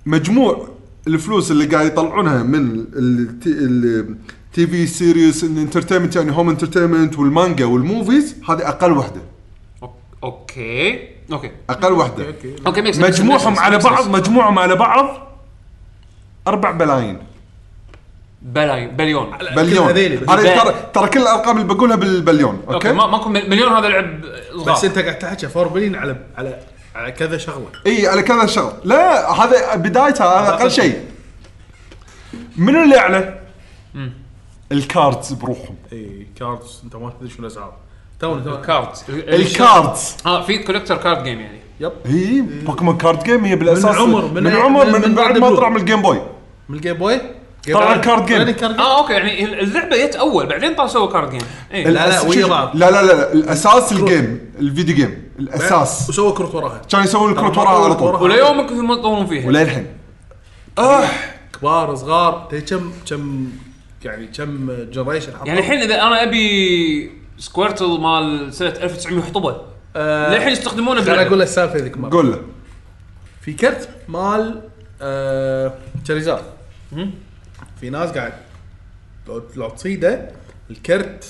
[SPEAKER 4] مجموع الفلوس اللي قاعد يطلعونها من التي في سيريس الانترتينمنت يعني هوم انترتينمنت والمانجا والموفيز هذه اقل وحده
[SPEAKER 1] أوك- اوكي اوكي
[SPEAKER 4] اقل وحده
[SPEAKER 1] اوكي ميكس
[SPEAKER 4] مجموعهم على بعض مجموعهم على بعض 4 بلايين
[SPEAKER 1] بلايين بليون
[SPEAKER 4] بليون
[SPEAKER 5] هذيلي.
[SPEAKER 4] أنا ترى ترى كل الارقام اللي بقولها بالبليون
[SPEAKER 1] اوكي
[SPEAKER 4] اوكي
[SPEAKER 1] ما- ماكو مل- مليون هذا لعب
[SPEAKER 5] بس
[SPEAKER 1] صغار
[SPEAKER 5] انت قاعد تحكي 4 بليون على على على كذا شغله
[SPEAKER 4] اي على كذا شغل لا هذا بدايتها هذا اقل شيء منو اللي اعلى؟ الكاردز بروحهم
[SPEAKER 5] اي كاردز انت إيه، ما تدري شنو الاسعار توني توني
[SPEAKER 1] كاردز
[SPEAKER 4] الكاردز
[SPEAKER 1] اه في كوليكتر كارد جيم يعني
[SPEAKER 4] اي بوكيمون كارد جيم هي بالاساس
[SPEAKER 5] من عمر- من-
[SPEAKER 4] من, عمر من,
[SPEAKER 5] من- من
[SPEAKER 4] بعد
[SPEAKER 5] بعد
[SPEAKER 4] ما
[SPEAKER 5] بلو.
[SPEAKER 4] طلع من الجيم بوي
[SPEAKER 5] من الجيم بوي
[SPEAKER 4] طلع الكارد جيم.
[SPEAKER 5] كارد جيم
[SPEAKER 1] اه اوكي يعني اللعبه جت اول بعدين طلع سووا كارد جيم اي
[SPEAKER 5] لا،
[SPEAKER 4] الأس-
[SPEAKER 5] ويا بعض.
[SPEAKER 4] لا لا لا الاساس الجيم الفيديو جيم الاساس
[SPEAKER 5] وسوى كروت وراها
[SPEAKER 4] كانوا يسوون الكروت
[SPEAKER 5] طبعاً
[SPEAKER 4] وراها على
[SPEAKER 5] وراها.
[SPEAKER 4] طول
[SPEAKER 1] وليومك هم يطورون فيها
[SPEAKER 4] وللحين اه
[SPEAKER 5] كبار صغار تدري كم كم يعني كم جنريشن
[SPEAKER 1] يعني الحين اذا انا ابي سكويرتل مال سنه 1900 حطبه
[SPEAKER 5] آه،
[SPEAKER 1] للحين يستخدمونه
[SPEAKER 5] انا
[SPEAKER 1] باللعبة.
[SPEAKER 5] اقول له السالفه ذيك مره
[SPEAKER 4] قول له
[SPEAKER 5] في كرت مال آه، شريزارد في ناس قاعد لو, لو تصيده الكرت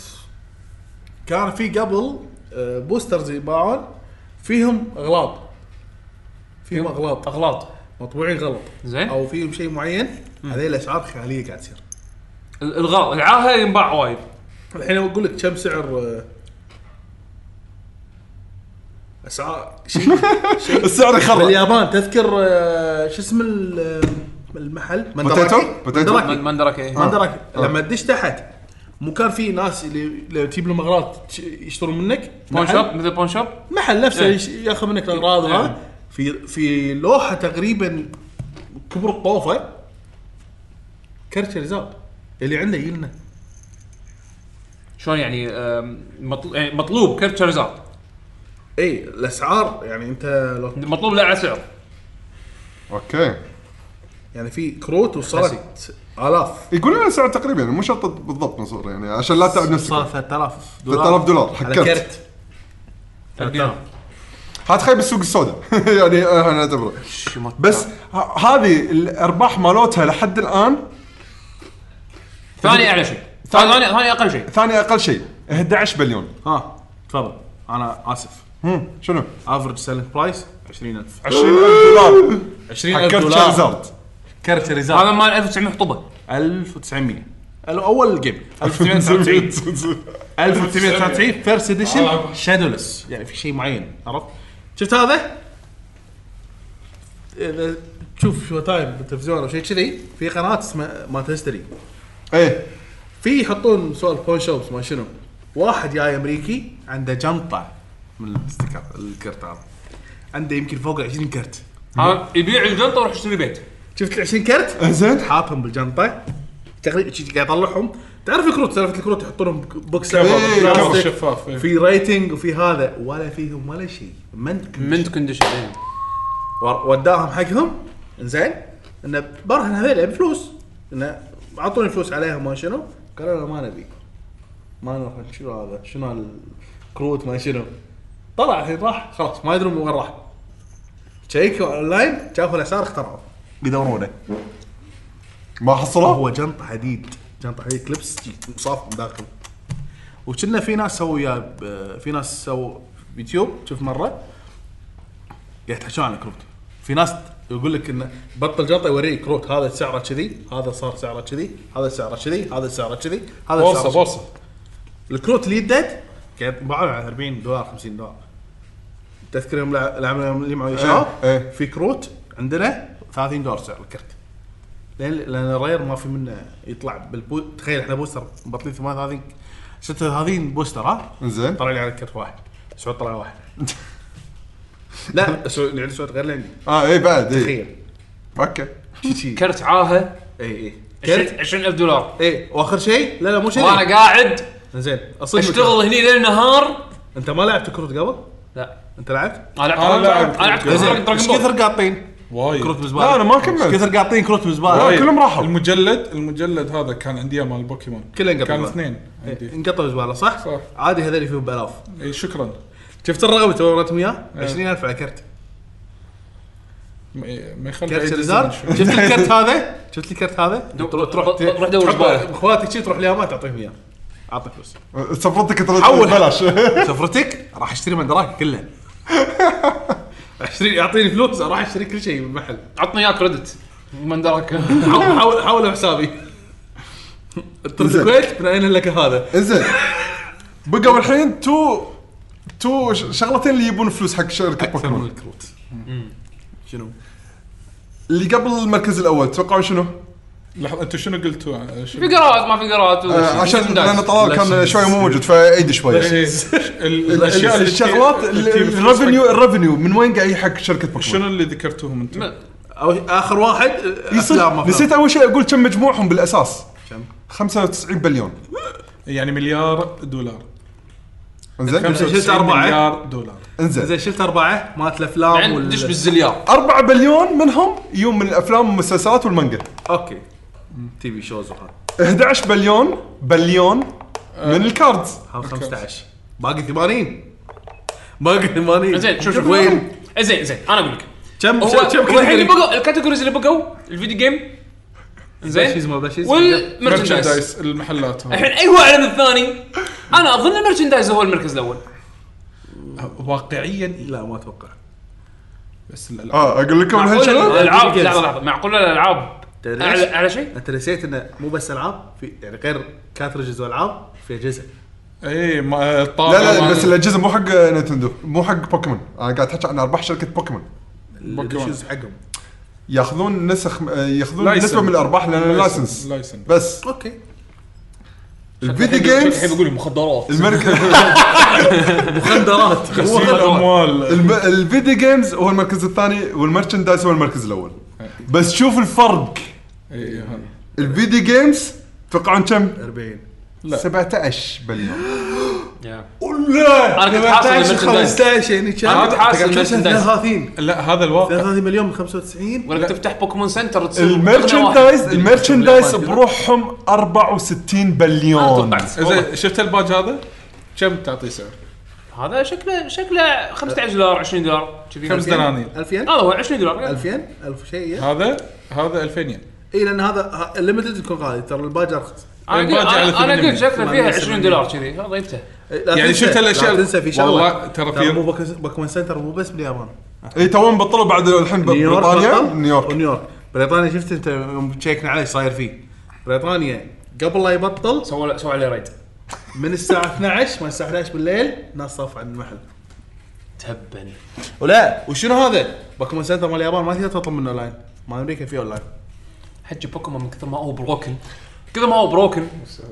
[SPEAKER 5] كان في قبل آه، بوسترز يباعون فيهم اغلاط فيهم اغلاط
[SPEAKER 1] اغلاط
[SPEAKER 5] مطبوعين غلط
[SPEAKER 1] زين
[SPEAKER 5] او فيهم شيء معين هذه الاسعار خياليه قاعد تصير
[SPEAKER 1] ال- الغلط العاهه ينباع وايد
[SPEAKER 5] الحين اقول لك كم سعر آه، اسعار شيء
[SPEAKER 4] السعر يخرب
[SPEAKER 5] باليابان تذكر آه، شو اسم ال- آه، المحل
[SPEAKER 4] بوتيتو
[SPEAKER 5] مندراكي؟
[SPEAKER 4] بوتيتو
[SPEAKER 5] مندراكي.
[SPEAKER 1] مندرك
[SPEAKER 5] ما درك إيه. لما تدش تحت مو كان في ناس اللي اللي تجيب لهم اغراض تش- يشترون منك
[SPEAKER 1] بون
[SPEAKER 5] محل-
[SPEAKER 1] شوب مثل بون شوب
[SPEAKER 5] محل نفسه
[SPEAKER 1] إيه.
[SPEAKER 5] يش- ياخذ منك الاغراض وهذا في في لوحه تقريبا كبر الطوفه كرت شريزارد اللي عنده يجي لنا
[SPEAKER 1] شلون يعني أم، مطل- يعني مطلوب كرت شارزارد
[SPEAKER 5] اي الاسعار إيه، يعني انت لو
[SPEAKER 1] مطلوب له على سعر
[SPEAKER 4] اوكي
[SPEAKER 5] يعني في كروت وصارت الاف
[SPEAKER 4] يقول لنا سعر تقريبا يعني مو شرط بالضبط نصور يعني عشان لا تعب
[SPEAKER 5] صار
[SPEAKER 4] نفسك
[SPEAKER 5] 3000
[SPEAKER 4] 3000 دولار حق
[SPEAKER 5] على
[SPEAKER 4] كرت
[SPEAKER 5] كرت
[SPEAKER 4] هات خيب السوق السوداء (laughs) يعني آه، احنا نعتبره بس ه- هذه الارباح مالتها لحد الان
[SPEAKER 1] ثاني اعلى شيء ثاني ثاني ثاني اقل شيء
[SPEAKER 4] ثاني اقل شيء 11 بليون
[SPEAKER 5] ها تفضل انا اسف
[SPEAKER 4] هم، شنو؟
[SPEAKER 5] افرج سيلينج برايس 20000
[SPEAKER 4] 20000 دولار
[SPEAKER 5] 20000
[SPEAKER 4] حكرت
[SPEAKER 5] دولار
[SPEAKER 4] شارزارد
[SPEAKER 5] كرت شريزارد
[SPEAKER 1] هذا مال 1900 حطبه
[SPEAKER 5] 1900 الاول جيم 1999
[SPEAKER 4] (laughs)
[SPEAKER 5] 1999 فيرست اديشن شادولس يعني في شيء معين عرفت شفت هذا؟ اذا تشوف شو تايم بالتلفزيون او شيء كذي في قناه اسمها مالت هيستوري
[SPEAKER 4] ايه
[SPEAKER 5] في يحطون سؤال بون شوبس ما شنو واحد جاي امريكي عنده جنطه من الستيكر الكرت هذا عنده يمكن فوق 20 كرت
[SPEAKER 1] هذا يبيع الجنطه ويروح يشتري بيت
[SPEAKER 5] شفت ال 20 كرت؟
[SPEAKER 4] زين
[SPEAKER 5] حاطهم بالجنطه تقريبا شي قاعد يطلعهم تعرف الكروت سالفه الكروت يحطونهم بوكس
[SPEAKER 4] إيه، كفر
[SPEAKER 5] شفاف في ريتنج وفي هذا ولا فيهم ولا شيء من
[SPEAKER 1] منت كونديشن
[SPEAKER 5] ور- وداهم حقهم زين انه برهن هذول يعني بفلوس انه اعطوني فلوس عليهم ما شنو قالوا لا ما نبي ما نروح شنو هذا شنو الكروت ما شنو طلع الحين راح خلاص ما يدرون وين راح شيكوا اونلاين شافوا الاسعار اخترعوا يدورونه
[SPEAKER 4] ما حصلوه
[SPEAKER 5] هو جنطه حديد جنطه حديد كلبس مصاف من داخل وكنا في ناس سووا وياه ب- في ناس سووا يوتيوب شوف مره قاعد يحكون عن الكروت في ناس يقول لك انه بطل جنطه يوريك كروت هذا سعره كذي هذا صار سعره كذي هذا سعره كذي هذا سعره كذي هذا
[SPEAKER 6] بورصه
[SPEAKER 5] سعره
[SPEAKER 6] بورصه
[SPEAKER 5] كذي. الكروت اللي يدد قاعد يباعون على 40 دولار 50 دولار تذكر يوم لعبنا يوم اللي معه
[SPEAKER 4] إيه، إيه.
[SPEAKER 5] في كروت عندنا 30 دولار سعر الكرت لان لان الرير ما في منه يطلع بالبو تخيل احنا بوستر بطلين 38 36 بوستر ها
[SPEAKER 4] زين
[SPEAKER 5] طلع لي على الكرت واحد سعود طلع واحد (laughs) لا سعود يعني سعود غير اللي عندي
[SPEAKER 4] اه اي بعد اي
[SPEAKER 5] تخيل
[SPEAKER 4] اوكي
[SPEAKER 5] شي- شي.
[SPEAKER 1] كرت عاهه
[SPEAKER 5] اي اي كرت
[SPEAKER 1] 20000 دولار
[SPEAKER 5] اي واخر شيء لا لا مو شيء
[SPEAKER 1] وانا قاعد
[SPEAKER 5] زين اصلا
[SPEAKER 1] اشتغل هني ليل نهار
[SPEAKER 5] انت ما لعبت كروت قبل؟
[SPEAKER 1] لا
[SPEAKER 5] انت لعبت؟
[SPEAKER 1] انا لعبت
[SPEAKER 2] أنا لعبت.
[SPEAKER 1] انا لعبت كرة
[SPEAKER 5] زين
[SPEAKER 1] دراجون
[SPEAKER 5] ايش
[SPEAKER 1] بول.
[SPEAKER 5] كثر قاطين
[SPEAKER 2] وايد
[SPEAKER 5] كروت بزباله؟
[SPEAKER 4] لا انا ما كملت
[SPEAKER 5] ايش كثر قاطين كروت
[SPEAKER 4] لا،
[SPEAKER 2] Oh,
[SPEAKER 5] بزباله؟
[SPEAKER 4] كلهم راحوا
[SPEAKER 2] المجلد المجلد هذا كان عندي إياه مال بوكيمون
[SPEAKER 5] كله انقطع
[SPEAKER 2] كان اثنين
[SPEAKER 5] إيه،
[SPEAKER 2] عندي إيه،
[SPEAKER 5] انقطع بزباله صح؟
[SPEAKER 2] صح.
[SPEAKER 5] عادي هذول فيهم بالاف
[SPEAKER 2] اي شكرا
[SPEAKER 5] شفت الرقم اللي تو وريتهم اياه؟
[SPEAKER 2] إيه.
[SPEAKER 5] 20000 على كرت
[SPEAKER 2] م- إيه، ما يخلي
[SPEAKER 5] كرت
[SPEAKER 2] عزيز
[SPEAKER 5] شيرزار
[SPEAKER 2] شوي.
[SPEAKER 5] شفت الكرت هذا؟ شفت الكرت هذا؟
[SPEAKER 1] دو-
[SPEAKER 5] تروح تروح
[SPEAKER 1] دو- روح دور
[SPEAKER 5] تحطه
[SPEAKER 1] زبالة.
[SPEAKER 5] اخواتك شي تروح اليابان تعطيهم اياه اعطيك فلوس
[SPEAKER 4] سفرتك ترى
[SPEAKER 5] حول.
[SPEAKER 4] ببلاش (laughs)
[SPEAKER 5] سفرتك راح اشتري مندراك كله (laughs) اشتري يعطيني فلوس اروح اشتري كل شيء بالمحل
[SPEAKER 1] عطني اياه كريدت من دراك (laughs)
[SPEAKER 5] حاول- حاول حاول حسابي (laughs) ترد
[SPEAKER 4] زين.
[SPEAKER 5] الكويت من اين لك هذا؟
[SPEAKER 4] زين بقوا الحين تو تو ش- شغلتين اللي يبون فلوس حق شركه
[SPEAKER 5] اكثر من
[SPEAKER 4] بوكيمون
[SPEAKER 5] الكروت شنو؟
[SPEAKER 4] اللي قبل المركز الاول تتوقعون شنو؟
[SPEAKER 2] لحظه انتوا شنو قلتوا آه، شنو
[SPEAKER 1] فقرات ما فقرات
[SPEAKER 4] آه، عشان لان طلال كان
[SPEAKER 5] لاشيز.
[SPEAKER 4] شوي مو موجود فعيد شوي
[SPEAKER 2] إيه،
[SPEAKER 4] (laughs)
[SPEAKER 2] ال- الاشياء اللي
[SPEAKER 4] الشغلات
[SPEAKER 2] تجي-
[SPEAKER 4] ال-
[SPEAKER 2] تجي بفلوس
[SPEAKER 4] الريفنيو
[SPEAKER 2] حق-
[SPEAKER 4] الريفنيو من وين قاعد يحق شركه بوكيمون؟
[SPEAKER 2] شنو اللي ذكرتوهم انتم؟
[SPEAKER 5] أو اخر واحد آه، أفلام،
[SPEAKER 4] يصير
[SPEAKER 5] أفلام.
[SPEAKER 4] نسيت اول شيء اقول كم مجموعهم بالاساس
[SPEAKER 5] كم؟
[SPEAKER 4] 95 بليون
[SPEAKER 2] يعني مليار دولار
[SPEAKER 4] انزين
[SPEAKER 2] 95
[SPEAKER 5] شلت أربعة.
[SPEAKER 2] مليار دولار
[SPEAKER 4] انزين
[SPEAKER 5] زين شفت اربعه مالت الافلام
[SPEAKER 1] بعدين
[SPEAKER 5] وال-
[SPEAKER 1] دش بالزليار
[SPEAKER 4] 4 بليون منهم يوم من الافلام والمسلسلات والمانجا
[SPEAKER 5] اوكي تي في شوز وهذا
[SPEAKER 4] 11 بليون بليون من الكاردز
[SPEAKER 5] هذا 15 باقي 80 باقي 80
[SPEAKER 1] زين شوف شوف
[SPEAKER 5] وين؟
[SPEAKER 1] زين زين انا اقول لك
[SPEAKER 5] كم
[SPEAKER 1] هو
[SPEAKER 5] كم- كم
[SPEAKER 1] هو الحين اللي
[SPEAKER 5] كاتيجوري؟
[SPEAKER 1] بقوا الكاتيجوريز اللي بقوا الفيديو جيم
[SPEAKER 5] Plushies
[SPEAKER 1] زين
[SPEAKER 5] ما plushies.
[SPEAKER 1] والمرشندايز
[SPEAKER 2] مرشندايز المحلات هذه.
[SPEAKER 1] الحين اي واحد من الثاني انا اظن المرشندايز هو المركز الاول
[SPEAKER 2] واقعيا إيه.
[SPEAKER 5] لا ما اتوقع
[SPEAKER 2] بس الالعاب
[SPEAKER 4] اه اقول لكم الحين
[SPEAKER 1] معقول
[SPEAKER 4] شنو؟
[SPEAKER 1] الالعاب
[SPEAKER 5] Video games.
[SPEAKER 1] لحظه لحظه معقول الالعاب
[SPEAKER 5] تدري
[SPEAKER 1] على
[SPEAKER 5] ليش؟
[SPEAKER 1] على شيء
[SPEAKER 5] انت نسيت انه مو بس العاب في يعني غير كاترجز والعاب في اجهزه
[SPEAKER 2] اي إيه، ما- الطابعة
[SPEAKER 4] لا لا
[SPEAKER 2] مال-
[SPEAKER 4] بس الاجهزه مو حق نينتندو مو حق بوكيمون انا قاعد احكي عن ارباح شركه بوكيمون
[SPEAKER 5] الشوز حقهم
[SPEAKER 4] ياخذون نسخ ياخذون
[SPEAKER 2] لايسنس.
[SPEAKER 4] نسبه من الارباح لان اللايسنس
[SPEAKER 2] لايسنس
[SPEAKER 4] بس
[SPEAKER 5] اوكي
[SPEAKER 4] الفيديو
[SPEAKER 1] الحين
[SPEAKER 4] جيمز
[SPEAKER 1] بقول مخدرات
[SPEAKER 4] المركز
[SPEAKER 5] مخدرات مو
[SPEAKER 2] غسيل
[SPEAKER 5] مخدرات.
[SPEAKER 2] اموال
[SPEAKER 4] الم... الفيديو جيمز هو المركز الثاني والمرشندايز هو المركز الاول بس شوف الفرق
[SPEAKER 2] إي،
[SPEAKER 4] إيه،
[SPEAKER 2] إي، إيه، هذا.
[SPEAKER 4] الفيديو جيمز توقعون كم؟
[SPEAKER 5] 40
[SPEAKER 2] لا.
[SPEAKER 4] 17 بليون إيه.
[SPEAKER 1] انا كنت حاصل المرشندايز
[SPEAKER 5] 15 يعني كم
[SPEAKER 1] أنا كنت حاسب المرشندايز.
[SPEAKER 5] 33
[SPEAKER 2] لا هذا
[SPEAKER 4] إيه،
[SPEAKER 2] الواقع
[SPEAKER 5] 33 مليون من 95
[SPEAKER 1] ولا تفتح بوكيمون سنتر تصير
[SPEAKER 4] المرشندايز المرشندايز بروحهم 64 بليون
[SPEAKER 1] زين
[SPEAKER 2] زين شفت الباج هذا؟ كم تعطيه سعر؟
[SPEAKER 1] هذا شكله شكله 15 دولار 20 دولار كذي
[SPEAKER 2] خمس دنانير
[SPEAKER 5] 2000 ين؟
[SPEAKER 1] هذا هو 20 دولار
[SPEAKER 5] 2000 1000 شيء ين.
[SPEAKER 2] هذا هذا 2000 ين
[SPEAKER 5] اي لان هذا الليمتد يكون غالي ترى الباج ارخص
[SPEAKER 1] انا
[SPEAKER 2] الباقي
[SPEAKER 1] قلت-
[SPEAKER 2] على
[SPEAKER 1] أنا- انا
[SPEAKER 2] 800.
[SPEAKER 1] قلت شكله فيها
[SPEAKER 5] 800.
[SPEAKER 1] 20 دولار كذي يلا جبته
[SPEAKER 2] يعني شفت الأشياء-
[SPEAKER 5] لا تنسى في شغله
[SPEAKER 2] والله ترى في-
[SPEAKER 5] مو بوك- بوكيمون سنتر مو بس باليابان
[SPEAKER 4] اي إيه، توهم بطلوا بعد الحين
[SPEAKER 5] نيويورك
[SPEAKER 4] بريطانيا
[SPEAKER 5] بطل
[SPEAKER 4] نيويورك
[SPEAKER 5] ونيويورك بريطانيا شفت انت يوم تشيكنا عليه صاير فيه بريطانيا قبل لا يبطل
[SPEAKER 1] سوى له- سوى عليه ريد
[SPEAKER 5] من الساعه 12 من الساعه 11 بالليل ناس صاف عن المحل
[SPEAKER 1] تبا
[SPEAKER 5] ولا وشنو هذا؟ بوكيمون سنتر مال اليابان ما تقدر تطلب منه اونلاين مال امريكا فيه اونلاين
[SPEAKER 1] حج بوكيمون من كثر ما هو بروكن كثر ما هو بروكن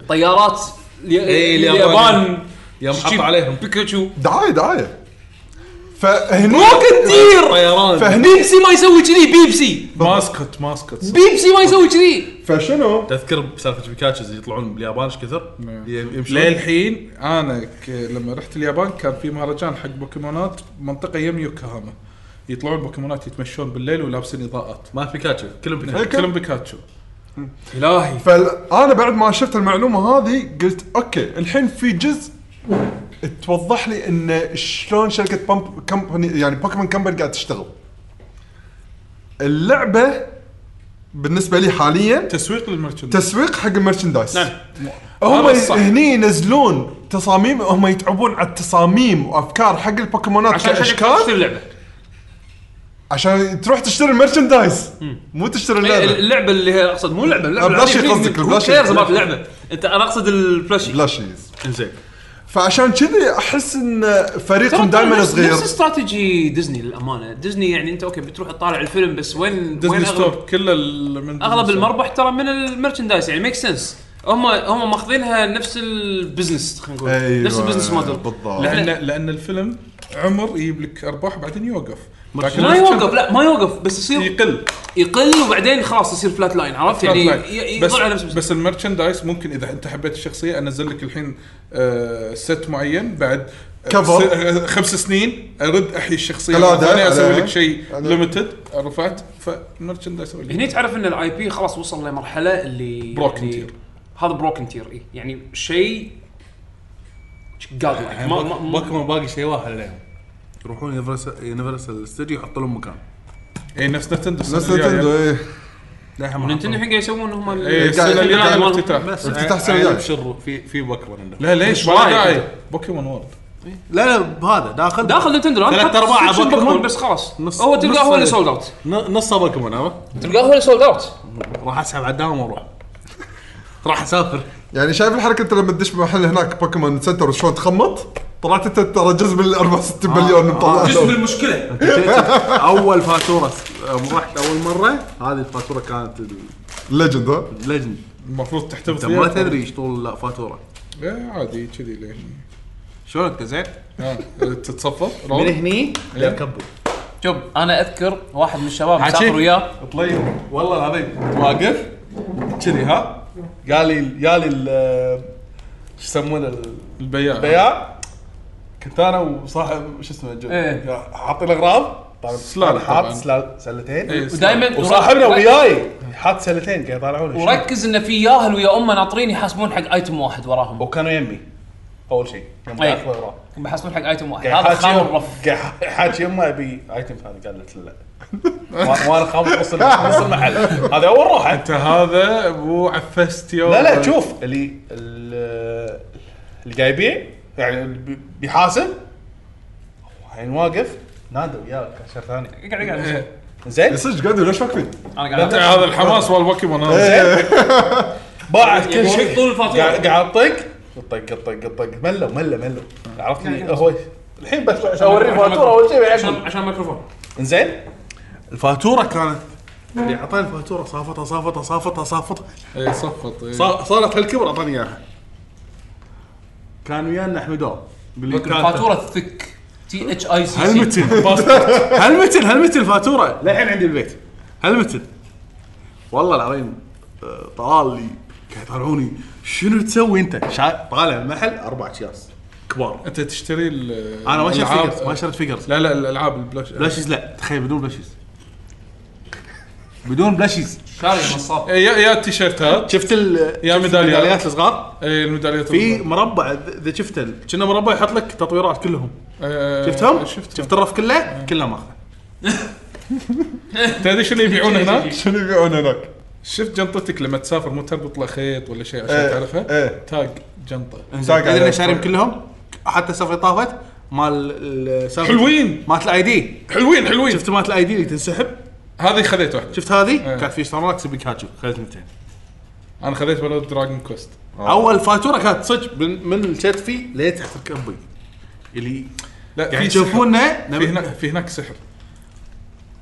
[SPEAKER 1] طيارات الي-
[SPEAKER 5] إيه،
[SPEAKER 1] اليابان
[SPEAKER 5] يوم
[SPEAKER 1] تجيب
[SPEAKER 5] حطوا عليهم
[SPEAKER 1] بيكاتشو
[SPEAKER 4] دعايه دعايه فهني
[SPEAKER 1] بروكن تير
[SPEAKER 5] طيران
[SPEAKER 4] فهني
[SPEAKER 1] بيبسي ما يسوي كذي بيبسي
[SPEAKER 2] ماسكت ماسكت
[SPEAKER 1] بيبسي ما يسوي كذي
[SPEAKER 4] فشنو؟
[SPEAKER 5] تذكر بسالفه بيكاتشوز يطلعون باليابان ايش كثر؟ يمشون
[SPEAKER 2] للحين انا ك... لما رحت اليابان كان في مهرجان حق بوكيمونات منطقه يم يوكوهاما يطلعون بوكيمونات يتمشون بالليل ولابسين اضاءات
[SPEAKER 5] ما بيكاتشو كلهم (laughs) بيكاتشو
[SPEAKER 2] كلهم بيكاتشو
[SPEAKER 1] الهي
[SPEAKER 4] فانا بعد ما شفت المعلومه هذه قلت اوكي الحين في جزء توضح لي ان شلون شركه بامب كمباني يعني بوكيمون كمباني قاعد تشتغل. اللعبه بالنسبه لي حاليا
[SPEAKER 2] تسويق للمرشندايز
[SPEAKER 4] تسويق حق المرشندايز
[SPEAKER 1] نعم.
[SPEAKER 4] هم
[SPEAKER 2] هذا الصح.
[SPEAKER 4] هني ينزلون تصاميم هم يتعبون على التصاميم وافكار حق البوكيمونات
[SPEAKER 1] عشان عشان تشتري
[SPEAKER 4] كاشكال
[SPEAKER 1] اللعبه
[SPEAKER 4] عشان تروح تشتري المرشندايز مو تشتري
[SPEAKER 1] إيه،
[SPEAKER 4] اللعبه
[SPEAKER 1] اللعبه اللي هي اقصد مو اللعبه اللعبه
[SPEAKER 4] البلاشي
[SPEAKER 1] العادية.
[SPEAKER 4] قصدك،
[SPEAKER 1] Who
[SPEAKER 4] البلاشي.
[SPEAKER 1] cares about اللعبه انت انا اقصد البلاشي
[SPEAKER 4] بلاشيز
[SPEAKER 5] زين
[SPEAKER 4] فعشان كذي احس ان فريقهم
[SPEAKER 1] ترى
[SPEAKER 4] دائما
[SPEAKER 1] نفس-
[SPEAKER 4] صغير
[SPEAKER 1] نفس استراتيجي ديزني للامانه ديزني يعني انت اوكي بتروح تطالع الفيلم بس وين وين
[SPEAKER 2] ديزني
[SPEAKER 1] اغلب
[SPEAKER 2] ستور كله ال- من
[SPEAKER 1] اغلب
[SPEAKER 2] ديزني
[SPEAKER 1] المربح ترى من المرشندايز يعني ميك سنس هم هم ماخذينها نفس البزنس خلينا نقول
[SPEAKER 4] أيوة،
[SPEAKER 1] نفس البزنس موديل
[SPEAKER 4] بالضبط.
[SPEAKER 2] ستور. لان
[SPEAKER 1] لأن-
[SPEAKER 2] لان الفيلم عمر يجيب لك ارباح بعدين يوقف لكن
[SPEAKER 1] ما
[SPEAKER 2] لو
[SPEAKER 1] يوقف لا ما يوقف بس
[SPEAKER 2] كان
[SPEAKER 1] يصير
[SPEAKER 2] يقل
[SPEAKER 1] يقل وبعدين خلاص يصير فلات لاين عرفت يعني ي-
[SPEAKER 2] بس
[SPEAKER 1] يضل على نفس
[SPEAKER 2] بس المرشندايز ممكن اذا انت حبيت الشخصيه انزل لك الحين آه، ست معين بعد آه،
[SPEAKER 4] كفر.
[SPEAKER 2] س- آه، خمس سنين ارد احيي الشخصيه
[SPEAKER 4] قلادة.
[SPEAKER 2] مرة ثانية، اسوي
[SPEAKER 4] عليها.
[SPEAKER 2] لك شيء
[SPEAKER 4] عليها.
[SPEAKER 2] ليمتد رفعت فالمرشندايز سوي لك
[SPEAKER 1] هني تعرف ان الاي بي خلاص وصل لمرحله اللي
[SPEAKER 2] Broken
[SPEAKER 1] اللي-
[SPEAKER 2] tier.
[SPEAKER 1] هذا بروكن تير إيه. يعني شيء قاعد يعني ما ما- ما-
[SPEAKER 11] بوكيمون باقي شيء واحد عليهم
[SPEAKER 5] يروحون يونيفرسال يونيفرسال ستوديو يحطوا لهم مكان
[SPEAKER 2] اي إيه، نفس نتندو السنة
[SPEAKER 4] نفس
[SPEAKER 2] الجاية.
[SPEAKER 12] يعني-
[SPEAKER 4] نتندو ايه
[SPEAKER 5] للحين ما
[SPEAKER 1] نينتندو الحين قاعد يسوون هم ال-
[SPEAKER 2] إيه، السنه
[SPEAKER 4] قاعد-
[SPEAKER 2] اللي
[SPEAKER 1] قاعد-
[SPEAKER 2] جايه الافتتاح
[SPEAKER 5] بس
[SPEAKER 4] أنت تحسن
[SPEAKER 5] عيب
[SPEAKER 4] وياك.
[SPEAKER 5] شر في في بوكيمون عندهم
[SPEAKER 2] لا ليش
[SPEAKER 1] إيش
[SPEAKER 2] ما
[SPEAKER 1] رأيك
[SPEAKER 2] داعي بوكيمون وورد
[SPEAKER 5] لا لا بهذا داخل
[SPEAKER 1] داخل نينتندو
[SPEAKER 5] ثلاث
[SPEAKER 1] حط
[SPEAKER 5] أرباع
[SPEAKER 1] سكشن
[SPEAKER 5] بوكيمون.
[SPEAKER 1] بوكيمون بس خلاص
[SPEAKER 5] نص-
[SPEAKER 1] هو تلقاه
[SPEAKER 5] نص-
[SPEAKER 1] هو اللي سولد اوت
[SPEAKER 5] ن- نصه بوكيمون عرفت؟
[SPEAKER 1] تلقاه هو اللي سولد اوت
[SPEAKER 5] راح اسحب على الدوام واروح راح (laughs) اسافر
[SPEAKER 4] يعني شايف الحركه انت لما تدش محل هناك بوكيمون سنتر شلون تخمط طلعت انت ترى جزء من ال 64 مليون مطلع
[SPEAKER 12] آه. جزء من المشكله
[SPEAKER 5] اول فاتوره يوم رحت اول مره هذه الفاتوره كانت
[SPEAKER 4] ليجند ها
[SPEAKER 5] لجنه
[SPEAKER 2] المفروض
[SPEAKER 5] انت
[SPEAKER 2] تحتفظ
[SPEAKER 5] ما
[SPEAKER 2] فيها.
[SPEAKER 5] تدري ايش طول الفاتوره
[SPEAKER 2] إيه، عادي كذي ليش
[SPEAKER 5] شلونك زين؟
[SPEAKER 2] آه، تتصفط
[SPEAKER 13] من
[SPEAKER 2] روح.
[SPEAKER 13] هني
[SPEAKER 5] يكبر
[SPEAKER 13] شوف انا اذكر واحد من الشباب
[SPEAKER 5] عشيك.
[SPEAKER 13] مسافر وياه
[SPEAKER 5] طيب والله العظيم واقف كذي ها قال لي قال لي ال- شو يسمونه ال-
[SPEAKER 2] البياع
[SPEAKER 5] البياع كنت انا وصاحب شو اسمه جو
[SPEAKER 13] إيه.
[SPEAKER 5] حاطين اغراض طبعا
[SPEAKER 2] سلالة
[SPEAKER 5] أنا حاط
[SPEAKER 2] طبعاً.
[SPEAKER 5] سلال- سلتين
[SPEAKER 2] إيه،
[SPEAKER 13] ودائما
[SPEAKER 5] وصاحبنا وياي حاط سلتين قاعد يطالعون إيش.
[SPEAKER 13] وركز انه في ياهل ويا امه ناطرين يحاسبون حق ايتم واحد وراهم
[SPEAKER 5] وكانوا يمي اول شيء يوم
[SPEAKER 13] أي.
[SPEAKER 5] داخل الاغراض
[SPEAKER 13] يحاسبون حق ايتم واحد
[SPEAKER 5] قاعد
[SPEAKER 13] إيه. هذا
[SPEAKER 5] حاكي
[SPEAKER 13] خام
[SPEAKER 5] يوم-
[SPEAKER 13] الرف
[SPEAKER 5] قاعد حاكي يمه ابي ايتم ثاني قالت (laughs) له لا وأ- وانا خام نص ال- نص المحل هذا اول روحه
[SPEAKER 2] انت هذا مو عفست يوم
[SPEAKER 5] لا لا شوف اللي ال- اللي قاعد يبيع يعني اللي بي- بيحاسب الحين واقف نادى وياك عشر ثاني
[SPEAKER 13] اقعد اقعد
[SPEAKER 2] إيه.
[SPEAKER 5] زين
[SPEAKER 4] صدق قاعد ليش واقفين؟
[SPEAKER 13] انا قاعد
[SPEAKER 2] إنت هذا الحماس مال بوكيمون هذا
[SPEAKER 5] باعت كل
[SPEAKER 13] يوريك
[SPEAKER 5] شيء
[SPEAKER 13] طول الفاتورة.
[SPEAKER 5] قاعد قاعد طق طق طق طق ملوا ملوا ملوا عرفت لي هو الحين بس عشان اوريه الفاتوره اول شيء
[SPEAKER 1] عشان
[SPEAKER 5] بعدين
[SPEAKER 1] عشان ميكروفون
[SPEAKER 5] زين الفاتوره كانت اللي اعطاني الفاتوره صافتها صافتها صافتها صافتها
[SPEAKER 2] اي صفط إيه.
[SPEAKER 5] صار- صارت هالكبر اعطاني اياها كان ويانا احمدو
[SPEAKER 13] فاتوره الثك تي اتش اي سي سي
[SPEAKER 5] هالمتن باسبورت. هالمتن هالمتن الفاتوره للحين عندي البيت هالمتن والله العظيم آه، طلال لي قاعد يطالعوني شنو تسوي انت؟ شا- طالع المحل اربع اكياس كبار
[SPEAKER 2] انت تشتري ال-
[SPEAKER 5] انا ما شريت
[SPEAKER 2] الألعاب.
[SPEAKER 5] فيجرز ما شريت فيجرز
[SPEAKER 2] لا لا الالعاب البلاش
[SPEAKER 5] بلاشيز لا تخيل بدون بلاشيز بدون بلاشيز
[SPEAKER 13] شاري نصاب
[SPEAKER 2] إيه، يا يا التيشيرتات
[SPEAKER 5] شفت ال
[SPEAKER 2] يا
[SPEAKER 5] شفت
[SPEAKER 2] ميداليات.
[SPEAKER 5] الميداليات الصغار
[SPEAKER 2] اي الميداليات
[SPEAKER 5] في
[SPEAKER 2] الأخضر.
[SPEAKER 5] مربع إذا- اذا شفته كنا مربع يحط لك تطويرات كلهم
[SPEAKER 2] إيه،
[SPEAKER 5] شفتهم؟
[SPEAKER 2] شفت
[SPEAKER 5] شفت الرف كله؟ كله ماخذه
[SPEAKER 2] تدري شنو يبيعون هناك؟
[SPEAKER 4] شنو يبيعون هناك؟
[SPEAKER 2] شفت جنطتك لما تسافر مو تربط له خيط ولا شيء عشان
[SPEAKER 4] إيه،
[SPEAKER 2] تعرفها؟
[SPEAKER 4] إيه.
[SPEAKER 2] تاج جنطه
[SPEAKER 4] ساق
[SPEAKER 5] تدري
[SPEAKER 4] عليه.
[SPEAKER 5] ليش شاريهم كلهم؟ حتى السفره طافت مال السفره
[SPEAKER 2] حلوين
[SPEAKER 5] مالت الاي دي
[SPEAKER 2] حلوين حلوين
[SPEAKER 5] شفت مالت الاي دي اللي تنسحب
[SPEAKER 2] هذه خذيت واحده
[SPEAKER 5] شفت هذه؟
[SPEAKER 2] إيه.
[SPEAKER 5] كان في ستار ماكس بيكاتشو خذيت 200
[SPEAKER 2] انا خذيت ولا دراجون كوست
[SPEAKER 5] اول فاتوره كانت صدق من من كتفي لتحت ركبي اللي
[SPEAKER 2] لا
[SPEAKER 5] يعني
[SPEAKER 2] في سحر.
[SPEAKER 5] تشوفونا
[SPEAKER 2] في هناك في هناك سحر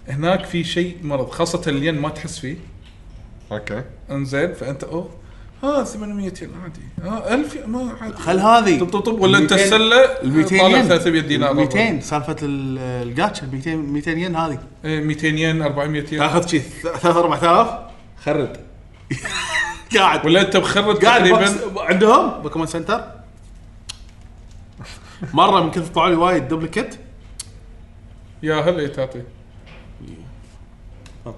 [SPEAKER 2] هناك في شيء مرض خاصه الين ما تحس فيه
[SPEAKER 4] اوكي
[SPEAKER 2] انزين فانت اوه ها 800 ين عادي ها 1000 ين، ما عادي
[SPEAKER 5] خل هذه
[SPEAKER 2] طب طب طب ولا انت
[SPEAKER 5] 200
[SPEAKER 2] السله
[SPEAKER 5] ال 200
[SPEAKER 2] طالع
[SPEAKER 5] ين
[SPEAKER 2] 300 دينار
[SPEAKER 5] 200 سالفه ال- الجاتشا 200 200 ين هذه
[SPEAKER 2] إيه، 200 ين 400 ين
[SPEAKER 5] تاخذ شي 3 4000 خرد (laughs) قاعد
[SPEAKER 2] ولا انت مخرج
[SPEAKER 5] قاعد
[SPEAKER 2] تقريبا
[SPEAKER 5] بوكس- عندهم بوكيمون سنتر مره من كثر طلعوا لي وايد دوبليكيت
[SPEAKER 2] يا هلا تعطي
[SPEAKER 5] آه.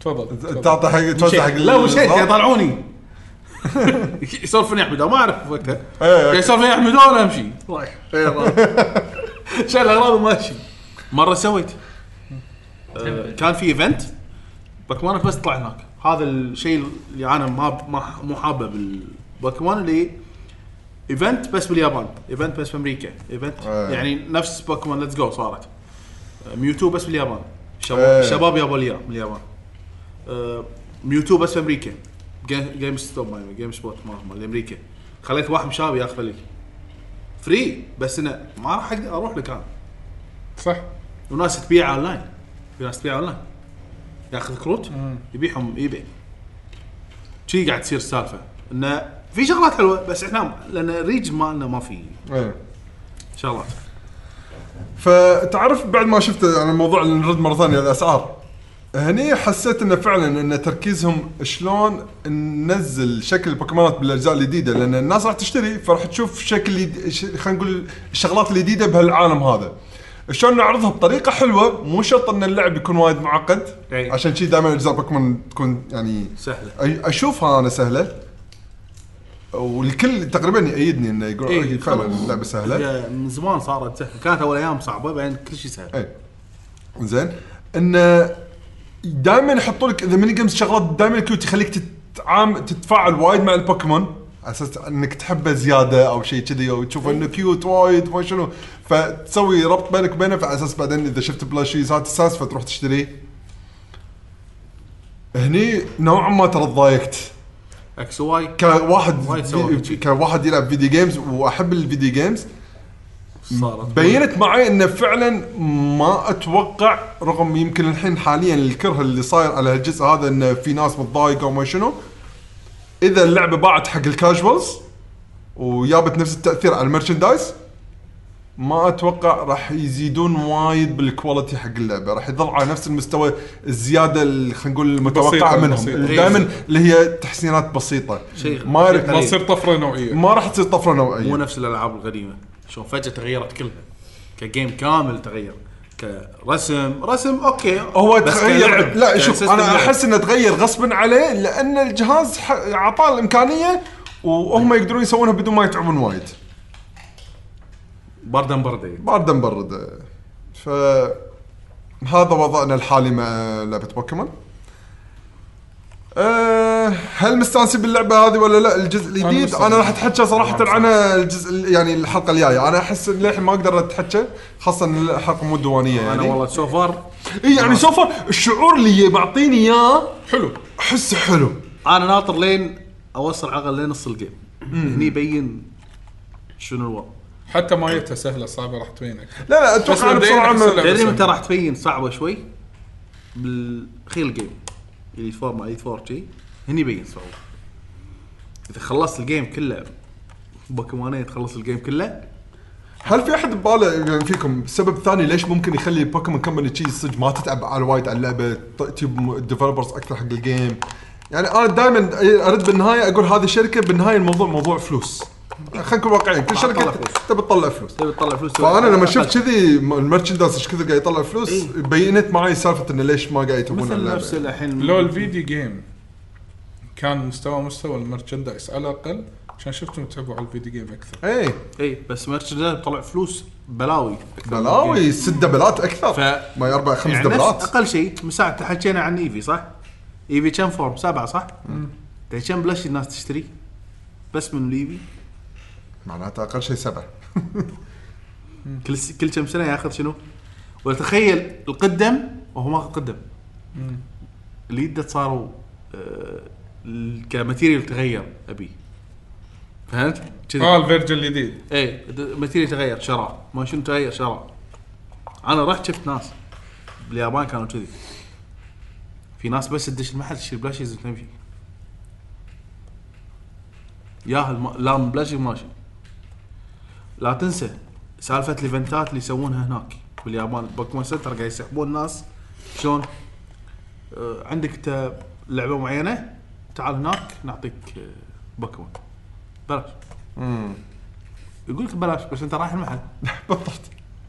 [SPEAKER 2] تفضل تفضل.
[SPEAKER 4] تعطي حق توزع حق
[SPEAKER 5] لا مش هيك
[SPEAKER 4] الأصحاب.
[SPEAKER 5] يطلعوني (laughs) يسولفون يا احمد ما اعرف وقتها
[SPEAKER 4] إيه.
[SPEAKER 5] يسولفون يا احمد وانا امشي رايح (laughs) شايل اغراض وماشي مره سويت آه، كان في ايفنت بوكيمونك بس طلع هناك هذا الشيء اللي انا ما ما- مو حابه بالبوكيمون اللي ايفنت بس باليابان ايفنت بس بامريكا ايفنت
[SPEAKER 4] إيه.
[SPEAKER 5] يعني نفس بوكيمون ليتس جو صارت آه، ميوتو بس باليابان
[SPEAKER 4] إيه.
[SPEAKER 5] شباب شباب يابوا لي إياه من اليابان آه، ميوتو بس في امريكا جيم جيم ستوب ما جيم سبوت ما هم الامريكا خليت واحد من شباب ياخذ لي فري بس انه ما راح اقدر اروح لك انا
[SPEAKER 2] صح
[SPEAKER 5] وناس تبيع اون لاين في ناس تبيع اون لاين ياخذ كروت يبيعهم اي بي شي قاعد تصير السالفه انه في شغلات حلوه بس احنا لان الريج مالنا ما في
[SPEAKER 4] ايه
[SPEAKER 5] شغلات
[SPEAKER 4] فتعرف بعد ما شفت انا موضوع نرد مره ثانيه الاسعار هني حسيت انه فعلا ان تركيزهم شلون ننزل شكل البوكيمونات بالاجزاء الجديده لان الناس راح تشتري فراح تشوف شكل يد- ش- خلينا نقول الشغلات الجديده بهالعالم هذا شلون نعرضها بطريقه حلوه مو شرط ان اللعب يكون وايد معقد
[SPEAKER 5] أي.
[SPEAKER 4] عشان شي دائما اجزاء بوكيمون تكون يعني
[SPEAKER 5] سهله
[SPEAKER 4] أي- اشوفها انا سهله والكل تقريبا يأيدني انه يقول
[SPEAKER 5] إي،
[SPEAKER 4] إيه، فعلا
[SPEAKER 5] خلاص.
[SPEAKER 4] اللعبه سهله
[SPEAKER 5] هي من زمان صارت سهله كانت اول ايام صعبه بعدين كل شيء سهل
[SPEAKER 4] اي إيه. زين انه دائما يحطوا لك اذا ميني جيمز شغلات دائما كيوت يخليك تتعام تتفاعل وايد مع البوكيمون على اساس انك تحبه زياده او شيء كذي او تشوف انه كيوت وايد ما شنو فتسوي ربط بينك وبينه فعلى اساس بعدين اذا شفت بلاشيز هات اساس فتروح تشتريه هني نوعا ما ترى تضايقت
[SPEAKER 5] اكس واي
[SPEAKER 4] كواحد
[SPEAKER 5] وايد سووا
[SPEAKER 4] في- كواحد يلعب فيديو جيمز واحب الفيديو جيمز
[SPEAKER 5] صارت
[SPEAKER 4] بينت معي انه فعلا ما اتوقع رغم يمكن الحين حاليا الكره اللي صاير على الجزء هذا انه في ناس متضايقه وما شنو اذا اللعبه باعت حق الكاجوالز ويابت نفس التاثير على المرشندايز ما اتوقع راح يزيدون وايد بالكواليتي حق اللعبه راح يظل على نفس المستوى الزياده اللي خلينا نقول المتوقعه
[SPEAKER 2] بسيطة-
[SPEAKER 4] منهم
[SPEAKER 2] بسيطة.
[SPEAKER 4] دائما اللي هي تحسينات بسيطه
[SPEAKER 5] شيء
[SPEAKER 4] ما
[SPEAKER 5] شيء
[SPEAKER 4] يرك-
[SPEAKER 2] ما
[SPEAKER 5] قليل.
[SPEAKER 2] تصير طفره نوعيه
[SPEAKER 4] ما راح تصير طفره نوعيه
[SPEAKER 5] مو نفس الالعاب القديمه شلون فجاه تغيرت كلها كجيم كامل تغير كرسم رسم اوكي
[SPEAKER 4] هو
[SPEAKER 5] بس
[SPEAKER 4] تغير
[SPEAKER 5] كلعب،
[SPEAKER 4] لا شوف
[SPEAKER 5] كسيستم
[SPEAKER 4] انا
[SPEAKER 5] لعب.
[SPEAKER 4] احس انه تغير غصبا عليه لان الجهاز ح- اعطاه الامكانيه وهم يقدرون يسوونها بدون ما يتعبون وايد
[SPEAKER 5] بردا بردا
[SPEAKER 4] باردا مبرد ف هذا وضعنا الحالي مع لعبه بوكيمون أه هل مستانسين باللعبه هذه ولا لا الجزء الجديد انا راح اتحكى صراحه عنها الجزء ال- يعني الحلقه الجايه انا احس إن للحين ما اقدر اتحكى خاصه إن الحلقه مو دوانيه يعني
[SPEAKER 5] انا والله سو فار
[SPEAKER 4] اي
[SPEAKER 5] نعم.
[SPEAKER 4] يعني سوفا الشعور اللي معطيني اياه حلو احسه حلو
[SPEAKER 5] انا ناطر لين اوصل على الاقل لنص الجيم هني يبين شنو الوضع
[SPEAKER 2] حتى مايتها سهله صعبه راح تبينك
[SPEAKER 4] لا لا
[SPEAKER 2] بس
[SPEAKER 4] اتوقع انا
[SPEAKER 2] مبدئياً
[SPEAKER 4] بسرعه
[SPEAKER 2] أحس
[SPEAKER 4] ما-
[SPEAKER 2] اللعبة
[SPEAKER 5] تدري
[SPEAKER 2] سهلة.
[SPEAKER 5] متى راح تبين صعبه شوي بالخيل الجيم اللي فور ما ايد فور شي هني يبين صعوبه اذا خلصت الجيم كله بوكيمونية تخلص الجيم كله
[SPEAKER 4] هل في احد بباله يعني فيكم سبب ثاني ليش ممكن يخلي بوكيمون كمباني تشي صدق ما تتعب على وايد على اللعبه ط- تجيب ديفلوبرز اكثر حق الجيم يعني انا دائما ارد بالنهايه اقول هذه الشركه بالنهايه الموضوع موضوع فلوس خلينا نكون واقعيين كل شركه
[SPEAKER 5] تطلع فلوس.
[SPEAKER 4] تبي تطلع فلوس
[SPEAKER 5] تبي تطلع فلوس
[SPEAKER 4] فانا لما
[SPEAKER 5] أقل.
[SPEAKER 4] شفت كذي م- المرشندايز ايش كثر قاعد يطلع فلوس
[SPEAKER 5] إيه.
[SPEAKER 4] بينت معي سالفه انه ليش ما قاعد يتبون
[SPEAKER 5] مثل
[SPEAKER 4] اللعبه
[SPEAKER 5] نفس الحين
[SPEAKER 2] لو الفيديو جيم كان مستوى مستوى المرشندايز على الاقل عشان شفتهم تعبوا على الفيديو جيم اكثر
[SPEAKER 4] اي
[SPEAKER 5] اي إيه، بس ميرشندايز طلع فلوس بلاوي أكثر من الجيم.
[SPEAKER 4] بلاوي ست دبلات اكثر
[SPEAKER 5] ف-
[SPEAKER 4] ما اربع خمس
[SPEAKER 5] يعني
[SPEAKER 4] دبلات
[SPEAKER 5] نفس اقل شيء من ساعه حكينا عن ايفي صح؟ ايفي كم فورم سبعه صح؟ تدري كم بلش الناس تشتري؟ بس من الايفي
[SPEAKER 4] معناته اقل شيء سبعه
[SPEAKER 5] كل س... كل كم سنه ياخذ شنو؟ وتخيل القدم وهو ماخذ قدم اليد صاروا آه... ال- كماتيريال تغير ابي فهمت؟ كذي
[SPEAKER 2] اه الفيرجن الجديد
[SPEAKER 5] اي ماتيريال تغير شراء ما شنو تغير شراء انا رحت شفت ناس باليابان كانوا كذي في ناس بس تدش المحل تشتري بلاشيز وتمشي ياهل ما... لا بلاشي ماشي لا تنسى سالفه الايفنتات اللي يسوونها هناك باليابان بوكيمون سنتر قاعد يسحبون الناس شلون آه، عندك انت لعبه معينه تعال هناك نعطيك آه، بوكيمون بلاش يقول لك بلاش بس انت رايح المحل
[SPEAKER 4] بالضبط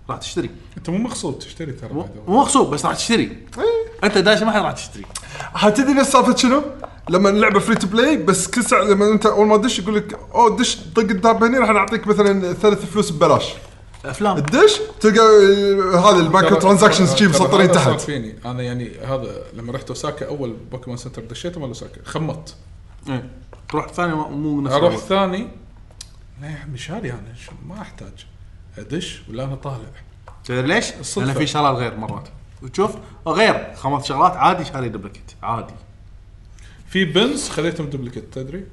[SPEAKER 5] راح تشتري
[SPEAKER 2] انت مو مقصود تشتري ترى
[SPEAKER 5] مو
[SPEAKER 2] بعد والله.
[SPEAKER 5] مو مقصود بس راح تشتري انت داش المحل راح تشتري
[SPEAKER 4] هتدري نفس سالفه شنو؟ لما اللعبه فري تو بلاي بس كل ساعه لما انت اول ما تدش يقول لك او دش طق الدابه هنا راح نعطيك مثلا ثلاث فلوس ببلاش
[SPEAKER 5] افلام
[SPEAKER 4] تدش تلقى آه، هذا المايكرو
[SPEAKER 2] ترى-
[SPEAKER 4] ترانزاكشنز
[SPEAKER 2] ترى-
[SPEAKER 4] شي
[SPEAKER 2] ترى
[SPEAKER 4] مسطرين
[SPEAKER 2] هذا صار
[SPEAKER 4] تحت
[SPEAKER 2] فيني انا يعني هذا لما رحت اوساكا اول بوكيمون سنتر دشيته مال اوساكا خمطت
[SPEAKER 5] ايه. تروح ثاني مو- مو نفس
[SPEAKER 2] اروح
[SPEAKER 5] الأول.
[SPEAKER 2] ثاني لا يا عمي شاري انا شو- ما احتاج ادش ولا انا طالع
[SPEAKER 5] تدري ليش؟
[SPEAKER 2] الصدفة.
[SPEAKER 5] لان في شغلات غير مرات وتشوف غير خمس شغلات عادي شاري دبلكت عادي
[SPEAKER 2] في بنز خذيتهم دوبليكت تدري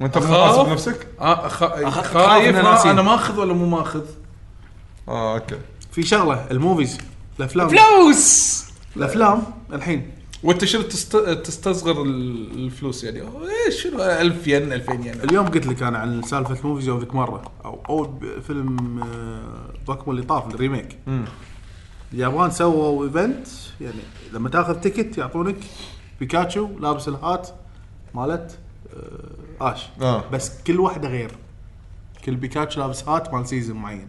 [SPEAKER 4] وانت بتحاسب نفسك؟
[SPEAKER 2] آه أخ... خايف,
[SPEAKER 5] خايف إنه
[SPEAKER 2] ما
[SPEAKER 5] ناسين.
[SPEAKER 2] انا ماخذ ولا مو ماخذ
[SPEAKER 4] اه اوكي
[SPEAKER 5] في شغله الموفيز الافلام
[SPEAKER 1] فلوس
[SPEAKER 5] الافلام الحين
[SPEAKER 2] وانت شنو تست... تستصغر ال- الفلوس يعني أوه، ايه شنو 1000 ين 2000 ين
[SPEAKER 5] اليوم قلت لك انا عن سالفه موفيز يوم ذيك مره او اول ب- فيلم آه، ذاكم اللي طاف الريميك اليابان سووا ايفنت يعني لما تاخذ تيكت يعطونك بيكاتشو لابس الهات مالت آه، اش
[SPEAKER 4] آه.
[SPEAKER 5] بس كل واحده غير كل بيكاتشو لابس هات مال سيزون معين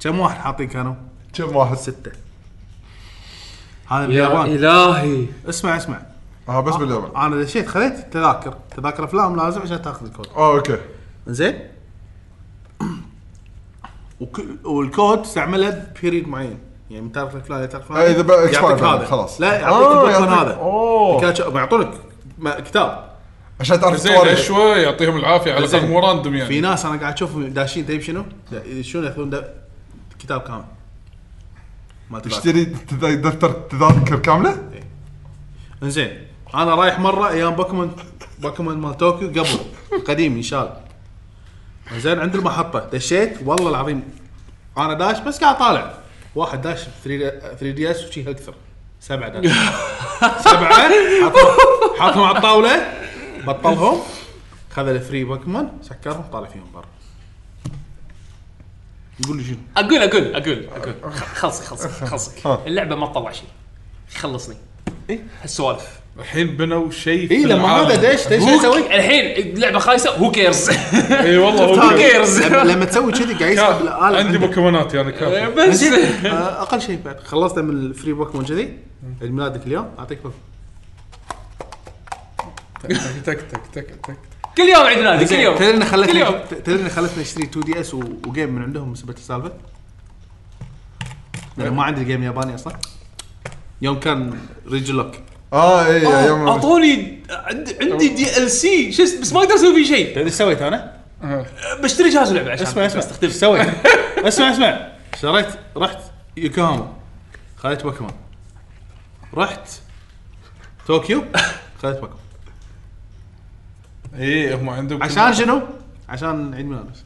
[SPEAKER 5] كم واحد حاطين كانوا؟
[SPEAKER 4] كم واحد
[SPEAKER 5] سته هذا
[SPEAKER 1] يا
[SPEAKER 5] باليابان
[SPEAKER 1] الهي
[SPEAKER 5] اسمع اسمع
[SPEAKER 4] اه بس باليابان
[SPEAKER 5] انا دشيت خذيت تذاكر تذاكر افلام لازم عشان تاخذ الكود
[SPEAKER 4] اه اوكي
[SPEAKER 5] زين وكل والكود استعمله بيريد معين يعني من تعرف الفلان تعرف
[SPEAKER 4] إيه، إذا بقى
[SPEAKER 5] يعطيك
[SPEAKER 4] expired
[SPEAKER 5] هذا
[SPEAKER 4] خلاص.
[SPEAKER 5] لا
[SPEAKER 4] آه،
[SPEAKER 5] يعطيك البطن
[SPEAKER 4] يعطيك-
[SPEAKER 5] هذا
[SPEAKER 4] أوه.
[SPEAKER 5] بيكاتشو- يعطونك ما- كتاب
[SPEAKER 4] عشان تعرف
[SPEAKER 2] زين
[SPEAKER 4] التواريخ
[SPEAKER 2] شوي يعطيهم العافيه على
[SPEAKER 5] زين.
[SPEAKER 2] الاقل مو راندوم
[SPEAKER 5] في
[SPEAKER 2] يعني
[SPEAKER 5] ناس انا قاعد اشوفهم داشين تدري شنو؟ شنو ياخذون دا- كتاب كامل ما تذاكر
[SPEAKER 4] تشتري تذا- دفتر تذاكر كامله؟
[SPEAKER 5] زين انا رايح مره ايام بوكيمون بوكيمون مال طوكيو قبل قديم ان شاء الله زين عند المحطه دشيت والله العظيم انا داش بس قاعد طالع واحد داش 3 دي اس وشي اكثر سبعه داش سبعه حاطهم حاطهم على الطاوله بطلهم خذ الفري بوكيمون سكرهم طالع فيهم برا يقول لي شنو
[SPEAKER 1] اقول اقول اقول اقول خ- خلصي خلصي خلصي اللعبه ما تطلع شيء خلصني
[SPEAKER 5] إيه؟
[SPEAKER 1] هالسوالف
[SPEAKER 2] الحين بنوا شيء في
[SPEAKER 5] اي إيه، لما
[SPEAKER 2] العالم.
[SPEAKER 5] هذا دش دش شو يسوي؟
[SPEAKER 1] الحين اللعبه خايسه هو كيرز
[SPEAKER 2] اي إيه، والله هو
[SPEAKER 1] تاكل.
[SPEAKER 2] كذا.
[SPEAKER 1] cares؟
[SPEAKER 5] لما لما تسوي كذي قاعد يسحب
[SPEAKER 2] كاف.
[SPEAKER 5] الالعاب
[SPEAKER 2] عندي بوكيمونات يعني كافي
[SPEAKER 1] (laughs) إيه، بس
[SPEAKER 5] آه، اقل شيء بعد خلصت من الفري بوكيمون كذي عيد ميلادك اليوم اعطيك بوكيمون
[SPEAKER 2] تك تك تك تك
[SPEAKER 1] كل يوم عيد ميلادي كل يوم
[SPEAKER 5] تدري انه
[SPEAKER 1] كل يوم.
[SPEAKER 5] خلتني تدري انه خلتني اشتري 2 دي اس وجيم من عندهم بسبب السالفه لانه ما عندي الجيم الياباني اصلا يوم كان ريج لوك
[SPEAKER 4] اه اي يا يوم
[SPEAKER 1] آه. اعطوني عند- عندي دي ال سي شو اسمه، بس ما اقدر اسوي فيه شيء
[SPEAKER 7] تدري ايش سويت انا؟
[SPEAKER 1] بشتري جهاز لعبه عشان
[SPEAKER 7] اسمع اسمع ايش سويت؟
[SPEAKER 5] (laughs)
[SPEAKER 7] اسمع اسمع
[SPEAKER 5] شريت رحت يوكوهاما خذيت بوكيمون رحت طوكيو خذيت بوكيمون
[SPEAKER 2] اي إيه، هم عندهم
[SPEAKER 5] عشان شنو؟ عشان عيد ميلاد بس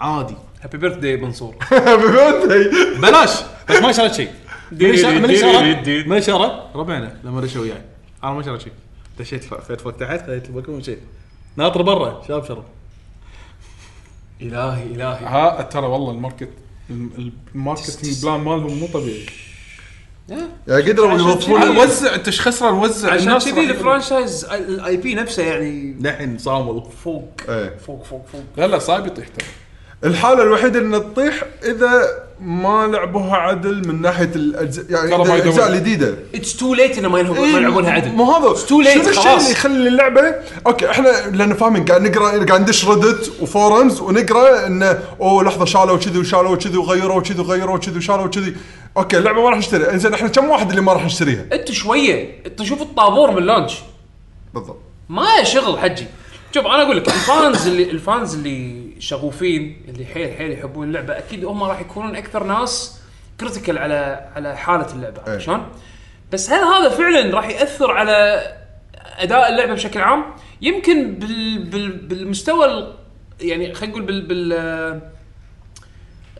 [SPEAKER 5] عادي
[SPEAKER 1] هابي بيرث داي منصور
[SPEAKER 5] بلاش
[SPEAKER 7] بس ما شريت شيء من شرى- من شرى؟ من شرى؟
[SPEAKER 5] ربعنا لما دشوا وياي انا ما شريت شيء دشيت ف- فيت فوق تحت خذيت البوكيمون ومشيت ناطر برا شاب شرب
[SPEAKER 1] الهي الهي
[SPEAKER 2] ها ترى والله الماركت الماركتنج بلان مالهم مو طبيعي
[SPEAKER 4] يا قدر أبو يوظفون
[SPEAKER 2] وزع انت ايش خسران وزع
[SPEAKER 1] عشان
[SPEAKER 2] الناس
[SPEAKER 1] كذي
[SPEAKER 2] راح-
[SPEAKER 1] الفرانشايز الاي بي نفسه يعني
[SPEAKER 5] دحين صامل
[SPEAKER 1] فوق
[SPEAKER 4] إيه.
[SPEAKER 1] فوق فوق فوق
[SPEAKER 2] لا لا صايب يطيح ترى
[SPEAKER 4] الحاله الوحيده انه تطيح اذا ما لعبوها عدل من ناحيه الاجزاء يعني
[SPEAKER 2] ترى ما
[SPEAKER 4] الاجزاء
[SPEAKER 2] يدوم.
[SPEAKER 4] الجديده
[SPEAKER 1] اتس تو ليت انه ما ينهو- ما
[SPEAKER 4] إيه،
[SPEAKER 1] يلعبونها عدل
[SPEAKER 4] مو هذا
[SPEAKER 1] too late،
[SPEAKER 4] شنو الشيء
[SPEAKER 1] خلاص.
[SPEAKER 4] اللي يخلي اللعبه اوكي احنا لان فاهمين قاعد نقرا قاعد ندش ردت وفورمز ونقرا انه اوه لحظه شالوا كذي وشالوا كذي وغيروا كذي وغيروا كذي وشالوا كذي اوكي اللعبه ما راح نشتريها انزين احنا كم واحد اللي ما راح نشتريها
[SPEAKER 1] انت شويه انت شوف الطابور من اللانش
[SPEAKER 4] بالضبط
[SPEAKER 1] ما شغل حجي شوف انا اقول لك الفانز اللي الفانز اللي شغوفين اللي حيل حيل يحبون اللعبه اكيد هم راح يكونون اكثر ناس كريتيكال على على حاله اللعبه
[SPEAKER 4] أي.
[SPEAKER 1] عرفت شلون؟ بس هل هذا فعلا راح ياثر على اداء اللعبه بشكل عام؟ يمكن بال بال بالمستوى ال- يعني خلينا نقول بال بال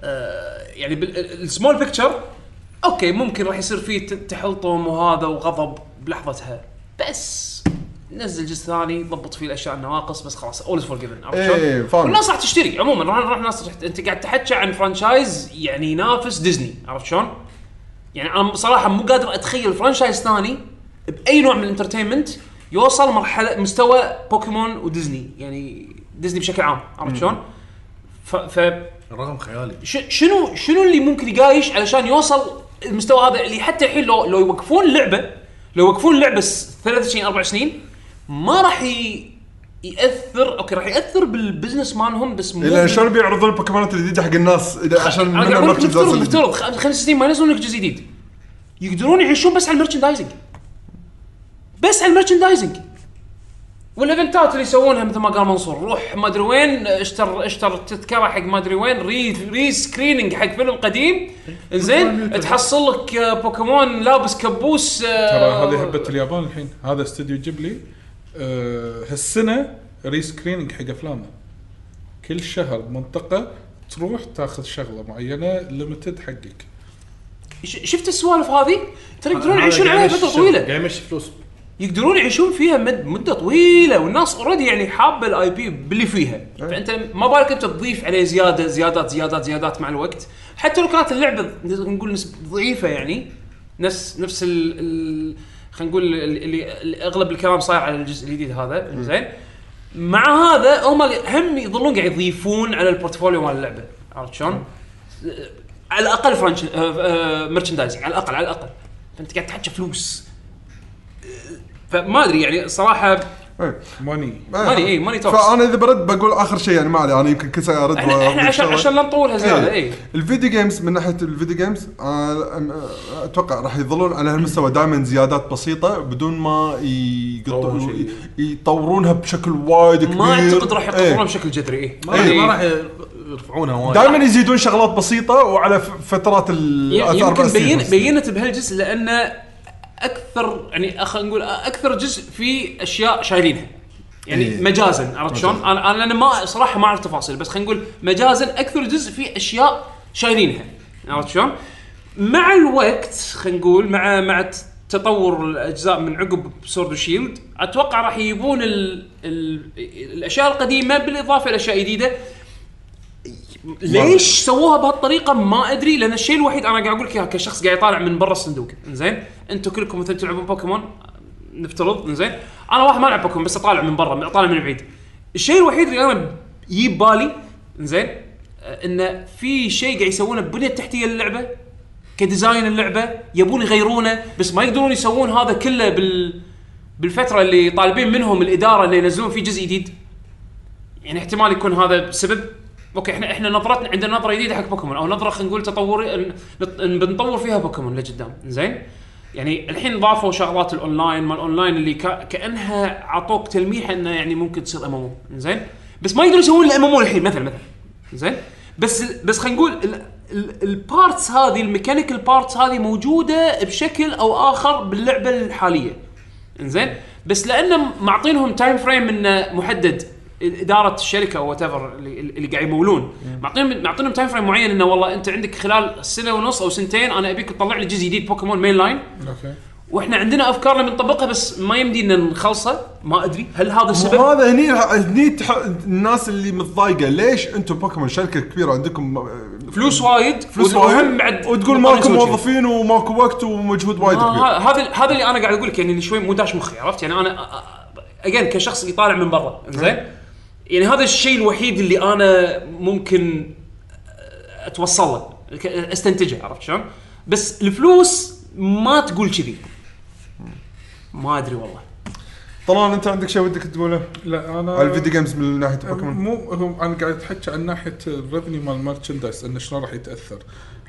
[SPEAKER 1] آه، يعني بالسمول بيكتشر اوكي ممكن راح يصير فيه ت- تحلطم وهذا وغضب بلحظتها بس نزل جزء ثاني ضبط فيه الاشياء النواقص بس خلاص اولز فور جيفن
[SPEAKER 4] إيه، فاهم.
[SPEAKER 1] والناس راح تشتري عموما راح راح ناس راح انت قاعد تحكي عن فرانشايز يعني ينافس ديزني عرفت شلون؟ يعني انا بصراحه مو قادر اتخيل فرانشايز ثاني باي نوع من الانترتينمنت يوصل مرحله مستوى بوكيمون وديزني يعني ديزني بشكل عام عرفت شلون؟ ف, ف
[SPEAKER 5] الرقم خيالي
[SPEAKER 1] ش- شنو شنو اللي ممكن يقايش علشان يوصل المستوى هذا اللي حتى الحين لو لو يوقفون اللعبه لو يوقفون اللعبه س- ثلاث سنين اربع سنين ما راح ي- ياثر اوكي راح ياثر بالبزنس مالهم بس مو
[SPEAKER 4] لان شلون بيعرضون البوكيمونات الجديده حق الناس إذا- عشان
[SPEAKER 1] أنا
[SPEAKER 4] منها
[SPEAKER 1] أقول لك
[SPEAKER 4] merchandise
[SPEAKER 1] نفترض
[SPEAKER 4] الجديد.
[SPEAKER 1] نفترض خ- خمس سنين ما ينزلون لك جزء جديد يقدرون يعيشون بس على المرشندايزنج بس على المرشندايزنج والايفنتات اللي يسوونها مثل ما قال منصور روح ما ادري وين اشتر اشتر تذكره حق ما ادري وين ري ري سكريننج حق فيلم قديم زين تحصل لك آه، بوكيمون لابس آه، كبوس
[SPEAKER 2] ترى هذه هبه اليابان الحين هذا استوديو جيبلي آه، هالسنه ريسكريننج حق افلامه كل شهر منطقه تروح تاخذ شغله معينه ليمتد حقك
[SPEAKER 1] ش- شفت السوالف هذه ترى يقدرون يعيشون عليها فتره طويله
[SPEAKER 5] قاعد يمشي فلوس
[SPEAKER 1] يقدرون يعيشون فيها مد مده طويله والناس اوريدي يعني حابه الاي بي باللي فيها فانت ما بالك انت تضيف عليه زياده زيادات زيادات زيادات مع الوقت حتى لو كانت اللعبه نقول نسب- ضعيفه يعني نفس نفس ال, ال خلينا نقول ال- اللي اللي اغلب الكلام صاير على الجزء الجديد هذا زين مع هذا هم هم يظلون قاعد يضيفون على البورتفوليو مال اللعبه عرفت شلون؟ على الاقل فرانش مرشندايزنج على الاقل على الاقل فانت قاعد تحكي فلوس فما ادري يعني صراحه
[SPEAKER 4] إيه.
[SPEAKER 2] ماني
[SPEAKER 1] ماني اي ماني توكس
[SPEAKER 4] فانا اذا برد بقول اخر شيء يعني ما علي انا يمكن كل سنه ارد
[SPEAKER 1] احنا احنا
[SPEAKER 4] وأضيف
[SPEAKER 1] عشان
[SPEAKER 4] شغلة.
[SPEAKER 1] عشان لا نطولها زياده
[SPEAKER 4] إيه.
[SPEAKER 1] اي
[SPEAKER 4] الفيديو جيمز من ناحيه الفيديو جيمز آه، أم- اتوقع راح يظلون على هالمستوى دائما زيادات بسيطه بدون ما يقطعوا يطورونها بشكل وايد كبير
[SPEAKER 1] ما اعتقد راح يقطعونها
[SPEAKER 4] إيه.
[SPEAKER 1] بشكل جذري اي
[SPEAKER 7] ما راح- ما راح
[SPEAKER 2] إيه.
[SPEAKER 7] يرفعونها وايد
[SPEAKER 4] دائما يزيدون شغلات بسيطه وعلى ف- فترات ال
[SPEAKER 1] يعني
[SPEAKER 4] يعني.
[SPEAKER 1] يمكن بين
[SPEAKER 4] بين
[SPEAKER 1] بينت بهالجزء لانه اكثر يعني خلينا نقول اكثر جزء في اشياء شايلينها يعني
[SPEAKER 4] إيه.
[SPEAKER 1] مجازا عرفت شلون؟ انا انا أنا ما صراحه ما اعرف تفاصيل بس خلينا نقول مجازا اكثر جزء في اشياء شايلينها عرفت شلون؟ مع الوقت خلينا نقول مع مع تطور الاجزاء من عقب سورد وشيلد اتوقع راح يجيبون ال ال الاشياء القديمه بالاضافه الى اشياء جديده ليش سووها بهالطريقه ما ادري لان الشيء الوحيد انا قاعد اقول لك إياه كشخص قاعد يطالع من برا الصندوق زين انتم كلكم مثلا تلعبون بوكيمون نفترض زين انا واحد ما العب بوكيمون بس اطالع من برا اطالع من بعيد الشيء الوحيد اللي انا يجيب بالي زين آه، انه في شيء قاعد يسوونه بالبنيه التحتيه للعبه كديزاين اللعبه يبون يغيرونه بس ما يقدرون يسوون هذا كله بال بالفتره اللي طالبين منهم الاداره اللي ينزلون فيه جزء جديد يعني احتمال يكون هذا سبب اوكي احنا احنا نظرتنا عندنا نظره جديده حق بوكيمون او نظره خلينا نقول تطوري ن- نط- بنطور فيها بوكيمون لقدام زين يعني الحين ضافوا شغلات الاونلاين ما الاونلاين اللي كا- كانها عطوك تلميح انه يعني ممكن تصير ام زين بس ما يقدرون يسوون الام ام الحين مثلا مثلا زين بس بس خلينا نقول ال- ال- البارتس هذه الميكانيكال بارتس هذه موجوده بشكل او اخر باللعبه الحاليه انزين بس لانه معطينهم تايم فريم انه محدد اداره الشركه او وات اللي, اللي قاعد يمولون معطينهم معطينهم تايم فريم معين انه والله انت عندك خلال سنه ونص او سنتين انا ابيك تطلع لي جزء جديد بوكيمون مين لاين
[SPEAKER 2] اوكي
[SPEAKER 1] واحنا عندنا افكار نبي نطبقها بس ما يمدينا نخلصه ما ادري هل هذا السبب؟
[SPEAKER 4] هذا هني هني تح... الناس اللي متضايقه ليش انتم بوكيمون شركه كبيره عندكم آه،
[SPEAKER 1] فلوس وايد
[SPEAKER 4] فلوس
[SPEAKER 1] وهم
[SPEAKER 4] وايد
[SPEAKER 1] بعد
[SPEAKER 4] وتقول
[SPEAKER 1] مضطرين
[SPEAKER 4] ماكو
[SPEAKER 1] يسوون شيء.
[SPEAKER 4] موظفين وماكو وقت ومجهود وايد
[SPEAKER 1] آه،
[SPEAKER 4] كبير
[SPEAKER 1] ه- هذا هذا اللي انا قاعد اقول لك يعني اللي شوي مو داش مخي عرفت يعني انا اجين كشخص يطالع من برا زين يعني هذا الشيء الوحيد اللي انا ممكن اتوصل له ك- استنتجه عرفت شلون؟ بس الفلوس ما تقول كذي ما ادري والله
[SPEAKER 4] طلال انت عندك شيء ودك تقوله
[SPEAKER 2] لا انا
[SPEAKER 4] على الفيديو جيمز من ناحيه بوكيمون
[SPEAKER 2] مو هو انا قاعد احكي عن ناحيه الريفنيو مال المرشندايز انه شلون راح يتاثر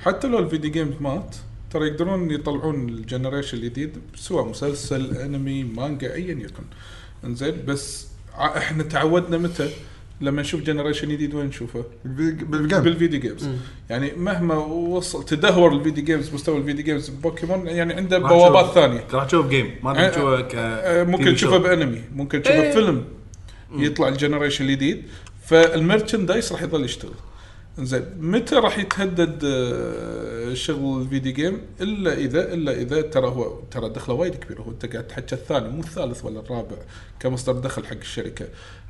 [SPEAKER 2] حتى لو الفيديو جيمز مات ترى يقدرون يطلعون الجنريشن الجديد سواء مسلسل انمي مانجا ايا يكن انزين بس ع- احنا تعودنا متى لما نشوف جنريشن جديد وين نشوفه؟
[SPEAKER 4] بالفيديو- بالجيم
[SPEAKER 2] بالفيديو جيمز يعني مهما وصل تدهور الفيديو جيمز مستوى الفيديو جيمز بوكيمون يعني عنده
[SPEAKER 7] راح تشوف-
[SPEAKER 2] بوابات ثانيه
[SPEAKER 7] راح تشوف جيم ما
[SPEAKER 5] أه،
[SPEAKER 7] راح
[SPEAKER 2] آه،
[SPEAKER 7] تشوفه ك
[SPEAKER 2] آه، ممكن
[SPEAKER 7] TV
[SPEAKER 2] تشوفه
[SPEAKER 7] show.
[SPEAKER 2] بانمي ممكن تشوفه بفيلم يطلع الجنريشن الجديد فالمرشندايز راح يظل يشتغل زين متى راح يتهدد آه، شغل الفيديو جيم الا اذا الا اذا ترى هو ترى دخله وايد كبير هو انت قاعد تحكي الثاني مو الثالث ولا الرابع كمصدر دخل حق الشركه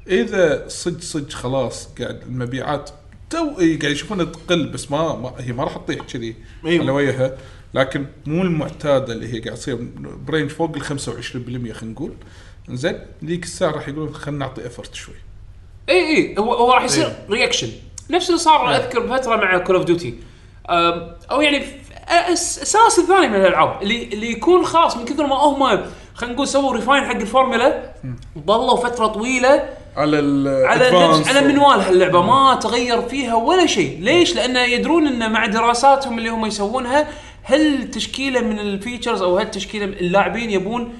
[SPEAKER 2] اذا صج صج خلاص قاعد المبيعات تو إي قاعد يشوفونها تقل بس ما, ما هي ما راح تطيح كذي
[SPEAKER 7] أيوة.
[SPEAKER 2] على وجهها لكن مو المعتاده اللي هي قاعد تصير برينج فوق ال 25% خلينا نقول زين ذيك الساعه راح يقولون خلينا نعطي افرت شوي
[SPEAKER 1] اي اي إيه، هو هو راح يصير رياكشن نفس اللي صار اذكر بفتره مع كول اوف ديوتي او يعني ف- أس- اساس الثاني من الالعاب اللي اللي يكون خاص من كثر ما هم خلينا نقول سووا ريفاين حق الفورمولا ضلوا فتره طويله
[SPEAKER 2] على ال
[SPEAKER 1] على
[SPEAKER 2] advanced
[SPEAKER 1] نفس على منوال هاللعبه ما تغير فيها ولا شيء، ليش؟ لانه يدرون انه مع دراساتهم اللي هم يسوونها هل تشكيله من الفيتشرز او هل تشكيله من اللاعبين يبون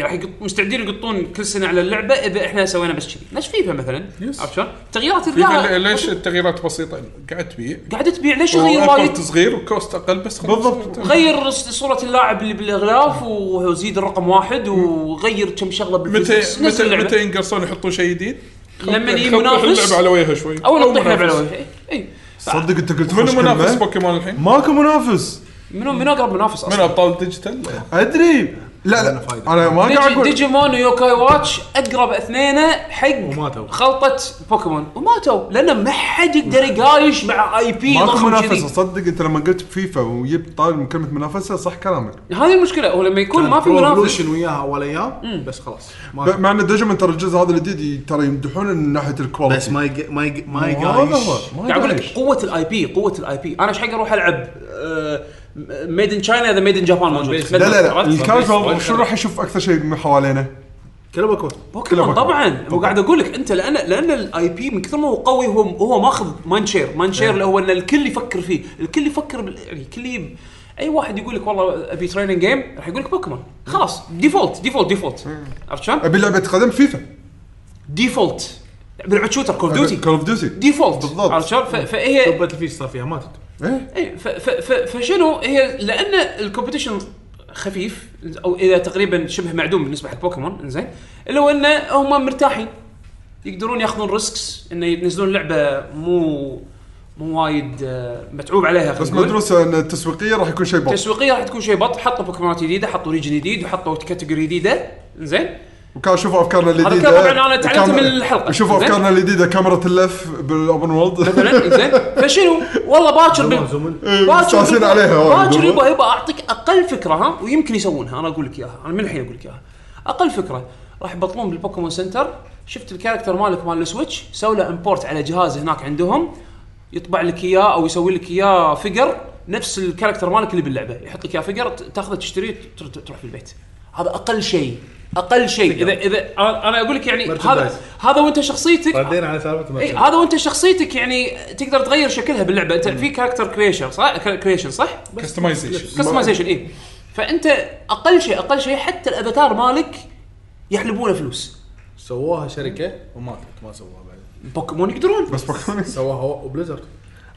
[SPEAKER 1] راح يقط... مستعدين يقطون كل سنه على اللعبه اذا احنا سوينا بس كذي، نفس فيفا مثلا
[SPEAKER 2] Yes.
[SPEAKER 1] عرفت شلون؟ تغييرات
[SPEAKER 2] فيفا
[SPEAKER 1] تلاقيها
[SPEAKER 2] ليش التغييرات بسيطه قاعد تبيع
[SPEAKER 1] قاعد تبيع ليش غير وايد؟
[SPEAKER 2] وافرت صغير وكوست اقل بس خلاص.
[SPEAKER 4] بالضبط.
[SPEAKER 1] غير ص- صورة اللاعب اللي بالاغلاف وزيد الرقم واحد وغير كم شغله
[SPEAKER 2] متى
[SPEAKER 1] بالفيزيكس، نفس
[SPEAKER 2] متى
[SPEAKER 1] اللعبة.
[SPEAKER 2] متى ينقصون يحطون شيء جديد
[SPEAKER 1] لما يجي
[SPEAKER 2] اللعبه
[SPEAKER 1] منافس
[SPEAKER 2] على وجهها شوي
[SPEAKER 1] اول تطيح لعبه على وجهه إي، اي
[SPEAKER 4] صدق انت قلت خوش
[SPEAKER 2] منو منافس
[SPEAKER 4] كلمه
[SPEAKER 2] بوكيمون الحين؟
[SPEAKER 4] ماكو منافس
[SPEAKER 1] منو منو اقرب منافس
[SPEAKER 2] من
[SPEAKER 1] اصلا
[SPEAKER 2] ابطال ديجيتال؟
[SPEAKER 4] ادري لا لا انا ما قاعد
[SPEAKER 1] ديجي
[SPEAKER 4] اقول
[SPEAKER 1] ديجيمون ويوكاي واتش اقرب اثنين حق
[SPEAKER 5] وماتوا.
[SPEAKER 1] خلطه بوكيمون وماتوا لان ما حد يقدر يقايش مع اي بي
[SPEAKER 4] ماكو
[SPEAKER 1] ضخم
[SPEAKER 4] منافسه
[SPEAKER 1] كذي
[SPEAKER 4] صدق انت لما قلت فيفا وجبت طالب كلمه منافسه صح كلامك
[SPEAKER 1] هذه المشكله هو لما يكون ما في منافس
[SPEAKER 5] Revolution وياها اول ايام بس خلاص ما
[SPEAKER 4] ب- مع ان ديجيمون ترى الجزء هذا الجديد ترى يمدحون من ناحيه الكواليتي
[SPEAKER 5] بس ما يق... ما يق... ما
[SPEAKER 4] هذا هو
[SPEAKER 5] يقايش
[SPEAKER 4] ما
[SPEAKER 1] قاعد اقول
[SPEAKER 4] يدريش.
[SPEAKER 1] لك قوه الاي بي قوه الاي بي انا ايش حق اروح العب ميد ان تشاينا اذا ميد ان جابان موجود
[SPEAKER 4] لا لا لا الكاجوال شو راح يشوف اكثر شيء من حوالينا؟
[SPEAKER 5] كله بكو
[SPEAKER 1] بوكيمون
[SPEAKER 4] بوكيمون.
[SPEAKER 1] طبعا مو قاعد اقول لك انت لان لان الاي بي من كثر ما هو قوي هو هو ماخذ مانشير
[SPEAKER 4] إيه.
[SPEAKER 1] مانشير اللي هو ان الكل يفكر فيه الكل يفكر بال- يعني الكل يب- اي واحد يقول لك والله ابي تريننج جيم راح يقول لك بوكيمون خلاص ديفولت ديفولت ديفولت
[SPEAKER 4] إيه.
[SPEAKER 1] عرفت شلون؟
[SPEAKER 4] ابي لعبه قدم فيفا
[SPEAKER 1] ديفولت بلعب شوتر كول ديوتي
[SPEAKER 4] كول اوف ديوتي
[SPEAKER 1] ديفولت
[SPEAKER 4] بالضبط.
[SPEAKER 1] عرفت شلون؟ ف- فهي
[SPEAKER 5] باتل فيلد صار فيها ماتت
[SPEAKER 4] إيه؟
[SPEAKER 1] اي إيه، ف- ف- ف- فشنو هي لان الكومبetition خفيف او اذا تقريبا شبه معدوم بالنسبه حق بوكيمون زين اللي هو انه هم مرتاحين يقدرون ياخذون ريسكس انه ينزلون لعبه مو مو وايد آه، متعوب عليها
[SPEAKER 4] بس
[SPEAKER 1] خلينا نقول.
[SPEAKER 4] مدروسه ان التسويقيه راح يكون شيء بط
[SPEAKER 1] تسويقيا راح تكون شيء بط حطوا بوكيمونات جديده حطوا ريج جديد وحطوا كاتيجوري جديده زين
[SPEAKER 4] وكان شوفوا افكارنا الجديده
[SPEAKER 1] كان طبعاً أنا تعلمت
[SPEAKER 4] الكاميرا-
[SPEAKER 1] من الحلقة.
[SPEAKER 4] شوفوا
[SPEAKER 1] زين.
[SPEAKER 4] افكارنا الجديده كاميرا اللف بالاوبن
[SPEAKER 1] (laughs)
[SPEAKER 4] وولد
[SPEAKER 1] مثلا زين فشنو والله باكر بال- باكر
[SPEAKER 4] مستانسين
[SPEAKER 1] يبا-
[SPEAKER 4] عليها والله.
[SPEAKER 1] باكر يبا يبا اعطيك اقل فكره ها ويمكن يسوونها انا اقول لك اياها انا من الحين اقول لك اياها اقل فكره راح يبطلون بالبوكيمون سنتر شفت الكاركتر مالك مال السويتش سوي له امبورت على جهاز هناك عندهم يطبع لك اياه او يسوي لك اياه فيجر نفس الكاركتر مالك اللي باللعبه يحط لك اياه فيجر ت- تاخذه تشتريه تر- تر- تروح في البيت هذا اقل شيء اقل شيء اذا اذا انا أنا اقول لك يعني هذا هذا وانت شخصيتك
[SPEAKER 5] ردينا على سالفه
[SPEAKER 1] اي
[SPEAKER 5] المرسل.
[SPEAKER 1] إيه، هذا وانت شخصيتك يعني تقدر تغير شكلها باللعبه انت في كاركتر كريشن صح كريشن صح
[SPEAKER 2] كستمايزيشن
[SPEAKER 1] كستمايزيشن اي فانت اقل شيء اقل شيء حتى الافاتار مالك يحلبونه فلوس
[SPEAKER 5] سووها شركه وماتت ما سووها بعد
[SPEAKER 1] بوكيمون يقدرون
[SPEAKER 4] بس بوكيمون
[SPEAKER 5] سووها واو وبليزرد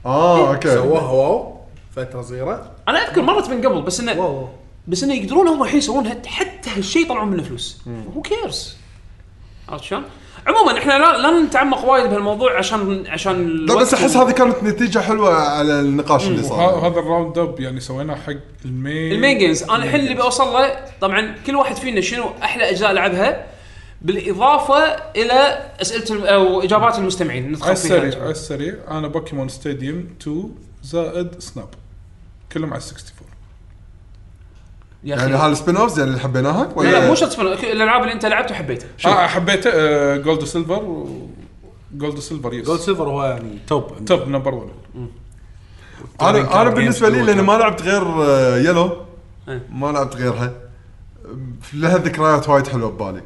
[SPEAKER 4] اه
[SPEAKER 1] إيه.
[SPEAKER 4] اوكي
[SPEAKER 5] سووها واو فتره صغيره
[SPEAKER 1] انا اذكر مرت من قبل بس انه
[SPEAKER 5] واو
[SPEAKER 1] بس انه يقدرون هم الحين يسوون هت- حتى هالشيء يطلعون منه فلوس هو كيرز عرفت شلون؟ عموما احنا لا, لا نتعمق وايد بهالموضوع عشان عشان
[SPEAKER 4] لا
[SPEAKER 1] الوقت
[SPEAKER 4] بس احس
[SPEAKER 1] و-
[SPEAKER 4] هذه كانت نتيجه حلوه على النقاش اللي صار
[SPEAKER 2] هذا الراوند اب يعني سويناه حق المين
[SPEAKER 1] المين جيمز انا الحين اللي بوصل له طبعا كل واحد فينا شنو احلى اجزاء لعبها بالاضافه الى اسئله الم- او اجابات المستمعين
[SPEAKER 2] على
[SPEAKER 1] ندخل فيها
[SPEAKER 2] السريع على السريع انا بوكيمون ستاديوم 2 زائد سناب كلهم على 64
[SPEAKER 1] يا اخي
[SPEAKER 4] يعني هالسبين اوفز يعني اللي حبيناها
[SPEAKER 1] لا لا مو شرط سبين أوف، الالعاب اللي انت لعبتها وحبيتها
[SPEAKER 2] اه حبيته آه جولد وسيلفر و- جولد وسيلفر
[SPEAKER 5] جولد
[SPEAKER 2] يس
[SPEAKER 5] سيلفر هو يعني توب
[SPEAKER 2] توب نمبر 1
[SPEAKER 4] انا انا بالنسبه لي لاني
[SPEAKER 5] لانه
[SPEAKER 4] ما لعبت غير آه، يلو
[SPEAKER 1] إيه.
[SPEAKER 4] ما لعبت غيرها لها ذكريات وايد حلوه ببالي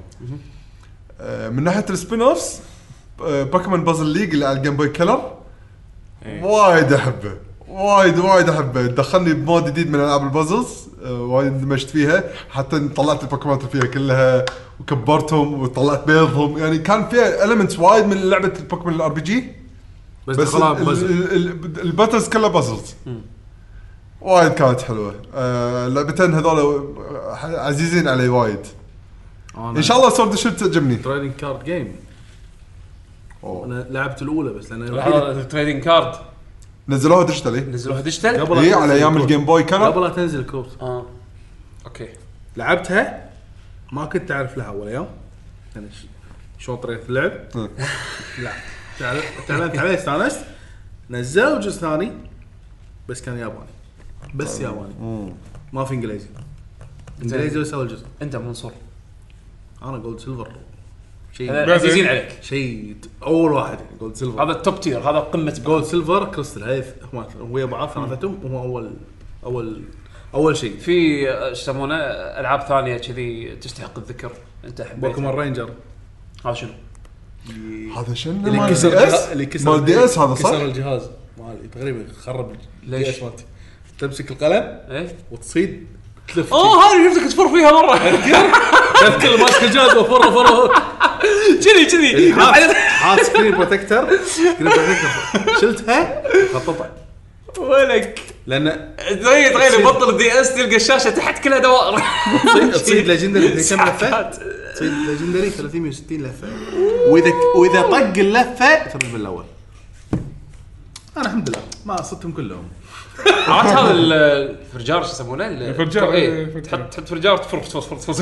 [SPEAKER 4] آه، من آه، ناحيه السبين اوفز بوكيمون بازل ليج اللي على الجيم بوي كلر وايد احبه وايد وايد احبه دخلني بمود جديد من العاب البازلز آه، وايد اندمجت فيها حتى طلعت البوكيمونات اللي فيها كلها وكبرتهم وطلعت بيضهم يعني كان فيها المنتس وايد من لعبه البوكيمون الار بي جي
[SPEAKER 5] بس
[SPEAKER 4] بس
[SPEAKER 5] دخلها بازل
[SPEAKER 4] ال- ال- ال- الباتلز كلها بازلز وايد كانت حلوه آه لعبتين هذول عزيزين علي وايد ان شاء الله سورد شوت تعجبني
[SPEAKER 5] تريدنج كارد جيم
[SPEAKER 4] أوه.
[SPEAKER 5] انا لعبت الاولى بس لان
[SPEAKER 1] آه. تريدنج كارد
[SPEAKER 4] نزلوها ديجيتالي
[SPEAKER 1] نزلوها ديجيتال
[SPEAKER 5] قبل
[SPEAKER 4] اي إيه، على ايام الجيم بوي كلر
[SPEAKER 5] قبل لا تنزل كروت
[SPEAKER 1] اه اوكي
[SPEAKER 5] لعبتها ما كنت اعرف لها اول يوم يعني ش- شلون طريقه اللعب
[SPEAKER 4] مم.
[SPEAKER 5] لا تعل- تعلمت عليه استانست نزلوا جزء ثاني بس كان ياباني بس ياباني ما في انجليزي انجليزي بس اول جزء
[SPEAKER 1] انت منصور
[SPEAKER 5] انا جولد سيلفر
[SPEAKER 1] هذا
[SPEAKER 5] شيء
[SPEAKER 1] عزيزين عليك
[SPEAKER 5] شيء اول واحد يعني جولد سيلفر
[SPEAKER 1] هذا التوب تير هذا قمه
[SPEAKER 5] جولد سيلفر كريستال هاي ث- هم هو بعض ثلاثتهم وهو اول اول اول شيء
[SPEAKER 1] في آه، ايش يسمونه آه، العاب ثانيه كذي تستحق الذكر انت
[SPEAKER 5] بوكيمون
[SPEAKER 1] حبيتها
[SPEAKER 5] رينجر
[SPEAKER 1] هذا شنو؟
[SPEAKER 4] هذا شنو
[SPEAKER 5] اللي
[SPEAKER 4] مال
[SPEAKER 5] كسر
[SPEAKER 4] دي اس
[SPEAKER 5] الجهاز- اللي كسر
[SPEAKER 4] مال دي اس هذا
[SPEAKER 5] كسر
[SPEAKER 4] صح؟
[SPEAKER 5] الجهاز مالي تقريبا خرب
[SPEAKER 1] ليش؟
[SPEAKER 5] الدي اس مالتي تمسك القلم
[SPEAKER 1] ايه
[SPEAKER 5] وتصيد تلف
[SPEAKER 1] اوه هذه شفتك تفر فيها (laughs) مره
[SPEAKER 5] (laughs) كل ماسك الجهاز وفر فر
[SPEAKER 1] كذي كذي
[SPEAKER 5] حاط
[SPEAKER 1] (laughs)
[SPEAKER 5] حاط سكرين بروتكتر سكرين بروتكتر (laughs) شلتها خططها
[SPEAKER 1] ولك
[SPEAKER 5] لان
[SPEAKER 1] تغير تغير بطل الدي اس تلقى الشاشه تحت كلها دوائر (laughs)
[SPEAKER 5] تصيد ليجندري كم لفه
[SPEAKER 7] تصير ليجندري 360 لفه واذا واذا طق اللفه ترد بالاول انا الحمد لله ما صدتهم كلهم
[SPEAKER 1] عرفت هذا ال- الفرجار شو يسمونه؟ ال-
[SPEAKER 2] الفرجار،
[SPEAKER 1] إيه،
[SPEAKER 2] إيه، الفرجار.
[SPEAKER 1] تحط تحط فرجار تفرص فرص فرص
[SPEAKER 2] (laughs)
[SPEAKER 1] فرص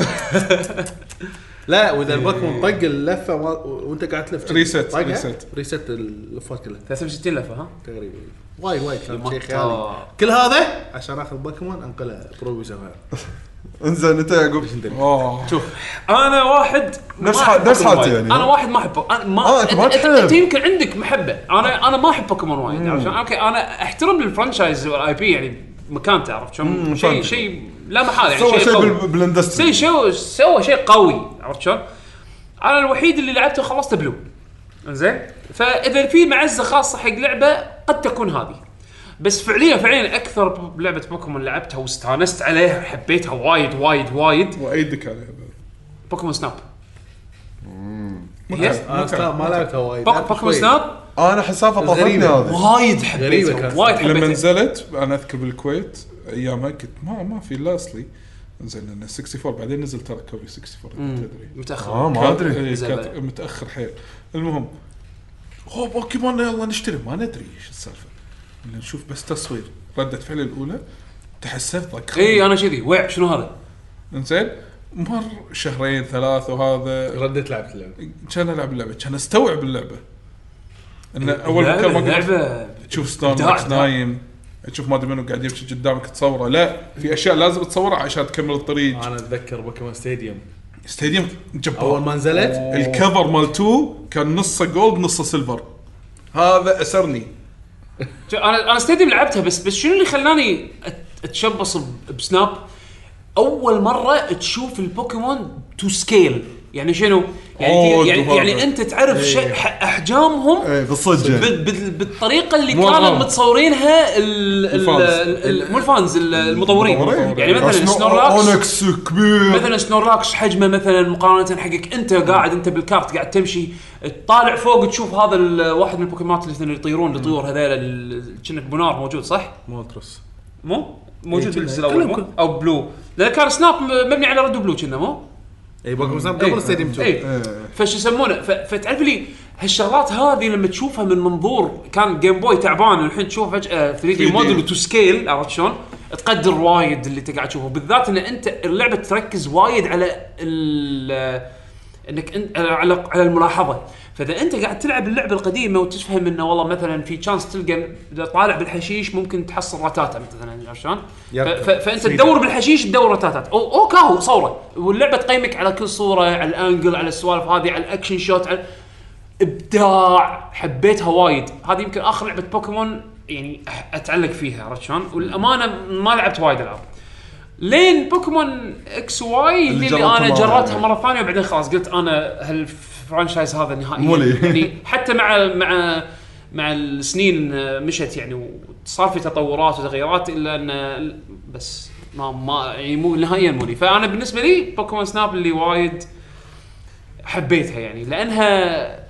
[SPEAKER 7] لا واذا البوكيمون طق اللفه و... وانت قاعد تلف كذي.
[SPEAKER 2] ريست،
[SPEAKER 7] طقها،
[SPEAKER 2] ريست.
[SPEAKER 7] ريست اللفات كلها
[SPEAKER 1] 360 لفه ها؟
[SPEAKER 7] تقريبا وايد وايد كان شيء
[SPEAKER 1] يمطر.
[SPEAKER 5] يعني.
[SPEAKER 7] خيالي كل هذا عشان اخذ بوكيمون انقله برو سفاير
[SPEAKER 4] انزين انت يا يعقوب
[SPEAKER 2] اوه شوف
[SPEAKER 1] انا واحد ما
[SPEAKER 4] نفس
[SPEAKER 1] أحب
[SPEAKER 4] حال- نفس
[SPEAKER 1] بوكيمون
[SPEAKER 4] حالتي
[SPEAKER 1] وايد.
[SPEAKER 4] يعني.
[SPEAKER 1] انا واحد ما احب انا ما
[SPEAKER 4] آه، أنت ما
[SPEAKER 1] أنت- أنت-
[SPEAKER 4] تحب.
[SPEAKER 1] انت يمكن عندك محبه انا انا ما احب بوكيمون وايد عشان اوكي انا احترم الفرنشايز والاي بي يعني مكانته عرفت شلون؟ شيء
[SPEAKER 4] فهمتك.
[SPEAKER 1] شيء لا محاله يعني
[SPEAKER 4] سوى شيء
[SPEAKER 1] قوي.
[SPEAKER 4] بال- بالاندستري
[SPEAKER 1] سوى شيء سوى شيء قوي عرفت شلون؟ انا الوحيد اللي لعبته خلصته بلو زين فاذا في معزه خاصه حق لعبه قد تكون هذه بس فعليا فعليا اكثر ب- لعبه بوكيمون لعبتها واستانست عليها حبيتها وايد وايد وايد
[SPEAKER 2] وايدك عليها بعد.
[SPEAKER 1] بوكيمون سناب يس.
[SPEAKER 2] متعب،
[SPEAKER 7] انا
[SPEAKER 2] متعب.
[SPEAKER 7] سناب آه، ما لعبتها وايد
[SPEAKER 1] بوك-
[SPEAKER 7] لعبت
[SPEAKER 1] بوكيمون
[SPEAKER 7] شوي.
[SPEAKER 1] سناب
[SPEAKER 4] انا حسافه طافتني
[SPEAKER 7] غريبة.
[SPEAKER 4] هذه
[SPEAKER 1] وايد
[SPEAKER 7] غريبة
[SPEAKER 1] حبيتها
[SPEAKER 7] كانت.
[SPEAKER 1] وايد
[SPEAKER 2] لما
[SPEAKER 1] حبيتها
[SPEAKER 2] نزلت انا اذكر بالكويت ايامها كنت ما ما في لاسلي زين لان 64 بعدين نزل ترى كوبي 64 تدري
[SPEAKER 7] آه،
[SPEAKER 4] اه
[SPEAKER 1] متاخر
[SPEAKER 4] ما
[SPEAKER 2] كان- إيه،
[SPEAKER 4] ادري
[SPEAKER 1] زين.
[SPEAKER 2] كانت متاخر حيل المهم هو بوكيمون يلا نشتري ما ندري ايش السالفه ولا نشوف بس تصوير رده فعلي الاولى تحسفت طق
[SPEAKER 1] اي انا كذي وع شنو هذا؟
[SPEAKER 2] انزين مر شهرين ثلاث وهذا
[SPEAKER 5] رديت لعبت اللعبه
[SPEAKER 2] كان العب اللعبه كان استوعب اللعبه انه
[SPEAKER 7] إيه،
[SPEAKER 2] اول مكان ما
[SPEAKER 1] لعبه
[SPEAKER 2] قلت
[SPEAKER 1] لعبة.
[SPEAKER 2] تشوف ستون
[SPEAKER 1] إبداع،
[SPEAKER 2] ماكس
[SPEAKER 1] إبداع.
[SPEAKER 2] نايم تشوف ما ادري منو قاعد يمشي قدامك تصوره لا في اشياء لازم تصورها عشان تكمل الطريق
[SPEAKER 5] انا اتذكر بوكيمون ستاديوم
[SPEAKER 2] استاديوم
[SPEAKER 7] اول
[SPEAKER 2] جبار
[SPEAKER 7] ما نزلت
[SPEAKER 2] الكفر مال 2 كان نصه جولد نصه سيلفر هذا اسرني
[SPEAKER 1] شو- انا انا ستاديوم لعبتها بس بس شنو اللي خلاني أت- اتشبص ب- بسناب؟ اول مره تشوف البوكيمون تو سكيل يعني شنو؟ يعني
[SPEAKER 2] أوه، إيه.
[SPEAKER 1] يعني,
[SPEAKER 2] دمار.
[SPEAKER 1] يعني انت تعرف شيء- ح- احجامهم
[SPEAKER 4] اي بالصدق يعني.
[SPEAKER 1] بال- بال- بالطريقه اللي
[SPEAKER 2] مو
[SPEAKER 1] كانوا
[SPEAKER 2] الغلط.
[SPEAKER 1] متصورينها ال- ال-
[SPEAKER 2] الفانز.
[SPEAKER 1] ال- ال- مو الفانز ال- المطورين
[SPEAKER 2] المطورين.
[SPEAKER 1] يعني مثلا
[SPEAKER 4] عشان
[SPEAKER 1] سنورلاكس
[SPEAKER 4] اونكس كبير
[SPEAKER 1] مثلا سنورلاكس حجمه مثلا مقارنه حقك انت قاعد انت بالكارت قاعد تمشي تطالع فوق تشوف هذا ال- واحد من البوكيمونات اللي مثلاً يطيرون الطيور هذيلا ال- كأنك بنار موجود صح؟
[SPEAKER 5] مولترس
[SPEAKER 1] مو؟ موجود
[SPEAKER 5] كنا-
[SPEAKER 1] بالجزء الاول مو؟
[SPEAKER 5] إيه، كلهم-
[SPEAKER 1] او بلو لان كان سناب م- مبني على رد بلو كنا مو؟
[SPEAKER 7] اي بوكيمون سناب إيه، قبل ستاديوم 2
[SPEAKER 1] اي إيه. فش يسمونه ف- فتعرف لي هالشغلات هذه لما تشوفها من منظور كان جيم بوي تعبان والحين تشوف فجاه 3 دي موديل وتو سكيل عرفت شلون؟ تقدر وايد اللي انت قاعد تشوفه بالذات ان انت اللعبه تركز وايد على ال انك انت على على الملاحظه فاذا انت قاعد تلعب اللعبه القديمه وتفهم انه والله مثلا في تشانس تلقى اذا طالع بالحشيش ممكن تحصل رتاتا مثلا عرفت شلون؟ ف- ف- فانت تدور بالحشيش تدور رتاتات او او كاهو صوره واللعبه تقيمك على كل صوره على الانجل على السوالف هذه على الاكشن شوت على ابداع حبيتها وايد هذه يمكن اخر لعبه بوكيمون يعني أح- اتعلق فيها عرفت شلون؟ والامانه ما لعبت وايد العاب لين بوكيمون اكس واي اللي, اللي
[SPEAKER 4] جربتها
[SPEAKER 1] انا
[SPEAKER 4] مرة
[SPEAKER 1] جربتها
[SPEAKER 4] يعني.
[SPEAKER 1] مره ثانيه وبعدين خلاص قلت انا هالفرانشايز هذا نهائيا
[SPEAKER 4] مولي.
[SPEAKER 1] يعني حتى مع مع مع السنين آه، مشت يعني وصار في تطورات وتغيرات الا ان آه، بس ما ما يعني مو نهائيا مولي فانا بالنسبه لي بوكيمون سناب اللي وايد حبيتها يعني لانها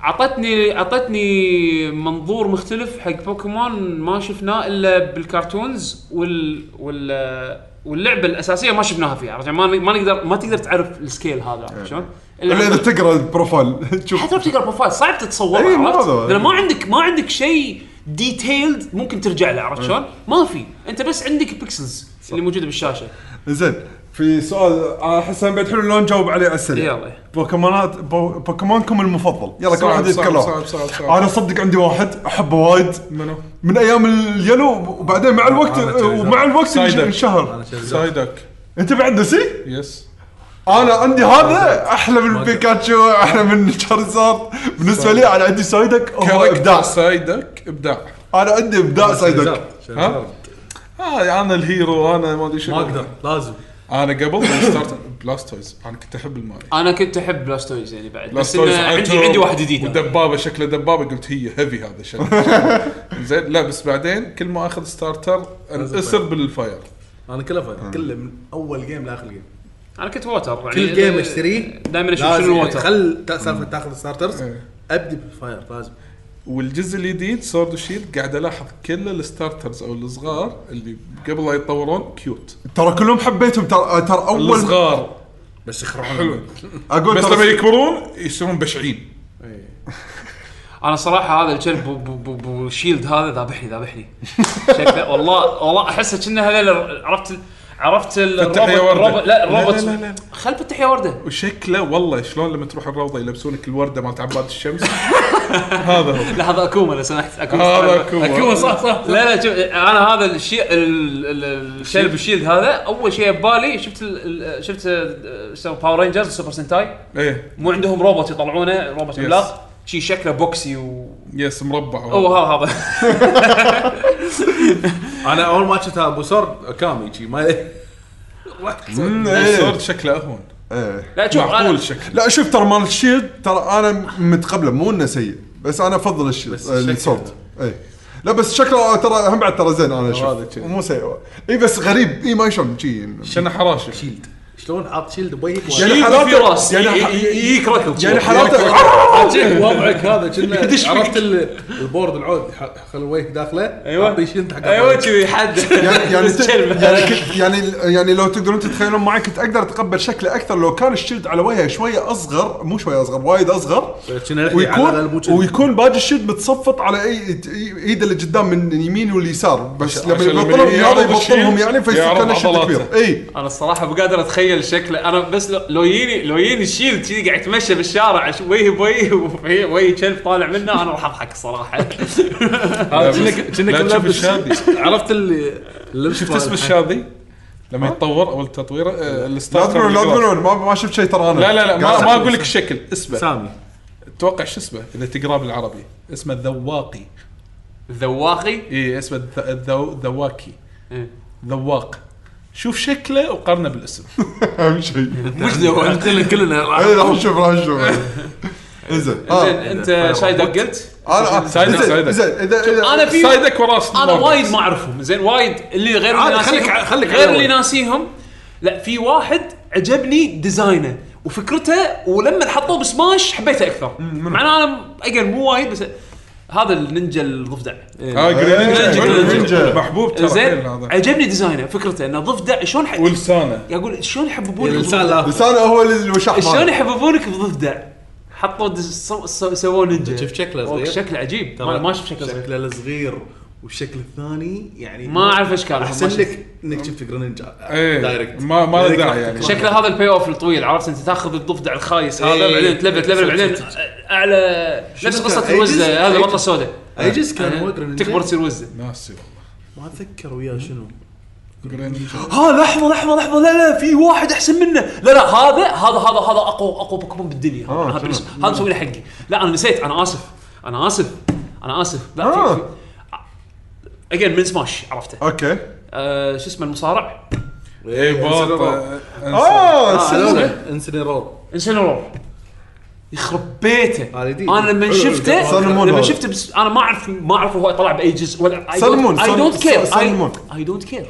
[SPEAKER 1] عطتني عطتني منظور مختلف حق بوكيمون ما شفناه الا بالكرتونز وال وال واللعبه الاساسيه ما شفناها فيها عرفت يعني؟ ما ما نقدر ما تقدر تعرف السكيل هذا عرفت شلون؟
[SPEAKER 4] الا اذا تقرا البروفايل
[SPEAKER 5] (laughs)
[SPEAKER 4] تشوف
[SPEAKER 1] حتى لو بتقرا بروفايل صعب تتصوره
[SPEAKER 4] إيه، مو
[SPEAKER 1] عرفت؟
[SPEAKER 4] هذا.
[SPEAKER 1] لان ما عندك ما عندك شيء ديتيلد ممكن ترجع له عرفت شلون؟ ما في انت بس عندك بيكسلز اللي موجوده بالشاشه
[SPEAKER 4] زين في سؤال أنا احس إن بعد حلو لو نجاوب عليه على السريع
[SPEAKER 1] يلا.
[SPEAKER 4] بوكيمونات بو... بوكيمونكم المفضل يلا كل
[SPEAKER 2] صعب،
[SPEAKER 4] واحد
[SPEAKER 2] صعب،
[SPEAKER 4] يتكلم
[SPEAKER 2] صعب، صعب، صعب.
[SPEAKER 4] انا صدق عندي واحد احبه وايد
[SPEAKER 2] منو؟
[SPEAKER 4] من ايام اليلو وبعدين مع الوقت
[SPEAKER 7] أنا تشيلدر.
[SPEAKER 4] ومع الوقت
[SPEAKER 2] سايدر.
[SPEAKER 4] انشهر
[SPEAKER 2] سايدك
[SPEAKER 4] انت بعد نسي؟
[SPEAKER 2] يس
[SPEAKER 4] انا عندي هذا احلى من بيكاتشو احلى من شارزارد بالنسبه لي انا عندي سايدك هو ابداع
[SPEAKER 2] كاركتر سايدك ابداع
[SPEAKER 4] انا عندي ابداع سايدك
[SPEAKER 2] ها؟ آه انا الهيرو انا ما ادري شنو
[SPEAKER 7] ما اقدر لازم
[SPEAKER 2] انا قبل ما ستارت بلاستويز انا كنت احب الماري
[SPEAKER 1] انا كنت احب بلاستويز يعني بعد بس
[SPEAKER 2] بلاستويز
[SPEAKER 1] إنه عندي
[SPEAKER 2] عترب
[SPEAKER 1] عندي واحد جديد
[SPEAKER 2] ودبابه شكله دبابه قلت هي هيفي هذا شكله
[SPEAKER 1] (laughs)
[SPEAKER 2] زين لا بس بعدين كل ما اخذ ستارتر انأسر بالفاير
[SPEAKER 7] انا كله فاير كله من اول جيم لاخر
[SPEAKER 1] يعني
[SPEAKER 7] جيم
[SPEAKER 1] انا كنت ووتر يعني
[SPEAKER 7] كل جيم اشتريه
[SPEAKER 1] دائما اشوف
[SPEAKER 7] لازم
[SPEAKER 1] شنو
[SPEAKER 7] يعني
[SPEAKER 1] الووتر
[SPEAKER 7] خل تا- سالفه تاخذ ستارترز
[SPEAKER 2] إيه.
[SPEAKER 7] ابدي بالفاير لازم
[SPEAKER 2] والجزء الجديد سورد وشيلد قاعد الاحظ كل الستارترز او الصغار اللي قبل لا يتطورون كيوت
[SPEAKER 4] ترى كلهم حبيتهم ترى ترى اول
[SPEAKER 2] الصغار بس يخرعون حلو
[SPEAKER 4] اقول
[SPEAKER 2] بس
[SPEAKER 4] ترى
[SPEAKER 2] لما يكبرون يصيرون بشعين
[SPEAKER 1] انا صراحه هذا الكلب بو- بو- بو- بو- الشيلد هذا ذابحني ذابحني شكله والله والله احسه كأنه هذا ال- عرفت ال- عرفت ال-
[SPEAKER 2] فتح يا
[SPEAKER 1] الروبوت
[SPEAKER 2] وردة.
[SPEAKER 1] الروبوت- لا الروبوت
[SPEAKER 2] لا، لا،
[SPEAKER 1] خل فتح يا ورده
[SPEAKER 2] وشكله والله شلون لما تروح الروضه يلبسونك الورده مالت عباد الشمس هذا هو
[SPEAKER 1] لا هذا اكوما لو سمحت اكوما
[SPEAKER 2] هذا أكوما.
[SPEAKER 1] اكوما صح صح لا لا شوف انا هذا الشيء ال- ال- الشلب الشيلد هذا اول شيء ببالي شفت ال- ال- شفت آه، شو اسمه باور رينجرز وسوبر سنتاي
[SPEAKER 2] ايه
[SPEAKER 1] مو عندهم روبوت يطلعونه روبوت عملاق شي شكله بوكسي و
[SPEAKER 2] يس مربع
[SPEAKER 1] هو هذا هذا
[SPEAKER 5] انا اول ما شفتها ابو سر كامي شي ما
[SPEAKER 4] مم، إيه.
[SPEAKER 2] السورد شكله اهون
[SPEAKER 4] إيه.
[SPEAKER 1] لا شوف
[SPEAKER 2] معقول
[SPEAKER 1] انا (laughs)
[SPEAKER 2] شكله
[SPEAKER 4] لا شوف ترى مال الشيلد ترى انا متقبله مو انه سيء بس انا افضل الشيلد آه، السورد اي لا بس شكله ترى هم بعد ترى زين انا اشوف مو سيء اي بس غريب اي ما يشم شي
[SPEAKER 2] شنه حراشه
[SPEAKER 5] شلون حاط شيلد بوجهك
[SPEAKER 4] يعني
[SPEAKER 1] في
[SPEAKER 4] حالاته
[SPEAKER 1] راس.
[SPEAKER 4] يعني ح-
[SPEAKER 5] يجيك ركض
[SPEAKER 4] يعني حالاته
[SPEAKER 5] وضعك هذا كنا عرفت ال- البورد العود ح- خلي وجهك داخله ايوه حق
[SPEAKER 1] ايوه كذي حد
[SPEAKER 4] (laughs) يعني يعني ت-
[SPEAKER 1] الكلب.
[SPEAKER 4] يعني ك- يعني يعني لو تقدرون تتخيلون معي كنت اقدر اتقبل شكله اكثر لو كان الشيلد على وجهه شويه اصغر مو شويه اصغر وايد اصغر
[SPEAKER 5] يعني
[SPEAKER 4] ويكون ويكون باقي الشيلد متصفط على اي إي- ايده اللي قدام من اليمين واليسار بس لما
[SPEAKER 2] عشان لما
[SPEAKER 4] يبطلهم
[SPEAKER 2] يجي
[SPEAKER 4] هذا
[SPEAKER 2] يعرض
[SPEAKER 4] يبطلهم
[SPEAKER 2] الشيلد
[SPEAKER 4] يعني فيصير
[SPEAKER 2] يعرض
[SPEAKER 4] كان الشيلد
[SPEAKER 2] عضلاته.
[SPEAKER 4] كبير اي
[SPEAKER 1] انا الصراحه مو قادر اتخيل شكله انا بس لو- لو يجيني لو يجيني الشيلد كذي قاعد يتمشى بالشارع أش- وجهي بوجهي وفي- وجهي كلب طالع منه انا راح اضحك الصراحه
[SPEAKER 5] كأنك كأنك
[SPEAKER 2] لا تشوف
[SPEAKER 5] ملبس
[SPEAKER 2] الشادي.
[SPEAKER 5] عرفت اللي
[SPEAKER 2] شفت اسم الشاذي لما يتطور اول تطويره آه،
[SPEAKER 4] لا
[SPEAKER 2] الستارتر
[SPEAKER 4] تقولون لا
[SPEAKER 2] بالجلاس.
[SPEAKER 4] تقولون ما, ما شفت شيء ترى انا
[SPEAKER 2] لا لا لا ما,
[SPEAKER 4] قاعد
[SPEAKER 2] ما
[SPEAKER 4] أسوي.
[SPEAKER 2] اقول لك الشكل اسمه
[SPEAKER 5] سامي
[SPEAKER 2] اتوقع شو اسمه اذا تقراه بالعربي اسمه الذواقي
[SPEAKER 1] (laughs) ذواقي
[SPEAKER 2] اي اسمه الذ- الذو- ذواكي
[SPEAKER 1] إيه.
[SPEAKER 2] ذواق شوف شكله وقارنه بالاسم
[SPEAKER 4] (laughs) اهم شيء
[SPEAKER 1] مش ذواقي
[SPEAKER 4] اي راح نشوف راح نشوف انزين آه.
[SPEAKER 1] زين انت إيه، شايدك قلت
[SPEAKER 4] انا
[SPEAKER 2] سايدك، سايدك.
[SPEAKER 4] زين زين اذا اذا
[SPEAKER 1] انا في
[SPEAKER 2] سايدك وراس آه،
[SPEAKER 1] انا
[SPEAKER 2] المربع.
[SPEAKER 1] وايد ما اعرفهم زين وايد اللي غير اللي
[SPEAKER 5] عادي،
[SPEAKER 1] ناسيهم
[SPEAKER 5] خليك- خليك
[SPEAKER 1] غير
[SPEAKER 5] على
[SPEAKER 1] اللي
[SPEAKER 5] أول.
[SPEAKER 1] ناسيهم لا في واحد عجبني ديزاينه وفكرته ولما حطوه بسماش حبيته اكثر مع ان انا اجين مو وايد بس هذا النينجا الضفدع
[SPEAKER 2] اه
[SPEAKER 4] إيه،
[SPEAKER 2] جرين
[SPEAKER 4] جرينجا.
[SPEAKER 2] نينجا محبوب ترى
[SPEAKER 1] زين
[SPEAKER 2] زين هذا
[SPEAKER 1] عجبني ديزاينه فكرته انه ضفدع شلون ح...
[SPEAKER 2] ولسانه
[SPEAKER 1] يقول شلون يحببونك
[SPEAKER 5] الانسان
[SPEAKER 1] بضفدع؟
[SPEAKER 5] يعني لا
[SPEAKER 4] لسانه هو اللي
[SPEAKER 2] إيه،
[SPEAKER 4] الوشاح
[SPEAKER 1] شلون
[SPEAKER 4] ماله.
[SPEAKER 1] يحببونك بضفدع حطوا دز- سو- سو- سووه نينجا
[SPEAKER 5] شوف شكله
[SPEAKER 1] أوه،
[SPEAKER 5] صغير.
[SPEAKER 1] شكله عجيب ما ما شفت شكله صغير
[SPEAKER 5] شكله الصغير والشكل الثاني يعني
[SPEAKER 1] ما أعرف إيش كان،
[SPEAKER 5] احسن
[SPEAKER 1] ما شفت.
[SPEAKER 5] لك انك شفت جرينجا
[SPEAKER 2] إيه.
[SPEAKER 5] دايركت
[SPEAKER 2] ما- ما له
[SPEAKER 5] دايركت
[SPEAKER 2] داعي
[SPEAKER 5] راح
[SPEAKER 2] يعني.
[SPEAKER 5] تكره.
[SPEAKER 1] شكله هذا البي اوف الطويل عرفت انت تاخذ الضفدع الخايس هذا
[SPEAKER 5] إيه.
[SPEAKER 1] بعدين تلفل تلفل بعدين اعلى نفس
[SPEAKER 5] شنو
[SPEAKER 1] قصه
[SPEAKER 5] كان؟
[SPEAKER 1] الوزه
[SPEAKER 5] أيجز؟
[SPEAKER 1] هذا
[SPEAKER 5] أيجز؟
[SPEAKER 1] البطه السوداء
[SPEAKER 5] ايجز كان هو جرينجا
[SPEAKER 1] تكبر تصير وزه
[SPEAKER 2] ناسي والله
[SPEAKER 5] ما اتذكر وياه شنو
[SPEAKER 2] جرينجا.
[SPEAKER 1] ها لحظه لحظه لحظه لا لا في واحد احسن منه لا لا هذا هذا هذا هذا اقوى اقوى بوكيمون بالدنيا
[SPEAKER 4] آه،
[SPEAKER 1] هذا
[SPEAKER 4] تمام.
[SPEAKER 1] بالنسبة- هذا مسوي لي حقي لا انا نسيت انا اسف انا اسف انا اسف لا
[SPEAKER 4] آه.
[SPEAKER 1] في اجين من سماش عرفته
[SPEAKER 4] اوكي
[SPEAKER 1] آه، شو اسمه المصارع
[SPEAKER 4] إيه،
[SPEAKER 2] اي باطه
[SPEAKER 1] آه،
[SPEAKER 2] آه،
[SPEAKER 4] اه سلم.
[SPEAKER 5] اه انسنرور
[SPEAKER 1] انسنرور يخرب بيته
[SPEAKER 5] هذه دي.
[SPEAKER 1] انا لما
[SPEAKER 5] حلو.
[SPEAKER 1] شفته
[SPEAKER 4] سلمون
[SPEAKER 1] لما
[SPEAKER 4] هذا.
[SPEAKER 1] شفته بس انا ما اعرف ما اعرف هو طلع باي جزء ولا
[SPEAKER 4] سلمون،
[SPEAKER 1] اي
[SPEAKER 4] سل-
[SPEAKER 1] دونت كير
[SPEAKER 4] سل- سلمون.
[SPEAKER 1] اي دونت كير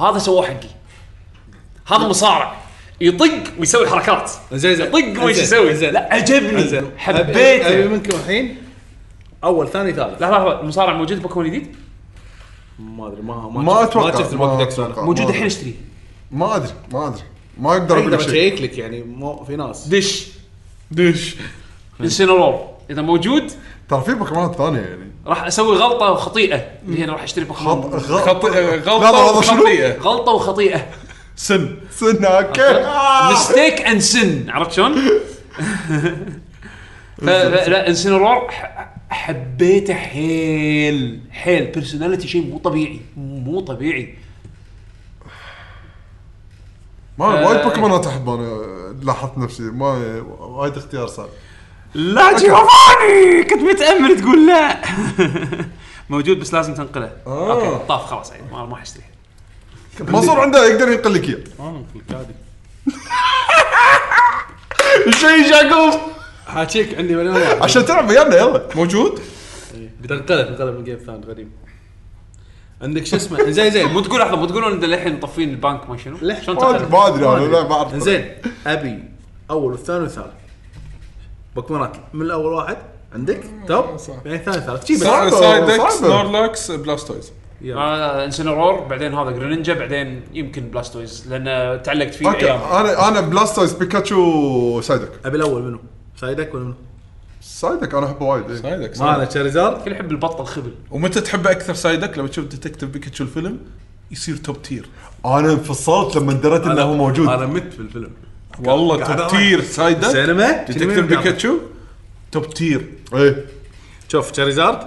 [SPEAKER 1] هذا سواه حقي هذا مصارع يطق ويسوي حركات
[SPEAKER 5] زين زين
[SPEAKER 1] يطق ويش يسوي لا عجبني
[SPEAKER 5] ابي
[SPEAKER 1] حبيته
[SPEAKER 5] منكم الحين اول ثاني ثالث
[SPEAKER 1] لا لحظه المصارع موجود بوكيمون جديد
[SPEAKER 5] ما ادري ما
[SPEAKER 4] ما اتوقع
[SPEAKER 5] ما شفت الوقت دكس
[SPEAKER 4] أتوقع.
[SPEAKER 5] انا
[SPEAKER 1] موجود
[SPEAKER 4] ما
[SPEAKER 1] الحين اشتريه
[SPEAKER 4] ما ادري ما ادري ما اقدر اقول
[SPEAKER 5] اقدر
[SPEAKER 4] لك شيء
[SPEAKER 5] اشيك لك يعني مو في ناس
[SPEAKER 1] دش
[SPEAKER 4] (laughs)
[SPEAKER 2] دش
[SPEAKER 1] انسينرور اذا موجود
[SPEAKER 4] ترى في بوكيمونات ثانيه يعني
[SPEAKER 1] راح اسوي غلطه وخطيئه اللي هي أنا راح اشتري
[SPEAKER 4] غلط
[SPEAKER 1] بوكيمون
[SPEAKER 4] غلط
[SPEAKER 2] خط-
[SPEAKER 4] لا،
[SPEAKER 2] غلطه
[SPEAKER 4] لا، شنو؟
[SPEAKER 2] وخطيئه
[SPEAKER 1] غلطه وخطيئه
[SPEAKER 2] سن
[SPEAKER 4] سنة اوكي آه.
[SPEAKER 1] مستيك اند سن عرفت شلون؟ (laughs) ف- ف- لا انسنرور ح- حبيته حيل حيل بيرسوناليتي شيء مو طبيعي مو طبيعي
[SPEAKER 4] ما وايد بوكيمونات احب انا لاحظت نفسي ما وايد اختيار صعب
[SPEAKER 1] لا جيوفاني كنت متامل تقول لا (laughs) آه. موجود بس لازم تنقله اوكي طاف خلاص عيد ما ما راح اشتريه
[SPEAKER 4] منصور عنده يقدر ينقل لك اياه
[SPEAKER 1] شيء جاكوب
[SPEAKER 5] حاكيك عندي مليون واحد
[SPEAKER 4] عشان تلعب ويانا يلا موجود
[SPEAKER 5] بتنقلب انقلب من جيم ثاني غريب عندك شو اسمه زين زين
[SPEAKER 1] مو تقول لحظه مو تقولون ان للحين مطفين البنك ما شنو
[SPEAKER 5] لا.
[SPEAKER 1] شلون
[SPEAKER 4] ما
[SPEAKER 1] تنقله؟
[SPEAKER 4] أدري- ما ادري انا لا ما اعرف
[SPEAKER 5] زين ابي اول والثاني والثالث بوكيمونات من الاول واحد عندك توب يعني ثاني ثالث جيب
[SPEAKER 4] صعبة،
[SPEAKER 2] سايدك
[SPEAKER 4] صعبة.
[SPEAKER 2] سنورلاكس بلاستويز
[SPEAKER 1] انا انسنرور بعدين هذا جرينجا بعدين يمكن بلاستويز لان تعلقت فيه
[SPEAKER 4] اوكي
[SPEAKER 1] ايام
[SPEAKER 4] انا انا بلاستويز بيكاتشو سايدك
[SPEAKER 5] ابي الاول منو؟ سايدك ولا منو؟
[SPEAKER 4] سايدك انا احبه وايد إيه.
[SPEAKER 2] سايدك
[SPEAKER 5] هذا تشاريزارد
[SPEAKER 1] كل يحب البطه الخبل
[SPEAKER 2] آه. ومتى تحبه اكثر سايدك لما تشوف ديتكتيف بيكاتشو الفيلم يصير توب تير
[SPEAKER 4] انا انفصلت لما دريت انه هو موجود
[SPEAKER 5] انا مت في الفيلم
[SPEAKER 2] والله توب تير سايدك
[SPEAKER 5] سينما
[SPEAKER 2] ديتكتيف بيكاتشو توب تير
[SPEAKER 4] ايه
[SPEAKER 5] شوف تشاريزارد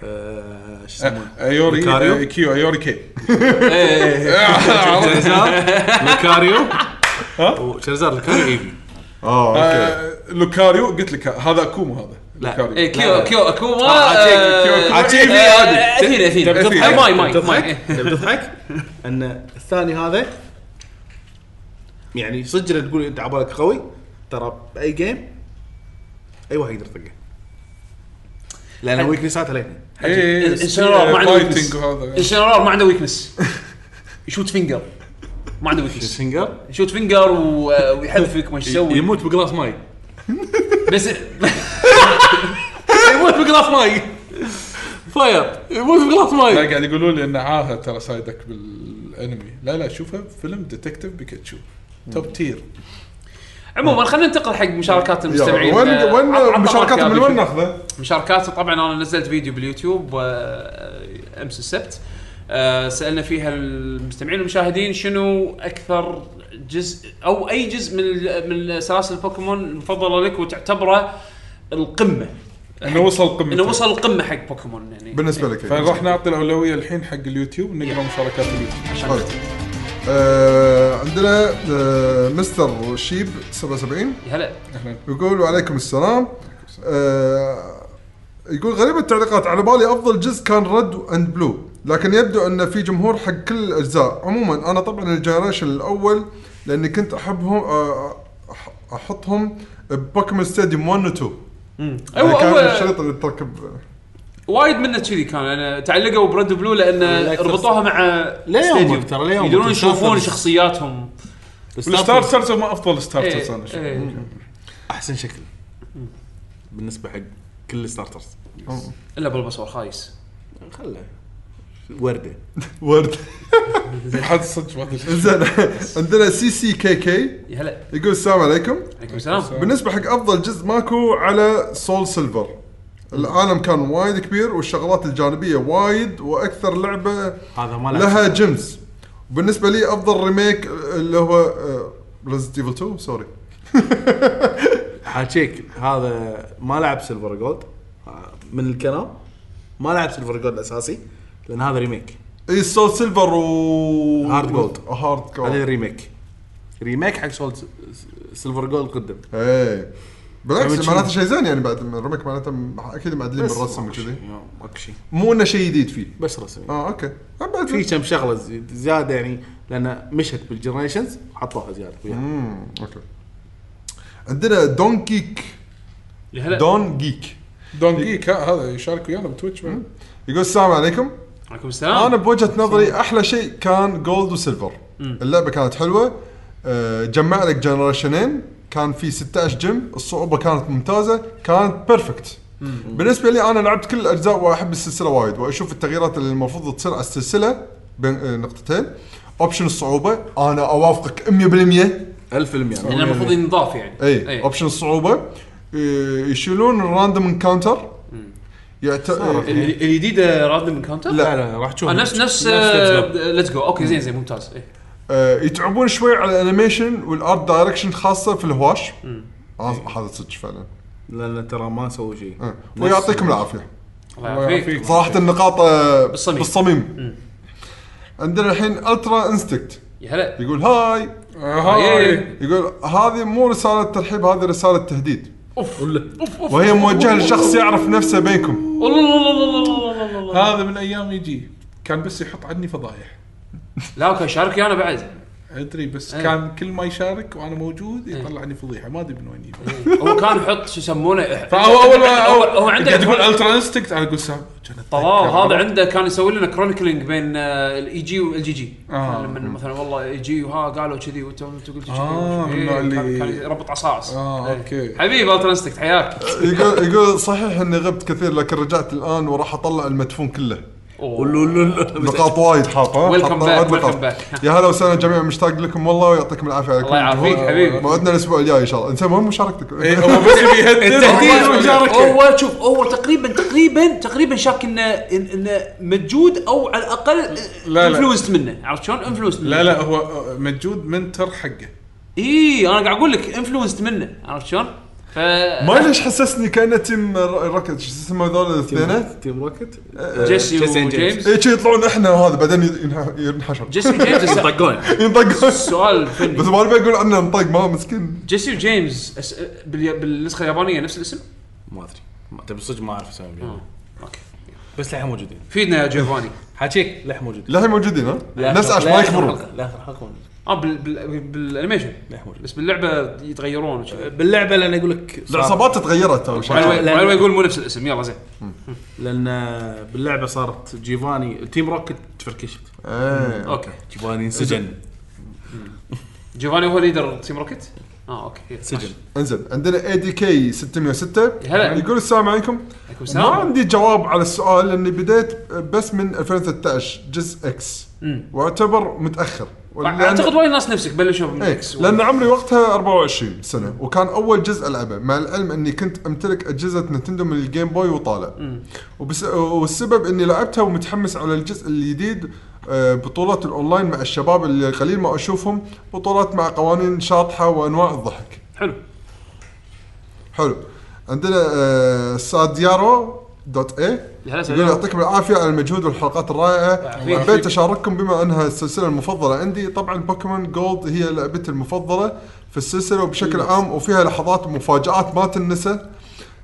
[SPEAKER 5] آه، شو يسمونه
[SPEAKER 4] (laughs)
[SPEAKER 2] ايوري
[SPEAKER 5] ميكاريو.
[SPEAKER 2] آه، كيو
[SPEAKER 1] (laughs)
[SPEAKER 2] ايوري
[SPEAKER 1] إيه،
[SPEAKER 2] كي
[SPEAKER 4] (laughs)
[SPEAKER 5] تشاريزارد لوكاريو وتشاريزارد لوكاريو ايفي
[SPEAKER 4] اه اوكي
[SPEAKER 2] (laughs) آه، لوكاريو قلت لك هذا اكومو هذا لوكاريو.
[SPEAKER 4] إيه،
[SPEAKER 1] اي إيه، كيو كيو اكوما
[SPEAKER 4] آه،
[SPEAKER 2] عجيب.
[SPEAKER 1] آه، اثيل اثيل
[SPEAKER 2] تبي تضحك؟
[SPEAKER 1] ماي ماي
[SPEAKER 5] تضحك
[SPEAKER 1] ماي
[SPEAKER 5] تبي تضحك ان الثاني هذا يعني صدق إنك تقول انت عبالك قوي ترى باي جيم اي واحد يقدر يطقه لان ويكنسات علينا
[SPEAKER 2] إيه،
[SPEAKER 1] انسنرور ما عنده
[SPEAKER 2] فايتنج
[SPEAKER 1] ويكنس
[SPEAKER 2] وهذا
[SPEAKER 1] انسنرور ما عنده ويكنس يشوت فينجر ما عنده ويكنس
[SPEAKER 5] سنجر
[SPEAKER 1] يشوت فينجر و- آه، ويحذفك ما
[SPEAKER 4] إيه،
[SPEAKER 1] يسوي
[SPEAKER 5] يموت بقلاص ماي
[SPEAKER 4] (laughs)
[SPEAKER 1] بس
[SPEAKER 5] يموت بقلاص ماي فاير يموت بقلاص
[SPEAKER 1] طيب.
[SPEAKER 2] لا
[SPEAKER 5] ماي
[SPEAKER 2] قاعد يقولوا لي انه عاهه ترى سايدك بالانمي لا لا شوفه فيلم ديتكتيف بيكاتشو توب تير
[SPEAKER 1] عموما خلينا ننتقل حق مشاركات المستمعين
[SPEAKER 4] يلا، وين
[SPEAKER 1] آه، عط- عط
[SPEAKER 4] وين مشاركات
[SPEAKER 1] رأيك يا
[SPEAKER 4] من
[SPEAKER 1] أبي
[SPEAKER 4] وين
[SPEAKER 1] شوي.
[SPEAKER 4] ناخذه؟
[SPEAKER 1] مشاركات طبعا انا نزلت فيديو باليوتيوب آه، امس السبت آه، سالنا فيها المستمعين والمشاهدين شنو اكثر جزء او اي جزء من ال- من سلاسل بوكيمون المفضله لك وتعتبره القمه
[SPEAKER 2] انه وصل قمته
[SPEAKER 1] انه وصل القمه حق بوكيمون يعني
[SPEAKER 4] بالنسبه لك إيه.
[SPEAKER 2] فنروح نعطي الاولويه الحين حق اليوتيوب نقرا مشاركات اليوتيوب
[SPEAKER 4] حلو. طيب. آه، عندنا آه، مستر شيب 77
[SPEAKER 1] يا هلا
[SPEAKER 4] يقول وعليكم السلام آه، يقول غريب التعليقات على بالي افضل جزء كان رد اند بلو لكن يبدو ان في جمهور حق كل الاجزاء عموما انا طبعا الجنريشن الاول لاني كنت احبهم آه، أح- احطهم ببوكيمون ستاديوم 1 و 2
[SPEAKER 1] أيوة، هو
[SPEAKER 4] يعني كان
[SPEAKER 1] هو
[SPEAKER 4] الشريط اللي تركب
[SPEAKER 1] وايد منا كذي كان انا تعلقوا بريد بلو لان
[SPEAKER 5] الأكثر-
[SPEAKER 1] ربطوها مع
[SPEAKER 5] ليومك
[SPEAKER 1] ستاديوم.
[SPEAKER 5] ترى، ليومك.
[SPEAKER 1] يقدرون يشوفون
[SPEAKER 5] الستارترز.
[SPEAKER 1] شخصياتهم
[SPEAKER 2] الستارترز هم افضل ستارترز
[SPEAKER 1] إيه،
[SPEAKER 2] انا أشوف.
[SPEAKER 1] إيه.
[SPEAKER 5] احسن شكل بالنسبه حق كل الستارترز
[SPEAKER 1] الا بالبصور خايس
[SPEAKER 5] خله ورده
[SPEAKER 4] ورد
[SPEAKER 2] حد صدق ما ادري
[SPEAKER 4] (laughs) زين عندنا سي سي كي كي
[SPEAKER 1] يا هلا
[SPEAKER 4] يقول السلام عليكم
[SPEAKER 1] عليكم السلام
[SPEAKER 4] بالنسبه حق افضل جزء ماكو على سول سيلفر العالم كان وايد كبير والشغلات الجانبيه وايد واكثر لعبه
[SPEAKER 5] هذا ما
[SPEAKER 4] لها جيمز بالنسبه لي افضل ريميك اللي هو آه، ريزنت ايفل 2 سوري
[SPEAKER 5] حاكيك هذا ما لعب سيلفر جولد آه، من الكلام ما لعب سيلفر جولد اساسي لان هذا ريميك
[SPEAKER 4] اي سول سيلفر إيه، و
[SPEAKER 5] هارد جولد.
[SPEAKER 4] هارد
[SPEAKER 5] هذا
[SPEAKER 4] جولد
[SPEAKER 5] ريميك ريميك حق سولد سيلفر جولد قدم
[SPEAKER 4] اي إيه. بالعكس
[SPEAKER 5] Remake
[SPEAKER 4] معناته شيء زين يعني بعد من الريميك معناته م- اكيد معدلين بالرسم
[SPEAKER 5] ماكو
[SPEAKER 4] وكذي
[SPEAKER 5] شيء، ما- ماكو شيء
[SPEAKER 4] مو انه شيء جديد فيه
[SPEAKER 5] بس رسمي
[SPEAKER 4] اه اوكي آه، بعد
[SPEAKER 5] في كم شغله زي- زياده يعني لان مشت بالجنريشنز حطوها زياده وياها.
[SPEAKER 4] مم، اوكي عندنا دون كيك
[SPEAKER 1] يا هلا
[SPEAKER 4] دون جيك
[SPEAKER 2] دون جيك ها، هذا يشارك ويانا بتويتش بعد.
[SPEAKER 4] يقول السلام عليكم
[SPEAKER 1] عليكم السلام
[SPEAKER 4] انا بوجهه نظري احلى شيء كان جولد وسيلفر اللعبه كانت حلوه آه، جمع لك جنريشنين كان في 16 جيم الصعوبه كانت ممتازه كانت بيرفكت بالنسبه لي انا لعبت كل الاجزاء واحب السلسله وايد واشوف التغييرات اللي المفروض تصير على السلسله بين آه، نقطتين اوبشن الصعوبه انا اوافقك 100%
[SPEAKER 5] 1000%
[SPEAKER 1] لان المفروض ينضاف يعني
[SPEAKER 4] اي اوبشن الصعوبه إيه، يشيلون الراندوم انكاونتر يعت... إيه،
[SPEAKER 1] ال- الجديده راندوم انكاونتر؟
[SPEAKER 4] لا.
[SPEAKER 5] لا لا راح تشوف
[SPEAKER 1] آه، نفس نفس آه،
[SPEAKER 5] Let's Go.
[SPEAKER 1] ليتس جو اوكي زين زين ممتاز إيه.
[SPEAKER 4] آه، يتعبون شوي على الانيميشن والارت دايركشن خاصه في الهواش آه، هذا صدق فعلا
[SPEAKER 5] لان ترى ما سووا شيء
[SPEAKER 4] آه. ويعطيكم العافيه
[SPEAKER 1] الله يعافيك
[SPEAKER 4] صراحه النقاط آه،
[SPEAKER 1] بالصميم.
[SPEAKER 4] بالصميم عندنا الحين الترا انستكت
[SPEAKER 1] يا هلا
[SPEAKER 4] يقول هاي
[SPEAKER 2] آه،
[SPEAKER 1] هاي.
[SPEAKER 4] يقول هذه مو رساله ترحيب هذه رساله تهديد
[SPEAKER 1] اوف اوف اوف
[SPEAKER 4] وهي موجهه لشخص يعرف نفسه بينكم
[SPEAKER 1] الله الله الله الله الله الله الله
[SPEAKER 2] هذا من ايام يجي كان بس يحط عني فضايح
[SPEAKER 1] لا اوكي شاركي انا بعد
[SPEAKER 2] ادري بس
[SPEAKER 1] إيه.
[SPEAKER 2] كان كل ما يشارك وانا موجود يطلع عني فضيحه ما ادري من وين يجي
[SPEAKER 1] هو كان يحط شو يسمونه
[SPEAKER 2] فهو اول ما
[SPEAKER 1] إيه. هو- هو عنده
[SPEAKER 2] قاعد يقول الترا انستكت انا اقول سام طيب. كان أتذكر.
[SPEAKER 1] طلال هذا عنده كان يسوي لنا كرونيكلينج بين آه، الاي جي والاي جي جي
[SPEAKER 2] آه.
[SPEAKER 1] لما مثلا والله E اي جي وها قالوا كذي وانت أنت قلت كذي
[SPEAKER 2] آه،
[SPEAKER 1] إيه،
[SPEAKER 2] من النوع
[SPEAKER 1] كان-
[SPEAKER 2] اللي-
[SPEAKER 1] كان يربط عصاص
[SPEAKER 2] آه،
[SPEAKER 1] إيه.
[SPEAKER 2] أوكي.
[SPEAKER 1] حبيب الترنستكت
[SPEAKER 2] (laughs)
[SPEAKER 1] حياك
[SPEAKER 4] يقول يقول صحيح اني غبت كثير لكن رجعت الان وراح اطلع المدفون كله نقاط وايد حاطه
[SPEAKER 1] Welcome
[SPEAKER 4] حاطة
[SPEAKER 1] back,
[SPEAKER 4] وايد نقاط.
[SPEAKER 1] welcome back. (laughs)
[SPEAKER 4] يا هلا وسهلا جميعا مشتاق لكم والله ويعطيكم العافيه على
[SPEAKER 1] الله
[SPEAKER 4] كل
[SPEAKER 1] يعافيك حبيبي إيه.
[SPEAKER 4] موعدنا الاسبوع الجاي ان شاء الله انت مهم مشاركتك
[SPEAKER 2] إيه، هو
[SPEAKER 1] (laughs)
[SPEAKER 2] بس يبي
[SPEAKER 1] التهديد
[SPEAKER 2] يهدد
[SPEAKER 1] هو شوف هو تقريبا تقريبا تقريبا شاك انه إن- انه مجود او على الاقل
[SPEAKER 2] لا.
[SPEAKER 1] انفلونسد منه عرفت شلون؟ انفلونسد منه
[SPEAKER 2] لا لا هو مجود منتر حقه
[SPEAKER 1] اي انا إيه، قاعد اقول لك انفلونسد منه عرفت شلون؟ ف
[SPEAKER 4] ما ليش حسسني كانه تيم ر- ركض شو اسمه هذول الاثنين
[SPEAKER 5] تيم روكت
[SPEAKER 1] جيسي
[SPEAKER 5] جيسي آه، and
[SPEAKER 1] وجيمس
[SPEAKER 4] اي شي يطلعون احنا وهذا بعدين ينح- ينحشر
[SPEAKER 1] جيسي وجيمس
[SPEAKER 5] (laughs) طقون
[SPEAKER 4] ينطق
[SPEAKER 1] سؤال
[SPEAKER 4] بس
[SPEAKER 1] فني
[SPEAKER 4] ما نبي اقول عنه انطق ما مسكين
[SPEAKER 1] جيسي وجيمس أس- بال- بالنسخه اليابانيه نفس الاسم؟
[SPEAKER 5] ما ادري ما- تبي صدق ما اعرف
[SPEAKER 7] آه.
[SPEAKER 5] اسامي
[SPEAKER 1] اوكي
[SPEAKER 5] بس للحين موجودين
[SPEAKER 1] فيدنا يا جيفاني
[SPEAKER 5] حاكيك للحين موجودين
[SPEAKER 4] للحين موجودين ها؟
[SPEAKER 5] لا،
[SPEAKER 4] نفس عشان ما
[SPEAKER 5] لا
[SPEAKER 4] يكبرون
[SPEAKER 5] يخبرون. لا يخبرون، موجودين.
[SPEAKER 1] اه بال بال بالانيميشن
[SPEAKER 5] لا يخبرون.
[SPEAKER 1] بس باللعبه يتغيرون
[SPEAKER 7] آه.
[SPEAKER 1] وشذي.
[SPEAKER 5] باللعبه لان اقول لك صار-
[SPEAKER 4] العصابات تغيرت ترى
[SPEAKER 1] By the way-
[SPEAKER 5] لا، لا.
[SPEAKER 1] by the way يقول مو نفس الاسم يلا زين
[SPEAKER 5] لان باللعبه صارت جيفاني تيم روكت تفركشت
[SPEAKER 4] إيه.
[SPEAKER 1] اوكي
[SPEAKER 5] جيفاني انسجن
[SPEAKER 1] جيفاني هو ليدر تيم روكيت؟ اه اوكي يلا،
[SPEAKER 5] سجن
[SPEAKER 4] انزل عندنا اي دي كي 606
[SPEAKER 1] هلا.
[SPEAKER 4] يقول السلام عليكم
[SPEAKER 1] عليكم
[SPEAKER 4] ما
[SPEAKER 1] السلام.
[SPEAKER 4] عندي جواب على السؤال لاني بديت بس من 2013 جزء اكس واعتبر متاخر
[SPEAKER 1] طيب،
[SPEAKER 4] ولأن-
[SPEAKER 1] اعتقد وايد ناس نفسك بلشوا من
[SPEAKER 4] إيه،
[SPEAKER 1] اكس
[SPEAKER 4] لان عمري وقتها 24 سنه وكان اول جزء العبه مع العلم اني كنت امتلك اجهزه نتندو من الجيم بوي وطالع وبس والسبب اني لعبتها ومتحمس على الجزء الجديد آه، بطولات الاونلاين مع الشباب اللي قليل ما اشوفهم بطولات مع قوانين شاطحه وانواع الضحك
[SPEAKER 1] حلو
[SPEAKER 4] حلو عندنا آه، ساديارو دوت اي
[SPEAKER 1] يا هلا
[SPEAKER 4] يقول
[SPEAKER 1] سعيد.
[SPEAKER 4] يعطيكم العافيه على المجهود والحلقات الرائعه
[SPEAKER 1] يعافيك.
[SPEAKER 4] حبيت اشارككم بما انها السلسله المفضله عندي طبعا بوكيمون جولد هي لعبتي المفضله في السلسله وبشكل عام وفيها لحظات ومفاجات ما تنسى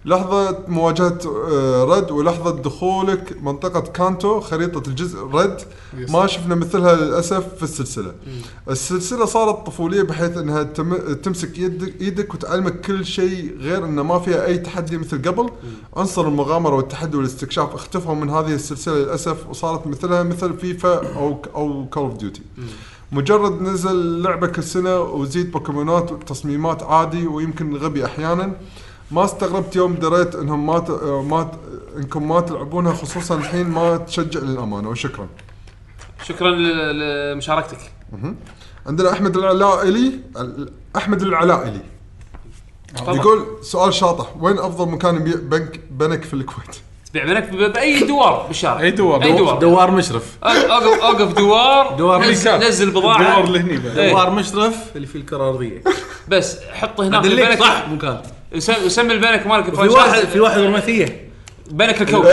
[SPEAKER 4] لحظة مواجهة آه، رد ولحظة دخولك منطقة كانتو خريطة الجزء رد ما شفنا مثلها للأسف في السلسلة
[SPEAKER 1] Mm.
[SPEAKER 4] السلسلة صارت طفولية بحيث أنها تم- تمسك يدك, إيدك وتعلمك كل شيء غير أنه ما فيها أي تحدي مثل قبل عنصر المغامرة والتحدي والاستكشاف اختفوا من هذه السلسلة للأسف وصارت مثلها مثل فيفا أو أو كول أوف ديوتي مجرد نزل لعبة كل سنة وزيد بوكيمونات وتصميمات عادي ويمكن غبي أحيانا ما استغربت يوم دريت انهم ما ت... آه، ما ت... انكم ما تلعبونها خصوصا الحين ما تشجع للامانه وشكرا.
[SPEAKER 1] شكرا ل- لمشاركتك
[SPEAKER 4] عندنا احمد العلائلي ال- احمد العلائلي
[SPEAKER 1] تفضل.
[SPEAKER 4] يقول سؤال شاطح وين افضل مكان يبيع بنك بنك في الكويت؟
[SPEAKER 1] تبيع منك ب- باي دوار بالشارع
[SPEAKER 2] اي دوار.
[SPEAKER 1] اي دوار
[SPEAKER 7] دوار مشرف
[SPEAKER 1] اوقف اوقف دوار
[SPEAKER 7] دوار
[SPEAKER 1] نز-
[SPEAKER 7] ريكاب.
[SPEAKER 1] نزل
[SPEAKER 2] الدوار
[SPEAKER 1] بضاعه
[SPEAKER 2] اللي هني بعد.
[SPEAKER 1] إيه.
[SPEAKER 7] دوار مشرف اللي فيه الكره الارضيه
[SPEAKER 1] بس حط هناك
[SPEAKER 7] دليك
[SPEAKER 1] البنك
[SPEAKER 7] صح مكان
[SPEAKER 1] يسم- يسمي البنك مالك
[SPEAKER 7] في واحد
[SPEAKER 1] الفرنشايز
[SPEAKER 7] في واحد رومانثيه
[SPEAKER 1] بنك الكوكب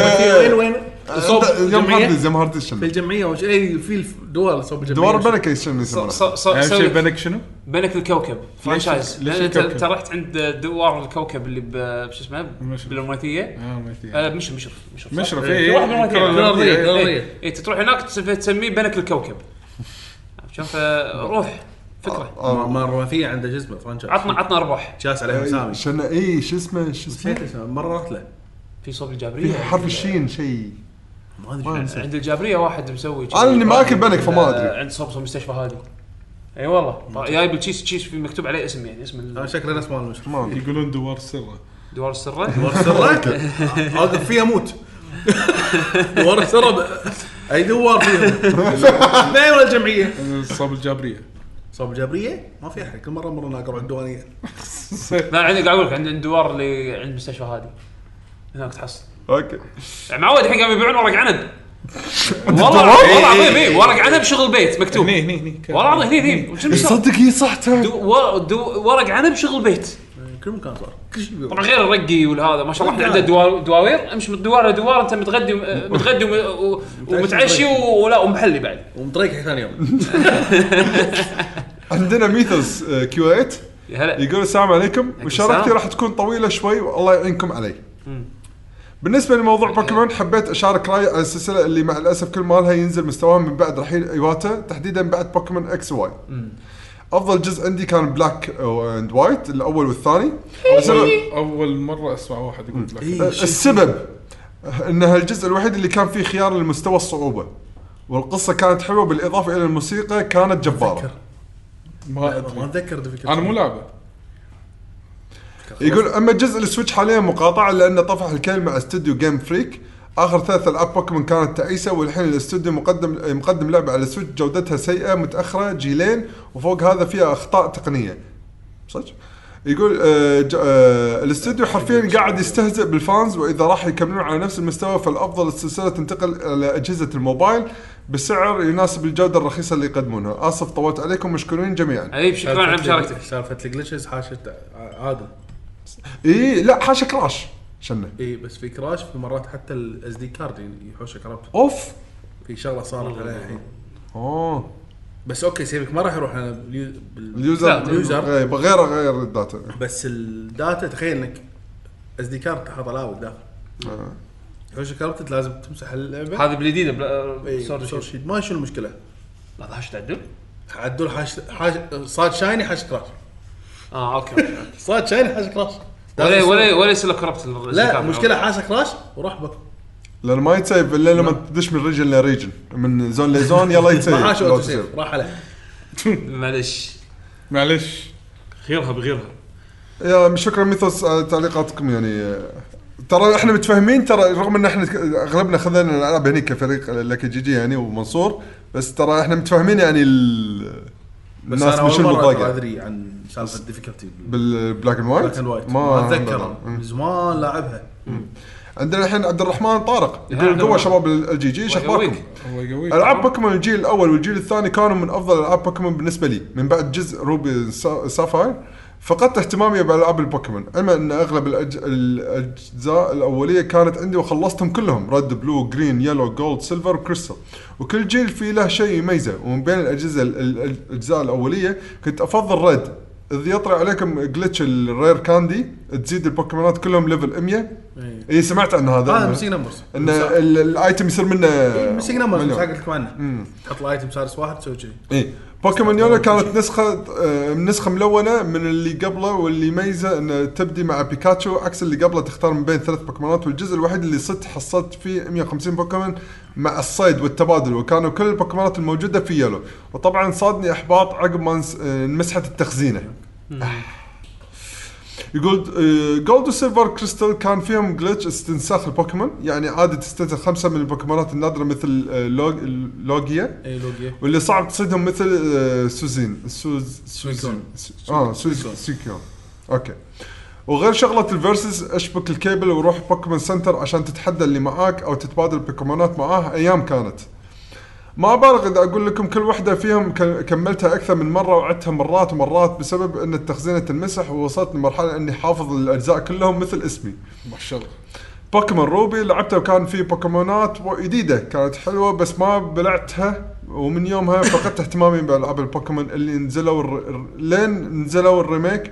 [SPEAKER 7] وين وين صوب
[SPEAKER 4] عند- آه، يوم
[SPEAKER 7] الجمعية؟
[SPEAKER 4] هارديز يوم هارديز
[SPEAKER 7] في
[SPEAKER 4] شنو؟
[SPEAKER 7] الجمعيه وش اي في الدوار صوب الجمعيه
[SPEAKER 4] دوار البنك يسمونه يسمونه.
[SPEAKER 1] ص- ص-
[SPEAKER 2] اهم
[SPEAKER 1] سوي
[SPEAKER 2] شيء بنك شنو؟
[SPEAKER 1] بنك الكوكب فرانشايز
[SPEAKER 2] ليش
[SPEAKER 1] لان انت
[SPEAKER 2] الكوكب؟
[SPEAKER 1] أنت رحت عند دوار الكوكب اللي ب- شو اسمه بالرومانية
[SPEAKER 2] اه ما في.
[SPEAKER 1] آه، مش مشرف مشرف صح؟
[SPEAKER 2] مشرف إيه،
[SPEAKER 1] في واحد
[SPEAKER 2] اي
[SPEAKER 1] بالرومانية.
[SPEAKER 7] الكره الارضيه الكرة الارضيه
[SPEAKER 1] إيه. إيه، انت تروح هناك تس- تسميه بنك الكوكب آه، عرفت شلون فروح فكره
[SPEAKER 4] آه،
[SPEAKER 7] ما- ما الرومانثيه عنده جزمه فرانشايز
[SPEAKER 1] عطنا عطنا ارباح
[SPEAKER 7] جاس عليه
[SPEAKER 4] إيه،
[SPEAKER 7] مسامي
[SPEAKER 4] شنو اي شو اسمه شو اسمه؟
[SPEAKER 7] نسيت اسمه مره رحت له
[SPEAKER 1] في صوب
[SPEAKER 4] في
[SPEAKER 1] الجابريه
[SPEAKER 4] حرف الشين شيء
[SPEAKER 7] ما ادري شو يعني. اسمه.
[SPEAKER 1] عند الجابريه واحد مسوي كذي.
[SPEAKER 4] أنا اللي ما أكل بنك فما
[SPEAKER 1] آه،
[SPEAKER 4] أدري.
[SPEAKER 1] عند صوب صوب المستشفى هذه اي والله طا- جايب التشيس تشيس في مكتوب عليه اسم يعني اسم
[SPEAKER 7] آه،
[SPEAKER 1] ال-
[SPEAKER 7] شكله نفس مال المشرف
[SPEAKER 4] ما أدري.
[SPEAKER 2] يقولون دوار سره
[SPEAKER 1] دوار السره
[SPEAKER 5] (laughs)
[SPEAKER 7] سرك اوقف فيها موت دوار السرب اي دوار
[SPEAKER 5] (laughs)
[SPEAKER 7] فيها ما ولا الجمعيه
[SPEAKER 2] صاب الجابريه
[SPEAKER 1] (laughs)
[SPEAKER 7] صوب الجبريه ما في احد كل مره مره ناقر على الديوانيه
[SPEAKER 1] لا عندي قاعد اقول لك عند عند دوار اللي عند المستشفى هذه هناك تحصل
[SPEAKER 4] اوكي
[SPEAKER 1] يعني معود الحين قام يبيعون ورق
[SPEAKER 14] (laughs)
[SPEAKER 1] عنب والله والله العظيم
[SPEAKER 14] إيه.
[SPEAKER 1] اي ورق عنب شغل بيت مكتوب
[SPEAKER 2] هني هني هني
[SPEAKER 1] والله العظيم هني هني شنو صار؟
[SPEAKER 4] صدق هي إيه، صح ترى.
[SPEAKER 1] دو- ور- دو- ورق عنب شغل بيت
[SPEAKER 7] كل مكان صار كل شيء بيوقف.
[SPEAKER 1] طبعا غير الرقي والهذا ما شاء الله احنا عندنا دوا- دواوير امشي من دوار لدوار انت متغدي
[SPEAKER 14] (laughs)
[SPEAKER 1] متغدي وم- و- ومتعشي و- ولا ومحلي بعد
[SPEAKER 7] ومطريق حق ثاني يوم
[SPEAKER 4] عندنا ميثوس آه، كيو 8
[SPEAKER 1] يا هلا
[SPEAKER 4] يقول السلام عليكم مشاركتي
[SPEAKER 1] السلام.
[SPEAKER 4] راح تكون طويله شوي والله يعينكم علي بالنسبه لموضوع بوكيمون حبيت اشارك رايي على السلسله اللي مع الاسف كل مالها ينزل مستواها من بعد رحيل ايواتا تحديدا بعد بوكيمون اكس واي افضل جزء عندي كان بلاك اند وايت الاول والثاني السبب-
[SPEAKER 2] اول مره اسمع واحد يقول لك
[SPEAKER 1] إيه.
[SPEAKER 4] السبب ان هالجزء الوحيد اللي كان فيه خيار لمستوى الصعوبه والقصه كانت حلوه بالاضافه الى الموسيقى كانت جباره
[SPEAKER 2] ما
[SPEAKER 7] ما
[SPEAKER 2] ادري
[SPEAKER 7] اتذكر دفكر
[SPEAKER 2] انا مو لعبه
[SPEAKER 4] يقول اما جزء السويتش حاليا مقاطعه لانه طفح الكل مع استوديو جيم فريك اخر ثلاث العاب بوكيمون كانت تعيسه والحين الاستوديو مقدم مقدم لعبه على سويتش جودتها سيئه متاخره جيلين وفوق هذا فيها اخطاء تقنيه صدق يقول آه ج- آه الاستوديو حرفيا قاعد يستهزئ بالفانز واذا راح يكملون على نفس المستوى فالافضل السلسله تنتقل الى اجهزه الموبايل بسعر يناسب الجوده الرخيصه اللي يقدمونها اسف طولت عليكم مشكورين جميعا
[SPEAKER 1] عليب شكرا على مشاركتك
[SPEAKER 5] سالفه الجلتشز حاشت عادل
[SPEAKER 4] اي لا حاشا كراش شنه
[SPEAKER 5] اي إيه، بس في كراش في مرات حتى الاس دي كارد يعني يحوشك عرفت
[SPEAKER 4] اوف
[SPEAKER 5] في شغله صارت عليها الحين
[SPEAKER 4] اوه
[SPEAKER 5] بس اوكي سيبك ما راح يروح على باليو- بال-
[SPEAKER 4] اليوزر
[SPEAKER 5] اليوزر
[SPEAKER 4] إيه، غير غير الداتا
[SPEAKER 5] بس الداتا تخيل انك اس دي كارد تحط الاوك داخل يحوشك عرفت لازم تمسح اللعبه
[SPEAKER 14] هذه بالجديده بلا-
[SPEAKER 7] إيه.
[SPEAKER 5] إي،
[SPEAKER 14] سوري
[SPEAKER 5] سوري
[SPEAKER 14] شيت.
[SPEAKER 5] شيد ما شنو المشكله
[SPEAKER 14] لا هاش تعدل
[SPEAKER 5] عدول حاش حاش صاد شايني حاش كراش
[SPEAKER 1] اه اوكي
[SPEAKER 5] صاد شايني حاش كراش
[SPEAKER 1] ولا ولا ولا يصير لك كربت
[SPEAKER 5] لا مشكله حاش كراش وروح بك
[SPEAKER 4] لان ما يتسيف الا لما تدش من ريجن لريجن من زون لزون يلا يتسيف
[SPEAKER 5] ما حاش
[SPEAKER 4] لو
[SPEAKER 5] اوتو
[SPEAKER 4] تسيف.
[SPEAKER 5] سيف راح عليه
[SPEAKER 1] معلش
[SPEAKER 2] معلش
[SPEAKER 14] غيرها بغيرها
[SPEAKER 4] يا شكرا ميثوس على تعليقاتكم يعني آه، ترى احنا متفاهمين ترى رغم ان احنا ك- اغلبنا خذينا الالعاب هني كفريق لك جي جي يعني ومنصور بس ترى احنا متفاهمين يعني ال...
[SPEAKER 5] بس
[SPEAKER 4] الناس
[SPEAKER 5] انا
[SPEAKER 4] من
[SPEAKER 5] اول
[SPEAKER 4] شنو
[SPEAKER 5] مره ترى
[SPEAKER 4] متضايقه
[SPEAKER 5] ادري عن سالفه الديفيكولتي
[SPEAKER 4] بالبلاك اند
[SPEAKER 5] بلاك
[SPEAKER 4] وايت
[SPEAKER 5] اند وايت ما اتذكرها
[SPEAKER 4] مم.
[SPEAKER 5] من زمان لاعبها
[SPEAKER 4] عندنا الحين عبد الرحمن طارق
[SPEAKER 1] عبد
[SPEAKER 4] يقول قوه
[SPEAKER 1] الرحمن.
[SPEAKER 4] شباب الجي جي شخباركم
[SPEAKER 1] يقويك.
[SPEAKER 2] الله يقويك
[SPEAKER 4] العاب بوكيمون الجيل الاول والجيل الثاني كانوا من افضل العاب بوكيمون بالنسبه لي من بعد جزء روبي سا- سافاير فقدت اهتمامي بالعاب البوكيمون اما ان اغلب الأج... الاجزاء الاوليه كانت عندي وخلصتهم كلهم ريد بلو جرين يلو جولد سيلفر وكريستال وكل جيل فيه له شيء يميزه ومن بين الاجهزه ال- الاجزاء الاوليه كنت افضل ريد اذ يطلع عليكم جلتش الرير كاندي تزيد البوكيمونات كلهم ليفل 100 اي سمعت عن هذا
[SPEAKER 5] هذا مسيك نمبرز
[SPEAKER 4] ان ال- الايتم يصير منه
[SPEAKER 5] مسيك نمبرز
[SPEAKER 4] مليون.
[SPEAKER 5] بس قلت لكم عنه تحط الايتم سارس واحد تسوي كذي
[SPEAKER 4] اي بوكيمون يولو إيه. كانت نسخة آه، نسخة ملونة من اللي قبله واللي يميزه انه تبدي مع بيكاتشو عكس اللي قبله تختار من بين ثلاث بوكيمونات والجزء الوحيد اللي صدت حصلت فيه 150 بوكيمون مع الصيد والتبادل وكانوا كل البوكيمونات الموجودة في يولو وطبعا صادني احباط عقب ما انس- آه، انمسحت التخزينة آه. يقول آه، جولد وسيلفر كريستال كان فيهم جلتش استنساخ البوكيمون يعني عادي تستنسخ خمسة من البوكيمونات النادرة مثل آه، لوج- لوجيا
[SPEAKER 5] اي لوجيا
[SPEAKER 4] واللي صعب تصيدهم مثل آه، سوزين سوز
[SPEAKER 5] سويكون.
[SPEAKER 4] سوزين سو- اه سوز سويكون اوكي وغير شغله الفيرسز اشبك الكيبل وروح بوكيمون سنتر عشان تتحدى اللي معاك او تتبادل بوكيمونات معاه ايام كانت ما ابالغ اذا اقول لكم كل وحده فيهم ك- كملتها اكثر من مره وعدتها مرات ومرات بسبب ان التخزينه تنمسح ووصلت لمرحله اني حافظ الاجزاء كلهم مثل اسمي
[SPEAKER 2] ما شاء الله
[SPEAKER 4] بوكيمون روبي لعبته وكان في بوكيمونات و- جديده كانت حلوه بس ما بلعتها ومن يومها فقدت اهتمامي بالعاب البوكيمون اللي نزلوا الر... الر- لين نزلوا الريميك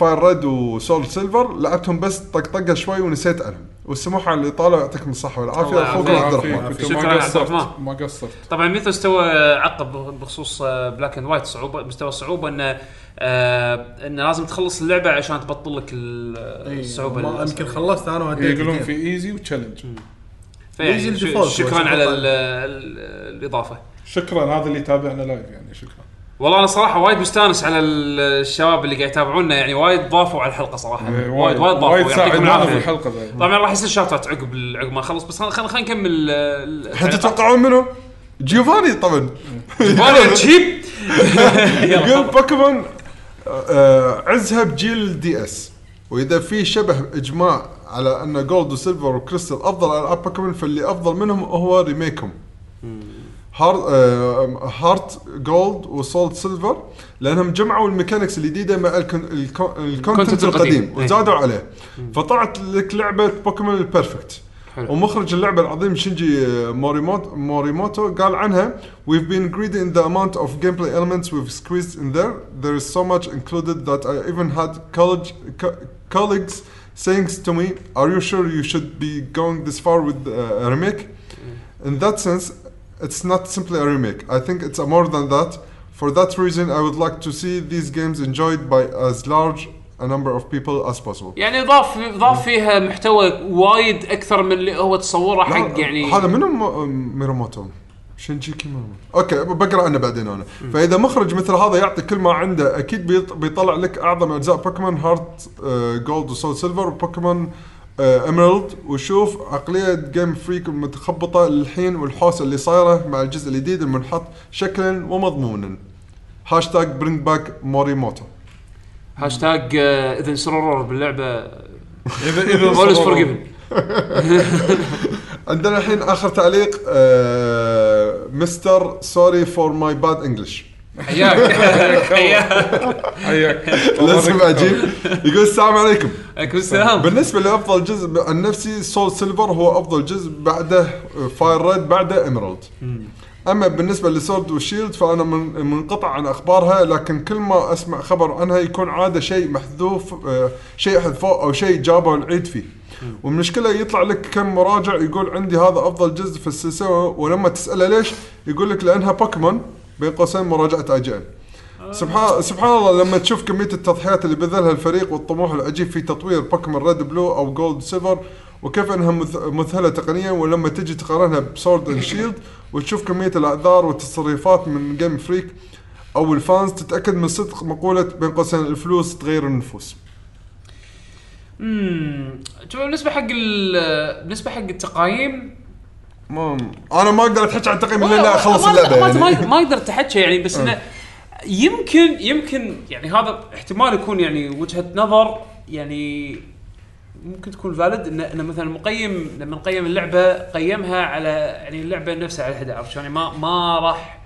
[SPEAKER 4] فاير ريد وسول سيلفر لعبتهم بس طقطقه شوي ونسيت عنهم والسموحه على الاطاله يعطيكم الصحه والعافيه
[SPEAKER 1] الله
[SPEAKER 4] اخوكم
[SPEAKER 1] يعافيك.
[SPEAKER 4] عبد الرحمن
[SPEAKER 2] كنت
[SPEAKER 1] شكراً
[SPEAKER 2] ما
[SPEAKER 1] على
[SPEAKER 2] قصرت
[SPEAKER 1] الدعم.
[SPEAKER 2] ما قصرت
[SPEAKER 1] طبعا ميثوس تو عقب بخصوص آه، بلاك اند وايت صعوبه مستوى الصعوبه انه آه، انه لازم تخلص اللعبه عشان تبطل لك ال- الصعوبه
[SPEAKER 5] ما-
[SPEAKER 1] ال-
[SPEAKER 5] يمكن خلصت انا وهديت
[SPEAKER 2] يقولون في ايزي وتشالنج
[SPEAKER 1] فيعني
[SPEAKER 5] يجي
[SPEAKER 1] ش-
[SPEAKER 5] الديفولت.
[SPEAKER 1] شكرا على ال- ال- الاضافه
[SPEAKER 2] شكرا هذا اللي تابعنا لايف يعني شكرا
[SPEAKER 1] والله انا صراحه وايد مستانس على ال- الشباب اللي قاعد يتابعونا يعني وايد ضافوا على الحلقه صراحه
[SPEAKER 2] إيه،
[SPEAKER 1] وايد وايد ضافوا
[SPEAKER 2] وايد
[SPEAKER 1] يعطيكم
[SPEAKER 2] ساعدونا في
[SPEAKER 1] العافيه
[SPEAKER 2] الحلقه بعد
[SPEAKER 1] طبعا راح يصير شوت اوت عقب ال- عقب ما اخلص بس خلينا خلينا نكمل آه، ال- يعني ال-
[SPEAKER 4] الحين تتوقعون منو؟ جيوفاني طبعا
[SPEAKER 1] والله تشيب
[SPEAKER 4] يقول بوكيمون آه، عزها بجيل دي اس واذا في شبه اجماع على ان جولد وسيلفر وكريستال افضل العاب بوكيمون فاللي افضل منهم هو ريميكهم هارت آه هارت جولد وسولد سيلفر لانهم جمعوا الميكانكس الجديده مع الكون- الكون- الكونتنت
[SPEAKER 1] القديم.
[SPEAKER 4] القديم وزادوا عليه فطلعت لك لعبه بوكيمون البيرفكت
[SPEAKER 1] حلو.
[SPEAKER 4] ومخرج اللعبه العظيم شينجي آه، موريموتو موريموتو قال عنها we've been greedy in the amount of gameplay elements we've squeezed in there there is so much included that I even had college co- colleagues saying to me are you sure you should be going this far with uh, a remake in that sense it's not simply a remake I think it's a more than that for that reason I would like to see these games enjoyed by as large a number of people as possible
[SPEAKER 1] يعني ضاف ضاف فيها محتوى وايد اكثر من اللي هو تصوره حق يعني
[SPEAKER 4] هذا منو م- ميراموتو شنجيكي ميراموتو اوكي بقرا عنه بعدين انا فاذا مخرج مثل هذا يعطي كل ما عنده اكيد بيط- بيطلع لك اعظم اجزاء بوكيمون هارت آه، جولد وسول سيلفر وبوكيمون اميرالد وشوف عقليه جيم فريك المتخبطه للحين والحوسه اللي صايره مع الجزء الجديد المنحط شكلا ومضمونا هاشتاج برينج باك موريموتو
[SPEAKER 1] هاشتاج آه، اذا سرور باللعبه (laughs)
[SPEAKER 2] اذا اذا
[SPEAKER 1] اولز
[SPEAKER 2] صبروا.
[SPEAKER 1] فورجيفن
[SPEAKER 4] عندنا الحين اخر تعليق آه، مستر سوري فور ماي باد انجلش
[SPEAKER 1] حياك حياك
[SPEAKER 2] حياك
[SPEAKER 1] (laughs)
[SPEAKER 4] لازم اجيب يقول السلام عليكم
[SPEAKER 1] عليكم السلام
[SPEAKER 4] بالنسبه لافضل جزء عن نفسي سول سيلفر هو افضل جزء بعده فاير ريد بعده ايمرالد اما بالنسبه لسورد وشيلد فانا من- منقطع عن اخبارها لكن كل ما اسمع خبر عنها يكون عاده شيء محذوف آه، شيء حذفوه او شيء جابوا العيد فيه والمشكله يطلع لك كم مراجع يقول عندي هذا افضل جزء في السلسله ولما تساله ليش يقول لك لانها بوكيمون بين قوسين مراجعه اي جي ان سبحان سبحان الله لما تشوف كميه التضحيات اللي بذلها الفريق والطموح العجيب في تطوير بوكيمون ريد بلو او جولد سيلفر وكيف انها مث- مذهله تقنيا ولما تجي تقارنها بسورد اند شيلد وتشوف كميه الاعذار والتصريفات من جيم فريك او الفانز تتاكد من صدق مقوله بين قوسين الفلوس تغير النفوس.
[SPEAKER 1] أمم، شوف بالنسبه حق ال- بالنسبه حق التقايم
[SPEAKER 4] ما انا ما اقدر اتحكي عن تقييم لان
[SPEAKER 1] ما-
[SPEAKER 4] اخلص
[SPEAKER 1] ما-
[SPEAKER 4] اللعبه
[SPEAKER 1] ما- ما-
[SPEAKER 4] يعني. آه.
[SPEAKER 1] ما اقدر اتحكى يعني بس انه يمكن يمكن يعني هذا احتمال يكون يعني وجهه نظر يعني ممكن تكون فالid ان ان مثلا مقيم لما نقيم اللعبه قيمها على يعني اللعبه نفسها على الهدى عرفت شلون؟ يعني ما ما راح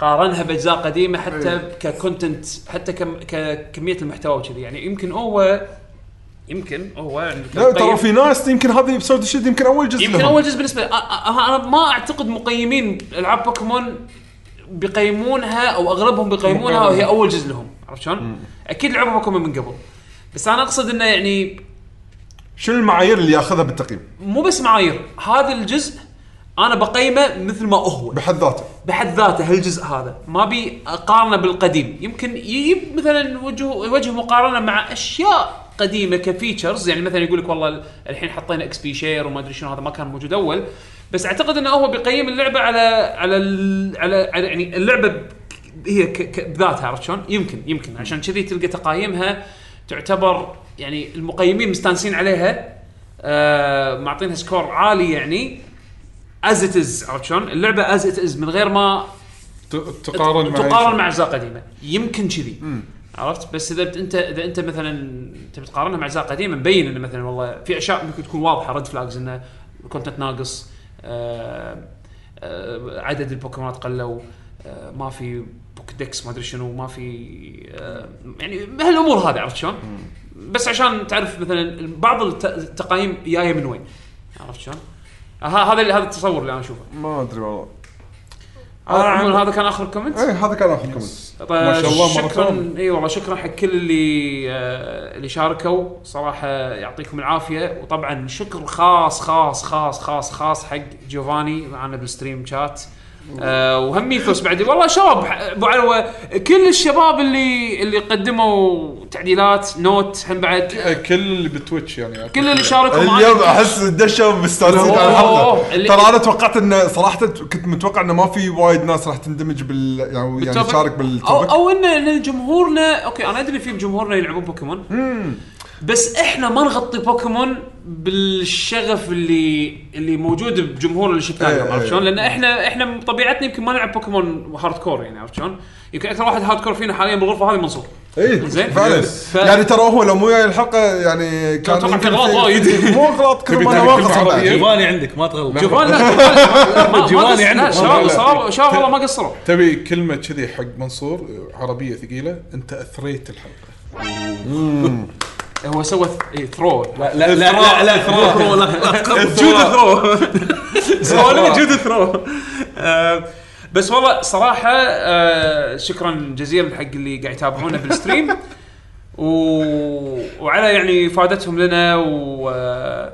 [SPEAKER 1] قارنها باجزاء قديمه حتى
[SPEAKER 4] إيه.
[SPEAKER 1] ككونتنت حتى كم ككميه المحتوى وكذي يعني يمكن هو يمكن هو يعني
[SPEAKER 4] لا ترى
[SPEAKER 1] مقيم-
[SPEAKER 4] في ناس يمكن هذه بسورد شيلد يمكن اول جزء
[SPEAKER 1] يمكن
[SPEAKER 4] لهم.
[SPEAKER 1] اول جزء بالنسبه لي أ- أ- انا ما اعتقد مقيمين العاب بوكيمون بيقيمونها او اغلبهم بيقيمونها وهي اول جزء لهم عرفت شلون؟ اكيد لعبوا بوكيمون من قبل بس انا اقصد انه يعني
[SPEAKER 4] شنو المعايير اللي ياخذها بالتقييم
[SPEAKER 1] مو بس معايير هذا الجزء انا بقيمه مثل ما هو
[SPEAKER 4] بحد ذاته؟
[SPEAKER 1] بحد ذاته هالجزء هذا ما بي اقارنه بالقديم يمكن يجيب مثلا وجه وجه مقارنه مع اشياء قديمه كفيتشرز يعني مثلا يقول لك والله الحين حطينا اكس بي شير وما ادري شنو هذا ما كان موجود اول بس اعتقد انه هو بيقيم اللعبه على على ال- على, على يعني اللعبه ب- هي ك- ك- بذاتها عرفت شلون؟ يمكن يمكن عشان كذي تلقى تقايمها تعتبر يعني المقيمين مستانسين عليها آه معطينها سكور عالي يعني از ات از عرفت شلون؟ اللعبه از ات از من غير ما
[SPEAKER 2] ت- تقارن مع
[SPEAKER 1] تقارن مع اجزاء قديمه يمكن كذي عرفت بس اذا بت- انت اذا انت مثلا تبي تقارنها مع اجزاء قديمه مبين انه مثلا والله في اشياء ممكن تكون واضحه ريد فلاجز انه الكونتنت ناقص آه آه عدد البوكيمونات قلوا آه ما في بوك ديكس ما ادري شنو ما في آه يعني هالامور هذه عرفت شلون؟ بس عشان تعرف مثلا بعض الت- التقايم جايه من وين عرفت شلون؟ ه- هذا اللي- هذا التصور اللي انا اشوفه
[SPEAKER 4] ما ادري والله.
[SPEAKER 1] هذا عموماً آه، هذا كان اخر كومنت
[SPEAKER 4] اي هذا كان اخر كومنت.
[SPEAKER 1] ما
[SPEAKER 2] إيه. شاء الله مرة
[SPEAKER 1] شكرا
[SPEAKER 2] ثانية.
[SPEAKER 1] اي إيه والله شكرا حق كل اللي آه، اللي شاركوا صراحه يعطيكم العافيه وطبعا شكر خاص خاص خاص خاص خاص حق جوفاني معنا بالستريم شات آه وهميثوس بعد والله شباب ابو علوه كل الشباب اللي اللي قدموا تعديلات نوت هم بعد
[SPEAKER 2] كل اللي بتويتش يعني
[SPEAKER 1] كل اللي شاركوا
[SPEAKER 4] اليوم
[SPEAKER 1] معنا
[SPEAKER 4] احس دشوا مستانسين
[SPEAKER 1] أوه،
[SPEAKER 4] على الحلقه
[SPEAKER 1] أوه، اللي-
[SPEAKER 4] ترى انا توقعت انه صراحه كنت متوقع انه ما في وايد ناس راح تندمج بال يعني يعني
[SPEAKER 1] بالتوبك.
[SPEAKER 4] تشارك
[SPEAKER 1] او
[SPEAKER 4] بالتوبك
[SPEAKER 1] او ان إن جمهورنا اوكي انا ادري في جمهورنا يلعبون بوكيمون بس احنا ما نغطي بوكيمون بالشغف اللي اللي موجود بجمهور اللي شفناه اليوم
[SPEAKER 4] إيه،
[SPEAKER 1] عرفت
[SPEAKER 4] إيه.
[SPEAKER 1] شلون؟ لان احنا احنا طبيعتنا يمكن ما نلعب بوكيمون هارد كور يعني عرفت شلون؟ يمكن اكثر واحد هارد كور فينا حاليا بالغرفه هذه منصور
[SPEAKER 4] اي
[SPEAKER 1] زين.
[SPEAKER 4] فعلا
[SPEAKER 1] ف-
[SPEAKER 4] إيه، يعني ترى هو لو مو جاي الحلقه يعني كان
[SPEAKER 1] أتوقع
[SPEAKER 4] يمكن
[SPEAKER 1] كان غلط
[SPEAKER 4] في-
[SPEAKER 1] وايد.
[SPEAKER 4] (laughs) مو غلط كل ما انا
[SPEAKER 2] تعرف
[SPEAKER 4] واقف
[SPEAKER 2] العربية؟
[SPEAKER 4] صراحة.
[SPEAKER 7] جوفاني عندك ما تغلط
[SPEAKER 1] جوفان لا جوفان- ما- ما
[SPEAKER 7] جوفاني
[SPEAKER 1] قص- لا،
[SPEAKER 7] عندك.
[SPEAKER 1] شباب شباب شباب والله ما قصروا
[SPEAKER 2] تبي كلمه كذي حق منصور عربيه ثقيله انت اثريت الحلقه
[SPEAKER 1] هو سوى اي ثرو
[SPEAKER 7] لا لا لا لا لا ثرو لا
[SPEAKER 1] جود ثرو سوالف جود ثرو آه، بس والله صراحه آه، شكرا جزيلا حق اللي قاعد يتابعونا بالستريم و... وعلى يعني افادتهم لنا و... آه،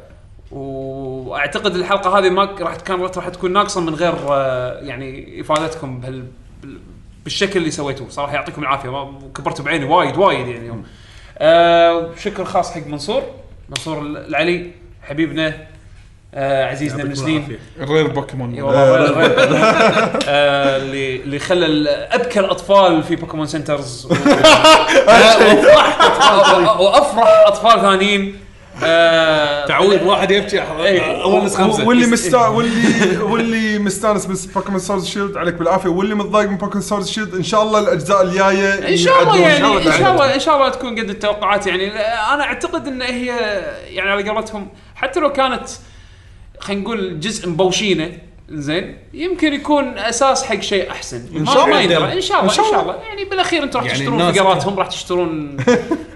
[SPEAKER 1] واعتقد الحلقه هذه ما ك- راح كانت راح تكون ناقصه من غير آه، يعني افادتكم بهال بال- بالشكل اللي سويتوه صراحه يعطيكم العافيه ما كبرتوا بعيني وايد وايد يعني يوم آه شكر خاص حق منصور منصور العلي حبيبنا آه عزيزنا من سنين
[SPEAKER 2] الرير بوكيمون
[SPEAKER 1] اي يعني والله وين- وين- آه، اللي اللي خلى ال- ابكى الاطفال في آه، بوكيمون سنترز و- وافرح أطفال- وافرح اطفال ثانيين آه،
[SPEAKER 5] تعويض واحد يبكي
[SPEAKER 1] إيه.
[SPEAKER 5] اول نسخه خمسه
[SPEAKER 4] واللي مستا واللي واللي مستانس من بوكيمون سورد شيلد عليك بالعافيه واللي متضايق من بوكيمون سورد شيلد ان شاء الله الاجزاء الجايه
[SPEAKER 1] ان شاء الله
[SPEAKER 4] يعدون.
[SPEAKER 1] يعني ان شاء
[SPEAKER 4] تعدون.
[SPEAKER 1] الله ان شاء الله تكون قد التوقعات يعني لا- انا اعتقد ان هي يعني على قولتهم حتى لو كانت خلينا نقول جزء مبوشينه زين يمكن يكون اساس حق شيء احسن ان
[SPEAKER 4] شاء الله.
[SPEAKER 1] ان شاء الله ان شاء الله يعني بالاخير انتم راح
[SPEAKER 7] يعني
[SPEAKER 1] تشترون
[SPEAKER 7] الناس-
[SPEAKER 1] فقراتهم راح تشترون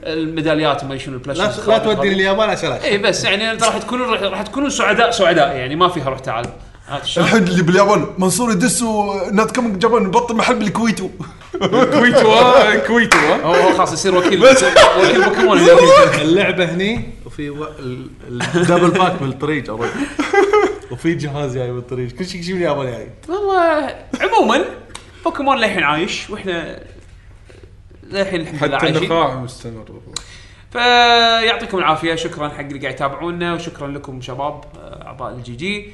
[SPEAKER 1] الميداليات وما شنو البلاش
[SPEAKER 7] لا لا توديني اليابان عشان أشوف.
[SPEAKER 1] اي بس يعني انت راح تكونون راح تكونون سعداء سعداء يعني ما فيها روح تعال عرفت شلون؟
[SPEAKER 4] الحين اللي باليابان منصور يدس ونات كومينج جابان نبطل محل بالكويت و-
[SPEAKER 1] كويتو
[SPEAKER 4] آه،
[SPEAKER 1] كويتو هو هو خلاص يصير وكيل وكيل بوكيمون
[SPEAKER 7] اللعبه هني وفي و... ال- (laughs) الدبل باك بالطريق أرد. وفي جهاز جاي بالطريق كل شيء شيء باليابان جاي
[SPEAKER 1] والله عموما بوكيمون للحين عايش واحنا للحين الحمد لله
[SPEAKER 2] حتى
[SPEAKER 1] عايشين
[SPEAKER 2] النقاع مستمر
[SPEAKER 1] فيعطيكم العافيه شكرا حق اللي قاعد يتابعونا وشكرا لكم شباب آه، اعضاء الجي جي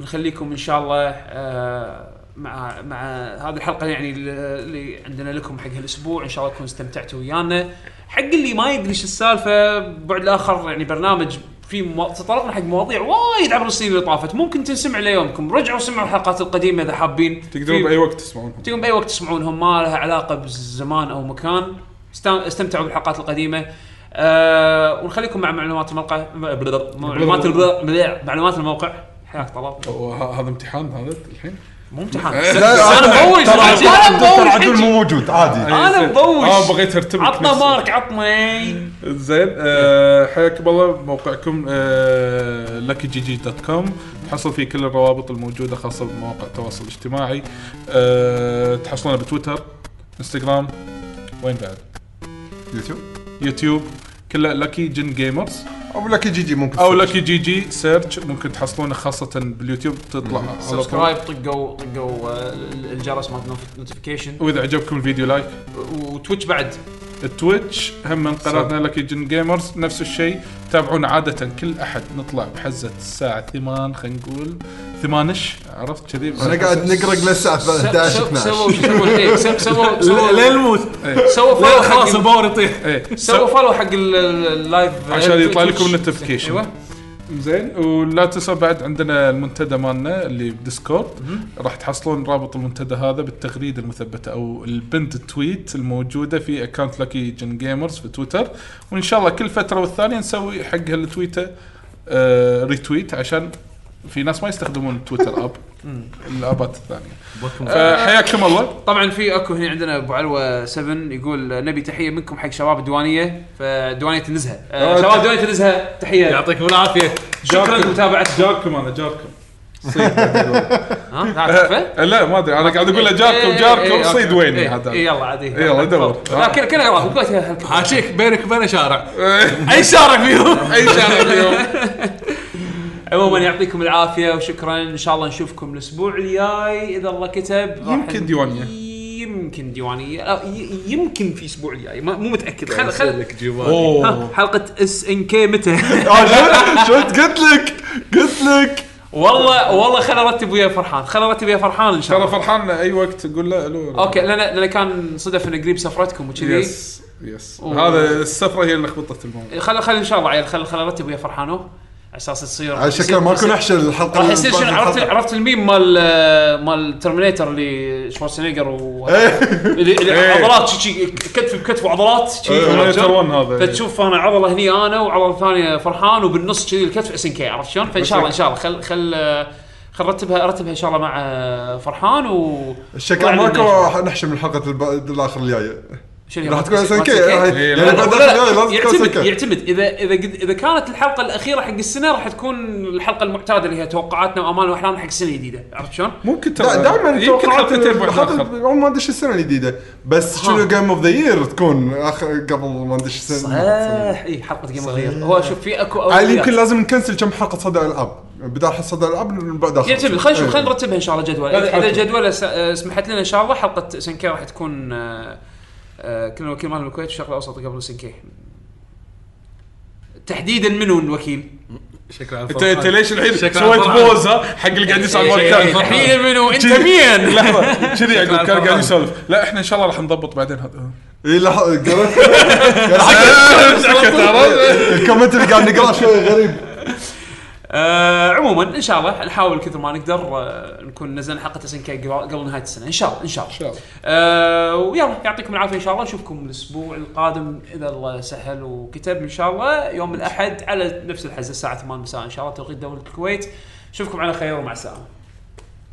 [SPEAKER 1] نخليكم ان شاء الله آه، مع مع هذه الحلقه يعني ال- اللي عندنا لكم حق هالاسبوع ان شاء الله تكونوا استمتعتوا ويانا حق اللي ما يدري شو السالفه بعد الاخر يعني برنامج في مو... تطرقنا حق مواضيع وايد عبر السنين اللي طافت ممكن تنسمع ليومكم رجعوا سمعوا الحلقات القديمه اذا حابين
[SPEAKER 2] تقدرون
[SPEAKER 1] في-
[SPEAKER 2] باي وقت تسمعونهم
[SPEAKER 1] تقوم باي وقت تسمعونهم ما لها علاقه بالزمان او مكان است- استمتعوا بالحلقات القديمه أه ونخليكم مع معلومات الموقع معلومات الب- معلومات الموقع حياك طلال
[SPEAKER 2] وه- هذا امتحان هذا الحين
[SPEAKER 1] مو امتحان
[SPEAKER 4] لا،
[SPEAKER 1] انا مبوش
[SPEAKER 4] إيه. ترى
[SPEAKER 1] صراحة. انا
[SPEAKER 4] دكتور
[SPEAKER 1] مبوش
[SPEAKER 4] عدول
[SPEAKER 1] حجي.
[SPEAKER 4] مو موجود عادي
[SPEAKER 1] انا
[SPEAKER 2] اه
[SPEAKER 1] مبوش
[SPEAKER 2] بغيت ارتبك
[SPEAKER 1] عطنا
[SPEAKER 2] نفسي.
[SPEAKER 1] مارك عطنا إي.
[SPEAKER 2] زين آه، حياكم الله موقعكم آه، لكي جي جي دوت كوم تحصل فيه كل الروابط الموجوده خاصه بمواقع التواصل الاجتماعي آه، تحصلونه بتويتر انستغرام وين بعد
[SPEAKER 4] يوتيوب
[SPEAKER 2] يوتيوب كله لكي جن جيمرز
[SPEAKER 4] او لك جي جي ممكن
[SPEAKER 2] او لكي جي جي سيرش ممكن تحصلونه خاصه باليوتيوب تطلع على طول.
[SPEAKER 1] سبسكرايب طقوا طقوا آه، الجرس مال نوتيفيكيشن
[SPEAKER 2] واذا عجبكم الفيديو لايك
[SPEAKER 1] وتويتش بعد
[SPEAKER 2] التويتش هم من قناتنا لكي جن جيمرز نفس الشيء تابعونا عادة كل احد نطلع بحزة الساعة 8 خلينا نقول 8 عرفت كذي
[SPEAKER 4] انا قاعد نقرق للساعه
[SPEAKER 1] س-
[SPEAKER 4] 11
[SPEAKER 1] سو-
[SPEAKER 4] 12
[SPEAKER 1] سووا سووا إي،
[SPEAKER 4] (laughs)
[SPEAKER 1] سو- سووا
[SPEAKER 5] لين
[SPEAKER 1] سووا
[SPEAKER 5] الموت
[SPEAKER 1] سووا فولو حق
[SPEAKER 5] خلاص الباور يطيح
[SPEAKER 2] ايه
[SPEAKER 1] سووا
[SPEAKER 2] سو-
[SPEAKER 1] فولو حق ال- ال- اللايف
[SPEAKER 2] عشان يطلع لكم
[SPEAKER 1] تويتش.
[SPEAKER 2] النوتيفيكيشن.
[SPEAKER 1] ايوه
[SPEAKER 2] زين ولا تنسوا بعد عندنا المنتدى مالنا اللي بديسكورد راح تحصلون رابط المنتدى هذا بالتغريدة المثبتة او البنت تويت الموجودة في اكونت لكي جن جيمرز في تويتر وان شاء الله كل فترة والثانية نسوي حق هالتويتة آه ريتويت عشان في ناس ما يستخدمون تويتر اب الابات الثانيه آه، حياكم الله
[SPEAKER 1] طبعا في اكو هنا عندنا ابو علوه 7 يقول نبي تحيه منكم حق شباب الديوانيه فديوانيه النزهه آه، شباب ديوانيه النزهه تحيه
[SPEAKER 5] يعطيكم العافيه
[SPEAKER 1] شكرا لمتابعتكم
[SPEAKER 2] جاركم انا جاركم
[SPEAKER 1] ها لا تعرفه؟
[SPEAKER 2] آه، لا ما ادري انا قاعد اقول له جاركم
[SPEAKER 1] إيه،
[SPEAKER 2] جاركم صيد ويني هذا إيه،
[SPEAKER 1] اي إيه، يلا عادي
[SPEAKER 2] يلا، دور.
[SPEAKER 1] لا كل كل يلا قلت له هالك-
[SPEAKER 5] حاشيك بينك وبين شارع
[SPEAKER 2] إيه.
[SPEAKER 1] اي شارع
[SPEAKER 2] (laughs)
[SPEAKER 1] فيهم اي شارع (laughs) فيهم عموما يعطيكم العافيه وشكرا ان شاء الله نشوفكم الاسبوع الجاي اذا الله كتب راح
[SPEAKER 2] يمكن ديوانية.
[SPEAKER 1] يمكن ديوانيه لا، ي- يمكن في اسبوع الجاي ما- مو متاكد خل خل
[SPEAKER 5] لك جوال
[SPEAKER 1] ها، حلقه اس ان كي متى (laughs)
[SPEAKER 4] (laughs) آه، شفت- شفت قلت لك قلت لك
[SPEAKER 1] والله والله خل ارتب ويا فرحان خل ارتب ويا فرحان ان شاء
[SPEAKER 2] ترى
[SPEAKER 1] الله
[SPEAKER 2] فرحان اي وقت تقول له الو
[SPEAKER 1] اوكي لان لان كان صدف انه قريب سفرتكم وكذي
[SPEAKER 2] يس يس
[SPEAKER 1] أوه.
[SPEAKER 2] هذا السفره هي اللي لخبطت الموضوع
[SPEAKER 1] خل خل ان شاء الله عيل خل خل ارتب ويا فرحانو على اساس تصير
[SPEAKER 4] على شكل ما اكون احشر الحلقه
[SPEAKER 1] راح يصير شنو عرفت
[SPEAKER 4] (laughs) الحلقة.
[SPEAKER 1] عرفت الميم مال مال ترمينيتر اللي شوارسنيجر و اللي, اللي
[SPEAKER 2] إيه.
[SPEAKER 1] عضلات شي- شي كتف بكتف وعضلات شي، إيه،
[SPEAKER 4] إيه،
[SPEAKER 1] عرفت شلون؟
[SPEAKER 2] ترون هذا
[SPEAKER 1] فتشوف انا عضله هني انا وعضله ثانيه فرحان وبالنص كذي الكتف اس ان كي عرفت شلون؟ فان شاء الله ان شاء الله خل خل خل رتبها رتبها ان شاء الله مع فرحان و
[SPEAKER 4] الشكل ماكو راح نحشر من الحلقه الب- الاخر الجايه
[SPEAKER 1] شنو هي؟
[SPEAKER 4] راح تكون
[SPEAKER 1] مالت-
[SPEAKER 4] اس ان
[SPEAKER 1] مالت
[SPEAKER 4] كي
[SPEAKER 2] إيه،
[SPEAKER 4] يعني
[SPEAKER 2] لا،
[SPEAKER 4] بعد
[SPEAKER 1] لا،
[SPEAKER 4] الحلقة
[SPEAKER 1] لا،
[SPEAKER 4] الجاية لازم تكون
[SPEAKER 1] يعتمد
[SPEAKER 4] SNK.
[SPEAKER 1] يعتمد اذا اذا قد- اذا كانت الحلقه الاخيره حق السنه راح تكون الحلقه المعتاده اللي هي توقعاتنا وامالنا واحلامنا حق السنه الجديده عرفت شلون؟
[SPEAKER 2] ممكن
[SPEAKER 4] لا،
[SPEAKER 2] ترى
[SPEAKER 4] دائما
[SPEAKER 2] يمكن
[SPEAKER 4] توقعات
[SPEAKER 2] حلقتين بعد
[SPEAKER 4] حاطط-
[SPEAKER 2] الاخر
[SPEAKER 4] ما ادري شو السنه الجديده بس شنو جيم اوف ذا يير تكون آخر- قبل ما ادري شو السنه
[SPEAKER 1] صحيح اي حلقه جيم غير هو شوف في اكو
[SPEAKER 4] على آه، يمكن
[SPEAKER 1] أولويات.
[SPEAKER 4] لازم نكنسل كم حلقه صدى العاب بدال حلقة صدى العاب من بعد اخر
[SPEAKER 1] يعتمد خلينا نشوف
[SPEAKER 4] إيه.
[SPEAKER 1] خلينا نرتبها ان شاء الله جدول اذا الجدول سمحت لنا ان شاء الله حلقه سنكي راح تكون آه، آه، كلنا وكيل مال الكويت الشرق الاوسط قبل سنكي تحديدا منو الوكيل؟
[SPEAKER 5] شكرا
[SPEAKER 2] انت انت ليش الحين
[SPEAKER 5] شكراً
[SPEAKER 2] سويت
[SPEAKER 5] فرحان.
[SPEAKER 2] بوز ها حق اللي قاعد يسال مال
[SPEAKER 1] إيه،
[SPEAKER 2] الكلام.
[SPEAKER 1] تحديدا منو انت
[SPEAKER 2] جي-
[SPEAKER 1] مين؟
[SPEAKER 2] لحظه كذي يعقوب كان
[SPEAKER 5] فرحان.
[SPEAKER 1] (laughs)
[SPEAKER 2] قاعد يسولف لا احنا ان شاء الله راح نضبط بعدين هذا (laughs)
[SPEAKER 4] اي لحظه قريت (laughs) الكومنت اللي قاعد نقراه شوي غريب
[SPEAKER 1] آه عموما ان شاء الله نحاول كثر ما نقدر آه نكون نزلنا حلقه اسنكي قبل نهايه السنه ان شاء الله ان شاء الله ان شاء الله آه ويلا يعطيكم العافيه ان شاء الله نشوفكم الاسبوع القادم اذا الله سهل وكتب ان شاء الله يوم الاحد على نفس الحزه الساعه 8 مساء ان شاء الله توقيت دوله الكويت نشوفكم على خير ومع السلامه